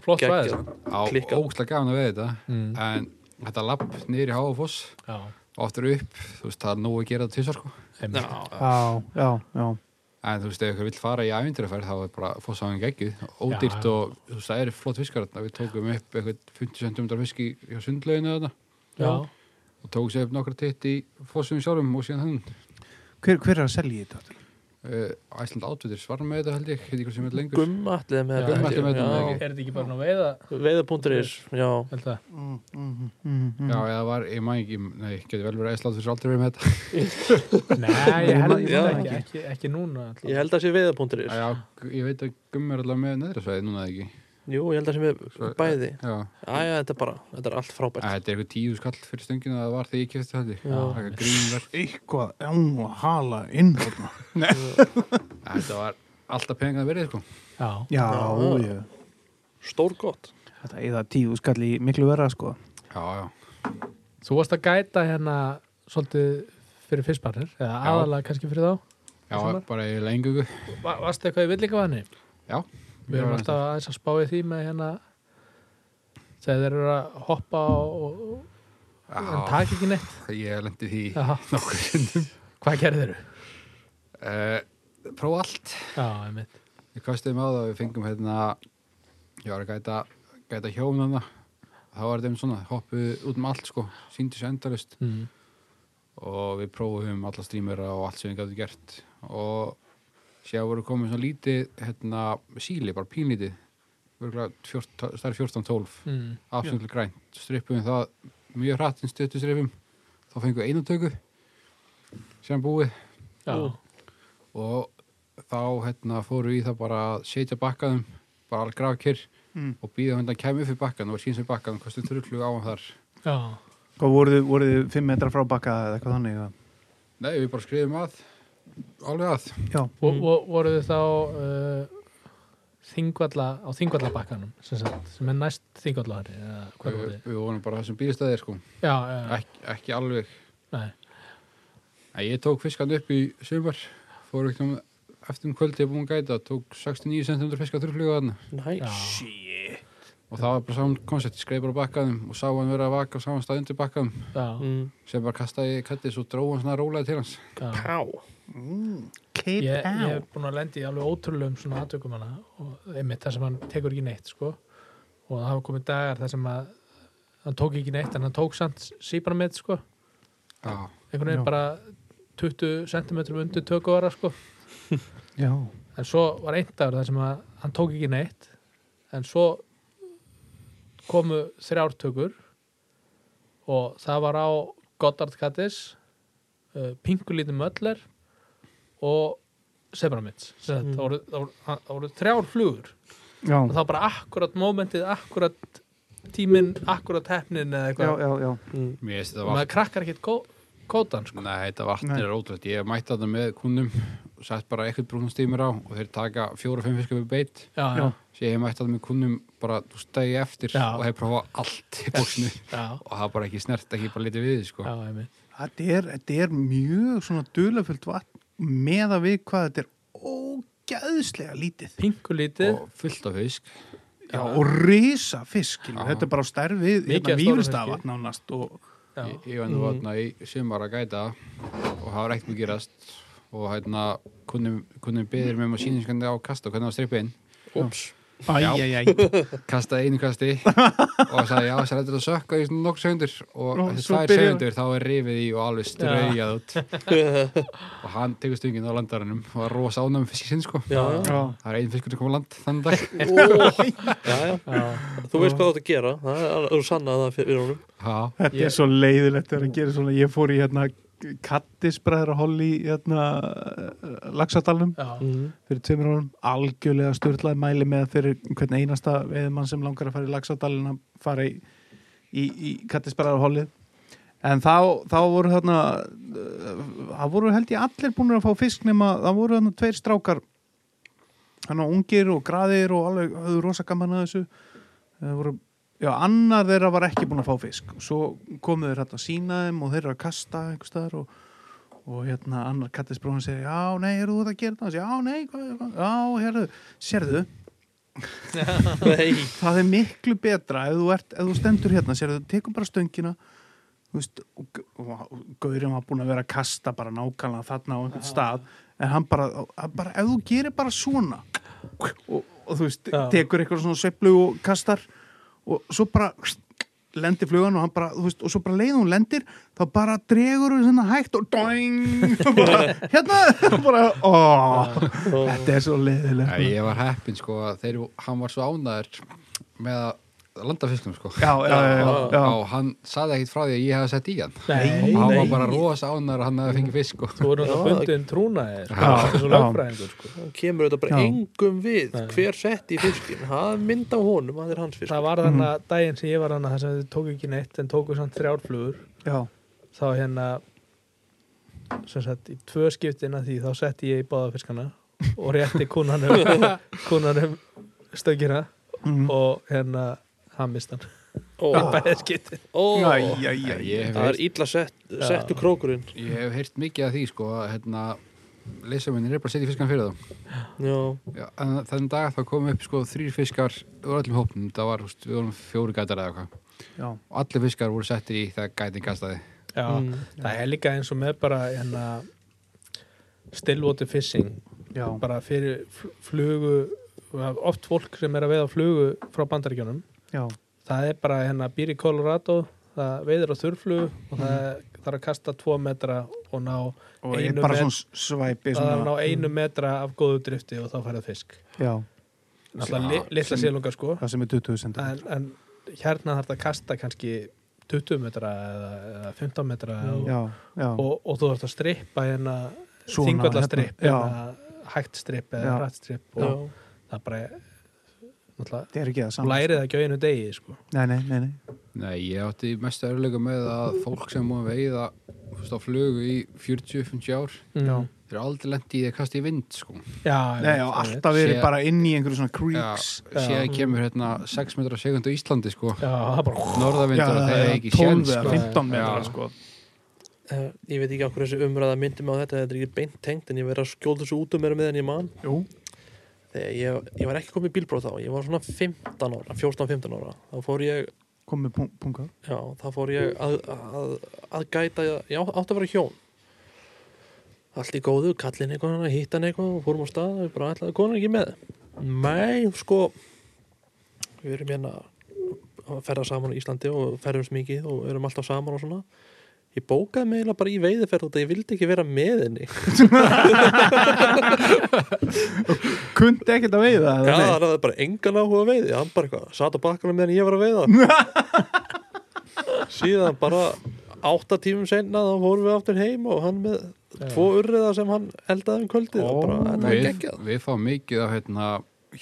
[SPEAKER 1] flott
[SPEAKER 4] Geggjað.
[SPEAKER 1] svæði sko. Mm.
[SPEAKER 3] á
[SPEAKER 4] klikkað.
[SPEAKER 3] ógslag gafan að veið þetta en þetta lapp niður í háfoss
[SPEAKER 1] já,
[SPEAKER 3] oftur upp, þú veist, það er nóg að gera þetta tvisar sko
[SPEAKER 1] einmitt.
[SPEAKER 4] Já,
[SPEAKER 2] já, já, já
[SPEAKER 3] en þú veist, ef ykkur vill fara í ævindræferð þá er bara fósáðan geggið, ódýrt
[SPEAKER 1] Já.
[SPEAKER 3] og þú veist, það eru flott fiskar þarna, við tókum upp eitthvað 50 cm fisk í hjá sundlauginu þarna
[SPEAKER 1] já.
[SPEAKER 3] og tók sér upp nokkra titt í fósum sjálfum og síðan hann
[SPEAKER 2] hver, hver er að selja í þetta? aftur?
[SPEAKER 3] uh, Æsland Átvitir var með þetta held ég, heit ykkur sem er lengur
[SPEAKER 4] Gummatlið með
[SPEAKER 1] Gummi
[SPEAKER 3] ætli með þetta,
[SPEAKER 4] þetta
[SPEAKER 3] ekki?
[SPEAKER 1] er þetta ekki bara nú veiða
[SPEAKER 4] Veða.is, já
[SPEAKER 1] held það
[SPEAKER 2] Mm, mm, mm, mm.
[SPEAKER 3] Já, eða var, ég maður ekki, nei, getur vel verið æsland fyrir aldrei verið með þetta
[SPEAKER 1] Nei, ég held
[SPEAKER 2] Ég
[SPEAKER 1] ég ekki,
[SPEAKER 4] man
[SPEAKER 2] ekki.
[SPEAKER 1] ekki, ekki núna alltaf.
[SPEAKER 4] Ég held að sé veða.is
[SPEAKER 3] Já, Já, ég veit að gummi er allavega með neðra svæði núna eða ekki
[SPEAKER 4] Jú, ég held að sé með bæði
[SPEAKER 3] Já,
[SPEAKER 4] Æja, þetta er bara, þetta er allt
[SPEAKER 3] Æ,
[SPEAKER 4] frábært
[SPEAKER 3] þetta er eitthvað tíu skall fyrir stöngina það var þegar ég kefti þetta held ég.
[SPEAKER 4] Já.
[SPEAKER 3] Það er eitthvað grínverk
[SPEAKER 2] eitthvað, já, að hala inn þarna.
[SPEAKER 3] Æ, Þetta var alltaf peningað verið sko
[SPEAKER 1] Já,
[SPEAKER 2] já,
[SPEAKER 4] Já.
[SPEAKER 2] já,
[SPEAKER 4] Stór gott
[SPEAKER 2] þetta eða tíu skall í miklu verra sko
[SPEAKER 3] Já, já,
[SPEAKER 1] þú varst að gæta hérna svolítið fyrir fyrstbarnir eða
[SPEAKER 3] Já.
[SPEAKER 1] aðalega kannski fyrir þá
[SPEAKER 3] já
[SPEAKER 1] Þessi maður?
[SPEAKER 3] bara í lengungu
[SPEAKER 1] Va Varst eitthvað í villingavani?
[SPEAKER 3] Já,
[SPEAKER 1] Við erum alltaf aðeins að spá í því með hérna þegar þeir eru að hoppa og, og en
[SPEAKER 3] Já,
[SPEAKER 1] taka ekki neitt
[SPEAKER 3] ég lendi því
[SPEAKER 1] Já.
[SPEAKER 3] nokkur sinnum
[SPEAKER 1] Hvað gerðir þeir?
[SPEAKER 3] uh, Prófa allt
[SPEAKER 1] Já, einmitt
[SPEAKER 3] Við kastuðum á það, við fengum hérna Ég var að gæta, gæta hjón hana Það var þeim svona, hoppuð út um allt sko Sýndi sér endalust
[SPEAKER 1] mm.
[SPEAKER 3] og við prófum alla strímera og allt sem við gætum gert og séu voru komið svona lítið hérna, síli, bara pínlítið það er 14-12
[SPEAKER 1] Mm.
[SPEAKER 3] absolutt grænt, strippum við það mjög hratt en stöttu strippum þá fengum við einu töku sem búið
[SPEAKER 1] Já,
[SPEAKER 3] og þá hérna, fóru í það bara að setja bakkaðum bara alveg grafkir
[SPEAKER 2] Mm.
[SPEAKER 3] og býða hann að kemja upp í bakkan og síns við bakkan, kostum truglu á hann þar
[SPEAKER 1] já,
[SPEAKER 2] hvað voruð þið, voruð þið fimm metra frá bakka eða eitthvað þannig eða?
[SPEAKER 3] nei, við bara skrifum að alveg að
[SPEAKER 2] já,
[SPEAKER 1] og, og voru þið þá uh, þingvalla á þingvallabakkanum sem, sagt, sem er næst þingvallari eða hvað
[SPEAKER 3] við,
[SPEAKER 1] voru þið?
[SPEAKER 3] við vorum bara þessum bílastæðir sko
[SPEAKER 1] Já, já,
[SPEAKER 3] ekki, ekki alveg
[SPEAKER 1] nei,
[SPEAKER 3] en ég tók fiskan upp í sumar fór ekki um eftir um kvöldi búin að gæta, tók 69 cm fisk að þurrfluga hann
[SPEAKER 4] Nice
[SPEAKER 3] og það var bara saman koncept, ég skreið bara bakkaðum og sá hann vera að vaka á saman stað undir bakkaðum
[SPEAKER 9] já,
[SPEAKER 4] mm.
[SPEAKER 3] sem bara kastaði kallið svo dró hann svona rólaði til hans
[SPEAKER 9] já.
[SPEAKER 1] Mm.
[SPEAKER 4] Pá
[SPEAKER 1] Ég,
[SPEAKER 2] Keep
[SPEAKER 1] ég
[SPEAKER 2] out
[SPEAKER 1] hef búin að lendi í alveg ótrúlegum svona aðtökum hana og einmitt þar sem hann tekur ekki neitt sko. og það hafa komið dagar þar sem að hann tók ekki neitt en hann tók samt sípana með sko.
[SPEAKER 3] Já,
[SPEAKER 1] einhvern veginn
[SPEAKER 2] Já.
[SPEAKER 1] bara 20 cm undir tökku ára sko.
[SPEAKER 2] Já,
[SPEAKER 1] en svo var einn dagur þar sem að hann tók ekki neitt en svo komu þrjártökur og það var á Goddard Kattis uh, Pingulíti Möller og Sebramits það voru, það voru, það voru þrjár flugur
[SPEAKER 2] já,
[SPEAKER 1] og það var bara akkurat momentið, akkurat tíminn, akkurat hefnin eða
[SPEAKER 2] já,
[SPEAKER 1] eitthvað
[SPEAKER 2] já, já.
[SPEAKER 3] mér veist þetta
[SPEAKER 1] og maður
[SPEAKER 3] vatn
[SPEAKER 1] krakkar ekkert kó, kótan sko.
[SPEAKER 3] Nei, þetta vatn
[SPEAKER 2] Nei.
[SPEAKER 3] er ótrúlega ég mætti þetta með kunnum og sett bara eitthvað brúnastýmur á og þeir taka fjóra-fimm fiskar við beitt
[SPEAKER 1] já, já,
[SPEAKER 3] sem ég hef mætt að með kunnum bara þú stæði eftir
[SPEAKER 1] Já.
[SPEAKER 3] og hef prófað allt í bóksinu
[SPEAKER 1] já,
[SPEAKER 3] og það er bara ekki snert, ekki bara litið við því, sko.
[SPEAKER 1] já, einmitt.
[SPEAKER 2] Þetta er, þetta er mjög svona dulafullt vatn með að við hvað þetta er ógæðslega lítið
[SPEAKER 1] pingulítið
[SPEAKER 3] og fullt af fisk
[SPEAKER 2] já, og risa fisk skilur.
[SPEAKER 3] Já.
[SPEAKER 2] þetta er bara á stærð við
[SPEAKER 1] Mikið
[SPEAKER 2] hérna,
[SPEAKER 1] af stóru
[SPEAKER 2] mýfristafa
[SPEAKER 1] fiski.
[SPEAKER 2] nánast og
[SPEAKER 1] já,
[SPEAKER 3] ég, ég var nú þarna í sumar að gæta og það var ekkert mjög gerast og hérna kunnum, kunnum beðir með maður síninskandi á kasta og hvernig það var strippið inn
[SPEAKER 4] Úps
[SPEAKER 2] æjæjæj
[SPEAKER 3] kastaði einu kasti og sagði já, þess að þetta er að sökka í svona nokkur segundur og
[SPEAKER 2] Nú,
[SPEAKER 3] þessi
[SPEAKER 2] svo
[SPEAKER 3] tvær
[SPEAKER 2] byrjar-
[SPEAKER 3] segundur þá er rifið í og alveg ströðjað út
[SPEAKER 4] Mm.
[SPEAKER 3] og hann tekur stöngin á landarannum og var rosa ánægð með fiskir sinn sko
[SPEAKER 4] Já, já,
[SPEAKER 3] það er einn fiskur til koma á land þann dag
[SPEAKER 4] já, já. Þú veist hvað þú átt að gera Það er þú sannað það fyrir honum
[SPEAKER 3] já,
[SPEAKER 2] Þetta er svo leiðilegt þegar að gera svona, ég fór í hérna kattisbræðra holli í hérna laxatalum
[SPEAKER 1] já.
[SPEAKER 2] fyrir tveimur árum, algjörlega störtlaði mæli með fyrir hvern einasta veðumann sem langar að fara í laxatalinn að fara í, í, í kattisbræðra holli en þá, þá voru þarna uh, það voru held ég allir búin að fá fisk nema það voru þarna tveir strákar hann og ungir og graðir og alveg höfðu rosa gaman að þessu það voru Já, annar þeirra var ekki búin að fá fisk og svo komu þeir hérna að sína þeim og þeir eru að kasta einhvers staðar og, og hérna annar kattisbróðan segir já, nei, eru þú þetta að gera það? Já, nei, hvað, hvað, já, herðu, sérðu
[SPEAKER 4] Nei,
[SPEAKER 2] það er miklu betra ef þú, ert, ef þú stendur hérna, sérðu, tekum bara stöngina þú veist, og, g- og, og gaurinn var búin að vera að kasta bara nákvæmlega þarna á einhvern stað en hann bara, hann bara ef þú gerir bara svona og, og þú veist,
[SPEAKER 1] Já.
[SPEAKER 2] tekur eitthvað svona sveiflu og kastar og svo bara lendir flugan og hann bara, þú veist, og svo bara leið hún lendir, þá bara dregur hún svona hægt og doing og bara, hérna, bara, ó þetta er svo leiðilegt
[SPEAKER 3] Nei, ég var heppin sko að þeir, hann var svo ánæður með að landa fiskum sko
[SPEAKER 2] já, já, já, já, já.
[SPEAKER 3] og hann saði ekkit frá því að ég hefði sett í hann
[SPEAKER 1] Nei,
[SPEAKER 3] og hann var
[SPEAKER 1] nei.
[SPEAKER 3] bara rosa ánæður að hann hefði fengið fisk sko.
[SPEAKER 1] Þú voru náttúrulega bundin trúnaðir sko,
[SPEAKER 2] Já,
[SPEAKER 1] eins og
[SPEAKER 2] já.
[SPEAKER 1] lögfræðingur sko.
[SPEAKER 4] það kemur þetta bara
[SPEAKER 2] Já.
[SPEAKER 4] engum við Hver sett í fiskin Það er mynd á honum, það er hans fisk
[SPEAKER 1] Það var þannig að daginn sem ég var hann þar sem þau tóku ekki neitt en tóku samt þrjárflugur
[SPEAKER 2] já.
[SPEAKER 1] þá hérna sem sagt í tvö skiptin að því þá setti ég í báðafiskana og rétti kúnanum kúnanum stöngina
[SPEAKER 2] Mm.
[SPEAKER 1] og hérna hann mist hann
[SPEAKER 4] Ó,
[SPEAKER 1] bæðið skiptin
[SPEAKER 4] ó,
[SPEAKER 2] Æ, æ, æ,
[SPEAKER 3] ég hef
[SPEAKER 4] Það er illa sett, settu krókurinn
[SPEAKER 3] Ég hef heyrt mikið af því sko að hérna, leysaminnir er bara að setja fiskan fyrir þá
[SPEAKER 4] Já,
[SPEAKER 3] Já, en þann dag þá komum upp sko þrýr fiskar úr öllum hópnum, það var húst, við vorum fjóri gætar eða eitthvað
[SPEAKER 2] Já,
[SPEAKER 3] og allir fiskar voru settir í þegar gætin kastaði
[SPEAKER 1] Já,
[SPEAKER 4] Mm.
[SPEAKER 1] það er líka eins og með bara hérna stillwater fishing
[SPEAKER 2] já,
[SPEAKER 1] bara fyrir fl- flugu oft fólk sem er að veiða flugu frá bandaríkjónum
[SPEAKER 2] já,
[SPEAKER 1] það er bara hérna býr í Colorado það veiðir á þurrflugu og
[SPEAKER 2] Mhm.
[SPEAKER 1] það þarf að kasta tvo metra og ná
[SPEAKER 2] og ég
[SPEAKER 1] Einu
[SPEAKER 2] bara
[SPEAKER 1] met-
[SPEAKER 2] svona
[SPEAKER 1] það
[SPEAKER 2] svæpi
[SPEAKER 1] þarf að
[SPEAKER 2] svona, Mhm.
[SPEAKER 1] ná einu metra af góðu drifti og þá færða fisk
[SPEAKER 2] já,
[SPEAKER 1] náttúrulega li, litla
[SPEAKER 2] sem-
[SPEAKER 1] sílunga sko
[SPEAKER 2] það sem er 20 cm
[SPEAKER 1] en, en hérna þarf það að kasta kannski 20 metra eða, eða 15 metra og,
[SPEAKER 2] Mm. Já, já,
[SPEAKER 1] og, og þú þarf að strippa hérna
[SPEAKER 2] Svona,
[SPEAKER 1] þingvalla
[SPEAKER 2] hérna,
[SPEAKER 1] stripp
[SPEAKER 2] já.
[SPEAKER 1] hérna, hægt stripp eða
[SPEAKER 2] Já.
[SPEAKER 1] hrætt stripp
[SPEAKER 4] já,
[SPEAKER 1] og það bara er- náttúrulega
[SPEAKER 2] það er ekki það
[SPEAKER 1] Þú
[SPEAKER 2] saman
[SPEAKER 1] lærið það ekki á einu degi, sko.
[SPEAKER 2] Nei, nei, nei, nei,
[SPEAKER 3] Nei, ég átti mestu örlega með að fólk sem múið veiða þú veist, á flugu í 40-50 ár
[SPEAKER 1] Já.
[SPEAKER 3] þeir eru aldrei lendi í því að kasta í vind sko.
[SPEAKER 1] Já,
[SPEAKER 2] nei já, alltaf verið
[SPEAKER 3] Sé-
[SPEAKER 2] bara inn í einhverju svona
[SPEAKER 3] Já,
[SPEAKER 2] creeks
[SPEAKER 3] séð kemur hérna 6 metra á sekundu í Íslandi sko.
[SPEAKER 1] Já, það bara...
[SPEAKER 3] norðavindur
[SPEAKER 2] það
[SPEAKER 3] þeir
[SPEAKER 2] er
[SPEAKER 3] eru ekki sko.
[SPEAKER 2] 12
[SPEAKER 3] sjens
[SPEAKER 2] eða
[SPEAKER 3] sko.
[SPEAKER 2] 15 metra
[SPEAKER 3] Já.
[SPEAKER 2] sko
[SPEAKER 4] uh, ég veit ekki okkur þessi umræða myndi mig á þetta þetta er ekki beint tengt en ég verið að skjóla þessu út um mér með en ég man
[SPEAKER 2] Jú.
[SPEAKER 4] þegar ég, ég var ekki komið í bílbróð þá ég var svona 15 ára, 14-15 ára þá fór ég
[SPEAKER 2] kom með pung- punga
[SPEAKER 4] Já, þá fór ég að, að, að gæta, já, átt að vera hjón. Allt í góðu, kallin eitthvað, hittan eitthvað og fórum á stað og ég bara ætlaði konan ekki með. Nei, sko, við erum hérna að ferða saman á Íslandi og ferðumst mikið og erum alltaf saman og svona. Ég bókaði mig eiginlega bara í veiðiferð og þetta ég vildi ekki vera með henni.
[SPEAKER 2] kundi ekkert að veiða
[SPEAKER 4] Já,
[SPEAKER 2] eða
[SPEAKER 4] það
[SPEAKER 2] nei?
[SPEAKER 4] hafði bara engan áhuga á veiði hann bara eitthvað, sat á bakkana meðan ég var að veiða síðan bara átta tímum senna þá fórum við aftur heim og hann með tvo urriða sem hann eldaði um kvöldið og bara, þetta var
[SPEAKER 3] við,
[SPEAKER 4] geggjað
[SPEAKER 3] við fáum mikið af hérna,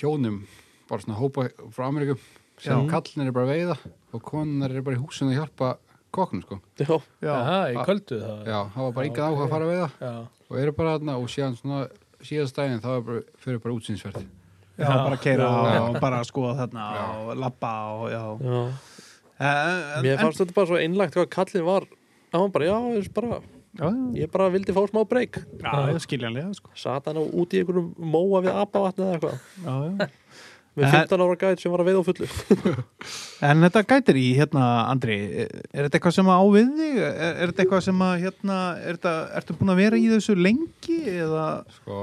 [SPEAKER 3] hjónum bara svona hópa frá Ameríkum sem
[SPEAKER 2] Já.
[SPEAKER 3] kallinir er bara að veiða og konunar er bara í húsinu að hjálpa kokkum sko.
[SPEAKER 4] Já,
[SPEAKER 2] Já. Ah.
[SPEAKER 1] Já, í kvöldu það.
[SPEAKER 3] já, það var bara engan áhuga að fara að veiða
[SPEAKER 1] Já.
[SPEAKER 3] og eru bara þarna og síðan svona síðast daginn þá er bara, fyrir bara útsýnsferð
[SPEAKER 2] já, bara keira og bara skoða þarna og lappa og já
[SPEAKER 4] já.
[SPEAKER 2] en,
[SPEAKER 4] mér fannst þetta bara svo einlagt hvað kallin var hann var bara, já, ég bara,
[SPEAKER 2] já, já,
[SPEAKER 4] ég bara vildi fá smá breyk
[SPEAKER 2] já, já, skiljanlega sko.
[SPEAKER 4] sat hann á út í einhverjum móa við apavatni eða eitthvað
[SPEAKER 2] já, já.
[SPEAKER 4] með
[SPEAKER 2] En-
[SPEAKER 4] 15 ára gæt sem var að veiða á fullu
[SPEAKER 2] en þetta gætir í hérna Andri, er er þetta eitthvað sem að á við þig er, er þetta eitthvað sem að hérna er þetta, ertu búin að vera í þessu lengi eða,
[SPEAKER 3] sko,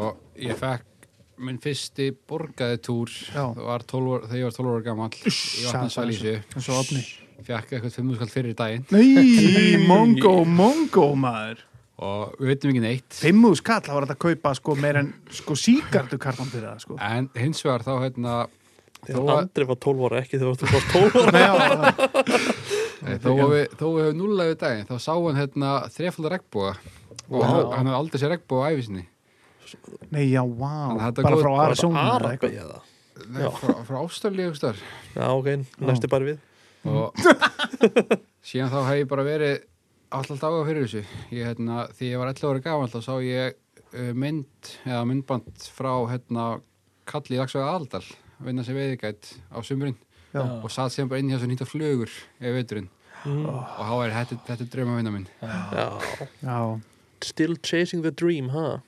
[SPEAKER 3] ég fekk minn fyrsti borgaði túr
[SPEAKER 2] Já.
[SPEAKER 3] Það var 12 ára- þegar ég var 12 ára gamall í vatnasalísu
[SPEAKER 2] eins og opni
[SPEAKER 3] fekk eitthvað fimmuskall fyrir daginn
[SPEAKER 2] nei, mongo, mongo maður
[SPEAKER 3] og við veitum ekki neitt
[SPEAKER 2] fimmus kall, það var þetta að kaupa sko meir en sko síkartu kartan fyrir það sko
[SPEAKER 3] en hins vegar þá hérna þó
[SPEAKER 4] þegar
[SPEAKER 3] að,
[SPEAKER 4] Andri var 12 ára ekki þegar þú varst 12 ára
[SPEAKER 2] Nei, já, já,
[SPEAKER 3] nei, þó að við, þó að við höfum núlaðið daginn þá sá hann hérna þrefaldar regnbúa og hann, hann hafði aldrei sér regnbúa á æfisinni
[SPEAKER 2] nei, já, vá
[SPEAKER 3] Þannig að þetta
[SPEAKER 2] bara
[SPEAKER 3] góð-
[SPEAKER 2] frá
[SPEAKER 4] Var þetta
[SPEAKER 2] Arizona eða
[SPEAKER 4] Arabi
[SPEAKER 2] eitthvað.
[SPEAKER 4] eða? Já.
[SPEAKER 3] frá, frá ástæðlega star
[SPEAKER 4] Já, ok, næstu bara við
[SPEAKER 3] og síðan þá hef ég bara verið alltaf daga fyrir þessu ég, hérna, því ég var 11 ára gafan þá sá ég uh, mynd eða myndband frá hérna, kalli í dagsvæða aldal vinna sem veiðigætt á sumurinn
[SPEAKER 2] Já.
[SPEAKER 3] og satt sem bara inn hjá svo nýta flugur eða veiturinn og þá er þetta, þetta er drauma vinna minn
[SPEAKER 4] Já,
[SPEAKER 2] já
[SPEAKER 4] still chasing the dream, ha?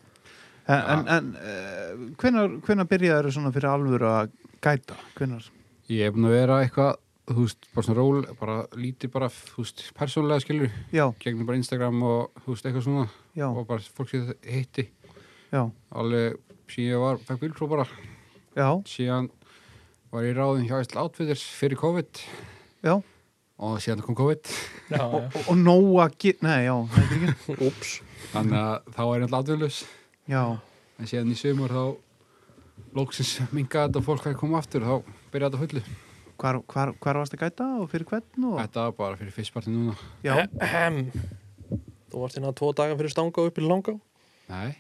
[SPEAKER 2] En, en, en uh, hvenar, hvenar byrjaður svona fyrir alvöru að gæta? Hvenar?
[SPEAKER 3] ég er búin að vera eitthvað þú veist, bara svona ról, bara lítið bara þú veist, persónulega skilur
[SPEAKER 2] Já,
[SPEAKER 3] gegnum bara Instagram og þú veist, eitthvað svona
[SPEAKER 2] já,
[SPEAKER 3] og bara fólk sem ég hitti
[SPEAKER 2] já,
[SPEAKER 3] alveg síðan ég var, fekk bílpró bara
[SPEAKER 2] já,
[SPEAKER 3] síðan var ég ráðin hjá Ísla Outfitters fyrir COVID
[SPEAKER 2] já.
[SPEAKER 3] og síðan kom COVID
[SPEAKER 1] Já, já.
[SPEAKER 2] Og, og, og nóg að gera, nei, já, það er ekki.
[SPEAKER 4] Úps
[SPEAKER 3] þannig að þá er ég alltaf atvinnlaus
[SPEAKER 2] Já,
[SPEAKER 3] en síðan í sumar þá lóksins mingaði þetta og fólk að koma aftur þá byrjaði þetta á fullu
[SPEAKER 2] hvar, hvar, hvar varst að gæta og fyrir hvern og?
[SPEAKER 3] þetta var bara fyrir fyrstpartin núna
[SPEAKER 2] Já,
[SPEAKER 4] Ahem. Þú varst hérna tvo daga fyrir stanga upp í langa
[SPEAKER 3] nei,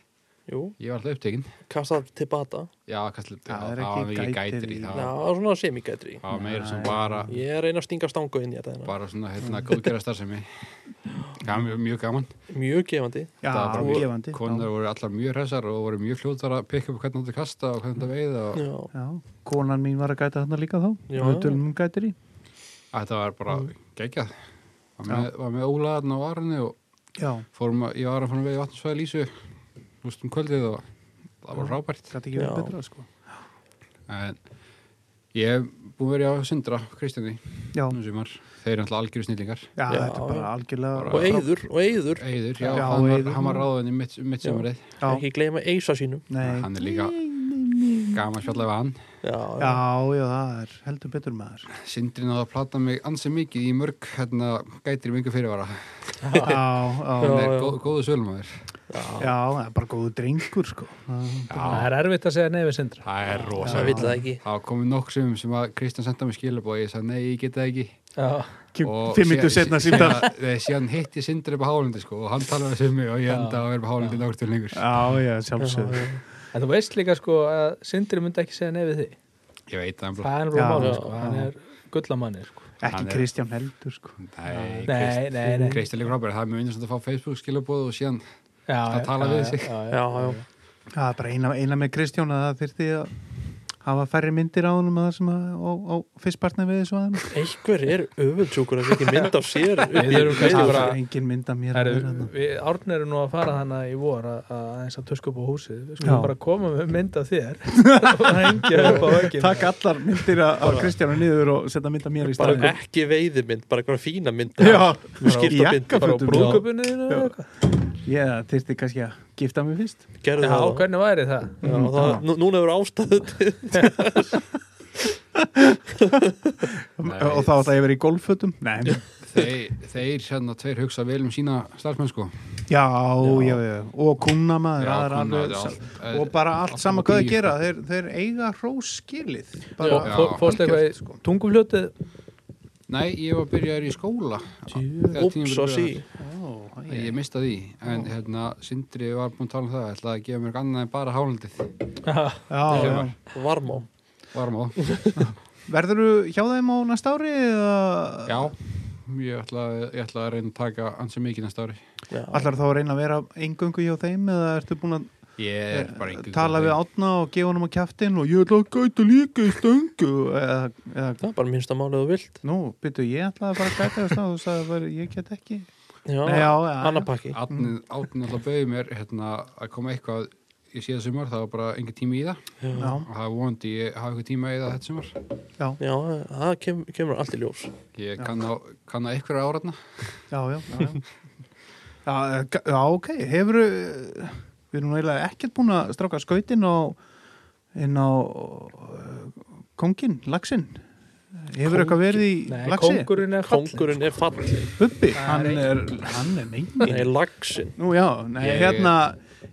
[SPEAKER 4] Jú,
[SPEAKER 3] ég var alltaf upptekinn
[SPEAKER 4] kastað til bata
[SPEAKER 3] já, kastlega,
[SPEAKER 2] Það er
[SPEAKER 3] það var
[SPEAKER 2] ekki
[SPEAKER 3] ekki
[SPEAKER 2] gætir
[SPEAKER 3] gætir í
[SPEAKER 2] í-
[SPEAKER 4] Já,
[SPEAKER 3] það var-
[SPEAKER 4] það var svona semigætri
[SPEAKER 3] það var meira sem
[SPEAKER 2] Nei.
[SPEAKER 3] bara
[SPEAKER 4] Ég er að reyna að stinga stanga inn í þetta hérna.
[SPEAKER 3] bara svona hérna góðgera starfsemi það var mjög- mjög gaman
[SPEAKER 4] Mjög gefandi
[SPEAKER 2] já,
[SPEAKER 3] það var bara-
[SPEAKER 2] gefandi.
[SPEAKER 3] konar
[SPEAKER 2] já.
[SPEAKER 3] voru allar mjög hressar og voru mjög fljótar að pikka upp hvernig þetta kasta og hvernig þetta veiða og
[SPEAKER 4] Já,
[SPEAKER 2] Já, konan mín var að gæta þarna líka þá.
[SPEAKER 4] Já.
[SPEAKER 2] Já. Og tölum hún gætir í.
[SPEAKER 3] Þetta var bara
[SPEAKER 2] Mm.
[SPEAKER 3] geggjað var með, var með ólaðarn á varinni og
[SPEAKER 2] Já,
[SPEAKER 3] fórum að, ég var að fara með í vatnsvæði lísu ústum kvöldið og það var frábært
[SPEAKER 2] gæti ekki verið
[SPEAKER 4] Já.
[SPEAKER 2] betra, sko.
[SPEAKER 3] en ég hef búin verið á Sindra Kristjáni
[SPEAKER 2] Já,
[SPEAKER 3] nú sumar, þeir eru alltaf algjöru snillingar
[SPEAKER 2] já,
[SPEAKER 4] Já,
[SPEAKER 2] þetta er bara
[SPEAKER 4] já.
[SPEAKER 2] algjörlega.
[SPEAKER 4] og eyður, og eyður
[SPEAKER 3] Eður, já,
[SPEAKER 2] Já,
[SPEAKER 3] hann,
[SPEAKER 2] Eiður.
[SPEAKER 3] var, hann var ráðan í mitt, mitt
[SPEAKER 4] Já.
[SPEAKER 3] sumarið
[SPEAKER 2] Já,
[SPEAKER 4] Ekki gleyma eisa sínum
[SPEAKER 2] nei.
[SPEAKER 3] hann er líka gaman spjallað við hann
[SPEAKER 4] Já,
[SPEAKER 2] Já, já, það er heldur betur maður.
[SPEAKER 3] Sindri náða að plata mig ansi mikið í mörg hérna gætir í mingu fyrirvara
[SPEAKER 2] Já, já,
[SPEAKER 3] hann er
[SPEAKER 4] já.
[SPEAKER 3] góð, góðu sölumæður
[SPEAKER 2] já, það er bara góðu drengur, sko. Já.
[SPEAKER 1] Það er erfitt að segja nei við sindra.
[SPEAKER 3] það er rosa
[SPEAKER 4] það vill það ekki
[SPEAKER 3] það komið nokk sem sem að Kristján senda mig skilabóð og ég sagði nei, ég geta ekki
[SPEAKER 1] Já.
[SPEAKER 3] Og
[SPEAKER 2] Fimm myndu setna
[SPEAKER 3] síðan-
[SPEAKER 2] síndar
[SPEAKER 3] síðan- Nei, síðan hitt ég Sindri upp á Hálundi sko og hann talaði sem mig og ég enda að vera upp á Hálundi nokkur til lengur.
[SPEAKER 2] Já, já, sjálfsögðu
[SPEAKER 1] En þú veist líka sko að sindri myndi ekki segja nei við því.
[SPEAKER 3] Ég veit það bara.
[SPEAKER 1] Það er nú málið
[SPEAKER 2] Já,
[SPEAKER 1] sko.
[SPEAKER 2] já.
[SPEAKER 1] Hann er gullamanni sko.
[SPEAKER 2] Ekki
[SPEAKER 3] Hann er-
[SPEAKER 2] Kristján heldur sko
[SPEAKER 3] Nei, Krist-
[SPEAKER 1] Nei, nei, nei.
[SPEAKER 3] Kristján líka frábæri, það er mjög innast að fá Facebook skilabóð og síðan
[SPEAKER 1] Já,
[SPEAKER 3] að
[SPEAKER 1] já,
[SPEAKER 3] tala
[SPEAKER 1] já,
[SPEAKER 3] við
[SPEAKER 1] já,
[SPEAKER 3] sig.
[SPEAKER 1] Já, já.
[SPEAKER 4] Já, já,
[SPEAKER 2] Það er bara eina, eina með Kristján að það þyrfti að hafa færri myndir á honum að það sem að, á, á fyrstpartna við þessu aðeins
[SPEAKER 6] einhver er öfundsjúkur að ekki mynd af sér upp
[SPEAKER 5] Við
[SPEAKER 6] í-
[SPEAKER 5] erum kannski
[SPEAKER 2] það
[SPEAKER 5] bara
[SPEAKER 2] er hérna. engin mynd af mér
[SPEAKER 5] Heru,
[SPEAKER 2] að vera þarna.
[SPEAKER 5] við, Árn eru nú að fara hana í vor að að aðeins að tuska upp á húsið við
[SPEAKER 2] Já.
[SPEAKER 5] skulum bara koma með mynd af þér og hengja upp á vöggin
[SPEAKER 2] Takk allar myndir af af Kristjánu niður og setja mynd af mér í
[SPEAKER 6] bara
[SPEAKER 2] staðinn
[SPEAKER 6] ekki veiðimynd, bara eitthvað fína mynd
[SPEAKER 2] Já,
[SPEAKER 6] skipta
[SPEAKER 2] í
[SPEAKER 6] mynd
[SPEAKER 5] bara á
[SPEAKER 2] jakkafötum Já.
[SPEAKER 5] brúðköpunni þínu eða
[SPEAKER 2] Já.
[SPEAKER 5] eitthvað.
[SPEAKER 2] Ég þyrfti kannski að gifta mig fyrst
[SPEAKER 6] gerðu
[SPEAKER 5] Já,
[SPEAKER 6] það,
[SPEAKER 5] hvernig væri það?
[SPEAKER 6] Já, það nú- núna hefur ástæðu til
[SPEAKER 3] Nei.
[SPEAKER 2] og þá ætla ég að vera í golffötum Nei, já,
[SPEAKER 3] þeir, þeir hérna tveir hugsa vel um sína starfsmenn sko
[SPEAKER 2] já, já, og kunnamaður
[SPEAKER 3] Já,
[SPEAKER 2] aðra
[SPEAKER 3] kunna,
[SPEAKER 2] alveg
[SPEAKER 3] já,
[SPEAKER 2] sal-
[SPEAKER 3] allt-
[SPEAKER 2] og bara allt
[SPEAKER 3] allt
[SPEAKER 2] sama
[SPEAKER 3] upp á
[SPEAKER 2] hvað
[SPEAKER 3] tíu,
[SPEAKER 2] að gera þeir, þeir eiga róskilið bara sko.
[SPEAKER 3] Já.
[SPEAKER 5] Fó- Fórstu eitthvað í tungufljótið?
[SPEAKER 3] Nei, ég var að byrja í skóla Þegar
[SPEAKER 6] ups
[SPEAKER 3] tímabilið
[SPEAKER 6] og sí
[SPEAKER 3] byrjaði.
[SPEAKER 2] Ó,
[SPEAKER 3] Nei, Ég mista því, en hérna Sindri var búin að tala um það, ætlaði að gefa mér eitthvað annað en bara hálendið,
[SPEAKER 2] já, já.
[SPEAKER 3] Sumar.
[SPEAKER 6] varmá
[SPEAKER 3] varum á
[SPEAKER 2] verðurðu hjá þeim á næsta ári eða
[SPEAKER 3] Já, ég ætla, ég ætla að reyna að taka ansi mikið næsta ári
[SPEAKER 6] Já.
[SPEAKER 2] allar þá að reyna að vera engungu hjá þeim eða ertu búin að eh,
[SPEAKER 3] Ég er bara einhver
[SPEAKER 2] tala við átna og gefa honum á kjaftin og ég ætla að gæta líka í stöngu eða, eða
[SPEAKER 6] það er bara minnsta málið þú vilt
[SPEAKER 2] nú, byrju, ég ætlaði að fara að gæta þess að þú sagði bara, ég get ekki
[SPEAKER 6] já,
[SPEAKER 2] Nei, já, já,
[SPEAKER 6] annar pakki
[SPEAKER 3] Átni, átni alltaf bauði mér hérna, að koma eitthvað í síða sumar, það var bara engin tími í það
[SPEAKER 2] já,
[SPEAKER 3] og það er vonandi ég hafa eitthvað tíma í það þetta sumar
[SPEAKER 2] já,
[SPEAKER 6] já, það kem, kemur allt í ljós
[SPEAKER 3] Ég kann á, kann á einhverja áratna
[SPEAKER 2] já, já, já. Já, eh, ga- já, ok, hefur við erum nú eiginlega ekkert búin að stráka skautin á inn á eh, kónginn, laxinn hefur eitthvað verið í
[SPEAKER 5] Nei,
[SPEAKER 2] laxi?
[SPEAKER 5] kóngurinn er fall
[SPEAKER 6] kongurinn er fallin
[SPEAKER 2] Bubbi,
[SPEAKER 5] Það
[SPEAKER 2] hann
[SPEAKER 5] er
[SPEAKER 2] er, hann er mengin
[SPEAKER 6] nei, lagsin
[SPEAKER 2] Nú já, nei,
[SPEAKER 3] Ég-
[SPEAKER 2] hérna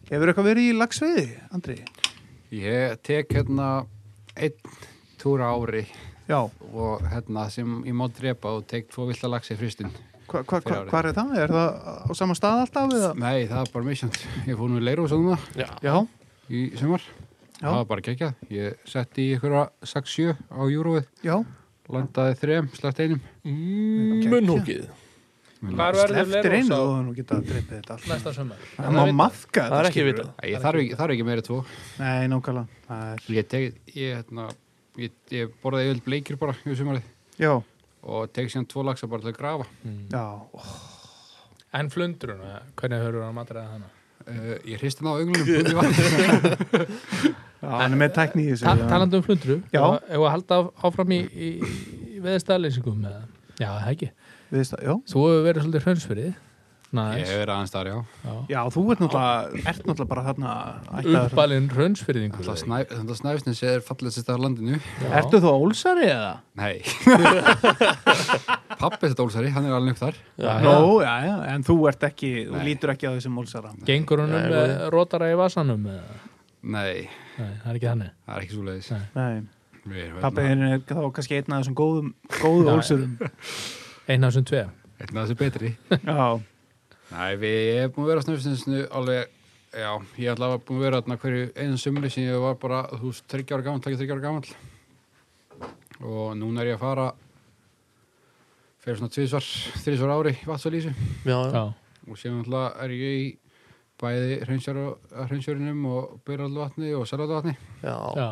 [SPEAKER 2] hefur eitthvað verið í lagsveiði, Andri?
[SPEAKER 3] Ég tek hérna einn túra ári
[SPEAKER 2] Já,
[SPEAKER 3] og hérna sem ég má drepa og tek tvo vilda lax í fristun
[SPEAKER 2] hva, hva, hva,
[SPEAKER 3] Fyrir árið.
[SPEAKER 2] hvað er það? Er það á sama stað alltaf eða?
[SPEAKER 3] Nei, það er bara misjönd Ég fór nú í leiru og svona
[SPEAKER 6] já,
[SPEAKER 2] Já,
[SPEAKER 3] í sumar
[SPEAKER 2] Já.
[SPEAKER 3] Það var bara geggjað Ég setti í einhverja 6-7 á júróið
[SPEAKER 2] já
[SPEAKER 3] Landaði þrem, slætt einum
[SPEAKER 2] ok.
[SPEAKER 6] munnhókið
[SPEAKER 5] Hvar verður
[SPEAKER 2] Eftir einu
[SPEAKER 5] Leirós
[SPEAKER 2] og nú geta að dreipið þetta allt
[SPEAKER 5] næsta sumar?
[SPEAKER 2] Það má maðka
[SPEAKER 6] það er ekki vitað
[SPEAKER 3] Æ, Ég þarf ekki, þarf ekki meira tvo
[SPEAKER 2] Nei, nákvæmlega Það er-
[SPEAKER 3] Ég, tek, ég, hérna, ég, ég borðaði yfir bleikir bara í sumarið
[SPEAKER 2] Já,
[SPEAKER 3] og tek síðan tvo laxa bara til að grafa
[SPEAKER 2] já,
[SPEAKER 1] En flundrun, eða? hvernig höfður hann að matraða hana?
[SPEAKER 3] uh, Ég hristi hann á auglunum
[SPEAKER 2] já hann er með tækni í þessu
[SPEAKER 1] Ta
[SPEAKER 2] já.
[SPEAKER 1] talandi um flundru,
[SPEAKER 2] Já.
[SPEAKER 1] ef að- ef að halda á- áfram í, í, í veðstæðleysingum með það. Já, það ekki.
[SPEAKER 2] Við veist að- Já,
[SPEAKER 1] Þú hefur verið svolítið hraunsfyrið.
[SPEAKER 3] Ég
[SPEAKER 1] Næs.
[SPEAKER 3] hef verið aðeins þar, já
[SPEAKER 2] já þú ert náttúrulega, ert náttúrulega bara þarna ættaður.
[SPEAKER 1] Uppalinn hraunsfyrðingur.
[SPEAKER 3] Það snæf, snæfsnes er fallið sér staðar landinu
[SPEAKER 2] Ertu þú ólsari eða?
[SPEAKER 3] Nei Pappi þetta ólsari, hann er alveg upp þar
[SPEAKER 2] Nó, já, já, en þú ert ekki, þú
[SPEAKER 3] Nei.
[SPEAKER 2] lítur ekki á þessum ólsara
[SPEAKER 1] Gengur hann um með rótara í vasanum? með það?
[SPEAKER 3] Nei,
[SPEAKER 1] Nei, það er ekki þannig.
[SPEAKER 3] það er ekki svo leiðis
[SPEAKER 2] Nei
[SPEAKER 3] hérna
[SPEAKER 2] Pappiðin er þá kannski einn af þessum góðum, góðu
[SPEAKER 1] Já,
[SPEAKER 2] ólsurum.
[SPEAKER 1] Einn af þessum tveim.
[SPEAKER 3] Einn af þessu betri
[SPEAKER 2] Já,
[SPEAKER 3] Nei, við erum búin að vera á snöfstinsinu alveg, já, ég ætla að búin að vera þarna hverju einu sumri sem ég var bara, þú veist, 30 ára gamall, takk 30 ára gamall og núna er ég að fara fyrir svona tvísvar, þrísvar ári í vatnsalísu
[SPEAKER 6] já, já.
[SPEAKER 1] Já.
[SPEAKER 3] og síðan alltaf er ég í bæði hreinsjörinum og byrjaldvatni og sælaldvatni
[SPEAKER 6] já.
[SPEAKER 1] Já.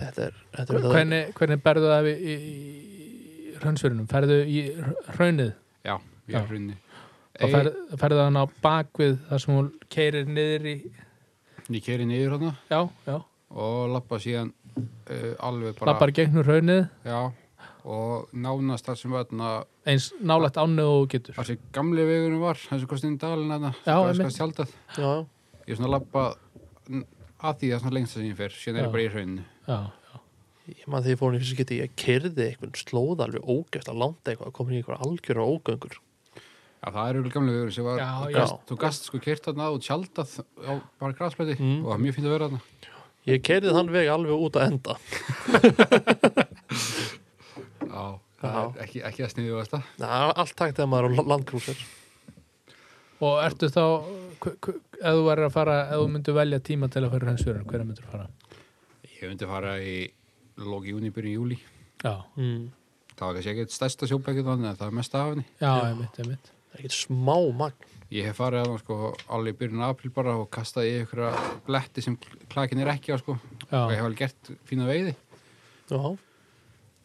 [SPEAKER 6] þetta er, þetta er
[SPEAKER 1] Hvernig, hvernig berðu það í, í, í hraunsfyrðinum? Ferðu í hraunnið?
[SPEAKER 3] Já, ég
[SPEAKER 1] Já.
[SPEAKER 3] er hrinni
[SPEAKER 1] Þá fer, ferðu hann á bakvið þar sem hún keirir niður í...
[SPEAKER 3] Ég keri niður hana
[SPEAKER 1] Já, já.
[SPEAKER 3] og lappa síðan uh, alveg bara
[SPEAKER 1] Lappar gegnur hraunnið
[SPEAKER 3] Já, og nánast þar sem var þarna
[SPEAKER 1] eins nálægt ánni og þú getur.
[SPEAKER 3] þar sem gamli vegurinn var, þar sem kostið í dalinn hana,
[SPEAKER 1] Já,
[SPEAKER 3] sem
[SPEAKER 1] einmitt.
[SPEAKER 3] kostið sjaldað
[SPEAKER 6] já, já.
[SPEAKER 3] sko ég er svona að labba n- að því að svona lengst sem ég fer, síðan
[SPEAKER 1] Já.
[SPEAKER 3] er ég bara í hrauninu
[SPEAKER 1] Já.
[SPEAKER 6] ég maður þegar ég fór í fyrst geti ég kerði eitthvað slóð alveg ógæst að landa eitthvað að koma í eitthvað algjörna ógöngur
[SPEAKER 3] Já, það er auðvitað gamli vegurinn sem var
[SPEAKER 1] Já,
[SPEAKER 3] þú
[SPEAKER 1] já.
[SPEAKER 3] gast- þú gast sko kert þarna og tjaldað á bara græsblöti
[SPEAKER 6] Mm.
[SPEAKER 3] og það er mjög fínt að vera þarna
[SPEAKER 6] ég kerði þann veg alveg út að enda
[SPEAKER 3] Já, það er ekki, ekki að sniðu þetta
[SPEAKER 6] það er allt takt þegar maður er á la- landkrúsir
[SPEAKER 1] Og ertu þá, hv- hv- ef þú verður að fara, ef þú myndir velja tíma til að fara hraunsfyrðinum, hverja myndir fara?
[SPEAKER 3] Ég myndi fara í lóki júni, byrjun júli
[SPEAKER 1] Já,
[SPEAKER 6] mm.
[SPEAKER 3] það var kannski ekki stærsta sjóbækið þannig að það er mest af henni
[SPEAKER 1] já, einmitt, einmitt.
[SPEAKER 6] ekkert smá magn
[SPEAKER 3] Ég hef farið að sko alveg í byrjun april bara og kastaði í einhverja bletti sem klakin er ekki á sko og ég
[SPEAKER 1] já,
[SPEAKER 3] hef alveg gert fína veiði
[SPEAKER 4] Já,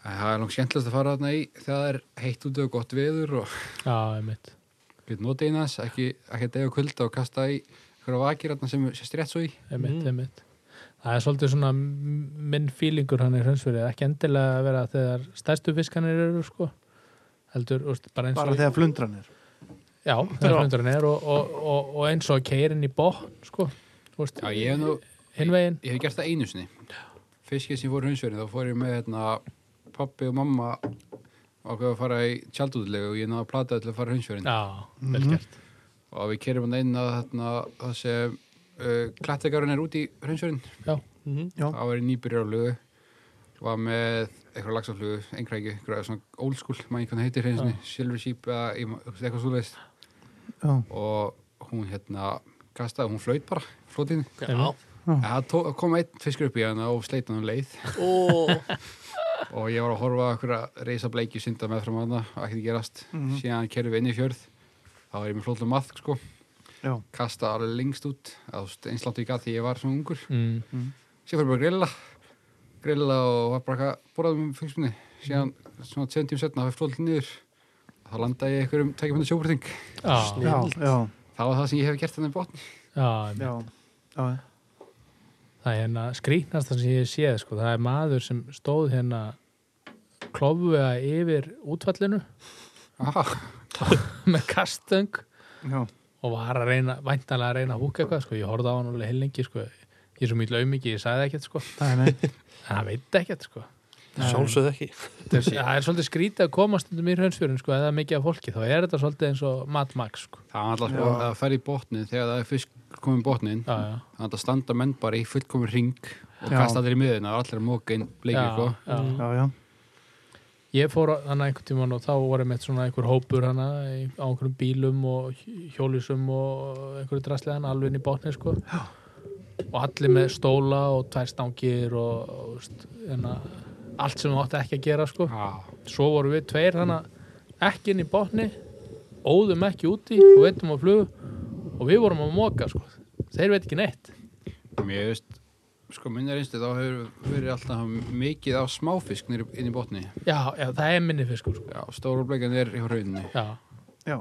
[SPEAKER 3] en það er langt skemmtilegast að fara þarna í þegar það er heitt út og gott veður og
[SPEAKER 1] já, einmitt
[SPEAKER 3] getur notið einas, ekki, ekki að dega kulda og kasta í einhverja vakir þarna sem sem strétt svo í
[SPEAKER 1] einmitt,
[SPEAKER 4] Mm.
[SPEAKER 1] einmitt það er svolítið svona m- minn fílingur hann í hraunsverið, ekki endilega að vera þegar stærstu fiskanir eru sko heldur, úst, bara eins og
[SPEAKER 2] bara þegar flundran er
[SPEAKER 1] já, þegar flundurinn er og, og, og, og eins og keirin í botn sko, úst,
[SPEAKER 3] Já, ég hef nú,
[SPEAKER 1] hinn veginn
[SPEAKER 3] ég hef gert það einu sinni fiskið sem fór hundsverðin, þá fór ég með hérna, pappi og mamma ákveða að fara í tjaldútlegu og ég náða að plata til að fara hundsverðin
[SPEAKER 1] já,
[SPEAKER 3] Mhm.
[SPEAKER 1] vel gert
[SPEAKER 3] og við kerum hann inn að þarna, það sem uh, klættegarinn er út í hundsverðin
[SPEAKER 1] já,
[SPEAKER 6] Mhm.
[SPEAKER 2] Já.
[SPEAKER 3] þá var ég nýbyrjar á lögu var með eitthvað lagsaflugu, einhverjæki eitthvað svona old school, maður einhvern heitir hreinsinni, silver sheep eða ég ma- eitthvað svoleiðist
[SPEAKER 2] já,
[SPEAKER 3] og hún hérna kastaði, hún flaut bara flótinn,
[SPEAKER 4] já
[SPEAKER 3] en það tó- kom einn fiskur upp í hana og sleit hann um leið
[SPEAKER 4] Ó,
[SPEAKER 3] og ég var að horfa að einhverja reysa bleikju synda með fram hana, ekkert gerast
[SPEAKER 2] Mhm.
[SPEAKER 3] síðan kerfið inn í fjörð þá var ég með flótlum maðk sko
[SPEAKER 2] já,
[SPEAKER 3] kastaði alveg lengst út, eða, þú veist, eins langt og ég gat því ég var svona ungur
[SPEAKER 1] mm,
[SPEAKER 3] Sér fyrir bara að grilla grilla og var bara eitthvað að borðaði með fylgsmunni síðan svona 10 tíum setna hafði flóðið niður þá landaði ég einhverjum tækjum hendur sjóbröting
[SPEAKER 1] já,
[SPEAKER 2] já, já,
[SPEAKER 3] það var það sem ég hef gert hérna henni botn
[SPEAKER 1] já, einmitt
[SPEAKER 2] já, já.
[SPEAKER 1] það er hérna skrýtnasta sem ég séð sko. það er maður sem stóð hérna klofvega yfir útvallinu
[SPEAKER 3] ah,
[SPEAKER 1] með kastöng
[SPEAKER 2] já.
[SPEAKER 1] og var að reyna, væntanlega að reyna að húka eitthvað sko. ég horfði á hann alveg heilengi sko. ég er svo mjög auðmiki, ég sagði ekkert sko.
[SPEAKER 2] Nei, nei.
[SPEAKER 1] en hann veit ekkert sko.
[SPEAKER 4] sjálfsögð ekki
[SPEAKER 1] það er, það er svolítið skrýtið að komast undir mér hönnsfjörun sko, eða mikið af fólki, þá er þetta svolítið eins og matmaks sko.
[SPEAKER 3] það var alltaf sko, að fara í botnin þegar það er fisk komin botnin
[SPEAKER 1] já, já,
[SPEAKER 3] þannig að standa menn bara í fullkomin ring og
[SPEAKER 2] Já.
[SPEAKER 3] kasta allir í miðuna og allir að móka inn bleikir
[SPEAKER 1] já,
[SPEAKER 3] sko.
[SPEAKER 1] já.
[SPEAKER 2] já, já,
[SPEAKER 1] Ég fór þannig einhvern tímann og þá voru með svona einhver hópur hana í- á einhverjum bílum og hj- hjólusum og einhverju drastlegan alveg inn í botni sko. og allir með stóla og tvær stangir og, og veist, hérna, allt sem þú átti ekki að gera sko.
[SPEAKER 3] ah,
[SPEAKER 1] svo voru við tveir hana ekki inn í botni óðum ekki úti og veitum á flug og við vorum að móka sko. þeir veit ekki neitt
[SPEAKER 3] mér veist sko minna reynstu þá hefur verið alltaf mikið af smáfisk niður inn í botni
[SPEAKER 1] já, já, það er minni fiskur sko.
[SPEAKER 3] já, stóru bleikan er í rauninni
[SPEAKER 1] já,
[SPEAKER 2] já.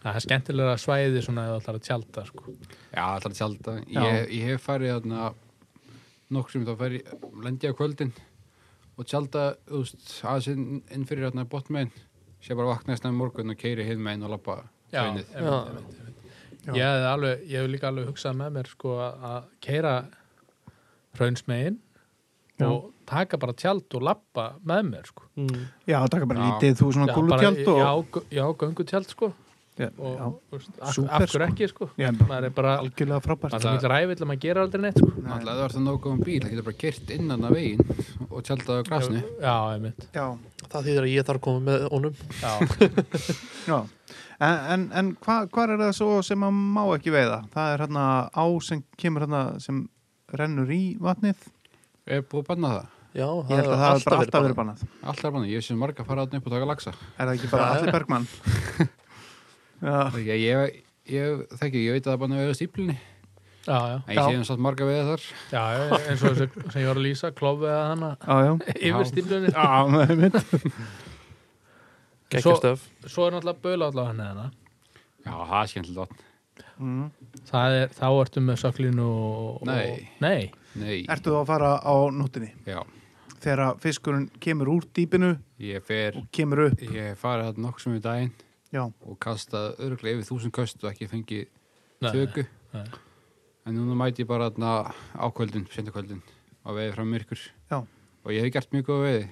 [SPEAKER 1] það er skemmtilega svæði svona eða allar að tjálta sko.
[SPEAKER 3] Já, alltaf að tjálta.
[SPEAKER 1] Já.
[SPEAKER 3] Ég, ég hef farið þarna nokkrum, þá fer ég, lendi ég á kvöldin og tjálta, þú veist, aðeins inn, inn fyrir þarna botnmegin. Sér bara vaknaði snemma morgun og keiri hinn megin og lappa
[SPEAKER 1] Já,
[SPEAKER 3] sveinið.
[SPEAKER 1] einmitt, einmitt, einmitt. Ég hef, alveg, ég hef líka alveg hugsað með mér sko að að keira raunsmegin
[SPEAKER 2] Já.
[SPEAKER 1] og taka bara tjald og lappa með mér sko.
[SPEAKER 4] mm.
[SPEAKER 2] já taka bara
[SPEAKER 3] Já.
[SPEAKER 2] lítið þú svona gulutjald og
[SPEAKER 1] Já, gö- já göngu tjald sko
[SPEAKER 2] já,
[SPEAKER 1] og
[SPEAKER 2] já.
[SPEAKER 1] þú veist, af,
[SPEAKER 2] Súper,
[SPEAKER 1] af hverju
[SPEAKER 2] sko.
[SPEAKER 1] ekki sko
[SPEAKER 2] Já,
[SPEAKER 1] maður er bara algjör
[SPEAKER 2] algjörlega frábært
[SPEAKER 1] maður er mjög ræfill að maður gera aldrei neitt sko.
[SPEAKER 3] Alltaf það var það nógu um bíl, það getur bara kert innan að vegin og tjálta á grasni.
[SPEAKER 1] Já, einmitt
[SPEAKER 2] já,
[SPEAKER 4] Það þýðir að ég þarf að koma með honum
[SPEAKER 1] Já,
[SPEAKER 2] já. En, en, en hvað hva er það svo sem að má ekki veiða? Það er hérna á sem kemur hérna sem rennur í vatnið.
[SPEAKER 3] Er búið að banna það?
[SPEAKER 4] Já,
[SPEAKER 2] Ég held að það hefur bara alltaf verið
[SPEAKER 4] bannað.
[SPEAKER 2] bannað.
[SPEAKER 3] Alltaf er bannað. Ég sé marga að fara þarna upp og taka laxa.
[SPEAKER 2] Er það ekki bara
[SPEAKER 4] Já, já.
[SPEAKER 2] allir Bergmann? já,
[SPEAKER 3] Ég, ég, ég þekki, ég veit að það er bannað að veiða stíplinni.
[SPEAKER 1] já, já,
[SPEAKER 3] En ég
[SPEAKER 2] Já.
[SPEAKER 3] sé hann satt marga veiða þar.
[SPEAKER 1] já eins og þessu sem ég var að lýsa klofið að hana
[SPEAKER 2] já, já.
[SPEAKER 1] yfir stíflunni
[SPEAKER 2] Já, með mitt.
[SPEAKER 1] Svo-
[SPEAKER 4] Gekkjastöf
[SPEAKER 1] Svo er náttúrulega böla allavega hann eða hana
[SPEAKER 3] Já, það er skemmtilegt vatn.
[SPEAKER 2] Mm.
[SPEAKER 1] Það er, þá ertu með söklinu og...
[SPEAKER 3] Nei.
[SPEAKER 1] Og, nei.
[SPEAKER 3] Nei,
[SPEAKER 2] Ertu þú að fara á nóttinni?
[SPEAKER 3] já.
[SPEAKER 2] Þegar að fiskurinn kemur úr dýpinu
[SPEAKER 3] Ég fer,
[SPEAKER 2] og kemur upp.
[SPEAKER 3] ég hef farið þarna nokkuð sem í daginn.
[SPEAKER 2] Já,
[SPEAKER 3] og kastað örglega yfir þúsund köst og ekki fengið
[SPEAKER 1] Nei,
[SPEAKER 3] töku
[SPEAKER 1] nei.
[SPEAKER 3] en núna mæti ég bara þarna ákvöldin, sendakvöldin að veiði fram myrkur
[SPEAKER 2] Já.
[SPEAKER 3] og ég hef gert mjög góða veiði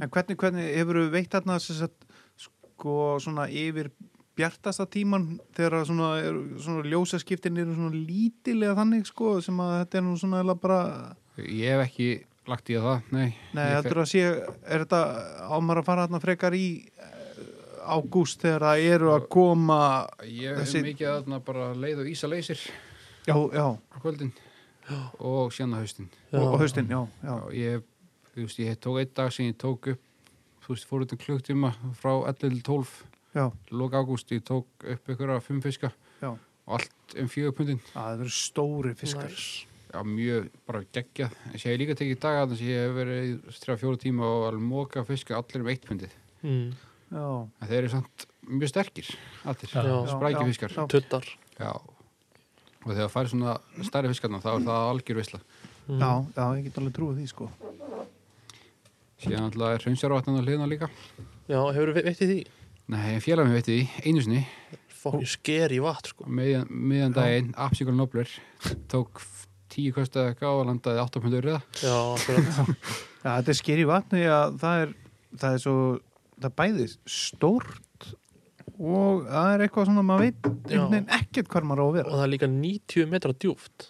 [SPEAKER 2] en hvernig, hvernig hefur þú veitt þarna sem sagt, sko svona yfir bjartasta tíman þegar að svona, er- svona ljósaskiptin eru svona lítilega þannig sko sem að þetta er nú svona eiginlega bara
[SPEAKER 3] ég hef ekki lagt í það, nei
[SPEAKER 2] Nei,
[SPEAKER 3] Ég
[SPEAKER 2] heldur að sé, er þetta ámar að fara þarna frekar í eh, ágúst þegar það eru að koma
[SPEAKER 3] ég hef
[SPEAKER 2] Þessi-
[SPEAKER 3] mikið þarna bara leið og ísa leysir
[SPEAKER 2] já, já,
[SPEAKER 3] á kvöldin og sérna haustin
[SPEAKER 2] og, og haustin, já, já,
[SPEAKER 3] og ég, þú veist, ég tók einn dag sem ég tók upp þú veist, fór út um klukktíma frá 11 til 12
[SPEAKER 2] já,
[SPEAKER 3] lók ágúst, ég tók upp ykkur að fimm fiska
[SPEAKER 2] já
[SPEAKER 3] og allt um fjögur pundin
[SPEAKER 2] að það eru stóri fiskar
[SPEAKER 4] Næs.
[SPEAKER 3] Já, já, mjög bara geggjað en sé ég hef líka tekið daga þannig að ég hef verið í 3-4 tíma og alveg móka fiska allir um eitt pundið
[SPEAKER 4] mm.
[SPEAKER 2] já,
[SPEAKER 3] en þeir eru samt mjög sterkir allir,
[SPEAKER 1] Já.
[SPEAKER 4] Já.
[SPEAKER 3] sprækir
[SPEAKER 2] já,
[SPEAKER 3] fiskar
[SPEAKER 2] já.
[SPEAKER 4] tuttar
[SPEAKER 3] Já. og þegar færi svona stærri fiskarna þá er það algjör veisla
[SPEAKER 4] mm.
[SPEAKER 2] já, já, ég get alveg trúið því sko
[SPEAKER 3] síðan alltaf er hraunsjárvatnan að hliðna líka
[SPEAKER 4] já hefur við veitt í því
[SPEAKER 3] nei, félagum veit því, einu sinni
[SPEAKER 4] fokkin sker í vatn sko
[SPEAKER 3] miðjan, miðjan daginn, Apsíkul Nobler tók f- tíu kostaði eitthvað og landaði 8 pundur reyða
[SPEAKER 4] já, akkurat.
[SPEAKER 2] já, þetta er skeri vatni að það er það er svo, það er bæði stórt og það er eitthvað svona maður veit
[SPEAKER 4] Já.
[SPEAKER 2] einhvern veginn ekkert hvar maður á að
[SPEAKER 4] og
[SPEAKER 2] vera
[SPEAKER 4] það er líka 90 metra djúft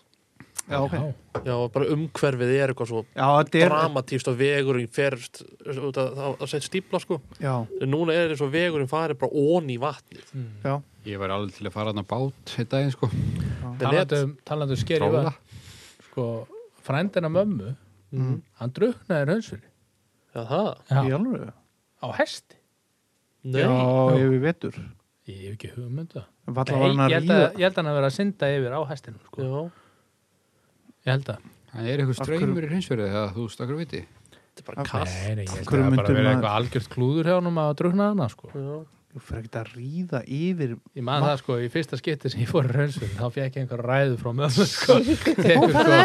[SPEAKER 2] já, ok já,
[SPEAKER 4] já, bara umhverfið er eitthvað svo
[SPEAKER 2] þetta er
[SPEAKER 4] dramatíst og vegurinn ferst það, það, það sett stípla sko
[SPEAKER 2] já,
[SPEAKER 4] En núna er eins og vegurinn farið bara ón í vatnið
[SPEAKER 2] já,
[SPEAKER 3] ég var alveg til að fara hann á bát þetta daginn sko,
[SPEAKER 1] Talandum, talandum skeri
[SPEAKER 3] trála
[SPEAKER 1] var sko, frændina mömmu
[SPEAKER 4] Mhm.
[SPEAKER 1] hann druknaði raunsfyrir
[SPEAKER 4] Já, það?
[SPEAKER 2] í
[SPEAKER 1] á
[SPEAKER 2] alveg
[SPEAKER 1] hesti
[SPEAKER 4] Nei,
[SPEAKER 2] já,
[SPEAKER 4] já.
[SPEAKER 2] yfir vetur
[SPEAKER 1] ég hef ekki hugmynda
[SPEAKER 2] Valla var hann
[SPEAKER 1] Nei,
[SPEAKER 2] að
[SPEAKER 1] ég held,
[SPEAKER 2] ríða
[SPEAKER 1] að, ég held að hann að vera að synda yfir á hestinum sko. ég held að
[SPEAKER 3] hann er eitthvað
[SPEAKER 2] Af hverju-
[SPEAKER 3] streymur í hraunfjörði það þú stakkar viti
[SPEAKER 4] þetta er bara kast
[SPEAKER 1] nei, nei, ég held
[SPEAKER 2] Hverju
[SPEAKER 1] að það
[SPEAKER 2] myndum
[SPEAKER 1] bara verið
[SPEAKER 2] maður-
[SPEAKER 1] eitthvað algjört klúður hjá hann að drukna hana sko.
[SPEAKER 4] Já,
[SPEAKER 2] Þú fyrir ekkert að ríða yfir
[SPEAKER 1] ég man það sko, í fyrsta skipti sem ég fór raunsfyrir þá fekk ég einhver ræðu frá mömmu sko. tekur sko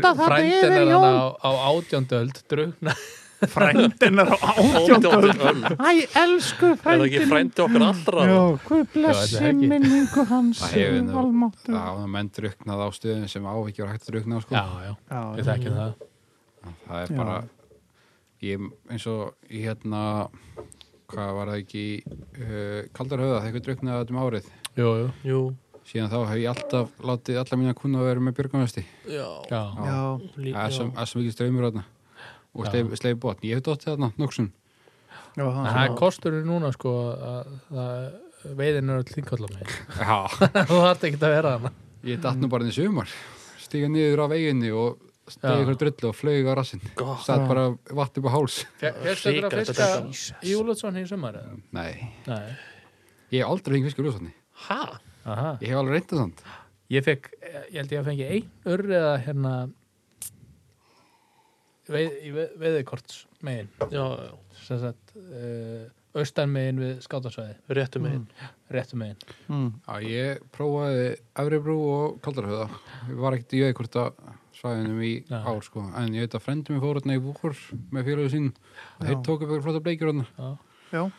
[SPEAKER 1] tekur frændina hann á, á átjóndöld drukna
[SPEAKER 2] Frændinar á átjóndöld Æ, elsku
[SPEAKER 4] er það ekki frændi okkar allra?
[SPEAKER 2] Já, hvað
[SPEAKER 1] blessi Já, þetta er ekki.
[SPEAKER 2] minningu hans
[SPEAKER 3] það hefur nú, það hafa menn druknað á stöðum sem á ekki var hægt að drukna á sko
[SPEAKER 1] já, já, ég þekki það
[SPEAKER 3] það er
[SPEAKER 2] Já.
[SPEAKER 3] bara ég, eins og í hérna hvað var það ekki uh, kaldar höfða, það eitthvað druknaði þetta um árið
[SPEAKER 1] jú, jú,
[SPEAKER 4] Jú,
[SPEAKER 3] síðan þá hef ég alltaf látið alla mína kuna að vera með björgunvesti
[SPEAKER 4] já,
[SPEAKER 1] já,
[SPEAKER 2] Já,
[SPEAKER 4] líka
[SPEAKER 3] það er sem- það er svo mikið streymur þarna og
[SPEAKER 1] Já.
[SPEAKER 3] sleið, sleið botn, ég hef dottið þarna nokksum
[SPEAKER 2] já,
[SPEAKER 1] En
[SPEAKER 2] það
[SPEAKER 1] það er kosturinn núna sko að, að veiðin er öll þingallar með
[SPEAKER 3] já,
[SPEAKER 1] þú þarft ekki að vera hana
[SPEAKER 3] ég datt nú bara inn í sumar stíga niður af veginni og
[SPEAKER 1] Já.
[SPEAKER 3] stegið ykkur drullu og flög á rassinn
[SPEAKER 4] Gott.
[SPEAKER 3] satt bara vatn upp á háls
[SPEAKER 1] Fyrst ykkur að
[SPEAKER 4] Hrikalegt
[SPEAKER 1] fiska
[SPEAKER 4] þetta.
[SPEAKER 1] í Úlötsson í sumar eða?
[SPEAKER 3] nei,
[SPEAKER 1] Nei,
[SPEAKER 3] ég hef aldrei fengið fiskur úr þarna
[SPEAKER 4] Hæ?
[SPEAKER 1] aha
[SPEAKER 3] ég hef alveg reyndað samt
[SPEAKER 1] Ég fekk, eh, ég held ég að fengi einn urr eða hérna veið, í veið, veiðikorts megin
[SPEAKER 4] Já, já,
[SPEAKER 1] sem sagt uh, austan megin við skátasvæði
[SPEAKER 4] réttu megin
[SPEAKER 1] réttu megin
[SPEAKER 2] Mm.
[SPEAKER 3] já, ég prófaði Efribrú og Kaldarhöða ég var ekkert í auðvitað að svæðinum í
[SPEAKER 1] Nei.
[SPEAKER 3] ár sko, en ég veit að frendi mér fór þarna í vor með félagið sín og þeir
[SPEAKER 2] Já.
[SPEAKER 3] tóku upp ykkur flotta bleikjur hérna. þarna
[SPEAKER 2] já.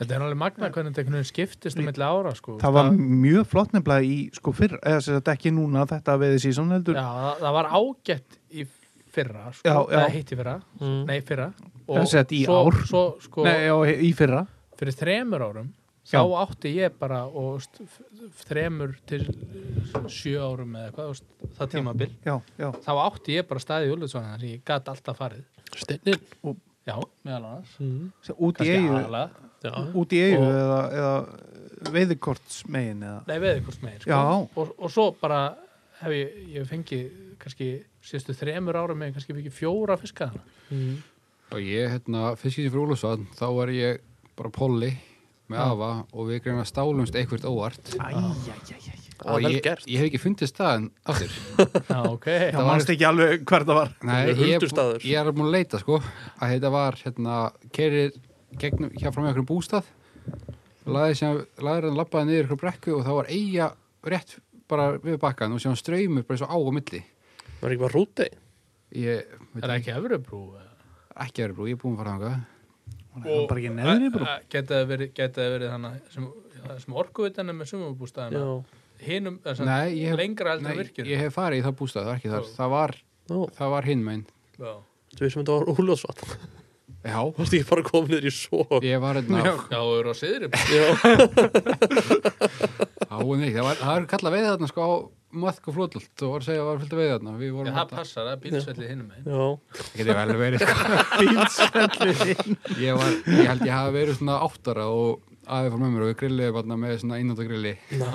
[SPEAKER 1] Þetta er alveg magna hvernig þetta einhvern veginn skiptist á milli ára sko
[SPEAKER 2] Það var mjög flott nefnilega í sko fyrr, eða sem þetta ekki núna þetta veðið síðan
[SPEAKER 1] Já,
[SPEAKER 2] heldur
[SPEAKER 1] það, það var ágætt í fyrra sko,
[SPEAKER 2] Já, já.
[SPEAKER 1] Nei, hitt í fyrra,
[SPEAKER 4] Mm.
[SPEAKER 1] nei fyrra
[SPEAKER 2] Það er sett í
[SPEAKER 1] svo,
[SPEAKER 2] ár.
[SPEAKER 1] svo, sko,
[SPEAKER 2] Nei, já, í fyrra
[SPEAKER 1] fyrir þremur árum
[SPEAKER 2] Já.
[SPEAKER 1] þá átti ég bara og, veist, f- f- þremur til eh, sjö árum eða hvað, veist, það tímabil
[SPEAKER 2] Já, já,
[SPEAKER 1] þá átti ég bara staðið í Ullutsvana þannig ég gat alltaf farið
[SPEAKER 4] Steinnin
[SPEAKER 1] já, meðal annars
[SPEAKER 4] mm.
[SPEAKER 2] Sem út í
[SPEAKER 1] kannski
[SPEAKER 2] eigu
[SPEAKER 1] aðalega
[SPEAKER 4] Já,
[SPEAKER 2] Út í eigu
[SPEAKER 1] Og-
[SPEAKER 2] eða, eða veiðikorts megin eða
[SPEAKER 1] nei, veður hvort megin sko.
[SPEAKER 2] Já.
[SPEAKER 1] og, og svo bara hef ég, ég fengið kannski síðustu þremur árum megin kannski fengið fjóra fiska þarna
[SPEAKER 4] mm.
[SPEAKER 3] Og ég, hérna, fiskisinn frá Úlfsvann, þá var ég bara polli með afa og við greina stálumst eitthvað óvart.
[SPEAKER 2] Æjæjæjæj
[SPEAKER 4] það
[SPEAKER 3] og
[SPEAKER 4] er Ah, vel
[SPEAKER 3] ég,
[SPEAKER 4] gert
[SPEAKER 3] ég hef ekki fundið staðan aftur.
[SPEAKER 1] já, ok
[SPEAKER 2] Já, mannst ekki alveg hver það var
[SPEAKER 3] Nei,
[SPEAKER 4] Þetta er
[SPEAKER 3] ég,
[SPEAKER 4] huldustaður.
[SPEAKER 3] ég er búin að leita, sko, að þetta var, hérna, kerir gegnum, hjá fram í okkur bústað, laði sem, laði hann labbaði niður ykkur brekku og þá var eiga rétt bara við bakkan og sem ströymur bara svo á og milli.
[SPEAKER 4] Var ekki bara rúti?
[SPEAKER 3] Ég, veit
[SPEAKER 1] er það ekki Evrubrú
[SPEAKER 3] ekki að vera brú, ég er búin að fara þangað.
[SPEAKER 2] Hún er bara ekki neðri brú
[SPEAKER 1] geta það verið, geta það verið þannig sem, sem orkuvitanum með
[SPEAKER 4] Já,
[SPEAKER 1] sumabústæðina hinum, eða sem-
[SPEAKER 3] Nei, ég hef,
[SPEAKER 1] lengra heldur
[SPEAKER 3] nei,
[SPEAKER 1] að virkjur
[SPEAKER 3] ég hef farið í það bústað, það var ekki þar. Það var,
[SPEAKER 4] Nú,
[SPEAKER 3] það var hinn meginn.
[SPEAKER 1] já.
[SPEAKER 4] þú veist sem þetta var úlöðsvall
[SPEAKER 3] Já,
[SPEAKER 4] Þú veist ekki bara komið niður í svo
[SPEAKER 3] Ég var hérna á
[SPEAKER 1] já, þú eru á siðri
[SPEAKER 4] Já,
[SPEAKER 3] hún ekki, það var, það var kallað veið þarna sko á maðk og flótult og var að segja að það var fyllt að veið þarna við vorum hérna-
[SPEAKER 1] það passar, það er bílsvellið hinum megin
[SPEAKER 4] já,
[SPEAKER 3] getið vel verið sko. ég var, ég held ég hafi verið svona áttara og aðeins fór með mér og við grilliðum þarna með svona einnátagrilli
[SPEAKER 4] næs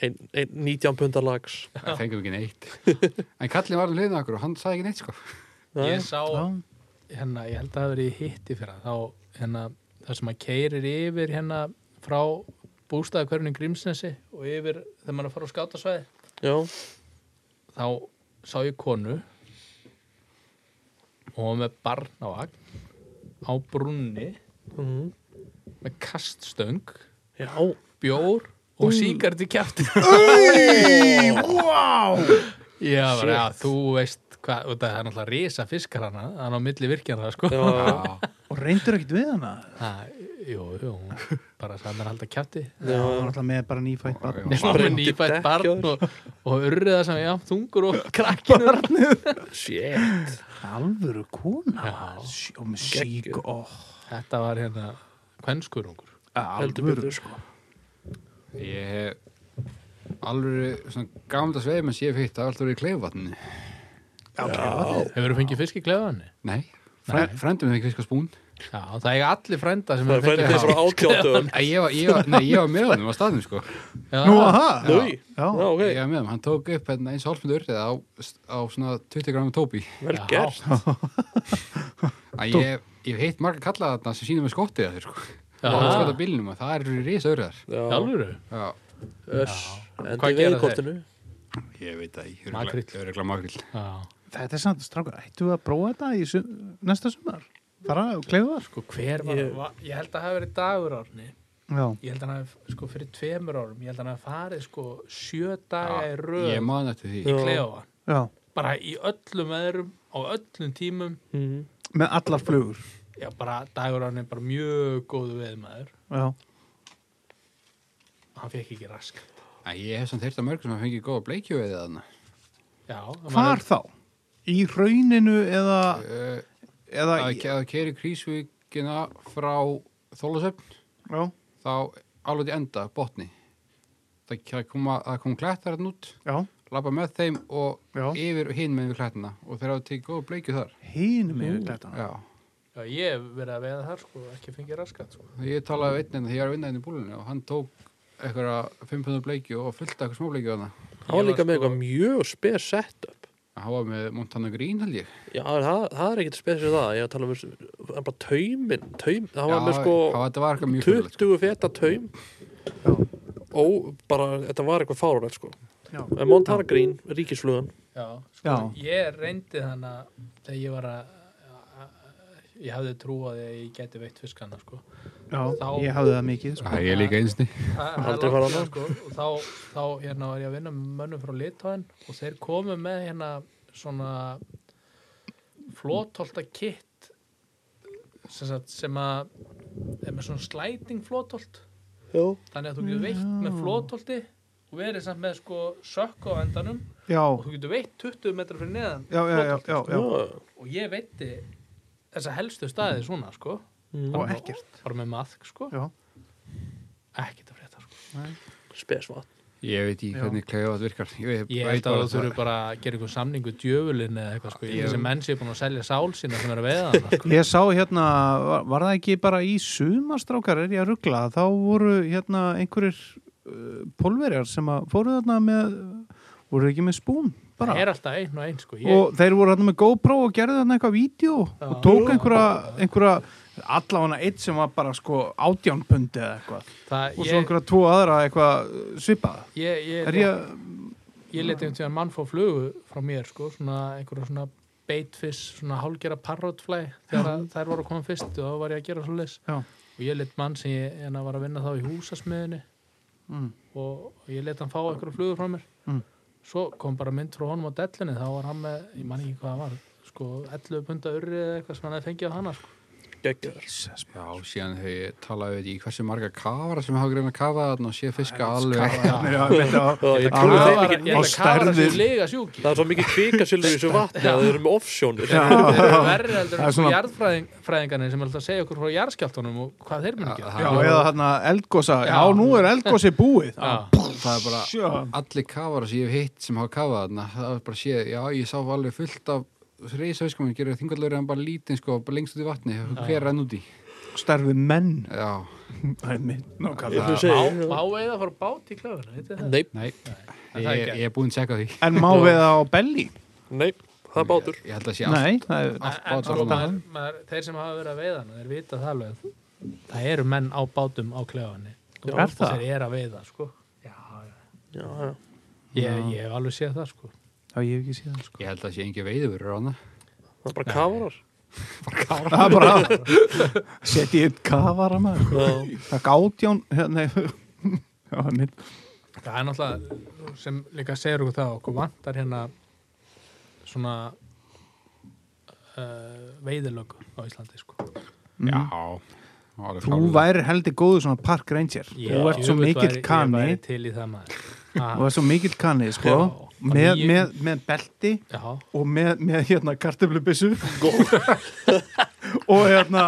[SPEAKER 4] Ein, ein 19 pundar lags
[SPEAKER 3] það fengum ekki neitt en kallin var um hliðin okkur og hann sagði ekki neitt sko
[SPEAKER 1] ég sá, hérna, ég held að það hafi verið hitti fyrir þá, hérna, það sem maður keirir yfir hérna frá bústæðakörnum Grímsnesi og yfir þegar maður er að fara á skátasvæði
[SPEAKER 4] Já,
[SPEAKER 1] þá sá ég konu og hún var með barn á agn á brunni
[SPEAKER 4] Mhm.
[SPEAKER 1] með kaststöng
[SPEAKER 4] Já,
[SPEAKER 1] bjór og síkart í kjæfti Já, bara, ja, þú veist hvað, og það er náttúrulega risa fiskar hana hann á milli virkjana sko
[SPEAKER 6] Já,
[SPEAKER 2] Og reyndur ekkert við hana?
[SPEAKER 1] ha, Jú, jú, hún bara sagði mér að halda kjæfti
[SPEAKER 2] Já, það var alltaf með bara nýfætt barn.
[SPEAKER 1] Nefnum með
[SPEAKER 6] Sprendi
[SPEAKER 1] nýfætt
[SPEAKER 6] dekk á
[SPEAKER 1] barn
[SPEAKER 6] þér.
[SPEAKER 1] og, og urriða sem ég átt þungur og krakkinu
[SPEAKER 6] shit
[SPEAKER 2] Alvöru kona.
[SPEAKER 1] Já.
[SPEAKER 2] Sí- Og með sík oh, og...
[SPEAKER 1] Þetta var hérna kvenskurungur
[SPEAKER 6] heldur betur sko
[SPEAKER 3] Ég hef alveg svona gamla sveimens ég hef hitt að alltaf verið í kleifatni.
[SPEAKER 1] Hefur þú fengið fisk í klefanni?
[SPEAKER 3] Nei, Fræ, frændum við ekki fisk á spún.
[SPEAKER 1] Já, það eiga allir frænda sem
[SPEAKER 6] það er
[SPEAKER 1] hefur
[SPEAKER 6] fændið
[SPEAKER 1] fengið
[SPEAKER 6] frá átjáttum
[SPEAKER 3] Nei, Ég var, ég var, nei, ég var með honum á staðnum sko.
[SPEAKER 1] Já,
[SPEAKER 2] Nú, aha!
[SPEAKER 6] Núi,
[SPEAKER 2] Já.
[SPEAKER 6] já ok,
[SPEAKER 3] Ég var með honum, hann tók upp hérna, eins hálfmyndur urriða á, á svona 20 gramma tópi.
[SPEAKER 6] vel gert
[SPEAKER 3] Að Ég, ég hef hitt marga kalla þarna sem sínum með skottið að þér sko.
[SPEAKER 1] Já.
[SPEAKER 3] Og skotta bílnum og það eru risa urriðar.
[SPEAKER 6] já,
[SPEAKER 1] Jálfur
[SPEAKER 3] Já,
[SPEAKER 6] öss
[SPEAKER 1] Hvað
[SPEAKER 6] endi
[SPEAKER 1] gera
[SPEAKER 6] veiðkortinu
[SPEAKER 3] ég veit það, ég
[SPEAKER 1] Makríll.
[SPEAKER 3] er regla makrill.
[SPEAKER 1] Já,
[SPEAKER 2] Þetta er samt, strákar, ættu að prófa þetta í sum, næsta sumar? Bara og kleifa þar?
[SPEAKER 1] sko hver var
[SPEAKER 6] Ég-
[SPEAKER 1] ég, ég held að það hafi verið dagur árni
[SPEAKER 2] Já.
[SPEAKER 1] Ég held að hann hafi, sko fyrir tveimur árum Ég held að hann hafi farið sko sjö daga í röð
[SPEAKER 3] Ég man eftir því.
[SPEAKER 6] Já.
[SPEAKER 1] í klefa
[SPEAKER 2] Já.
[SPEAKER 1] Bara í öllum veðrum á öllum tímum
[SPEAKER 4] Mm.
[SPEAKER 6] Mhm.
[SPEAKER 2] Með allar flugur.
[SPEAKER 1] Já, bara dagur árni er bara mjög góðu veðmaður
[SPEAKER 2] Já.
[SPEAKER 1] Hann fekk ekki rask
[SPEAKER 3] Að Ég hef samt heyrt að mörgum sem hafa fengið góða bleikjuveiði þarna.
[SPEAKER 1] Já, það
[SPEAKER 2] Hvar þá? Í rauninu eða...
[SPEAKER 3] Uh,
[SPEAKER 2] eða
[SPEAKER 3] að, ke- að keiri krísvíkina frá Þólasöfn
[SPEAKER 2] já.
[SPEAKER 3] þá alveg til enda, botni það, það koma, það koma klættar hann út
[SPEAKER 2] Já.
[SPEAKER 3] labba með þeim og
[SPEAKER 2] Já.
[SPEAKER 3] yfir og hinn með við klættina og þeir hafa tekið góða bleikju þar
[SPEAKER 2] Hínum yfir glætana.
[SPEAKER 3] já,
[SPEAKER 1] Já, ég hef verið að veiða þar sko Ekki fengið raskat sko
[SPEAKER 3] ég talaði við einn en því ég er að vinna henni í búlunni og hann tók eitthvað 500 bleikju og fullta eitthvað smá bleikju þarna
[SPEAKER 6] hann var sko- líka með
[SPEAKER 1] sko,
[SPEAKER 6] eitthvað mjög spes setup
[SPEAKER 3] hann var með Montana Green held ég
[SPEAKER 6] já, en það, það er ekkit spes fyrir það ég er að tala um þessu- hann bara taumin taum, hann var
[SPEAKER 3] Já,
[SPEAKER 6] með sko
[SPEAKER 3] já, þetta var eitthvað mjög sko. fyrulegt
[SPEAKER 6] 20 feta taum og bara, þetta var eitthvað fárulegt sko
[SPEAKER 2] Já.
[SPEAKER 6] en Montana Green, ríkisflugan
[SPEAKER 1] Já, sko,
[SPEAKER 2] Já.
[SPEAKER 1] ég reyndi þannig að þegar ég var að ég hafði trú á því að ég geti veitt fiskana sko.
[SPEAKER 2] Já.
[SPEAKER 1] Þá-
[SPEAKER 2] Ég hafði það mikið, sko.
[SPEAKER 3] ég er líka einsni
[SPEAKER 1] Það- það
[SPEAKER 6] Aldrei
[SPEAKER 1] er
[SPEAKER 6] fara
[SPEAKER 1] langt
[SPEAKER 6] annað.
[SPEAKER 1] síðan, sko. og þá, þá hérna var ég að vinna með mönnum frá litáin og þeir komu með hérna svona flótholta kitt sem, sagt, sem að er með svona slæting flótholt
[SPEAKER 6] já,
[SPEAKER 1] þannig að þú getur veitt með flótholti og verið samt með sko sökku á endanum
[SPEAKER 2] Já.
[SPEAKER 1] og þú getur veitt 20 metrar fyrir neðan
[SPEAKER 2] Já, já, já, já, já.
[SPEAKER 1] og ég veitti þessa helstu staði svona sko
[SPEAKER 6] Mm.
[SPEAKER 2] Og ekkert.
[SPEAKER 1] bara með maðk sko
[SPEAKER 2] Já.
[SPEAKER 1] ekkert að frétta sko
[SPEAKER 6] spes vatn
[SPEAKER 3] ég veit ekki
[SPEAKER 2] Já.
[SPEAKER 3] hvernig kleiðu það virkar ég,
[SPEAKER 1] ég held
[SPEAKER 3] veit
[SPEAKER 1] að
[SPEAKER 3] bara
[SPEAKER 1] þú þurfur bara að gera einhver samning við djöfulinn eða eitthvað sko
[SPEAKER 3] Ég-
[SPEAKER 1] ég... þessi menn sé búin að selja sál sína sem er að veiða hana sko.
[SPEAKER 2] Ég sá hérna, var, var það ekki bara í sumastrákar, er ég að ruggla, þá voru hérna einhverjir uh, pólverjar sem að fóru þarna með, voru ekki með spún bara.
[SPEAKER 1] það er alltaf einn og einn sko ég...
[SPEAKER 2] Og þeir voru þarna með GoPro og gerðu þarna eitthvað vídeo og tók einhverja, einhverja allafana eitt sem var bara sko átjánpundi eða eitthvað.
[SPEAKER 1] það,
[SPEAKER 2] Og svo
[SPEAKER 1] ég,
[SPEAKER 2] einhverja tvo aðra eitthvað uh, svipað.
[SPEAKER 1] ég, ég,
[SPEAKER 2] Er ég,
[SPEAKER 1] ég leti um tíðan mann fóð flugu frá mér sko svona einhverja svona beitfiss svona hálgera parrotflæ þegar að þær voru að koma fyrst og þá var ég að gera svo
[SPEAKER 2] já,
[SPEAKER 1] og ég let mann sem ég en að var að vinna þá í húsasmiðinni
[SPEAKER 2] mm,
[SPEAKER 1] og og ég let hann fá eitthvað flugur frá mér
[SPEAKER 2] Mm.
[SPEAKER 1] svo kom bara mynd frá honum á dellinni þá var hann með, ég man ekki hvað það var sko 11 punda urri eða eitthvað sem hann hefði fengið á hana sko.
[SPEAKER 6] geggjar
[SPEAKER 3] Já, síðan þau talaðu við í hversu marga kafara sem hafa greina að kafa þarna og sé fiska alveg.
[SPEAKER 2] já, ég veit að,
[SPEAKER 6] Já, ég
[SPEAKER 2] Ah,
[SPEAKER 6] trúi þeim
[SPEAKER 1] Kafar-
[SPEAKER 6] ekki
[SPEAKER 1] ég held að
[SPEAKER 2] Og
[SPEAKER 1] kafara
[SPEAKER 2] stærðir.
[SPEAKER 1] sér lega sjúki
[SPEAKER 6] það er svo mikið kvikasilfur í þessu vatni að þau eru með offsjónir
[SPEAKER 2] Já.
[SPEAKER 1] þeir eru verri heldur
[SPEAKER 2] Það er
[SPEAKER 1] en svona...
[SPEAKER 2] svona-
[SPEAKER 1] jarðfræðingarnir sem er alltaf að segja okkur frá jarðskjáltunum og hvað þeir muni gera
[SPEAKER 2] já, eða þarna eldgosa, já, nú er eldgosi búið.
[SPEAKER 1] Já,
[SPEAKER 3] Það er bara
[SPEAKER 2] Sjá.
[SPEAKER 3] allir kafara sem ég hef hitt sem hafa kafað þarna. Það er bara séð, já, ég sá alveg fullt af reisafiskum, ég gerir þingallur en bara lítinn sko, bara lengst út í vatni, hver renn út í.
[SPEAKER 2] starfi menn
[SPEAKER 3] Já,
[SPEAKER 2] Það er minn,
[SPEAKER 6] ég
[SPEAKER 2] nákvæmlega.
[SPEAKER 6] þú segir
[SPEAKER 1] má veiða að fara bát í klöfuna, veitir það?
[SPEAKER 6] nei,
[SPEAKER 3] nei,
[SPEAKER 1] það er
[SPEAKER 3] ég,
[SPEAKER 1] ekki.
[SPEAKER 3] ég er búinn að tjekka því.
[SPEAKER 2] En má við það á belli?
[SPEAKER 6] nei, það er bátur
[SPEAKER 3] Ég held að sé allt,
[SPEAKER 2] Nei, það er
[SPEAKER 1] En,
[SPEAKER 3] allt
[SPEAKER 1] en
[SPEAKER 3] bát
[SPEAKER 1] sko,
[SPEAKER 3] saman.
[SPEAKER 1] maður, maður, þeir sem hafa verið að veiða hana, þeir vita það alveg að það eru menn á bátum á klefanni
[SPEAKER 6] Já,
[SPEAKER 2] er
[SPEAKER 1] og
[SPEAKER 2] það?
[SPEAKER 1] þeir eru að veiða sko. já, já.
[SPEAKER 6] já, já.
[SPEAKER 1] Ég, ég hef alveg séð það sko.
[SPEAKER 2] Já, ég hef ekki séð það sko.
[SPEAKER 3] Ég held að það sé engin veiðurur á hana.
[SPEAKER 6] það er bara kafarar
[SPEAKER 2] Það er bara Setji upp kafara maður
[SPEAKER 6] Já.
[SPEAKER 2] Það er gátján Já, Nei hérna, Já, nei.
[SPEAKER 1] Það er náttúrulega sem líka segir okkur það okkur vantar hérna svona uh, veiðilög á Íslandi sko.
[SPEAKER 2] Mm.
[SPEAKER 3] Já. það var alveg
[SPEAKER 2] Þú
[SPEAKER 3] klárlega.
[SPEAKER 2] væri heldig góðu svona park ranger Þú ert svo
[SPEAKER 1] Jöfull væri-
[SPEAKER 2] mikill
[SPEAKER 1] ég
[SPEAKER 2] kanni
[SPEAKER 1] væri til í það maður.
[SPEAKER 2] Þú ert svo mikill kanni sko
[SPEAKER 1] Já.
[SPEAKER 2] með,
[SPEAKER 1] Níu-
[SPEAKER 2] með, með belti
[SPEAKER 1] Já,
[SPEAKER 2] og með, með hérna kartöflubissu og hérna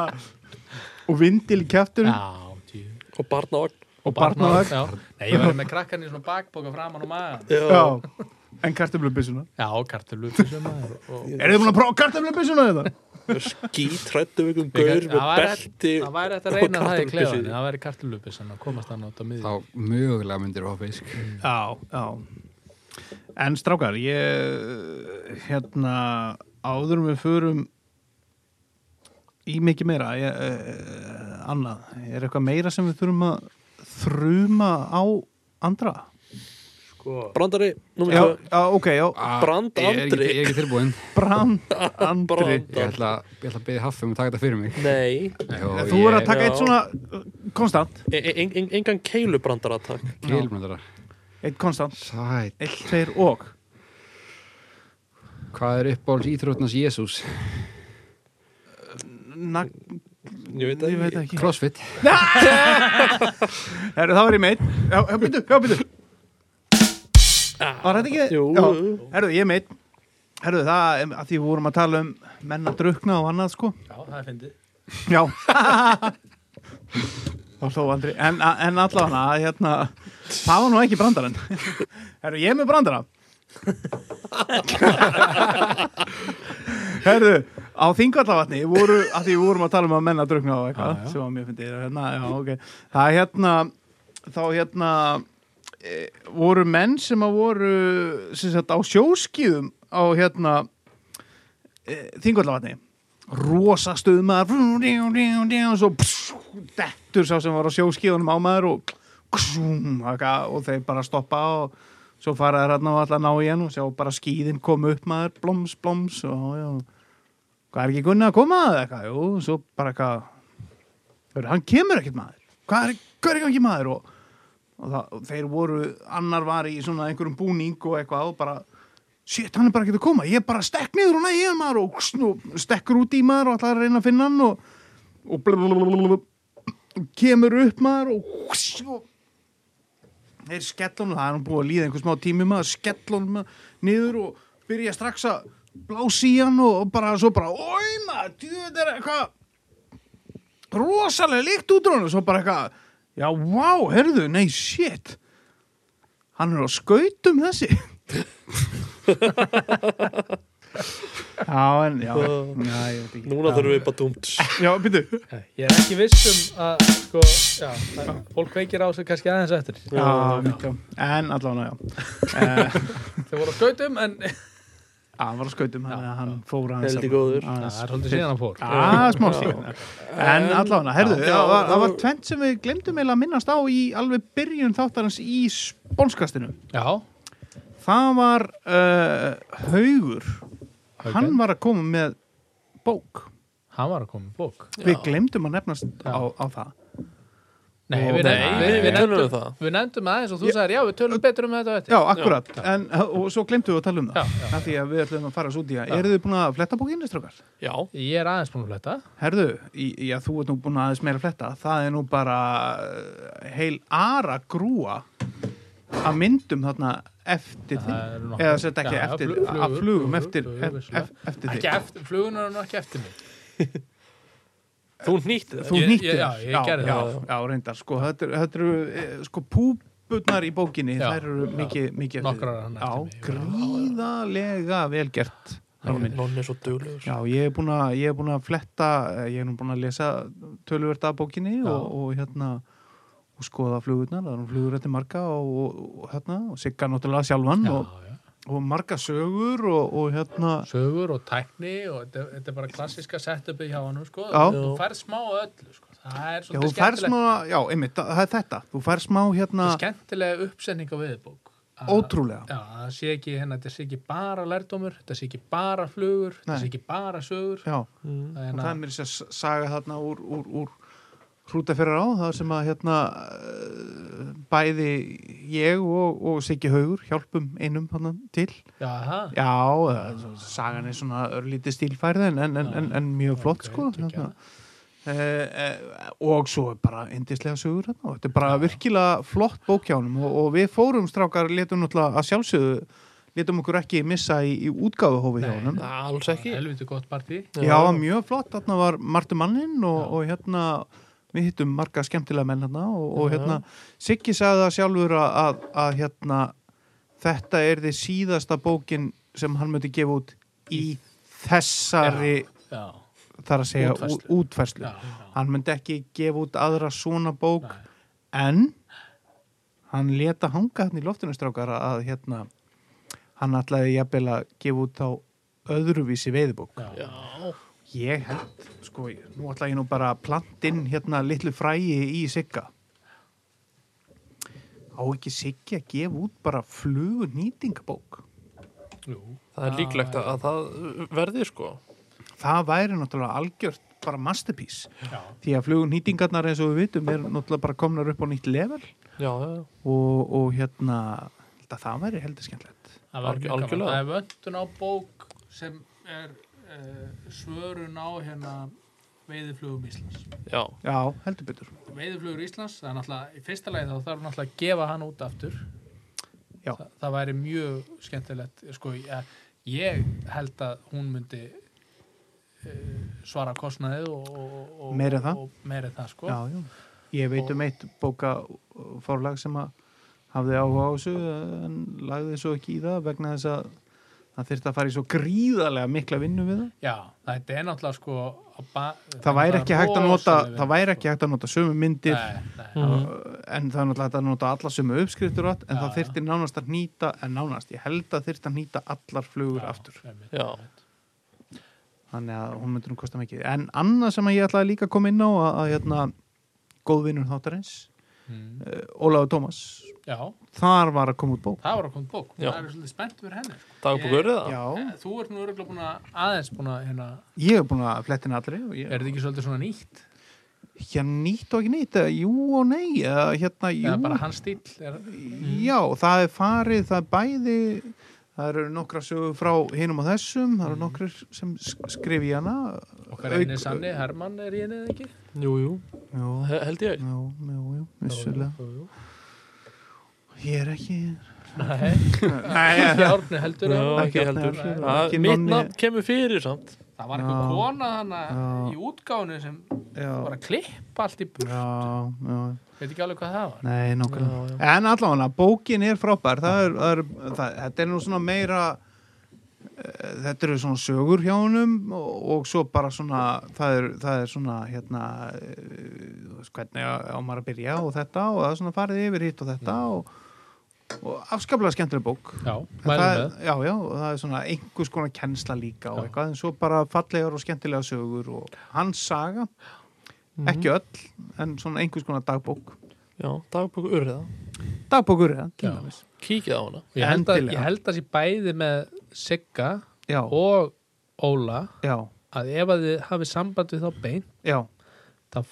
[SPEAKER 2] og vindil í kjæfturum
[SPEAKER 1] já, djú.
[SPEAKER 6] og barnavagn
[SPEAKER 2] og barnavagn
[SPEAKER 1] Já. Nei, ég var með krakkan í svona bakboka framan og maður.
[SPEAKER 2] Já, en kartöflubissuna
[SPEAKER 1] Já, kartulupur sem maður. Og,
[SPEAKER 2] Er þið búin að prófa hérna? kartöflubissuna þetta?
[SPEAKER 6] skítrættum ykkur
[SPEAKER 1] Líka-
[SPEAKER 6] gaur með
[SPEAKER 1] það væri-
[SPEAKER 6] belti
[SPEAKER 1] það væri þetta að
[SPEAKER 6] og
[SPEAKER 1] reyna það í
[SPEAKER 6] kartöflubyssu.
[SPEAKER 1] klefann. Það væri kartulupur sem að komast hann út á miðjum.
[SPEAKER 3] Þá mögulega myndir hópa fisk.
[SPEAKER 1] Mm.
[SPEAKER 2] Já, já En strákar, ég hérna áður en við förum í mikið meira ég, uh, annað, er eitthvað meira sem við þurfum að þruma á andra?
[SPEAKER 1] Sko,
[SPEAKER 6] brandari númer
[SPEAKER 2] Já,
[SPEAKER 6] tvö.
[SPEAKER 2] já ok, já,
[SPEAKER 3] Ah,
[SPEAKER 6] Brand
[SPEAKER 3] ég er ekki-
[SPEAKER 6] Andri.
[SPEAKER 3] Ég er ekki tilbúinn.
[SPEAKER 2] brand andri
[SPEAKER 6] Brand.
[SPEAKER 3] Ég ætla ég ætla að beðið Haffi um að taka þetta fyrir mig.
[SPEAKER 6] nei
[SPEAKER 3] Jó,
[SPEAKER 2] Þú verður að taka
[SPEAKER 6] Já.
[SPEAKER 2] eitt svona uh, konstant,
[SPEAKER 6] e- e- en- en- engan keilubrandara takk
[SPEAKER 3] Keilbrandara.
[SPEAKER 2] eitt konstant
[SPEAKER 3] Sæt.
[SPEAKER 2] eitt, tveir og
[SPEAKER 3] Hvað er uppbóls íþrótnars Jésús?
[SPEAKER 2] Nag,
[SPEAKER 6] ég veit
[SPEAKER 2] ég veit
[SPEAKER 6] ekki
[SPEAKER 2] ekki
[SPEAKER 3] Crossfit.
[SPEAKER 2] Heru, Það var ég meitt Já, já, býttu, já, býttu Var þetta ekki?
[SPEAKER 6] Ah, Jú.
[SPEAKER 2] Já, herru, ég er meitt Herru, það, em, að því við vorum að tala um menn að drukna og annað, sko
[SPEAKER 1] Já, það er fyndið.
[SPEAKER 2] Já Þá hló Andri En, en allavega, hérna Það var nú ekki brandarinn Herru, ég er með brandara Herru, á þingvallavatni voru, að því við vorum að tala um að menna drukna og eitthvað, sem var mjög fyndið hérna, já, ok. það er hérna þá hérna e, voru menn sem að voru sem sagt á sjóskíðum á hérna e, þingvallavatni rosa stuðmaður og svo pss, dettur sá sem var á sjóskíðunum á maður og ksum, haka, og þeir bara stoppa og svo fara þeir hérna og alltaf ná í hann og sjá bara skíðin koma upp maður bloms, bloms og já, hvað er ekki Gunni að koma eða eitthvað, jú, svo bara eitthvað Hörru, hann kemur ekkert maður hvað er, hvað er ekki ekki maður og, og það, og þeir voru, annar var í svona einhverjum búning og eitthvað og bara shit, hann er bara ekkert að koma, ég bara stekk niður og nægir maður og, sn- og stekkur út í maður og ætlar að reyna að finna hann og, og blablabla kemur upp maður og, og þeir skella hann, það er nú búið að líða einhver smá tími maður, skella hann maður niður og byrja strax að blási í hann og bara svo bara, oi maður, djúið er eitthvað rosalega líkt út úr hann og svo bara eitthvað, já, wow, herðu, nei, shit hann er á skautum þessi já, en, já, já, ég veit ekki
[SPEAKER 6] núna þurfum við bara dumt
[SPEAKER 2] já, byrju,
[SPEAKER 5] Ég er ekki viss um að sko, já, það, fólk veikir á sig kannski aðeins eftir.
[SPEAKER 2] já, já, en allan, já Eh,
[SPEAKER 5] Þeir voru á skautum en
[SPEAKER 2] já, hann var á skautum, hann, hann fór aðeins
[SPEAKER 6] Heldig góður.
[SPEAKER 2] aðeins-
[SPEAKER 1] Það er svolítið síðan að fór.
[SPEAKER 2] Já, smá síðan En allavega, herðu,
[SPEAKER 6] Já.
[SPEAKER 2] það var, það var
[SPEAKER 6] Já.
[SPEAKER 2] tvent sem við glemdum eiginlega að minnast á í alveg byrjun þáttarins í spónskastinu
[SPEAKER 1] Já,
[SPEAKER 2] Það var uh, Haugur
[SPEAKER 1] Ok.
[SPEAKER 2] Hann var að koma með bók
[SPEAKER 1] hann var að koma með bók.
[SPEAKER 2] Við glemdum að nefnast á, á það
[SPEAKER 1] Nei,
[SPEAKER 2] Og-
[SPEAKER 1] við, nei,
[SPEAKER 6] Nei,
[SPEAKER 1] við, við,
[SPEAKER 6] við tölum um
[SPEAKER 1] nefndum,
[SPEAKER 6] það.
[SPEAKER 1] við nefndum aðeins og þú sagðir já, við tölum betur um þetta á eftir.
[SPEAKER 2] Já, akkurat, En, og svo glemtum við að tala um það
[SPEAKER 1] Já, já,
[SPEAKER 2] Af því að við ætlum að fara svo út í að Eru þið búin að fletta bókinni, strókar?
[SPEAKER 6] já
[SPEAKER 1] Ég er aðeins búin að fletta.
[SPEAKER 2] Herðu, í, já, þú ert nú búin aðeins meira að fletta. Það er nú bara eh, heil ara grúa að myndum þarna eftir því.
[SPEAKER 1] Það eru nokkuð.
[SPEAKER 2] Eða sett ekki
[SPEAKER 1] Já, já,
[SPEAKER 2] eftir,
[SPEAKER 1] flug-
[SPEAKER 2] að
[SPEAKER 1] flugur,
[SPEAKER 2] flugum
[SPEAKER 1] flugur,
[SPEAKER 2] eftir,
[SPEAKER 1] flugur,
[SPEAKER 2] ef-
[SPEAKER 1] vissulega.
[SPEAKER 2] ef- eftir
[SPEAKER 1] Ekki
[SPEAKER 2] því.
[SPEAKER 1] eftir, flugunar eru nú ekki eftir mig.
[SPEAKER 6] þú nýttir það
[SPEAKER 2] Þú
[SPEAKER 1] Ég-
[SPEAKER 2] nýttir
[SPEAKER 1] ég- já,
[SPEAKER 2] þess.
[SPEAKER 1] ég gerði
[SPEAKER 2] já,
[SPEAKER 1] það.
[SPEAKER 2] Já, reyndar, sko, þetta eru- þetta eru, eh, sko, púpurnar í bókinni,
[SPEAKER 1] Já,
[SPEAKER 2] þær eru mikið, mikið eftir
[SPEAKER 1] Nokkrar
[SPEAKER 2] því.
[SPEAKER 1] hann
[SPEAKER 2] Já,
[SPEAKER 1] eftir mig.
[SPEAKER 2] gríðalega vel gert. Rúnar minn.
[SPEAKER 6] nonni er svo duglegur
[SPEAKER 2] Já, ég er búin að, ég er búin að fletta, eh, ég er nú búin að lesa töluvert af bókinni
[SPEAKER 1] Já.
[SPEAKER 2] og, og hérna og skoða flugurnar, það er nú flugur eftir marga og, og, og hérna, og sigga náttúrulega sjálfan
[SPEAKER 1] Já,
[SPEAKER 2] og,
[SPEAKER 1] já.
[SPEAKER 2] og marga sögur og, og hérna,
[SPEAKER 1] Sögur og tækni og þetta, þetta er bara klassiska setupið hjá hann, sko.
[SPEAKER 2] Já.
[SPEAKER 1] Þú færð smá af öllu, sko. Það er
[SPEAKER 2] já, þú
[SPEAKER 1] svolítið
[SPEAKER 2] fær smá,
[SPEAKER 1] skemmtileg,
[SPEAKER 2] já, einmitt, það það er þetta, þú fær smá hérna,
[SPEAKER 1] skemmtileg uppsending á viðbók.
[SPEAKER 2] ótrúlega
[SPEAKER 1] Já, það sé ekki, hérna, þetta sé ekki bara lærdómur, þetta sé ekki bara flugur, þetta
[SPEAKER 2] Nei.
[SPEAKER 1] sé ekki bara sögur.
[SPEAKER 2] Já,
[SPEAKER 6] Mm.
[SPEAKER 1] Það
[SPEAKER 2] og
[SPEAKER 1] er
[SPEAKER 2] það er mér þess að saga þarna úr, úr, úr hrútaferðar á það sem að hérna eh, bæði ég og, og Siggi Haugur hjálpum einum hann til
[SPEAKER 1] já, það.
[SPEAKER 2] Já, eh, svo- sagan er svona örlítið stílfærið en, en, en, en, en mjög flott
[SPEAKER 1] ok,
[SPEAKER 2] sko
[SPEAKER 1] geggjað.
[SPEAKER 2] hérna. e, e, og svo er bara indislega sögur hérna, og þetta er bara virkilega flott bók hjá honum og, og við fórum strákar letum náttúrulega að sjálfsögðu letum okkur ekki missa í, í útgáfuhófi hjá
[SPEAKER 1] Nei,
[SPEAKER 2] honum
[SPEAKER 6] alls ekki
[SPEAKER 1] Helviti gott partí.
[SPEAKER 2] Já, mjög flott, þarna var Marti Mannin og, og hérna við hittum marga skemmtilega menn hérna og, og hérna Siggi sagði það sjálfur að, að, að hérna þetta er þið síðasta bókin sem hann mötti gefa út í þessari
[SPEAKER 1] Já,
[SPEAKER 2] þar að segja
[SPEAKER 1] Útfærslu.
[SPEAKER 2] útfærslu, útfærslu.
[SPEAKER 1] já, já.
[SPEAKER 2] hann myndi ekki gefa út aðra svona bók en hann leta hanga hann í loftinu strákar að hérna hann ætlaði jafnvel að gefa út þá öðruvísi veiðbók
[SPEAKER 1] Já.
[SPEAKER 2] Ég held, sko, ég- nú ætla ég nú bara að planta inn hérna litlu fræi í Sigga. Á ekki Siggi að gefa út bara flugunýtingabók.
[SPEAKER 1] Jú.
[SPEAKER 6] það er líklegt að, að það verði sko
[SPEAKER 2] Það væri náttúrulega algjört bara masterpiece.
[SPEAKER 1] Já.
[SPEAKER 2] Því að flugunýtingarnar eins og við vitum er náttúrulega bara komnar upp á nýtt level
[SPEAKER 6] já, já, já.
[SPEAKER 2] og, og hérna, ég held að það væri heldur skemmtilegt.
[SPEAKER 1] Það var
[SPEAKER 6] Alg-
[SPEAKER 1] mjög gaman.
[SPEAKER 6] algjörlega.
[SPEAKER 1] Það er vöndun á bók sem er uh, svörun á hérna veiðiflugum Íslands.
[SPEAKER 6] já.
[SPEAKER 2] Já, heldur betur.
[SPEAKER 1] Veiðiflugur Íslands, það er náttúrulega, í fyrsta lagi þá þarf náttúrulega að gefa hann út aftur.
[SPEAKER 2] Já.
[SPEAKER 1] Þa, það væri mjög skemmtilegt, sko, ég, ég held að hún myndi uh, svara kostnaðið og, og, og
[SPEAKER 2] Meira en það.
[SPEAKER 1] og meira en það, sko.
[SPEAKER 2] Já, já. Ég veit um eitt bókaforlag sem að hafði áhuga á þessu en lagði svo ekki í það vegna þess að það þyrfti að fara í svo gríðarlega mikla vinnu við það.
[SPEAKER 1] Já, þetta er náttúrulega, sko, á ba-
[SPEAKER 2] Það væri ekki hægt að nota,
[SPEAKER 1] rosaleg
[SPEAKER 2] það
[SPEAKER 1] vinna,
[SPEAKER 2] væri ekki hægt að nota sömu myndir
[SPEAKER 1] Nei, nei,
[SPEAKER 2] en það er náttúrulega hægt að nota alla sömu uppskriftur og allt en
[SPEAKER 1] Já,
[SPEAKER 2] það þyrfti nánast að nýta, en nánast, ég held að þyrfti að nýta allar flugur aftur.
[SPEAKER 1] einmitt.
[SPEAKER 6] já.
[SPEAKER 2] þannig að hún myndur hún kosta mikið en annað sem að ég ætlaði líka að koma inn á að, að hérna, góðvinur þáttarins
[SPEAKER 1] Mm.
[SPEAKER 2] uh, Ólaður Tómas
[SPEAKER 1] Já,
[SPEAKER 2] þar var að koma út bók
[SPEAKER 1] það var að koma bók.
[SPEAKER 6] Já.
[SPEAKER 1] Það er svolítið spennt fyrir henni. sko.
[SPEAKER 6] dagbúkur eða?
[SPEAKER 2] Já,
[SPEAKER 1] Þú ert nú öruglega búin að aðeins búin að hérna,
[SPEAKER 2] ég hef búin að flettina allri og
[SPEAKER 1] er
[SPEAKER 2] ég,
[SPEAKER 1] þetta ekki svolítið svona nýtt?
[SPEAKER 2] ég nýtt og ekki nýtt eða jú og nei, eða hérna jú, Mm.
[SPEAKER 1] Eða bara hans stíl? Er,
[SPEAKER 2] já, það er farið, það er bæði það eru nokkra sögur frá hinum og þessum,
[SPEAKER 1] Mm.
[SPEAKER 2] það eru nokkrir sem sk- skrifa í hana
[SPEAKER 1] okkar
[SPEAKER 2] Auk-
[SPEAKER 1] eini sanni, Hermann er í henni eða ekki?
[SPEAKER 6] jú, jú,
[SPEAKER 2] jú,
[SPEAKER 6] He- held ég
[SPEAKER 2] jú, jú, jú, vissulega
[SPEAKER 1] Jú, jú.
[SPEAKER 2] ég er ekki
[SPEAKER 1] Nei,
[SPEAKER 2] nei,
[SPEAKER 1] ekki Árni heldur.
[SPEAKER 6] Já,
[SPEAKER 1] Já.
[SPEAKER 2] ekki
[SPEAKER 6] ekki
[SPEAKER 2] allir.
[SPEAKER 6] heldur
[SPEAKER 2] Ekki
[SPEAKER 6] Það- mitt
[SPEAKER 2] nonni-
[SPEAKER 6] nafn kemur fyrir samt
[SPEAKER 1] Það var eitthvað
[SPEAKER 2] Já.
[SPEAKER 1] kona hana
[SPEAKER 2] Já.
[SPEAKER 1] í útgáfinu sem
[SPEAKER 2] já
[SPEAKER 1] var að klippa allt í búr.
[SPEAKER 2] Já, já,
[SPEAKER 1] Veit ekki alveg hvað það var.
[SPEAKER 2] nei, nákvæmlega En allavega, bókin er frábær það er, það er, það, Þetta er nú svona meira eh, Þetta eru svona sögur hjá honum og, og svo bara svona það er, það er svona hérna eh, þú veist, hvernig á, á maður að byrja og þetta og það er svona farið yfir hitt og þetta
[SPEAKER 1] Mm.
[SPEAKER 2] og, og afskaplega skemmtileg bók
[SPEAKER 1] Já,
[SPEAKER 2] En
[SPEAKER 1] mælum
[SPEAKER 2] það,
[SPEAKER 1] með.
[SPEAKER 2] já, já, og það er svona einhvers konar kennsla líka og
[SPEAKER 1] Já.
[SPEAKER 2] eitthvað, en svo bara fallegar og skemmtilega sögur og hans saga
[SPEAKER 1] Mhm.
[SPEAKER 2] ekki öll, en svona einhvers konar dagbók
[SPEAKER 6] já, dagbúkur urða
[SPEAKER 2] dagbókur, eða, til
[SPEAKER 1] Já.
[SPEAKER 2] dæmis
[SPEAKER 6] kíkið á hana
[SPEAKER 1] Ég held, að,
[SPEAKER 2] Endilega.
[SPEAKER 1] ég held að sé bæði með Sigga
[SPEAKER 2] já,
[SPEAKER 1] og Óla
[SPEAKER 2] já,
[SPEAKER 1] að ef að þið hafið samband við þá bein,
[SPEAKER 2] já,
[SPEAKER 1] þá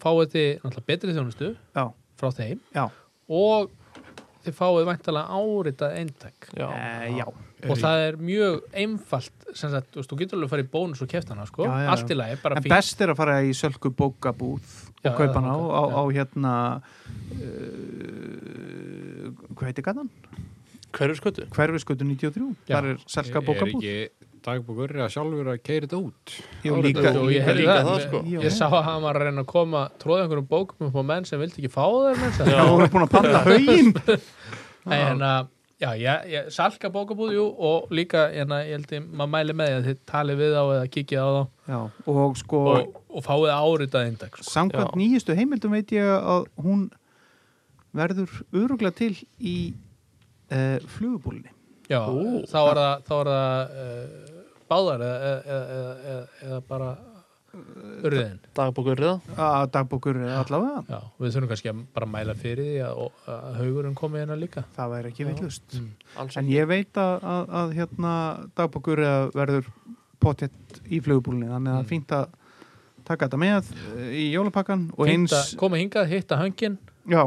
[SPEAKER 1] fáið þið náttúrulega betri þjónustu
[SPEAKER 2] já,
[SPEAKER 1] frá þeim
[SPEAKER 2] já,
[SPEAKER 1] og þið fáið væntalega áritað eintak
[SPEAKER 6] já,
[SPEAKER 2] Eh, já.
[SPEAKER 1] og það er mjög einfalt sem sagt, þú veist, þú getur alveg að fara í bónus og kefta hana sko,
[SPEAKER 2] Já, já, já.
[SPEAKER 1] allt í lagi, bara
[SPEAKER 2] en
[SPEAKER 1] fínt
[SPEAKER 2] best er að fara í sölku bókabúð
[SPEAKER 1] Já,
[SPEAKER 2] og
[SPEAKER 1] já,
[SPEAKER 2] kaupa hana á,
[SPEAKER 1] ok, já.
[SPEAKER 2] á, á hérna uh, hvað heitir gatan?
[SPEAKER 6] hverju skötu?
[SPEAKER 2] Hverfiskötu 93,
[SPEAKER 1] Já.
[SPEAKER 2] þar er selka bókabúð
[SPEAKER 3] Er ekki dagbúkur að sjálfur að keira þetta út?
[SPEAKER 2] Jú,
[SPEAKER 6] árið
[SPEAKER 2] líka,
[SPEAKER 6] þetta
[SPEAKER 1] og ég
[SPEAKER 6] líka-
[SPEAKER 1] heyrði
[SPEAKER 6] líka
[SPEAKER 1] það,
[SPEAKER 6] það,
[SPEAKER 1] ég-
[SPEAKER 6] sko.
[SPEAKER 1] ég sá að hann var að reyna að koma tróða einhverjum bókum upp á menn sem vildi ekki fá þeir menn
[SPEAKER 2] Já, hún er búin að panta haugin
[SPEAKER 1] en að Já, ég, ég, salka bókabúð, jú, og líka, en að ég held ég, maður mæli með því að þið talið við á eða kikið á þá
[SPEAKER 2] Já, og sko
[SPEAKER 1] og, og fáið áritað eindak, sko.
[SPEAKER 2] samkvæmt
[SPEAKER 6] Já.
[SPEAKER 2] nýjustu heimildum veit ég að hún verður öruglega til í uh, flugubúlinni
[SPEAKER 1] Já,
[SPEAKER 6] Ó.
[SPEAKER 1] þá er eh, það, þá er það uh, báðar eða, eða, eða, eða, eða bara urðin
[SPEAKER 4] dagbókur það
[SPEAKER 2] að dagbókur allavega
[SPEAKER 1] Já, við þurfum kannski að bara mæla fyrir því að, að haugurinn komi hérna líka
[SPEAKER 2] það væri ekki villust
[SPEAKER 4] alls
[SPEAKER 2] en ég veit að, að, að hérna dagbókur verður potjett í flugubúlinni þannig að það er
[SPEAKER 1] Mm.
[SPEAKER 2] fínt að taka þetta með eh, í jólapakkan og
[SPEAKER 1] Fínt
[SPEAKER 2] eins
[SPEAKER 1] að koma hingað, hitta hangin
[SPEAKER 2] já,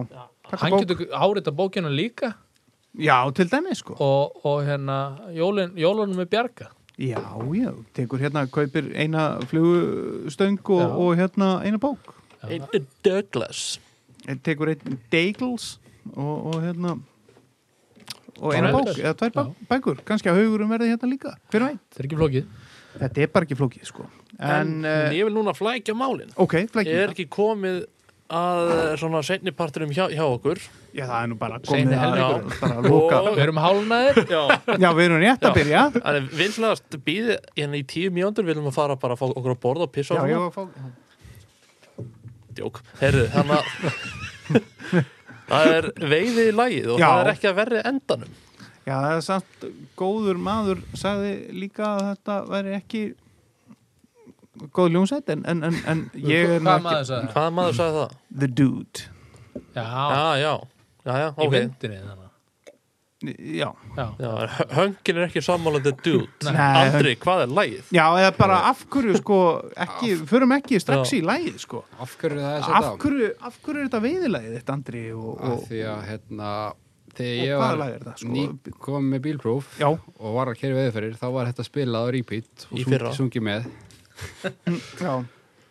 [SPEAKER 2] taka
[SPEAKER 1] hann
[SPEAKER 2] bók,
[SPEAKER 1] getur árita bókina líka
[SPEAKER 2] já, til dæmi sko
[SPEAKER 1] og, og hérna jólin, jólunum er bjarga
[SPEAKER 2] já, já, tekur hérna kaupir eina flugstöng og,
[SPEAKER 1] Já.
[SPEAKER 2] og hérna eina bók
[SPEAKER 4] Einn Douglas
[SPEAKER 2] Eh, tekur einn Dagels og, og hérna og eina
[SPEAKER 1] Tvær
[SPEAKER 2] bók,
[SPEAKER 1] bækur.
[SPEAKER 2] eða tvær bæ, bækur kannski að haugurum verði hérna líka, hver veit
[SPEAKER 1] þetta er ekki flókið
[SPEAKER 2] þetta er bara ekki flókið sko en,
[SPEAKER 4] en
[SPEAKER 2] en
[SPEAKER 4] ég vil núna flækja málin
[SPEAKER 2] ok, flækjum
[SPEAKER 4] er ekki komið að eh, svona setniparturum hjá, hjá okkur
[SPEAKER 2] Já, það er nú bara
[SPEAKER 1] Seinni
[SPEAKER 2] komið að,
[SPEAKER 4] helmingurinn.
[SPEAKER 2] bara að loka.
[SPEAKER 1] við erum hálnaðir
[SPEAKER 4] já
[SPEAKER 2] Já, við erum rétt að
[SPEAKER 4] Já.
[SPEAKER 2] byrja.
[SPEAKER 4] en við hlast býði en hérna í tíu mjöndur viljum við fara bara að fá okkur að borða og pissa
[SPEAKER 2] Já,
[SPEAKER 4] og
[SPEAKER 2] já,
[SPEAKER 4] svona.
[SPEAKER 2] fá...
[SPEAKER 4] djók herru þannig að það er veiði í lagið og
[SPEAKER 2] Já.
[SPEAKER 4] það er ekki að verri endanum
[SPEAKER 2] já, það er samt góður maður sagði líka að þetta væri ekki góð ljónsætt en, en, en, en ég er nú
[SPEAKER 1] hvað
[SPEAKER 2] ekki
[SPEAKER 1] maður sagði
[SPEAKER 4] hvað maður sagði það
[SPEAKER 2] the dude.
[SPEAKER 1] já,
[SPEAKER 4] já já já já
[SPEAKER 1] í
[SPEAKER 4] ok
[SPEAKER 1] myndinni þannig
[SPEAKER 2] Já,
[SPEAKER 1] já,
[SPEAKER 4] já, en höngin er ekki sammálandi dude
[SPEAKER 2] Nei,
[SPEAKER 4] Andri hvað er lagið
[SPEAKER 2] já, eða bara af hverju sko, ekki, förum ekki strax í
[SPEAKER 4] Já.
[SPEAKER 2] lægið sko.
[SPEAKER 3] Af hverju það
[SPEAKER 2] Af
[SPEAKER 3] er sett á?
[SPEAKER 2] hverju, af hverju er þetta veiðilægið þetta, Andri? Og,
[SPEAKER 3] Af
[SPEAKER 2] og,
[SPEAKER 3] Því að hérna,
[SPEAKER 2] Og
[SPEAKER 3] þegar ég
[SPEAKER 2] hvaða
[SPEAKER 3] var
[SPEAKER 2] lag er það, sko?
[SPEAKER 3] ný kom með bílpróf
[SPEAKER 2] já,
[SPEAKER 3] og var að kerja veðurferðir, þá var þetta spilað á repeat og
[SPEAKER 4] Í
[SPEAKER 3] sung,
[SPEAKER 4] fyrra.
[SPEAKER 3] sungið með
[SPEAKER 2] já,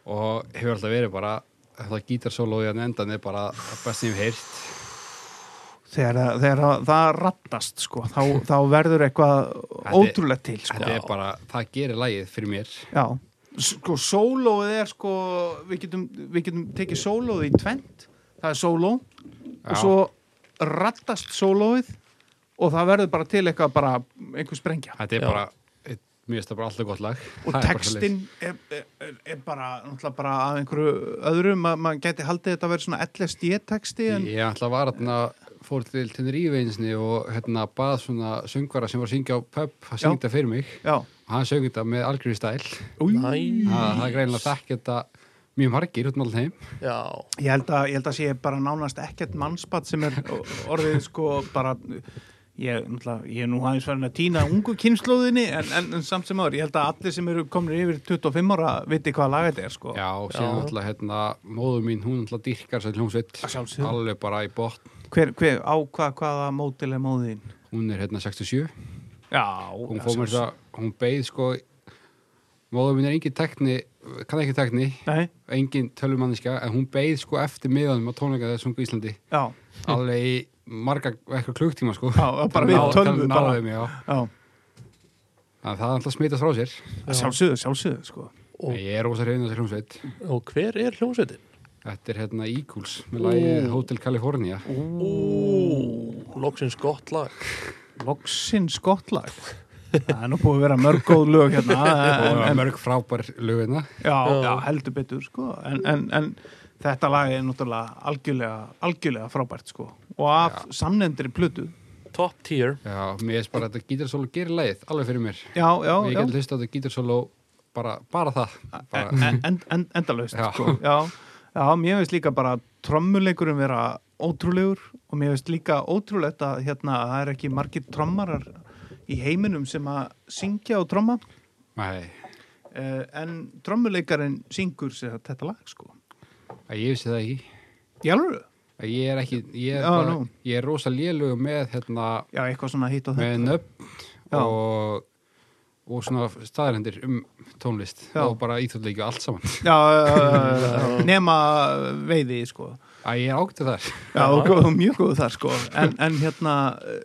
[SPEAKER 3] og hefur alltaf verið bara þetta gítarsólóði að endan er bara það best sem ég hef heyrt
[SPEAKER 2] þegar, það- þegar það- það rattast sko, þá, þá verður eitthvað
[SPEAKER 3] Þetta er-
[SPEAKER 2] ótrúlegt til sko.
[SPEAKER 3] Þetta er bara, það gerir lagið fyrir mér
[SPEAKER 2] Já, sko sólóið er sko, við getum, við getum tekið sólóið í tvent, það er sóló og svo rattast sólóið og það verður bara til eitthvað bara einhver sprengja
[SPEAKER 3] Þetta er
[SPEAKER 4] Já.
[SPEAKER 3] bara, eitt- mér finnst það bara alltaf gott lag
[SPEAKER 2] og
[SPEAKER 3] Það er bara svoleiðis.
[SPEAKER 2] textin er, er, er bara, náttúrulega bara að einhverju öðru, Ma, maður geti haldið þetta að vera svona LSD-texti en
[SPEAKER 3] Ég ætla að var þarna, fór til Tenerife einsni og hérna bað svona söngvara sem var að syngja á pub að syngja
[SPEAKER 2] Já.
[SPEAKER 3] þetta fyrir mig
[SPEAKER 2] já,
[SPEAKER 3] og hann söng þetta með algjörði stæl það,
[SPEAKER 4] næ
[SPEAKER 3] það er greinilega þekk þetta mjög margir út með alltaf heim
[SPEAKER 4] já
[SPEAKER 2] Ég held að, ég held að sé bara nánast ekkert mannspatt sem er orðið sko bara ég, náttúrulega, ég er nú aðeins verðin að týna ungu kynnslóðinni en, en, en samt sem áður, ég held að allir sem eru komin yfir 25 ára viti hvað lag þetta er sko
[SPEAKER 3] Já, og síðan
[SPEAKER 4] Já.
[SPEAKER 3] alltaf hérna, móður mín, hún alltaf dyrkar sér hljómsveit
[SPEAKER 2] Að sjálfsögðu.
[SPEAKER 3] alveg bara í botn
[SPEAKER 2] hver, hver, á hvað, hvaða mótil er móðin
[SPEAKER 3] hún er hérna 67
[SPEAKER 2] Já,
[SPEAKER 3] hún fór mér það, hún beið sko móður mín er engin tekni kann ekki tekni,
[SPEAKER 2] Nei,
[SPEAKER 3] engin tölvumanniska en hún beið sko eftir miðanum á tónleika þegar sungu Íslandi
[SPEAKER 2] já,
[SPEAKER 3] alveg í marga, eitthvað klukktíma sko
[SPEAKER 2] Hm. Já, bara við
[SPEAKER 3] Ná-
[SPEAKER 2] tölvu,
[SPEAKER 3] ná-
[SPEAKER 2] bara.
[SPEAKER 3] náðum, já.
[SPEAKER 2] já,
[SPEAKER 3] Þannig að það er alltaf smitast frá sér
[SPEAKER 2] sjálfsögðu, sjálfsögðu sko
[SPEAKER 4] Og-
[SPEAKER 3] En ég er ósa reyðin þessi hljómsveit
[SPEAKER 4] Og hver er hljómsveitin?
[SPEAKER 3] þetta er hérna Eagles með lagið Hotel California
[SPEAKER 4] Ú, loksins gott lag
[SPEAKER 2] Loksins gott lag Það er nú búið að vera mörg góð lög hérna en,
[SPEAKER 3] og
[SPEAKER 2] en,
[SPEAKER 3] mörg frábær hérna. lögina
[SPEAKER 2] já,
[SPEAKER 4] Já.
[SPEAKER 2] já, heldur betur sko. en, en, en þetta lag er náttúrulega algjörlega, algjörlega frábært sko. og af
[SPEAKER 3] Já.
[SPEAKER 2] samnefndri plötu
[SPEAKER 4] Top tier
[SPEAKER 3] já, mér er bara þetta gítarsólu gerir lagið alveg fyrir mér
[SPEAKER 2] já, já,
[SPEAKER 3] og ég
[SPEAKER 2] já E,
[SPEAKER 3] get hlusta á þetta gítarsólu bara, bara það bara,
[SPEAKER 2] en, en, en, endalaust
[SPEAKER 3] Já.
[SPEAKER 2] sko. já, já, mér finnst líka bara trommuleikurum vera ótrúlegur og mér finnst líka ótrúlegt að hérna, það er ekki margir trommarar í heiminum sem að syngja og tromma
[SPEAKER 3] nei,
[SPEAKER 2] eh, en trommuleikarinn syngur sér þetta lag sko.
[SPEAKER 3] að ég vissi það ekki
[SPEAKER 2] Í alvöru?
[SPEAKER 3] Að ég er ekki, ég er,
[SPEAKER 2] Já,
[SPEAKER 3] bara,
[SPEAKER 2] nú.
[SPEAKER 3] ég er rosa lélug með hérna,
[SPEAKER 2] Já, eitthvað svona hitt og þetta
[SPEAKER 3] með nöfn
[SPEAKER 2] Já.
[SPEAKER 3] og og svona staðarendir um tónlist
[SPEAKER 2] Já.
[SPEAKER 3] og bara íþjóðleikju allt saman
[SPEAKER 2] Já, já, já, já, já. nema veiði sko.
[SPEAKER 3] að ég er ágættu þar
[SPEAKER 2] Já, og góð, mjög góð þar sko en, en hérna eh,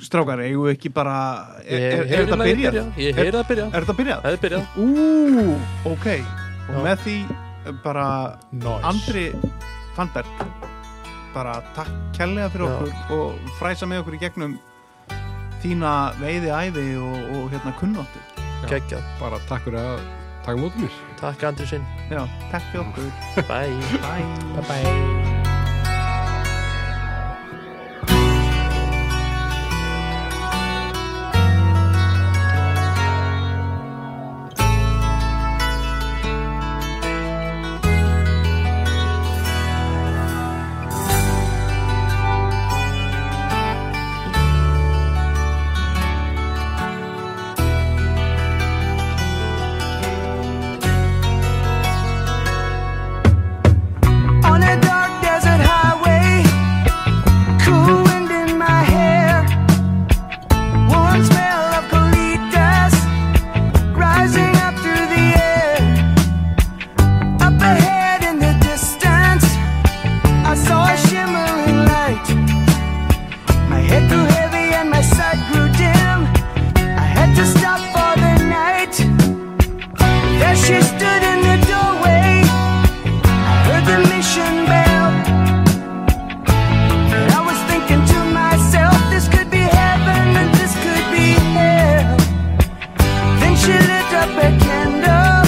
[SPEAKER 2] strákar, eigum við ekki bara er, er, er þetta byrjað?
[SPEAKER 4] Ég heyri það byrja
[SPEAKER 2] Er þetta byrjað?
[SPEAKER 4] Það er byrjað
[SPEAKER 2] Ú, ok og með því eh, bara
[SPEAKER 1] nice.
[SPEAKER 2] Andri Fannberg bara takk kærlega fyrir
[SPEAKER 4] Já.
[SPEAKER 2] okkur og fræsa með okkur í gegnum þína veiði æði og, og hérna kunnóttu
[SPEAKER 4] Kekjað
[SPEAKER 3] bara takk fyrir að taka mótum mér
[SPEAKER 4] Takk Andri sinn
[SPEAKER 2] Já, takk fyrir okkur
[SPEAKER 4] Bye
[SPEAKER 2] Bye
[SPEAKER 1] bye bye
[SPEAKER 10] Thank She stood in the doorway. I heard the mission bell. And I was thinking to myself, this could be heaven and this could be hell. Then she lit up a candle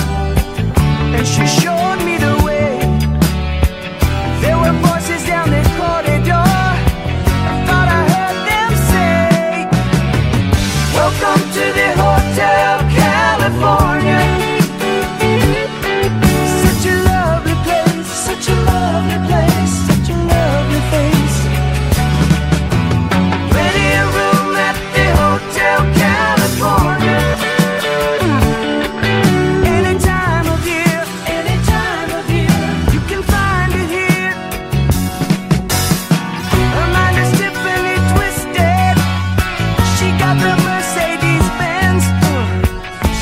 [SPEAKER 10] and she showed me the way. There were voices down the corridor. I thought I heard them say, Welcome to the Hotel California. Such a lovely place, such a lovely place, such a lovely face. Plenty of room at the Hotel California. Any time of year, any time of year, you can find it here. Her mind is Tiffany twisted. She got the Mercedes Benz.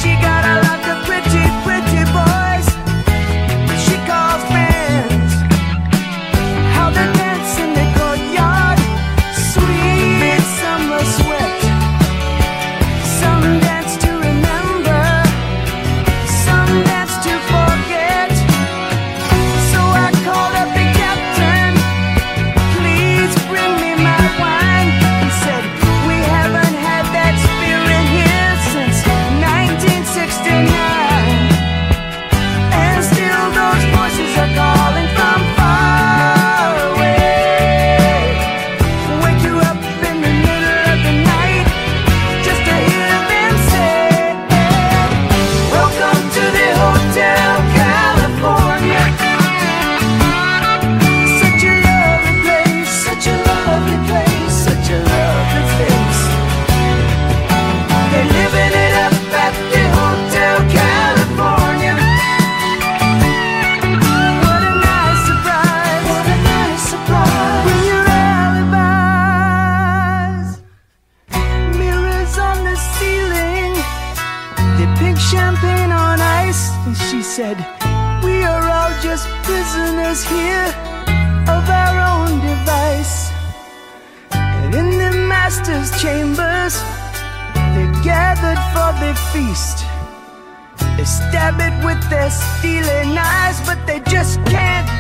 [SPEAKER 10] She got a lot of pretty, pretty boys. She calls friends. How they dance in the courtyard. Sweet summer sweat. Some dance to remember. Some dance to forget. So I called up the captain. Please bring me my wine. He said, We haven't had that spirit here since 1969. And still those voices are calling from far away. Wake you up in the middle of the night just to hear them say, Welcome to the Hotel California. Such a lovely place, such a lovely place, such a lovely place. They're living it up at the Hotel California. What a nice surprise, what a nice surprise. When your alibis, mirrors on the ceiling, the pink champagne on ice. And she said, We are all just prisoners here of our own device. And in the master's chambers, they gathered for the feast. They stab it with their steely knives, but they just can't